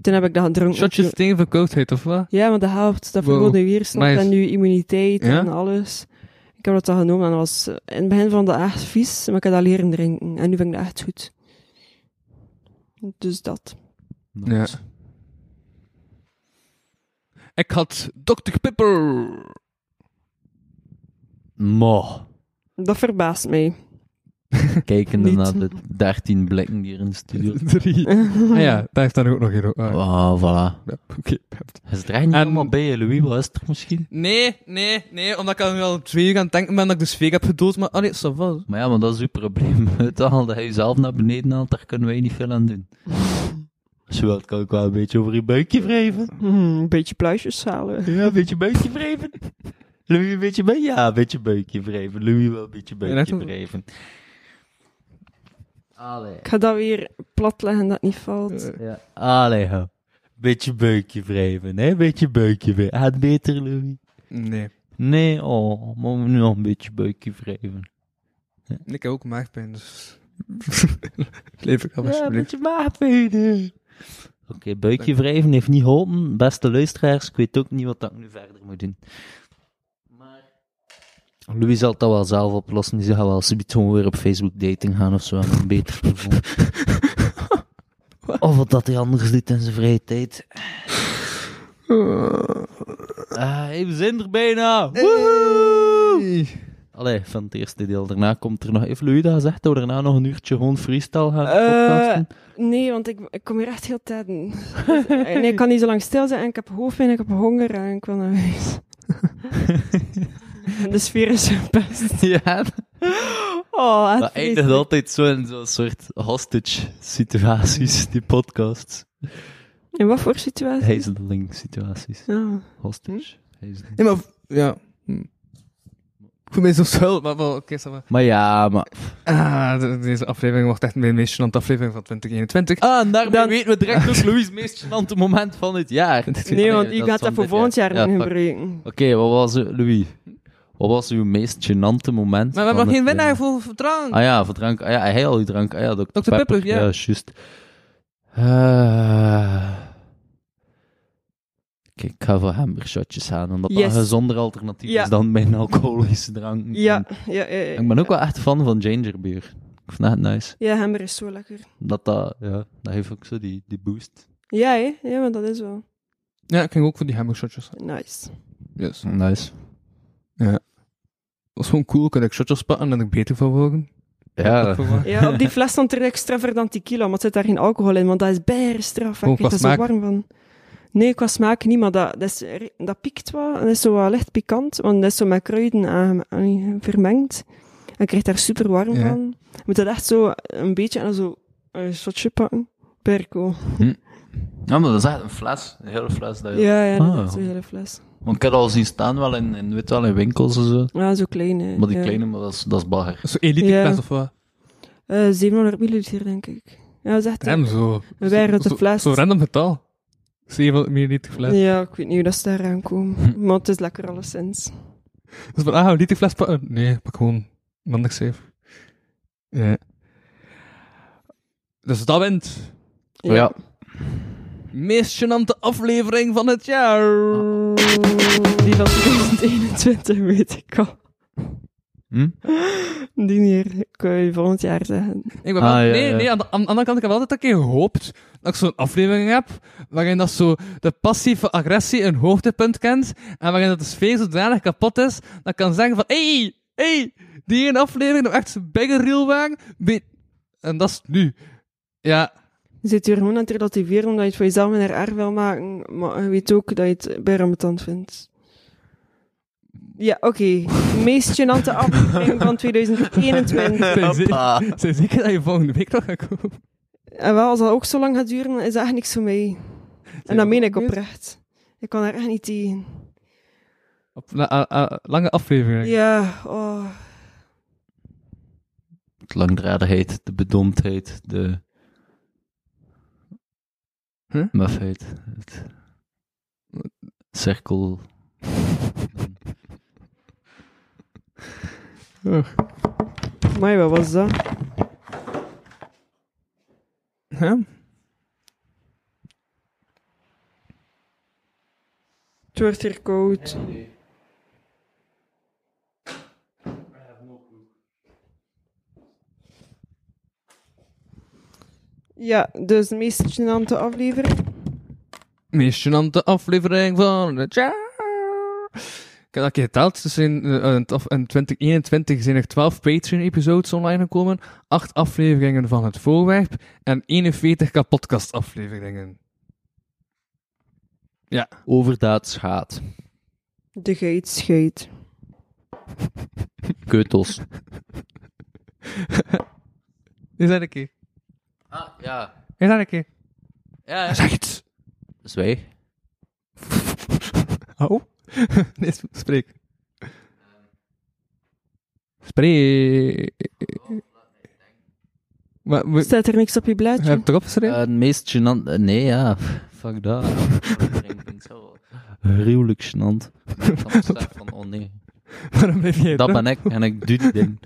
Speaker 5: Toen heb ik dat gedronken.
Speaker 3: Shotjes tegen verkoudheid, of wat?
Speaker 5: Ja, maar dat helpt. Dat
Speaker 3: Wow.
Speaker 5: vergroot je weerstand
Speaker 3: Nice.
Speaker 5: en je immuniteit
Speaker 3: Ja?
Speaker 5: en alles. Ik heb dat dan genomen en dat was eh, in het begin van de echt vies, maar ik heb dat leren drinken. En nu vind ik dat echt goed. Dus dat.
Speaker 3: Ja. Ik had Dr. Pepper.
Speaker 4: Mo.
Speaker 5: Dat verbaast mij.
Speaker 4: Kijkende
Speaker 5: Niet.
Speaker 4: naar de 13 blikken die erin sturen.
Speaker 3: Drie. ah ja, daar heeft dan ook nog in. Ah,
Speaker 4: Wow, voilà.
Speaker 3: Oké,
Speaker 4: Is het er echt niet allemaal bij, hè, Louis? Wat is het er misschien?
Speaker 3: Nee, nee, nee, omdat ik al nu al twee uur aan het denken ben dat ik de sfeer heb gedood, maar allee, ça va.
Speaker 4: Maar ja, maar dat is uw probleem. Het al dat je zelf naar beneden haalt, daar kunnen wij niet veel aan doen. Als je wilt, kan ik wel een beetje over je buikje wrijven.
Speaker 5: Mhm, Een beetje pluisjes halen.
Speaker 4: Ja, een beetje buikje wrijven. Louis, een beetje buikje? Ja, een beetje buikje wrijven. Louis wel een beetje
Speaker 3: dat
Speaker 4: buikje
Speaker 3: is-
Speaker 4: wrijven. Allee.
Speaker 5: Ik ga dat weer platleggen dat het niet valt.
Speaker 4: Ja. Allee, ho. Beetje buikje wrijven, hè? Beetje buikje wrijven. Gaat beter, Louis?
Speaker 3: Nee.
Speaker 4: Nee, oh, maar nu nog een beetje buikje wrijven.
Speaker 3: Ik heb ook maagpijn, dus... Leef ik
Speaker 4: Ja, een
Speaker 3: alsjeblieft.
Speaker 4: beetje maagpijn. Oké, buikje wrijven heeft niet geholpen. Beste luisteraars, ik weet ook niet wat dat ik nu verder moet doen. Maar... Louis zal dat wel zelf oplossen. Die zal wel subiet gewoon weer op Facebook dating gaan of zo. En dan beter te voelen. of wat dat hij anders doet in zijn vrije tijd. Ah, hey, we zijn er bijna. Woehoe! Allee, van het eerste deel. Daarna komt er nog... Heeft Louis dat gezegd? Dat we daarna nog een uurtje gewoon freestyle gaan podcasten?
Speaker 5: nee, want ik, ik kom hier echt heel tijd. in. Dus, eh, nee, ik kan niet zo lang stil zijn en ik heb hoofdpijn, ik heb honger en ik wil naar huis. en de sfeer is zo best.
Speaker 4: Ja.
Speaker 5: Oh, echt
Speaker 4: Dat eindigt
Speaker 5: vreselijk.
Speaker 4: altijd zo in zo'n soort hostage-situaties, die podcasts.
Speaker 5: In wat voor situatie?
Speaker 4: Hazeling-situaties.
Speaker 5: Ja.
Speaker 4: Hostage. hazeling.
Speaker 3: Nee, maar... Ja. Hm. Ik voel mij zo schuld, maar wel, oké, ça va.
Speaker 4: Maar ja, maar...
Speaker 3: Ah, de- deze aflevering wordt echt mijn meest gênante aflevering van 2021.
Speaker 4: Ah, en daarmee weten we direct ook Louis' meest gênante moment van het jaar.
Speaker 5: Nee, want je
Speaker 4: is
Speaker 5: gaat
Speaker 4: van
Speaker 5: dat voor
Speaker 4: dit
Speaker 5: volgend jaar
Speaker 4: Ja, Mm.
Speaker 5: niet
Speaker 4: fuck.
Speaker 5: gebruiken.
Speaker 4: Oké, wat was het, Louis? Wat was uw meest gênante moment?
Speaker 3: Maar we
Speaker 4: van
Speaker 3: hebben nog geen
Speaker 4: het jaar?
Speaker 3: winnaar voor vertrouwen.
Speaker 4: Ah ja, voor drank. Ah ja, hij al die drank. Ah ja, Dr.
Speaker 3: Dr. Pepper, ja.
Speaker 4: Ja, juist. Eh, Kijk, ik ga voor hamburgershotjes aan, omdat dat
Speaker 5: Yes.
Speaker 4: een gezonder alternatief
Speaker 5: Ja.
Speaker 4: is dan mijn alcoholische drank.
Speaker 5: Ja, ja, ja.
Speaker 4: En
Speaker 5: Ja,
Speaker 4: Ik ben ook wel echt fan van gingerbeer. Ik vind dat echt nice.
Speaker 5: ja hamer is zo lekker.
Speaker 4: Dat, dat, ja, dat heeft ook zo die, die boost.
Speaker 5: Ja, hè? ja, maar dat is wel
Speaker 3: Ja, ik ging ook voor die hamburgershotjes.
Speaker 5: nice.
Speaker 3: Yes.
Speaker 4: Nice.
Speaker 3: Ja. Dat was gewoon cool, kan ik shotjes pakken en ik beter van worden.
Speaker 4: Ja.
Speaker 5: Ja, op die fles stond er extra ver dan tequila, maar het zit daar geen alcohol in, want dat is bijna straf.
Speaker 3: Gewoon
Speaker 5: Ik
Speaker 3: Oh, qua
Speaker 5: krijg daar zo
Speaker 3: smaak?
Speaker 5: warm van. Nee, qua smaak niet, maar dat, dat, is, re- dat piekt wel. en Dat is zo wat licht pikant, want dat is zo met kruiden aan, aan- vermengd. En ik krijg daar super warm
Speaker 3: Ja.
Speaker 5: van. Je moet dat echt zo een beetje en dan zo een shotje pakken. Perco.
Speaker 4: Ja, maar dat is echt een fles. Een hele fles. Dat je-
Speaker 5: Ja, ja,
Speaker 4: Ah,
Speaker 5: dat is een hele fles.
Speaker 4: Want ik heb dat al zien staan wel in, in, weet wel, in winkels en zo.
Speaker 5: Ja, zo klein, hè.
Speaker 4: Maar die
Speaker 5: Ja.
Speaker 4: kleine, maar dat is, dat is bagger.
Speaker 3: Zo elite
Speaker 5: Ja.
Speaker 3: fles of wat?
Speaker 5: Eh, 700 milliliter, denk ik. Ja, dat is echt...
Speaker 3: Hem zo.
Speaker 5: Een wijrotte
Speaker 3: Zo-
Speaker 5: fles.
Speaker 3: Zo'n random getal. 700 milliliter fles.
Speaker 5: Ja, ik weet niet hoe dat ze daar
Speaker 3: Hm.
Speaker 5: aankomen. Maar het is lekker alleszins.
Speaker 3: Dus van, ah, gaan we niet die fles pakken? Nee, pak gewoon mandag safe. Ja. Dus dat wint.
Speaker 5: Ja. Ja.
Speaker 3: Meest gênante aflevering van het jaar.
Speaker 5: Die van 2021 weet ik al.
Speaker 4: Hm?
Speaker 5: Die hier kan je volgend jaar zeggen.
Speaker 3: Ik ben wel- nee, nee, aan de, aan de andere kant, ik heb altijd een keer gehoopt dat ik zo'n aflevering heb, waarin dat zo de passieve agressie een hoogtepunt kent, en waarin dat de sfeer zodanig kapot is, dat ik kan zeggen van, hey, hey, die ene aflevering, dat we echt zo'n baggerreel waren, weet- en dat is nu. Ja,
Speaker 5: Je zit hier gewoon aan het relativeren omdat je het voor jezelf minder erg wil maken. Maar je weet ook dat je het bijna irritant vindt. Ja, oké. Meest gênante aflevering van 2021.
Speaker 3: Zijn zeker dat je volgende week nog gaat komen?
Speaker 5: En wel, als dat ook zo lang gaat duren, dan is dat echt niks voor mij. En dat meen ik oprecht. Ik kan daar echt niet tegen.
Speaker 3: Op, na- a- a- lange aflevering.
Speaker 5: Ja, oh.
Speaker 4: De langdradigheid, de bedomdheid, de... Mufheid. Het... Cirkel.
Speaker 5: Maar wat was dat?
Speaker 3: Hè?
Speaker 5: Het wordt hier koud. Ja, dus de meest gênante aflevering.
Speaker 3: Meest gênante aflevering van het jaar. Ik heb dat een keer geteld. Dus in, eh, in het af- in 2021 zijn er 12 Patreon-episodes online gekomen. 8 afleveringen van het voorwerp. En 41 podcast-afleveringen. Ja.
Speaker 4: Overdaad schaadt.
Speaker 5: De geit scheidt.
Speaker 4: Keutels.
Speaker 3: Is dat een keer?
Speaker 4: Ah, ja.
Speaker 3: Is dat een keer?
Speaker 4: Ja,
Speaker 3: Zeg iets.
Speaker 4: Zwijg.
Speaker 3: Oh? nee, sp- spreek. Spreek. Maar, we-
Speaker 5: Staat er niks op je blaadje?
Speaker 3: Heb je het erop geschreven?
Speaker 4: het meest gênant... eh, Nee, ja. Fuck dat. Gruwelijk gênant. Dat besef van, oh nee.
Speaker 3: Waarom blijf jij
Speaker 4: Dat
Speaker 3: terug?
Speaker 4: ben ik en ik doe die ding.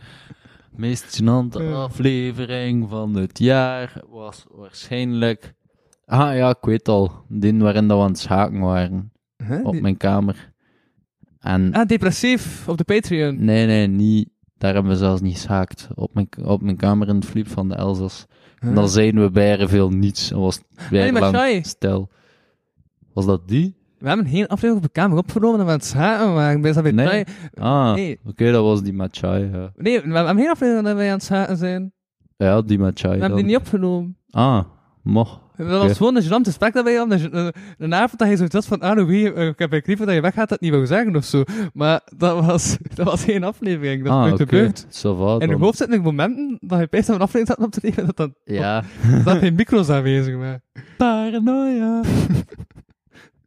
Speaker 4: meest gênante
Speaker 3: Ja.
Speaker 4: aflevering van het jaar was waarschijnlijk... Ah ja, ik weet al. Die waarin dat we aan het schaken waren.
Speaker 3: Hè?
Speaker 4: Op
Speaker 3: Die-
Speaker 4: mijn kamer. En...
Speaker 3: Ah, depressief op de Patreon.
Speaker 4: Nee, nee, niet. Daar hebben we zelfs niet gehaakt. Op mijn, op mijn kamer in het fliep van de Elzas. En dan
Speaker 3: Huh?
Speaker 4: zeiden we bijna veel niets. En was
Speaker 3: Nee, maar
Speaker 4: bijna
Speaker 3: Shai.
Speaker 4: lang stil. Was dat die?
Speaker 3: We hebben geen aflevering op de kamer opgenomen en we aan het schaken waren. Ben je dat bij
Speaker 4: Nee. Ah,
Speaker 3: Nee.
Speaker 4: oké, dat was die Machai. Ja,
Speaker 3: Nee, we hebben geen aflevering dat wij aan het schaken zijn.
Speaker 4: ja die Machai.
Speaker 3: We hebben die
Speaker 4: dan.
Speaker 3: niet opgenomen.
Speaker 4: Ah, mocht.
Speaker 3: Dat was
Speaker 4: Oké.
Speaker 3: gewoon een gênant gesprek dat wij hadden. Een, een, een avond dat hij zoiets had van, ah, Louis, eh, ik heb eigenlijk liever dat je weggaat, dat niet wou zeggen of zo. Maar dat was, dat was geen aflevering. Dat is
Speaker 4: Ah,
Speaker 3: nooit
Speaker 4: oké.
Speaker 3: gebeurd.
Speaker 4: Ça va,
Speaker 3: In je
Speaker 4: dan.
Speaker 3: hoofd zitten er momenten dat je bijst aan een aflevering zat op te nemen, dat dan,
Speaker 4: Ja.
Speaker 3: dat geen micro's aanwezig waren.
Speaker 4: Paranoia.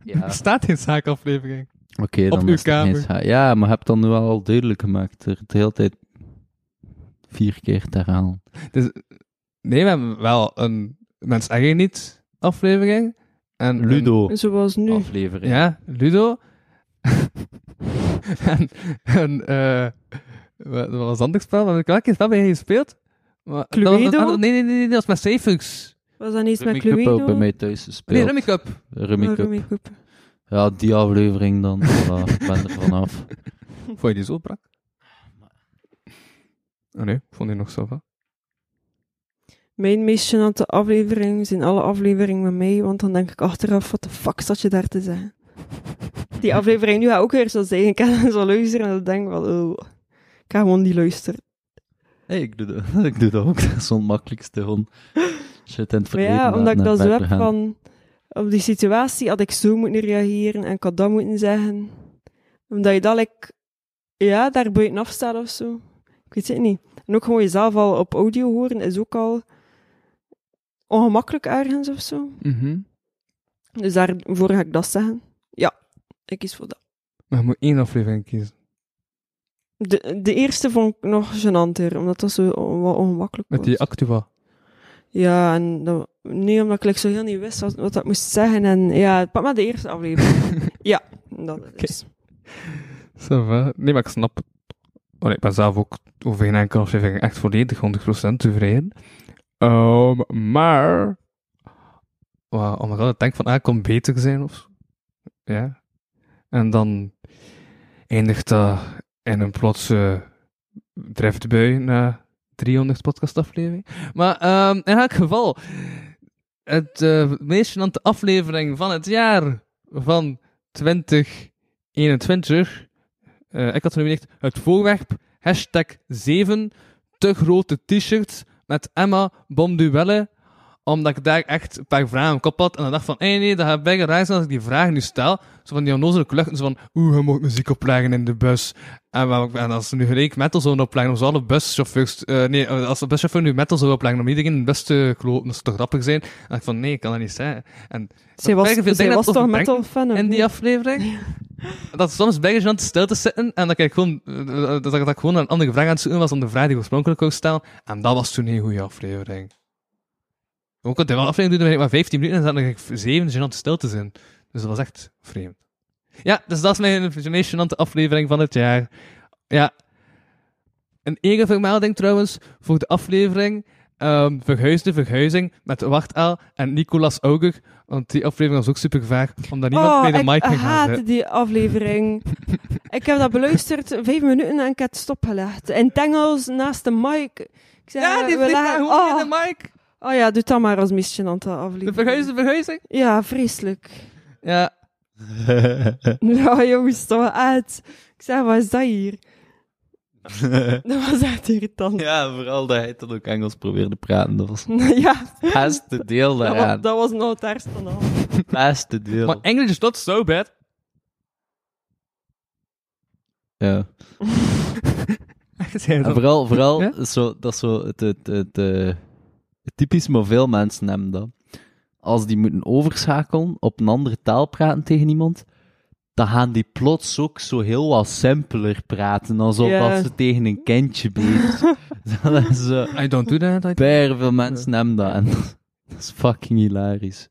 Speaker 3: Er staat geen zaakaflevering.
Speaker 4: Oké,
Speaker 3: Op
Speaker 4: dan
Speaker 3: uw
Speaker 4: is het
Speaker 3: kamer.
Speaker 4: ineens- Ja, maar heb dan nu wel al duidelijk gemaakt. Er de hele tijd vier keer te herhalen.
Speaker 3: Dus, nee, we hebben wel een Mens Eigen Niet aflevering. En
Speaker 4: Ludo.
Speaker 3: een-
Speaker 5: Zoals nu.
Speaker 4: Aflevering.
Speaker 3: Ja, Ludo. en, en eh, wat wat was het andere spel? We hebben wel een keer spel bij je gespeeld. Maar, dat was-
Speaker 5: Cluedo?
Speaker 3: ah, nee, nee, nee, nee, dat was met Safux.
Speaker 5: Was dat niet eens met
Speaker 4: Rummy Cup
Speaker 5: Cluedo?
Speaker 4: ook bij mij thuis gespeeld.
Speaker 3: Nee, Rummy Cup.
Speaker 4: Rummy
Speaker 5: Oh,
Speaker 4: Cup.
Speaker 5: Rummy Cup.
Speaker 4: Ja, die aflevering dan. Voilà, ik ben er vanaf.
Speaker 3: Vond je die zo brak? Oh Ah, nee, ik vond die nog zo van.
Speaker 5: Mijn meest gênante aflevering zijn alle afleveringen met mij, want dan denk ik achteraf, wat de fuck zat je daar te zeggen? Die aflevering nu ga ik ook weer zo zeggen, ik ga dan zo luisteren en dan denk ik van, oh, ik ga gewoon niet luisteren.
Speaker 4: Hey, ik, doe dat, ik doe dat ook. Dat is het makkelijkste gewoon shit in het
Speaker 5: Maar
Speaker 4: verleden.
Speaker 5: ja,
Speaker 4: laten
Speaker 5: omdat ik
Speaker 4: en
Speaker 5: dat zo
Speaker 4: verder
Speaker 5: heb
Speaker 4: gaan.
Speaker 5: van, op die situatie had ik zo moeten reageren en ik had dat moeten zeggen. Omdat je dat, like, ja, daar buitenaf staat of zo. Ik weet het niet. En ook gewoon jezelf al op audio horen is ook al ongemakkelijk ergens of zo.
Speaker 3: Mhm.
Speaker 5: Dus daarvoor ga ik dat zeggen. Ja, ik kies voor dat.
Speaker 3: Maar je moet één aflevering kiezen.
Speaker 5: De, de eerste vond ik nog gênanter, omdat dat zo on- wat ongemakkelijk was.
Speaker 3: Met die Actua.
Speaker 5: Ja, en dat, nee, omdat ik like, zo heel niet wist wat, wat ik moest zeggen. En ja, pak maar de eerste aflevering. ja, dat is.
Speaker 3: Ça va. Nee, maar ik snap het. Oh, nee, ik ben zelf ook over geen enkele aflevering echt volledig 100% tevreden. Ehm, maar... Wow, omdat ik altijd denk van, ah, ik kon beter zijn of zo. Ja. En dan eindigt dat in een plotse driftbui na 300 podcastaflevering. Maar ehm, in elk geval, het eh, meest gênante aflevering van het jaar van 2021. eh, ik had genomineerd het voorwerp hashtag 7, te grote t-shirts met Emma Bomduelle, Omdat ik daar echt een paar vragen op had. En dan dacht van, hé nee, dat gaat bijna raar zijn als ik die vraag nu stel. Zo van die onnozele kluchten, zo van, oeh, je moet muziek opleggen in de bus. En, waar- en als ze nu gelijk metal zouden opleggen, of ze alle buschauffeurs... eh, nee, eh, als de buschauffeur nu metal zou opleggen om iedereen in de bus te kloppen, dat ze toch grappig zijn? En ik dacht van, nee, ik kan dat niet zijn. En
Speaker 5: Zij was,
Speaker 3: veel
Speaker 5: zij
Speaker 3: dingen
Speaker 5: was
Speaker 3: dat
Speaker 5: toch
Speaker 3: overdenken
Speaker 5: metal fan?
Speaker 3: In die aflevering? dat is soms bijna gênant stil te zitten en dat ik gewoon, eh, eh, dat, ik- dat ik gewoon een andere vraag aan het zoeken was dan de vraag die ik oorspronkelijk wou stellen. En dat was toen een goede aflevering. Ook al de aflevering duurde maar 15 minuten en dan zat ik 7 gênant stil te zijn. Dus dat was echt vreemd. Ja, dus dat is mijn meest gênante aflevering van het jaar. Ja. Een eigen vermelding trouwens voor de aflevering ehm Verhuisde Verhuizing met Wartel en Nicolas Auger. Want die aflevering was ook super vaag, omdat niemand bij de
Speaker 5: Ah, Oh, ik
Speaker 3: mic ging gaan
Speaker 5: haatte
Speaker 3: zitten.
Speaker 5: die aflevering. ik heb dat beluisterd, vijf minuten en ik heb het stopgelegd. In Tengels naast de mic. Ik zei,
Speaker 3: Ja, die
Speaker 5: we
Speaker 3: vliegt
Speaker 5: leggen-
Speaker 3: daar gewoon in de mic.
Speaker 5: Oh ja, doe dat maar als meest gênante aflevering. De
Speaker 3: verhuisde verhuizing?
Speaker 5: Ja, vreselijk.
Speaker 3: Ja.
Speaker 5: Ja, jongens, toch uit. Ik zei, wat is dat hier? Dat was echt irritant.
Speaker 4: Ja, vooral dat hij dan ook Engels probeerde praten. Dat was
Speaker 5: Ja.
Speaker 4: het beste deel
Speaker 5: Dat was,
Speaker 4: daaraan.
Speaker 5: dat was nog het ergste van alles.
Speaker 4: Het beste deel.
Speaker 3: Maar Engels is not so bad.
Speaker 4: Ja.
Speaker 3: En
Speaker 4: En vooral, vooral zo, dat is zo het, het, het, eh, het typisch, maar veel mensen hebben dat. Als die moeten overschakelen, op een andere taal praten tegen iemand, dan gaan die plots ook zo heel wat simpeler praten, alsof
Speaker 3: Ja.
Speaker 4: dat ze tegen een kindje bezig zijn. dat is,
Speaker 3: I don't do that.
Speaker 4: Bijna veel mensen hebben dat. En dat is fucking hilarisch.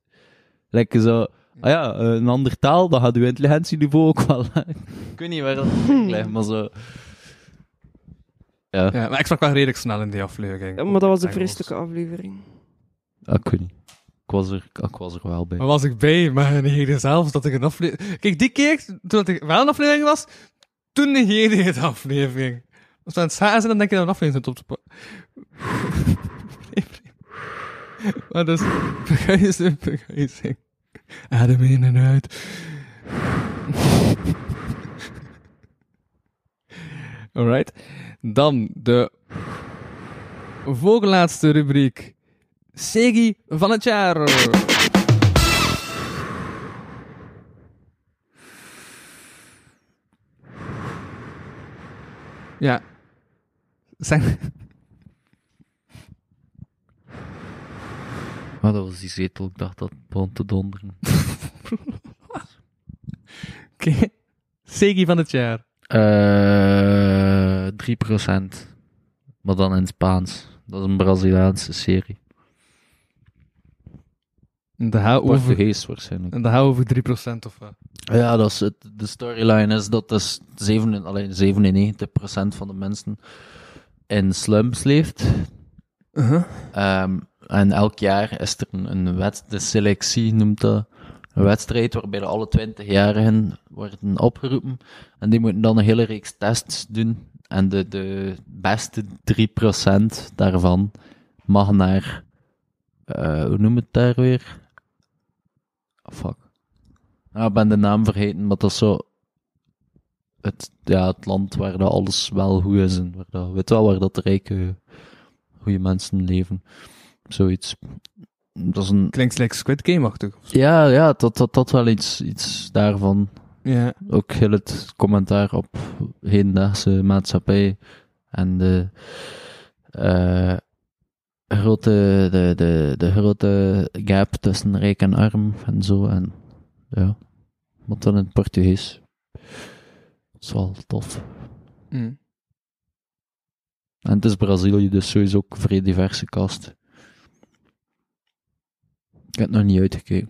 Speaker 4: Lekker zo... Ah ja, eh, een andere taal, dan gaat uw intelligentieniveau ook wel... ik weet niet waar dat ligt, maar zo... Ja.
Speaker 3: Ja, maar ik sprak wel redelijk snel in die aflevering.
Speaker 5: Ja, maar dat was een
Speaker 3: Engels.
Speaker 5: vreselijke aflevering.
Speaker 4: Ah, ik weet niet. Ik was er, ah, ik was er wel bij.
Speaker 3: Maar was ik bij, maar negeerde zelfs dat ik een aflevering... Kijk, die keer, toen dat ik wel een aflevering was, toen negeerde je de aflevering. Als we aan het zagen zijn, dan denk je dat we een aflevering zit op te pakken. maar dus, verguizing, verguizing. Adem in en uit. Alright. Dan de voorlaatste rubriek. Segi van het jaar. Ja. Zijn...
Speaker 4: Maar dat was die zetel, ik dacht dat het begon te donderen.
Speaker 3: Oké. Segi van het jaar.
Speaker 4: Eh 3%. Maar dan in het Spaans. Dat is een Braziliaanse serie.
Speaker 3: En de hou
Speaker 4: Portugees waarschijnlijk.
Speaker 3: En de hou over 3% of wat.
Speaker 4: Ja, dat is het, de storyline is dat dus 7, alleen 97% van de mensen in slums leeft.
Speaker 3: Uh-huh.
Speaker 4: Ehm, en elk jaar is er een, een wet, de selectie noemt dat, een wedstrijd waarbij de alle 20-jarigen worden opgeroepen. En die moeten dan een hele reeks tests doen. En de, de beste 3% daarvan mag naar, eh, hoe noem het daar weer? Fuck. Nou, ik ben de naam vergeten, maar dat is zo. Het, ja, het land waar dat alles wel goed is. En waar dat, weet wel waar dat de rijke, goede mensen leven. Zoiets. Dat is een...
Speaker 3: Klinkt slechts Squid Game-achtig.
Speaker 4: Ja, ja dat, dat, dat wel iets, iets daarvan.
Speaker 3: Ja.
Speaker 4: Ook heel het commentaar op hedendaagse maatschappij. En de. eh, grote, de, de, de grote gap tussen rijk en arm en zo. En ja, maar dan in het Portugees. Dat is wel tof.
Speaker 3: Mm.
Speaker 4: En het is Brazilië, dus sowieso ook een vrij diverse kast. Ik heb het nog niet uitgekeken.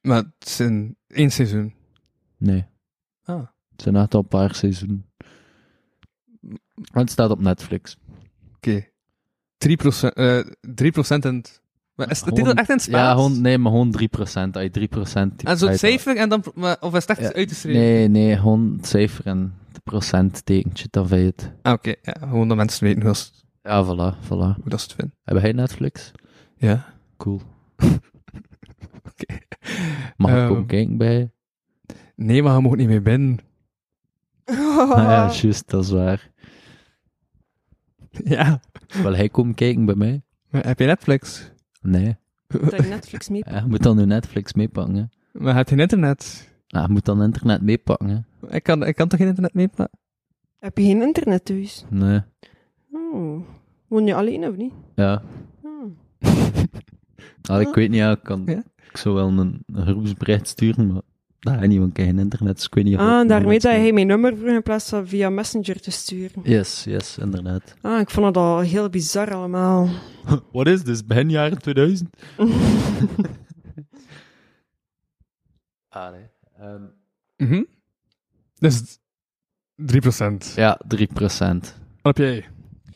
Speaker 3: Maar het is in één seizoen.
Speaker 4: Nee.
Speaker 3: Ah.
Speaker 4: Het zijn echt al een paar seizoenen. En het staat op Netflix.
Speaker 3: Oké. 3%, eh 3% in het... Maar is de titel
Speaker 4: Gewoon-
Speaker 3: echt in het Spaans?
Speaker 4: Ja, gewoon, nee, maar gewoon 3%. Als je 3% typt,
Speaker 3: En Ah, zo'n
Speaker 4: uit-
Speaker 3: cijfer en dan... Maar, of is het echt uit te schrijven?
Speaker 4: Nee, nee, gewoon het cijfer en het procent tekentje, dan weet je het.
Speaker 3: Ah, oké. Ja, gewoon dat mensen weten hoe dat
Speaker 4: Ja, voilà, voilà.
Speaker 3: Hoe dat ze het vinden.
Speaker 4: Hebben jij Netflix?
Speaker 3: Ja.
Speaker 4: Cool. Mag ik
Speaker 3: Ehm.
Speaker 4: komen kijken bij je?
Speaker 3: Nee, maar je mag niet meer binnen. Oh.
Speaker 4: Ah, ja, juist, dat is waar.
Speaker 3: Ja.
Speaker 4: Wil hij komen kijken bij mij?
Speaker 3: Maar heb je Netflix?
Speaker 4: Nee.
Speaker 5: Zou je Netflix meepakken?
Speaker 4: Ja, je moet dan nu Netflix meepakken, hè.
Speaker 3: Maar heb je internet?
Speaker 4: Ja, je moet dan internet meepakken, hè.
Speaker 3: Ik kan, ik kan toch geen internet meepakken?
Speaker 5: Heb je geen internet thuis?
Speaker 4: Nee.
Speaker 5: Oh. Woon je alleen of niet?
Speaker 4: Ja.
Speaker 5: Oh.
Speaker 4: Ah, ik weet niet, ja, ik, kan,
Speaker 5: Ja?
Speaker 4: ik zou wel een, een groepsbericht sturen, maar dat gaat niet, want ik heb geen internet, dus ik weet niet of
Speaker 5: Ah,
Speaker 4: ik-
Speaker 5: en daarmee dat hij mijn nummer vroeg in plaats van via Messenger te sturen.
Speaker 4: Yes, yes, inderdaad.
Speaker 5: Ah, ik vond het al heel bizar allemaal.
Speaker 4: Wat is dit? Begin jaren 2000? ah, nee. Ehm,
Speaker 3: Mhm. Dus 3%.
Speaker 4: Ja, 3%.
Speaker 3: Wat heb jij?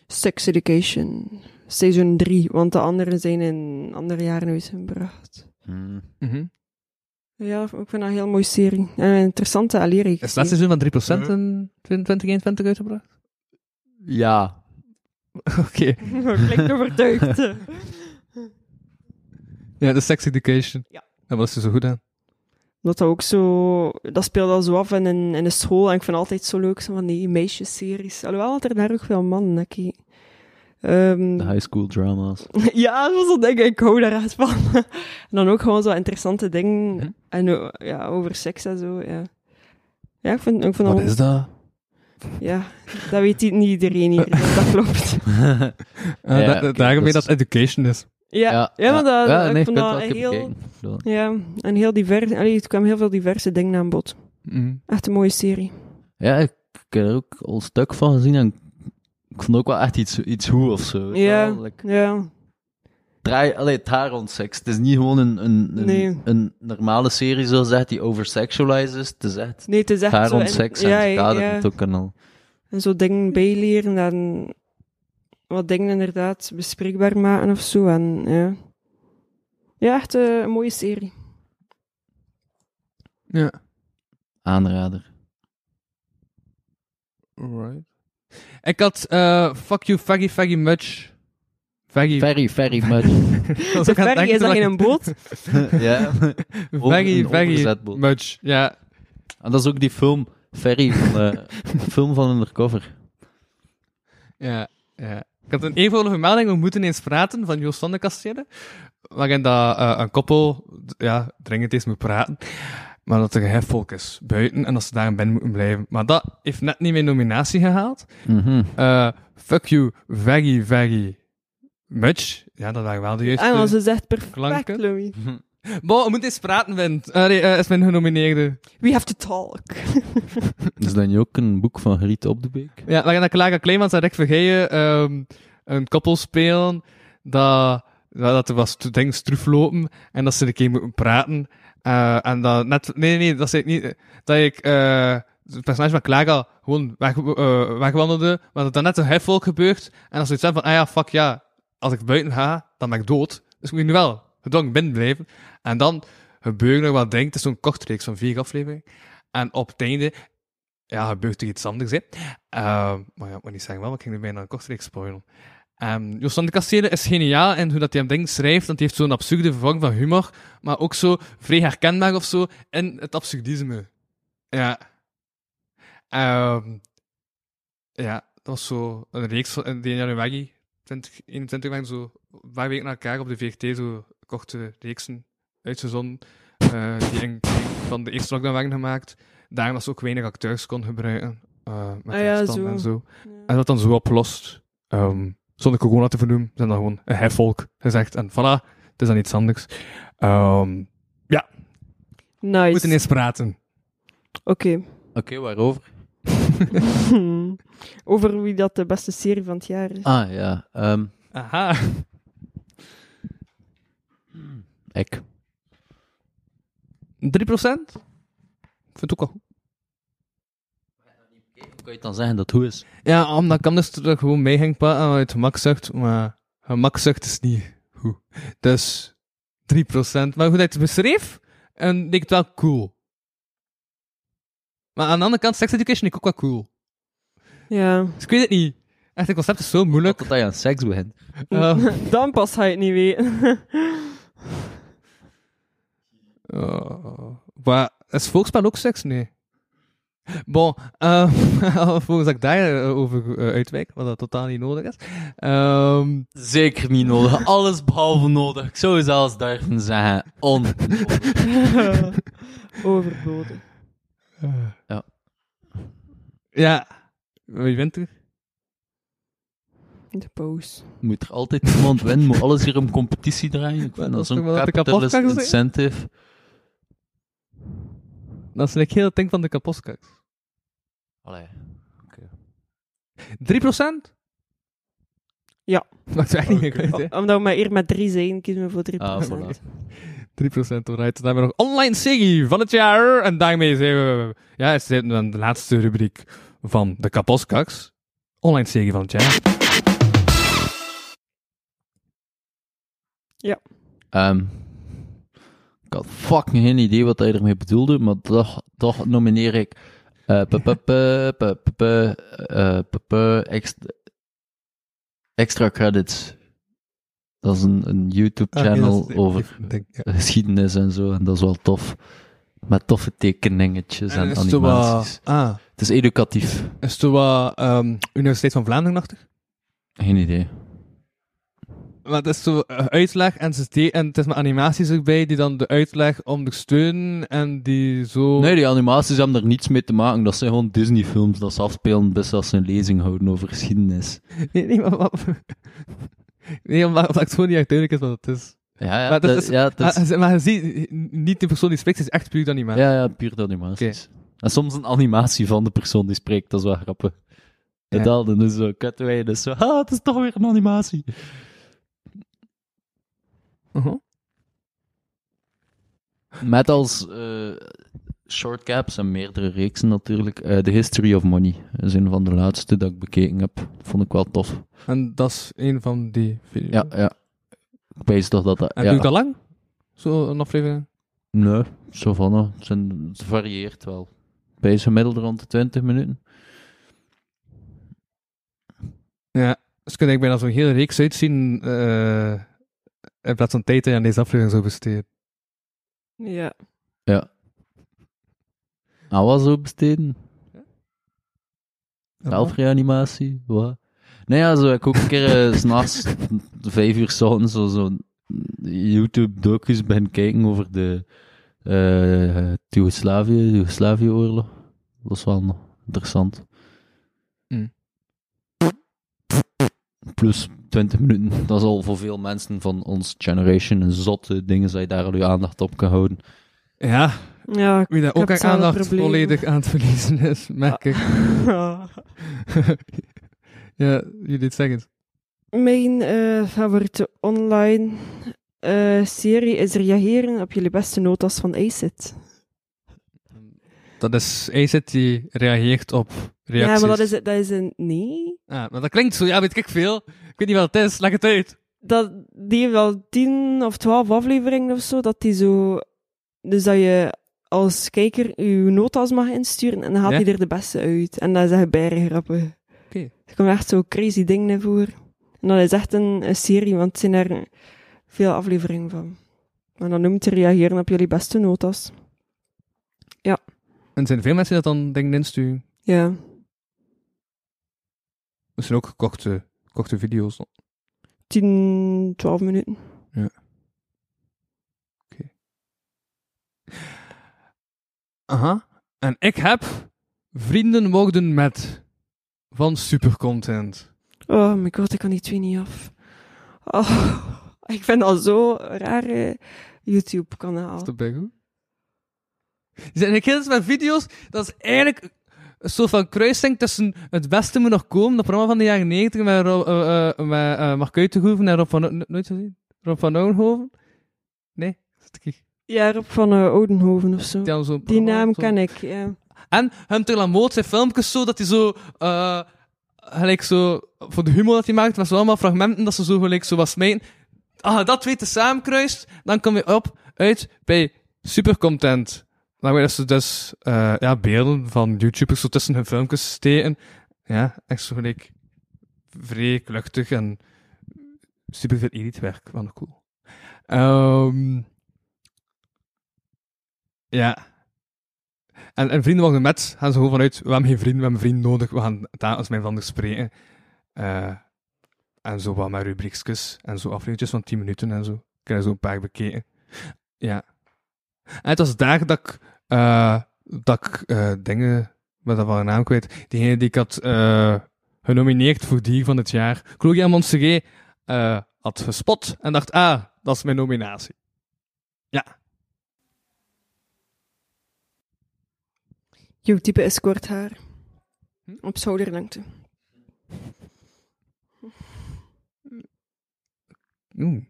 Speaker 5: Sex Education, seizoen 3, want de anderen zijn in andere jaren uitgebracht.
Speaker 4: Hmm.
Speaker 3: Mhm.
Speaker 5: Ja, ik vind dat een heel mooie serie. En een interessante Aleri.
Speaker 3: Is het laatste seizoen van 3% in 2021 uitgebracht?
Speaker 4: Ja.
Speaker 3: Oké.
Speaker 5: Klinkt overtuigd.
Speaker 3: Ja, de Sex Education. Ja. Daar was ze dus zo goed aan.
Speaker 5: Dat dat ook zo... Dat speelt al zo af in, in, in de school. En ik vind het altijd zo leuk, zo van die meisjesseries. Alhoewel dat er daar ook veel mannen naar kijken. Ehm,
Speaker 4: De high school drama's.
Speaker 5: ja, dat was zo denk ik. Ik hou daar echt van. en dan ook gewoon zo interessante dingen.
Speaker 4: Mhm.
Speaker 5: En o- ja, over seks en zo, ja. Ja, ik vind, ik vind
Speaker 3: Wat is dat?
Speaker 5: Ja, dat weet i- niet iedereen hier. dus dat klopt.
Speaker 4: Ja,
Speaker 3: Eh, da- da-
Speaker 4: oké,
Speaker 3: daarmee
Speaker 4: dus-
Speaker 3: dat het education is.
Speaker 5: Ja, ja, maar dat,
Speaker 4: Ja,
Speaker 5: ik
Speaker 4: nee,
Speaker 5: vond
Speaker 4: ik weet
Speaker 5: dat
Speaker 4: wel,
Speaker 5: een
Speaker 4: ik heb
Speaker 5: heel...
Speaker 4: gekeken. Ik bedoel-
Speaker 5: Ja, en heel divers... Allee, er kwamen heel veel diverse dingen aan bod.
Speaker 3: Mhm.
Speaker 5: Echt een mooie serie.
Speaker 4: Ja, ik heb er ook al een stuk van gezien en ik vond ook wel echt iets, iets hoe of zo. weet je
Speaker 5: Ja,
Speaker 4: wel, like,
Speaker 5: ja.
Speaker 4: draai, allee, het haar rond seks. Het is niet gewoon een, een, een,
Speaker 5: Nee.
Speaker 4: een normale serie, zoals zegt, die oversexualized is. Het is echt,
Speaker 5: Nee, het is echt
Speaker 4: haar
Speaker 5: zo
Speaker 4: rond
Speaker 5: en-
Speaker 4: seks
Speaker 5: ja,
Speaker 4: en het kader
Speaker 5: ja.
Speaker 4: moet ook en al.
Speaker 5: En zo dingen bijleren en wat dingen inderdaad bespreekbaar maken of zo. En, ja. ja, echt eh, een mooie serie.
Speaker 3: Ja.
Speaker 4: Aanrader.
Speaker 3: Alright. Ik had eh, Fuck You Faggy Faggy Much. Faggy.
Speaker 4: Very, very much.
Speaker 3: was ook aan het
Speaker 5: Ferry,
Speaker 3: denken
Speaker 5: is dat
Speaker 3: toen
Speaker 5: in
Speaker 3: ik-
Speaker 5: een boot?
Speaker 4: ja.
Speaker 3: Faggy
Speaker 4: Een
Speaker 3: Faggy
Speaker 4: overzetboot.
Speaker 3: Much. Ja.
Speaker 4: En dat is ook die film, Ferry, van, eh, film van Undercover.
Speaker 3: Ja, ja. Ik had een eenvoudige melding, we moeten eens praten, van Joost van de Kastelen. Waarin dat, eh, een koppel d- ja, dringend eens moet praten. Maar dat er een hefvolk is buiten en dat ze daar binnen moeten blijven. Maar dat heeft net niet mijn nominatie gehaald.
Speaker 4: Mhm.
Speaker 3: Eh, fuck you, very, very much. Ja, dat waren wel de juiste...
Speaker 5: En als is echt perfect,
Speaker 3: Klanken.
Speaker 5: Louis.
Speaker 3: Bon, we moeten eens praten, Wint. Eh, nee, eh, is mijn genomineerde.
Speaker 5: We have to talk.
Speaker 4: Is dan ook een boek van Griet op de Beek?
Speaker 3: Ja, waarin dat Clara Kleemans en Rick Vergeijen ehm, een koppel spelen dat, dat dat er was dingen stroef lopen en dat ze een keer moeten praten. Eh, en dat net... Nee, nee, dat zei ik niet. eh, Dat ik... eh het personage van Clara gewoon weg, eh, wegwandelde, maar dat er net een hefvolk gebeurt en dat ze iets van, ah ja, fuck ja, als ik buiten ga, dan ben ik dood. Dus ik moet nu wel gedwongen binnen blijven. En dan gebeuren er wat dingen. Het is zo'n korte reeks van vier afleveringen. En op het einde ja, gebeurt er iets anders. Hè. Ehm, maar ja, ik moet niet zeggen wel, want ik ging nu bijna een korte reeks spoilen. Ehm Joost van de Kastelen is geniaal in hoe dat hij hem dingen schrijft, want hij heeft zo'n absurde vorm van humor, maar ook zo vrij herkenbaar of zo in het absurdisme. Ja. Ehm, ja, dat was zo een reeks van in 1 januari 2021 waren zo een paar weken na elkaar op de VRT zo korte reeksen uitgezonden eh, die in, van de eerste lockdown waren gemaakt. Daarom dat ze ook weinig acteurs kon gebruiken eh, met
Speaker 5: Ah ja,
Speaker 3: afstand
Speaker 5: zo.
Speaker 3: en zo. En dat dan zo opgelost. ehm, zonder corona te vernoemen, zijn dan gewoon een hefvolk gezegd. En voilà, het is dan iets anders. Ehm, ja,
Speaker 5: Nice.
Speaker 3: we moeten eens praten.
Speaker 5: Oké.
Speaker 4: Oké, waarover?
Speaker 5: Hmm. Over wie dat de beste serie van het jaar is.
Speaker 4: Ah ja, ehm,
Speaker 3: Aha.
Speaker 4: ik.
Speaker 3: 3%? Ik vind het ook al goed.
Speaker 4: Hoe kan je dan zeggen dat het hoe is?
Speaker 3: Ja, omdat ik hem dus terug gewoon mee ging pakken uit gemakzucht, maar gemakzucht is niet goed. Dus 3%. Maar goed dat je het beschreef, en ik denk het wel cool. Maar aan de andere kant, sex education vind ik ook wel cool.
Speaker 5: Ja.
Speaker 3: Dus ik weet het niet. Echt, het concept is zo moeilijk.
Speaker 4: Totdat je aan seks begint.
Speaker 3: Eh.
Speaker 5: Dan pas ga je het niet weten.
Speaker 3: Eh, Oh. Maar is volksspel ook seks? Nee. Bon, eh volgens dat ik daarover eh, uitwijk, wat dat totaal niet nodig is. Ehm,
Speaker 4: Zeker niet nodig. Alles behalve nodig. Ik zou zelfs durven zeggen. On.
Speaker 5: Overbodig.
Speaker 4: Ja.
Speaker 3: Eh. ja, wie bent u?
Speaker 5: De pauze.
Speaker 4: Moet er altijd iemand winnen? Moet alles hier om competitie draaien? Ik vind dat
Speaker 3: toch wel
Speaker 4: zo'n
Speaker 3: wat de
Speaker 4: capitalist
Speaker 3: kapotkak is, hè?
Speaker 4: incentive.
Speaker 3: Dat is like heel het ding van de kapotkaks.
Speaker 4: Allee.
Speaker 3: 3%?
Speaker 5: Ja.
Speaker 3: Maakt eigenlijk niet uit, hè?
Speaker 5: Omdat we maar hier met drie zijn, kiezen we voor drie
Speaker 3: Ah,
Speaker 5: procent.
Speaker 3: 3% alright. Dan hebben we nog online Siggy van het jaar. En daarmee zijn we... Ja, het is dan de laatste rubriek van de kapotkaks. Online Siggy van het jaar.
Speaker 4: Ehm, ik had fucking geen idee wat hij ermee bedoelde, maar toch, toch nomineer ik. eh, pe- pe- pe- pe- pe- pe- eh, pe- pe- ext- Extra credits. Dat is een, een
Speaker 3: Ah, nee,
Speaker 4: YouTube-channel
Speaker 3: dat is-
Speaker 4: over geschiedenis en zo, en dat is wel tof. Met toffe tekeningetjes en,
Speaker 3: En is het zo wat-
Speaker 4: animaties.
Speaker 3: ah.
Speaker 4: Het is educatief.
Speaker 3: Is het wat ehm, Universiteit van Vlaanderen-achtig?
Speaker 4: Geen idee.
Speaker 3: Maar het is zo eh, uitleg en, ze de- en het is maar animaties erbij die dan de uitleg ondersteunen en die zo...
Speaker 4: Nee, die animaties hebben er niets mee te maken. Dat zijn gewoon Disney-films dat ze afspelen best als ze een lezing houden over geschiedenis.
Speaker 3: Nee, nee, maar wat... Nee, omdat, omdat het gewoon niet echt duidelijk is wat het is. Ah,
Speaker 4: Ja, ja,
Speaker 3: maar, het
Speaker 4: dat- ja, het is-
Speaker 3: maar, maar je ziet, niet de persoon die spreekt, het is echt puur de animatie.
Speaker 4: Ja, ja, puur de animaties. En soms een animatie van de persoon die spreekt, dat is wel grappig. En
Speaker 3: Ja.
Speaker 4: dan, dan is zo kutwijn, dus zo, ah, het is toch weer een animatie.
Speaker 3: Mhm.
Speaker 4: Met als eh, short caps en meerdere reeksen natuurlijk, eh, The History of Money is een van de laatste dat ik bekeken heb. Vond ik wel tof.
Speaker 3: En dat is een van die video's.
Speaker 4: Ja, ja. Ik weet toch dat dat...
Speaker 3: En
Speaker 4: ja.
Speaker 3: duurt dat lang? Zo een aflevering?
Speaker 4: Nee, zo van, hè. het, zijn- het varieert wel. Bij gemiddeld rond de 20 minuten.
Speaker 3: Ja, dus kun ik bijna zo'n hele reeks uitzien eh, in plaats van tijd die je aan deze aflevering zou besteden.
Speaker 5: Ja.
Speaker 4: Ja. Awa zo besteden. Zelfreanimatie, wat? Nee, ja, zo heb ik ook een keer eh, 's s'nachts, vijf uur 's ochtends, zo, zo YouTube-docus ben kijken over de eh Joegoslavië, Joegoslavië-oorlog. Dat is wel interessant.
Speaker 3: Hm.
Speaker 4: Plus 20 minuten. Dat is al voor veel mensen van ons generation een zotte dingen, dat je daar al je aandacht op kan houden.
Speaker 3: Ja.
Speaker 5: Ja,
Speaker 3: Wie daar
Speaker 5: ik
Speaker 3: ook
Speaker 5: heb
Speaker 3: aan aandacht
Speaker 5: hetzelfde probleem.
Speaker 3: volledig aan het verliezen is, merk ik.
Speaker 5: Ah.
Speaker 3: ja, Judith, zeg het.
Speaker 5: Mijn eh, favoriete online eh, serie is reageren op jullie beste notas van ACID.
Speaker 3: Dat is AZ die reageert op reacties.
Speaker 5: Ja, maar dat is, dat is een... Nee.
Speaker 3: Ah, maar dat klinkt zo, ja, weet ik veel. Ik weet niet wat het is, leg het uit.
Speaker 5: dat die heeft wel tien of twaalf afleveringen of zo, dat die zo... Dus dat je als kijker je notas mag insturen en dan haalt
Speaker 3: Ja.
Speaker 5: hij er de beste uit. En dat is echt bijna grappig.
Speaker 3: Oké.
Speaker 5: Er komen echt zo crazy dingen in voor. En dat is echt een, een serie, want er zijn er veel afleveringen van. En dan noemt hij reageren op jullie beste notas.
Speaker 3: En er zijn veel mensen die dat dan dingen insturen.
Speaker 5: Ja.
Speaker 3: Er zijn ook gekochte, gekochte video's. dan.
Speaker 5: 10, 12 minuten.
Speaker 3: Aha. En ik heb Vrienden worden met van supercontent.
Speaker 5: Oh my god, ik kan die twee niet af. Oh, ik vind dat zo raar eh, YouTube-kanaal.
Speaker 3: Dat ben ik goed. Die zijn eigenlijk heel veel met video's. Dat is eigenlijk een soort van kruising tussen Het Beste Moet Nog Komen, dat programma van de jaren 90 met, Rob, eh, eh, met eh, Mark Uitenhoeven en Rob van... Oud- Nooit gezien? Rob van Ouwenhoven? Nee? Zit ik hier?
Speaker 5: Ja, Rob van eh, Oudenhoven of zo.
Speaker 3: Die hadden zo'n
Speaker 5: Die
Speaker 3: programma,
Speaker 5: naam
Speaker 3: zo.
Speaker 5: ken ik, ja.
Speaker 3: En Hunter Lamoot zijn filmpjes zo, dat hij zo... eh, gelijk zo... Voor de humor dat hij maakt, was zo allemaal fragmenten dat ze zo gelijk zo was smijten. Als je dat twee te samen kruist, dan kom je op uit bij supercontent. Daarmee dat ze dus eh, ja, beelden van YouTubers zo tussen hun filmpjes steken. Ja, echt zo gelijk... Vrij kluchtig en... Superveel editwerk, wat cool. Ehm ja. En, en vrienden van met gaan ze gewoon vanuit, we hebben geen vrienden, we hebben vrienden nodig, we gaan daar als mijn van spreken. Eh, en zo wat met rubriekjes en zo afleveringjes van 10 minuten en zo. Krijg zo een paar bekeken. Ja. En het was daar dat ik, eh, dat ik eh, dingen, met dat van een naam kwijt, diegene die ik had eh, genomineerd voor dier van het jaar, Claudia Montserrat, eh, had gespot en dacht, ah, dat is mijn nominatie. Ja.
Speaker 5: Jouw type is kort haar.
Speaker 3: Hm?
Speaker 5: Op schouderlengte.
Speaker 3: Mm.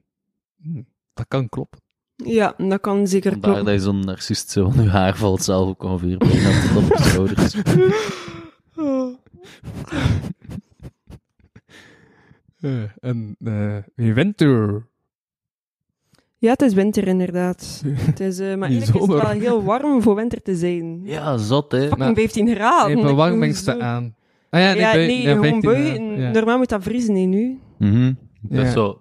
Speaker 3: Mm. Dat kan kloppen.
Speaker 5: Ja, dat kan zeker
Speaker 4: Vandaar
Speaker 5: kloppen.
Speaker 4: dat je zo'n narcist zo aan je haar valt zelf ook ongeveer bijna tot op de schouders.
Speaker 5: Oh.
Speaker 3: Eh, en eh, wie wint er?
Speaker 5: Ja, het is winter inderdaad. Het is, eh, maar
Speaker 3: Die
Speaker 5: eigenlijk is het
Speaker 3: zomer. nou,
Speaker 5: wel heel warm voor winter te zijn.
Speaker 4: Ja, zot, hè.
Speaker 5: Fucking 15 graden.
Speaker 3: Ik heb een
Speaker 5: dat
Speaker 3: warmingste
Speaker 5: doe zo.
Speaker 3: aan. Ah ja, nee,
Speaker 5: ja,
Speaker 3: bui-
Speaker 5: nee,
Speaker 3: ja,
Speaker 5: gewoon
Speaker 3: 15,
Speaker 5: buien.
Speaker 3: ja. Ja.
Speaker 5: Normaal moet dat vriezen hè, nu.
Speaker 4: Mhm. Dat
Speaker 3: Ja.
Speaker 4: is zo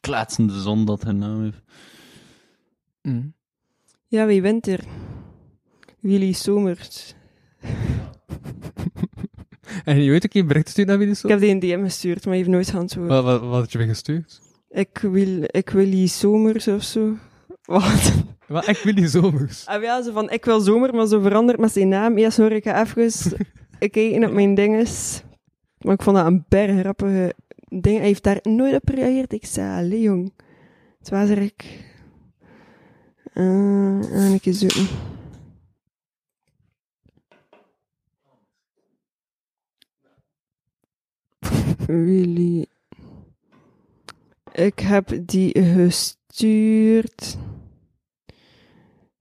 Speaker 4: klaatsende zon dat haar naam heeft.
Speaker 3: Mm.
Speaker 5: Ja, wie winter? Willy Somers.
Speaker 3: En je weet ook, je bericht stuurt naar wie die zo?
Speaker 5: Ik heb die een DM gestuurd, maar hij heeft nooit geantwoord.
Speaker 3: Wat, wat, wat had je weer gestuurd?
Speaker 5: Ik wil, ik wil die zomers of zo. Wat?
Speaker 3: Wat, ik wil die zomers.
Speaker 5: Ah, ja, zo van, ik wil zomer, maar zo veranderd met zijn naam. Eerst hoor ik het even. ik keek in op mijn dinges. Maar ik vond dat een bergrappige ding. Hij heeft daar nooit op gereageerd. Ik zei, allee jong. Het was er ik. Eh, en ik eens zoeken. Willy. Ik heb die gestuurd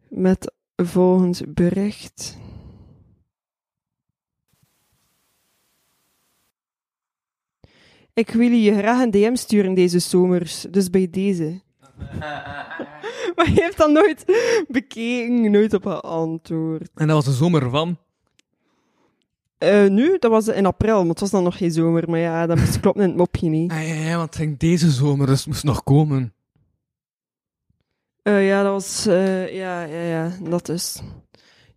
Speaker 5: met volgend bericht. Ik wil je graag een DM sturen deze zomers, dus bij deze. maar je heeft dat nooit bekeken, nooit op geantwoord.
Speaker 3: En dat was de zomer van.
Speaker 5: Eh, nu, dat was in april, maar het was dan nog geen zomer. Maar ja, dat moest kloppen in het mopje niet.
Speaker 3: Ah, ja, ja, want het ging deze zomer, dus het moest nog komen.
Speaker 5: Eh, ja, dat was... eh, ja, ja, ja, dat dus.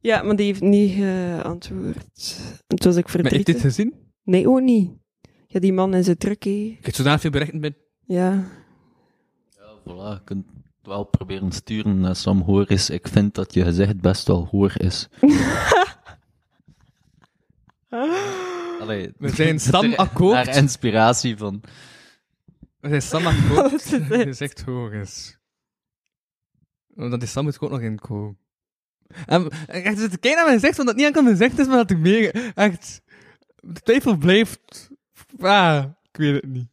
Speaker 5: Ja, maar die heeft niet geantwoord. En toen was ik
Speaker 3: Maar heb je
Speaker 5: verdrietig.
Speaker 3: dit gezien?
Speaker 5: Nee, ook niet. Ja, die man is het druk, hé.
Speaker 3: Ik heb zodanig veel berichten bij.
Speaker 5: Ja.
Speaker 4: Voilà, je kunt het wel proberen sturen naar Sam Horis. Ik vind dat je gezegd best wel hoor is. Allee,
Speaker 3: We zijn Sam akkoord.
Speaker 4: Naar inspiratie van...
Speaker 3: Dat is Sam akkoord. dat is echt hoog is. Dat is Sam moet ik ook nog in komen. En en echt, zit te kijken naar mijn gezicht, want dat niet enkel mijn gezicht is, maar dat ik meer echt... De twijfel blijft... Ah, ik weet het niet.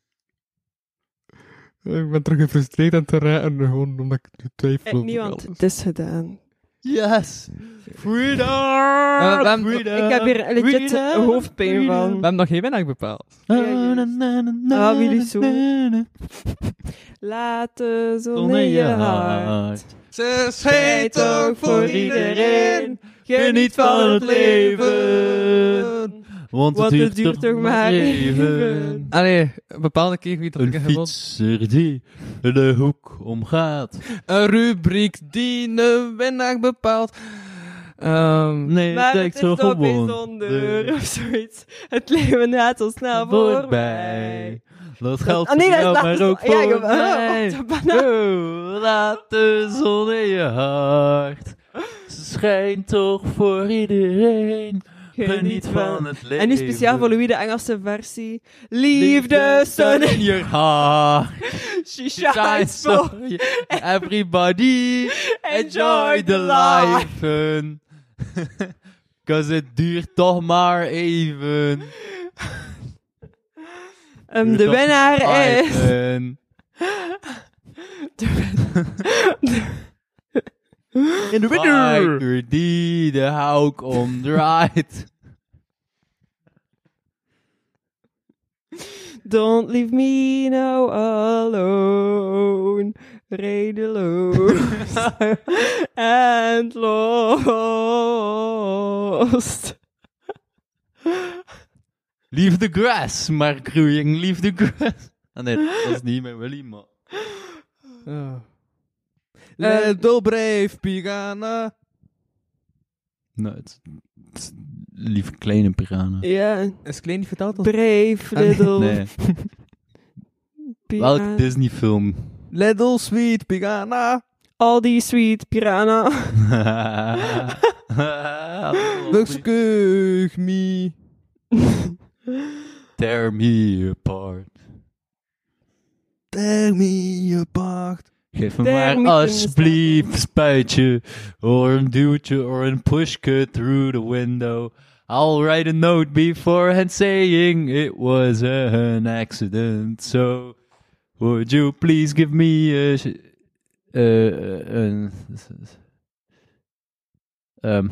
Speaker 3: Ik ben terug gefrustreerd aan het raken, gewoon omdat ik nu
Speaker 5: Eh,
Speaker 3: twijfel.
Speaker 5: niet, want het is gedaan.
Speaker 4: Yes!
Speaker 3: Freedom! freedom!
Speaker 5: Eh, Ik heb hier legit
Speaker 3: freedom,
Speaker 5: hoofdpijn
Speaker 3: freedom. We
Speaker 5: van.
Speaker 3: hebben nog geen winnaar bepaald.
Speaker 5: Ah, Willy zo. Laat de zon in je hart.
Speaker 3: Ze
Speaker 5: schijnt ook voor iedereen. Geniet van het leven.
Speaker 4: Want het
Speaker 5: Want
Speaker 4: duurt, toch maar
Speaker 5: even.
Speaker 4: even.
Speaker 3: Allee, een bepaalde keer wie dat ik
Speaker 4: Een
Speaker 3: heb gewonnen.
Speaker 4: fietser die de hoek omgaat.
Speaker 3: Een rubriek die een winnaar bepaalt. Ehm,
Speaker 4: Nee,
Speaker 5: Maar
Speaker 4: dat
Speaker 5: het
Speaker 4: is
Speaker 5: is
Speaker 4: zo
Speaker 5: toch
Speaker 4: gewoon. Dus.
Speaker 5: bijzonder of zoiets. Het leven gaat zo snel voorbij.
Speaker 4: Voorbij. Dat geldt
Speaker 5: Ah, nee,
Speaker 4: voor
Speaker 5: dat is
Speaker 4: jou,
Speaker 5: laatst.
Speaker 4: maar ook
Speaker 5: Ja,
Speaker 4: voor
Speaker 5: joh, eh,
Speaker 4: mij.
Speaker 5: op de banaan.
Speaker 4: Oh, laat de zon in je hart. Ze schijnt toch voor iedereen. Geniet van het leven.
Speaker 5: En nu speciaal voor Louis de Engelse versie. Liefde, sun in
Speaker 4: your heart.
Speaker 5: She
Speaker 4: She shines
Speaker 5: shines for
Speaker 4: for you. everybody. Enjoy the life. Cause het duurt toch maar even.
Speaker 5: Ehm,
Speaker 4: Duurt
Speaker 5: de
Speaker 4: toch
Speaker 5: winnaar
Speaker 3: Eh.
Speaker 4: maar
Speaker 5: is...
Speaker 4: even.
Speaker 5: In de
Speaker 3: Ah,
Speaker 4: Waar door die de hauk omdraait.
Speaker 5: Don't leave me now alone. Redeloos. and lost.
Speaker 4: Leave the grass, maar groeiing, leave the grass. Ah nee, dat is niet met Willy, maar... Ah.
Speaker 3: Eh, Let do brave, Pigana.
Speaker 4: Nou, het, het- lieve kleine piranha.
Speaker 5: Ja.
Speaker 3: Is Klein niet verteld? als-
Speaker 5: Brave,
Speaker 3: Ah, nee.
Speaker 5: Little.
Speaker 4: Nee.
Speaker 5: Piranha.
Speaker 4: Welk Disney-film?
Speaker 3: Little Sweet Piranha.
Speaker 5: Aldi Sweet Piranha.
Speaker 3: Luxkeug me.
Speaker 4: Tear me apart.
Speaker 3: Tear me apart.
Speaker 4: Geef me
Speaker 3: Tear me
Speaker 4: maar
Speaker 3: in
Speaker 4: alsjeblieft spuitje, or een duwtje, or een pushke through the window. I'll write a note beforehand saying it was an accident. So, would you please give me a... sh- eh, eh, een- ehm,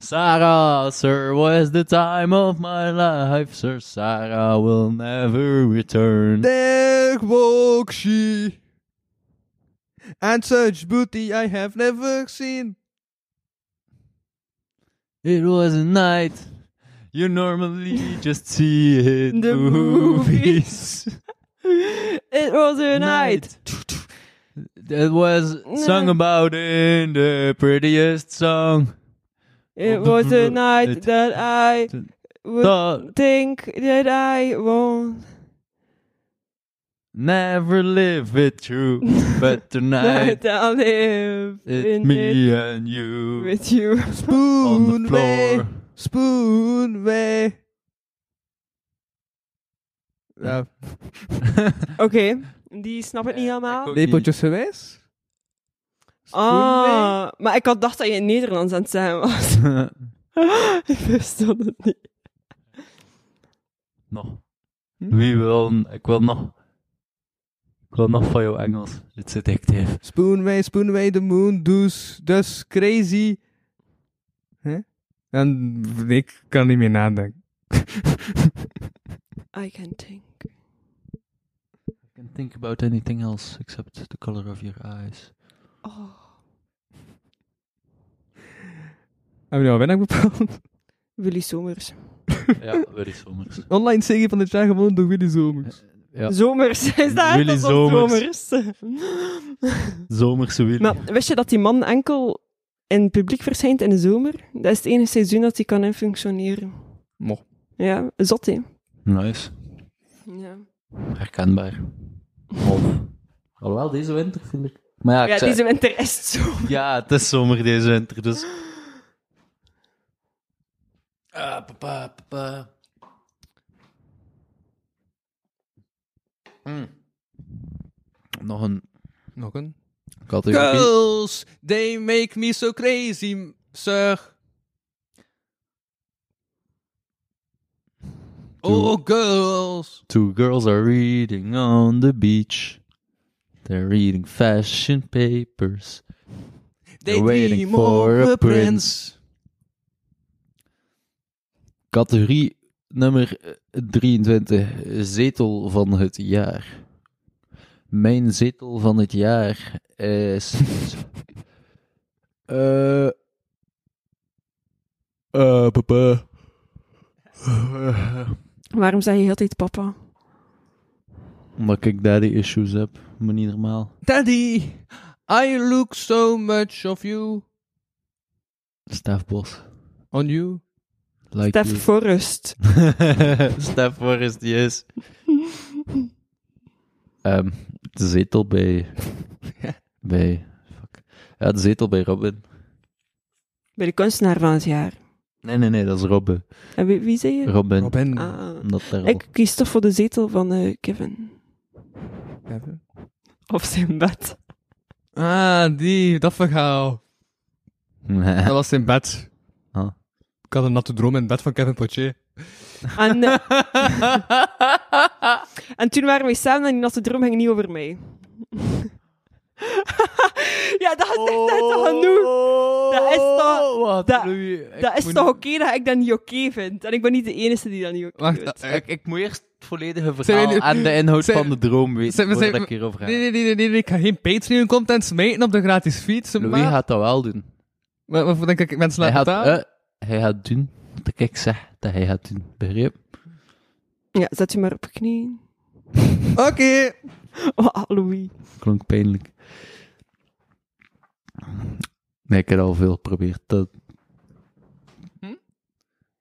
Speaker 4: Sarah, sir, was the time of my life. Sir, Sarah will never return.
Speaker 3: There walks she. And such beauty I have never seen.
Speaker 4: It was a night you normally just see it
Speaker 5: The
Speaker 4: movies.
Speaker 5: It was a night.
Speaker 4: That was sung about in the prettiest song.
Speaker 5: It was a night that I would
Speaker 4: Thought-
Speaker 5: think that I won't.
Speaker 4: Never live it through, but tonight
Speaker 5: I'll live
Speaker 4: it's
Speaker 5: in
Speaker 4: me
Speaker 5: it
Speaker 4: and you
Speaker 5: with you.
Speaker 4: on the floor.
Speaker 3: Spoon way. Ja.
Speaker 5: Oké, die snap het niet helemaal.
Speaker 3: Lepeltjes geweest?
Speaker 5: Ah, maar ik had dacht dat je in Nederlands aan het zijn was. ik verstond het niet.
Speaker 4: Nog. Wie wil... Ik wil nog... Ik wil nog van jouw Engels. Het zit actief.
Speaker 3: Spoonway, Spoonway, the moon, dus, dus crazy. Hè? En ik kan niet meer nadenken.
Speaker 5: I can think.
Speaker 4: can think about anything else except the color of your eyes.
Speaker 5: Oh.
Speaker 3: Hebben we nou ben ik bepaald?
Speaker 5: Willy Somers.
Speaker 4: ja, Willy Somers.
Speaker 3: Online serie van het jaar gewonnen door Willy Zomers.
Speaker 4: Ja.
Speaker 5: Zomers, is dat
Speaker 4: Willy
Speaker 5: echt alsof
Speaker 4: Zomers.
Speaker 5: Zomers?
Speaker 4: Zomerse Willy.
Speaker 5: maar wist je dat die man enkel in het publiek verschijnt in de zomer? Dat is het enige seizoen dat hij kan in functioneren.
Speaker 4: Mo.
Speaker 5: Ja, zot hè?
Speaker 4: Nice.
Speaker 5: Ja.
Speaker 4: Herkenbaar. Of. Alhoewel, deze winter vind ik... Maar ja,
Speaker 5: Ja,
Speaker 4: ik zei-
Speaker 5: deze winter is het zo.
Speaker 4: Ja, het is zomer deze winter, dus... Ah, papa, papa. Hmm. Nog een...
Speaker 3: Nog een?
Speaker 4: Ik had even-
Speaker 5: Eh,
Speaker 3: Girls, they make me so crazy, sir. Oh, girls.
Speaker 4: Two girls are reading on the beach. They're reading fashion papers.
Speaker 3: They
Speaker 4: They're waiting
Speaker 3: dream
Speaker 4: for
Speaker 3: of
Speaker 4: a
Speaker 3: a
Speaker 4: prince. Categorie nummer eh, 23, zetel van het jaar. Mijn zetel van het jaar is. Eh. Eh, papa.
Speaker 5: Waarom zeg je heel de tijd papa?
Speaker 4: Omdat ik daddy issues heb, maar niet normaal.
Speaker 3: Daddy, I look so much of you.
Speaker 4: Stef Bos.
Speaker 3: On you.
Speaker 4: Like
Speaker 5: Stef
Speaker 4: you.
Speaker 5: Forrest.
Speaker 4: Stef Forrest, yes. Ehm, de zetel bij... bij... Fuck. Ja, de zetel bij Robin.
Speaker 5: Bij de kunstenaar van het jaar.
Speaker 4: Nee, nee, nee, dat is Robin.
Speaker 5: En wie, wie zei je?
Speaker 4: Robin.
Speaker 5: Ah.
Speaker 4: Omdat daar al-
Speaker 5: Ik kies toch voor de zetel van eh, Kevin. Of zijn bed.
Speaker 3: Ah, die, dat verhaal. Dat was in bed.
Speaker 4: Ah.
Speaker 3: Ik had een natte droom in bed van Kevin Potier.
Speaker 5: En, eh, en toen waren we samen en die natte droom ging niet over mij. ja, dat is echt net toch genoeg. Dat is
Speaker 4: Oh,
Speaker 5: toch... Dat, dat is
Speaker 4: moet-
Speaker 5: toch oké dat ik dat niet oké vind. En ik ben niet de enige die dat niet oké
Speaker 3: Wacht,
Speaker 5: vindt.
Speaker 4: Ik, ik moet eerst het volledige
Speaker 3: Zijn
Speaker 4: verhaal
Speaker 3: we nu-
Speaker 4: en de inhoud
Speaker 3: zijn-
Speaker 4: van de droom weten,
Speaker 3: Zijn we-
Speaker 4: voordat
Speaker 3: zijn
Speaker 4: ik
Speaker 3: we-
Speaker 4: hierover ga.
Speaker 3: eh, Nee, nee, nee, nee, nee, ik ga geen Patreon content smijten op de gratis fiets.
Speaker 4: Louis
Speaker 3: maar-
Speaker 4: gaat dat wel doen.
Speaker 3: Wat, wat denk ik, mensen
Speaker 4: Hij
Speaker 3: laten
Speaker 4: gaat,
Speaker 3: betalen?
Speaker 4: eh, hij gaat doen wat ik zeg dat hij gaat doen. Begreep?
Speaker 5: Ja, zet je maar op je knieën.
Speaker 4: eh,
Speaker 3: Oké.
Speaker 5: Oh, Louis.
Speaker 4: Klonk pijnlijk. Nee, ik heb al veel geprobeerd. Dat...
Speaker 3: Hm?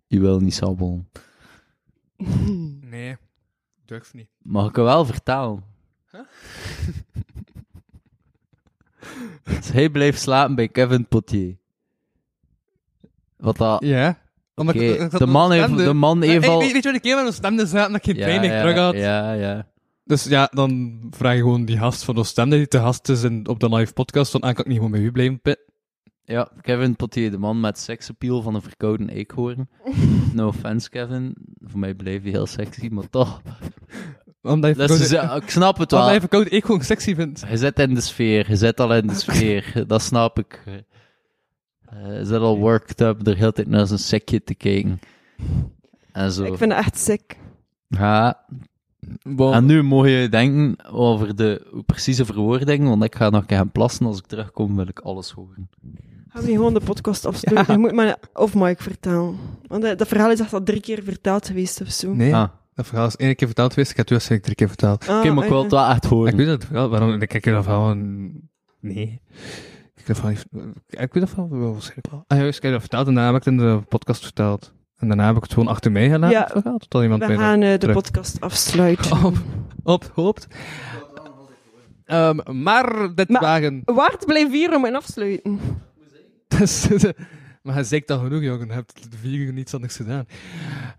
Speaker 4: Je wil niet sabbelen.
Speaker 3: Nee, durf niet.
Speaker 4: Mag ik het wel vertalen?
Speaker 3: Huh?
Speaker 4: Dus hij blijft slapen bij Kevin Potier. Wat dat...
Speaker 3: Ja. Omdat ik-
Speaker 4: Oké,
Speaker 3: ik zat
Speaker 4: de
Speaker 3: met
Speaker 4: man
Speaker 3: een
Speaker 4: heeft,
Speaker 3: stemde.
Speaker 4: de man
Speaker 3: Maar,
Speaker 4: heeft
Speaker 3: hey,
Speaker 4: al...
Speaker 3: Weet, weet je wat ik keer met een stemde zei? Dat ik geen brein in mijn rug had.
Speaker 4: Ja, ja.
Speaker 3: Dus ja, dan vraag je gewoon die gast van Oostende, die te gast is in, op de live podcast, van ah, kan ik niet gewoon bij u blijven pitten?
Speaker 4: Ja, Kevin Potier, de man met seksappeal van een verkouden eekhoorn. No offense, Kevin. Voor mij bleef hij heel sexy, maar toch.
Speaker 3: Omdat
Speaker 4: Dat is- ja, ik snap het wel.
Speaker 3: Omdat hij verkoud ik gewoon sexy vind.
Speaker 4: Je zit in de sfeer, je zit al in de sfeer. dat snap ik. Eh, Je zit al worked up, er heel de tijd naar zijn sekje te kijken. En zo.
Speaker 5: Ik vind het echt sick.
Speaker 4: Ja. En nu moet je denken over de precieze verwoording, want ik ga nog een keer gaan plassen. Als ik terugkom, wil ik alles horen.
Speaker 5: Gaan we niet gewoon de podcast afsluiten? Je moet maar of Mike vertellen. Want eh, dat verhaal is echt al drie keer verteld geweest of
Speaker 4: Ah.
Speaker 5: zo.
Speaker 3: Nee, dat verhaal is één keer verteld geweest, ik heb het waarschijnlijk drie keer verteld.
Speaker 5: Ah, Oké, maar ik wil het
Speaker 4: wel echt horen.
Speaker 3: Ik weet dat wel, waarom, ik kijk dat verhaal een- Nee. Ik, heb dat verhaal niet- ik weet dat verhaal wel waarschijnlijk wel. Ah, juist, ik heb dat verteld en daarna heb ik het in de podcast verteld. En daarna heb ik het gewoon achter mij gelaten,
Speaker 5: Ja.
Speaker 3: het verhaal, totdat iemand
Speaker 5: we
Speaker 3: mij dat
Speaker 5: gaan eh, de
Speaker 3: terug-
Speaker 5: podcast afsluiten.
Speaker 3: op hoopt. Ehm, maar dit wagen.
Speaker 5: Waard blijft hier om en afsluiten.
Speaker 3: Dus, eh, maar hij zegt al genoeg, jongen. Je hebt de vier uur niets anders gedaan.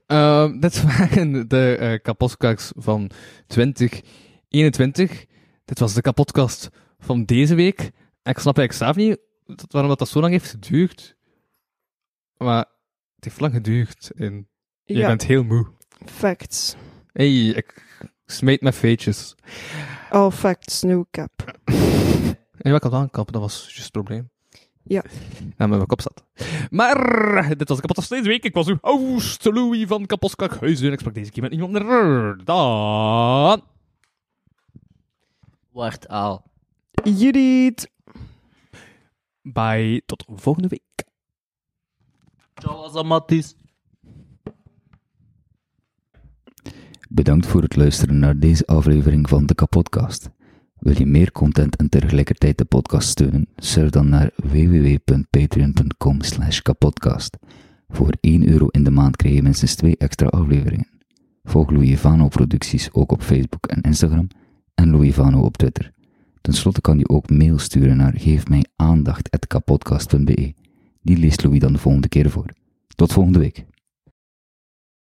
Speaker 3: Ehm, dit waren de eh kapotkaks van 2021. Dit was de kapotkast van deze week. Ik snap eigenlijk zelf niet dat- waarom dat, dat zo lang heeft geduurd. Maar het heeft lang geduurd. En je
Speaker 5: Ja.
Speaker 3: bent heel moe.
Speaker 5: Facts.
Speaker 3: hey, ik smijt mijn feetjes.
Speaker 5: All Oh, facts, no cap.
Speaker 3: En wat ik had aankappen, dat was juist het probleem.
Speaker 5: Ja.
Speaker 3: En met mijn kop zat. Maar, dit was de kapot deze week. Ik was uw host, Louis van Kaposkakhuizen. En ik sprak deze keer met niemand minder dan...
Speaker 4: Wart al.
Speaker 5: Judith.
Speaker 3: Bye, tot volgende week.
Speaker 4: Ciao, Azamatis.
Speaker 7: Bedankt voor het luisteren naar deze aflevering van de Kapodcast. Wil je meer content en tegelijkertijd de podcast steunen? Surf dan naar www.patreon.com kapodcast. Voor 1 euro in de maand krijg je minstens 2 extra afleveringen. Volg Louis Vano producties ook op Facebook en Instagram en Louis Vano op Twitter. Ten slotte kan je ook mail sturen naar geefmijaandacht.kapodcast.be. Die leest Louis dan de volgende keer voor. Tot volgende week.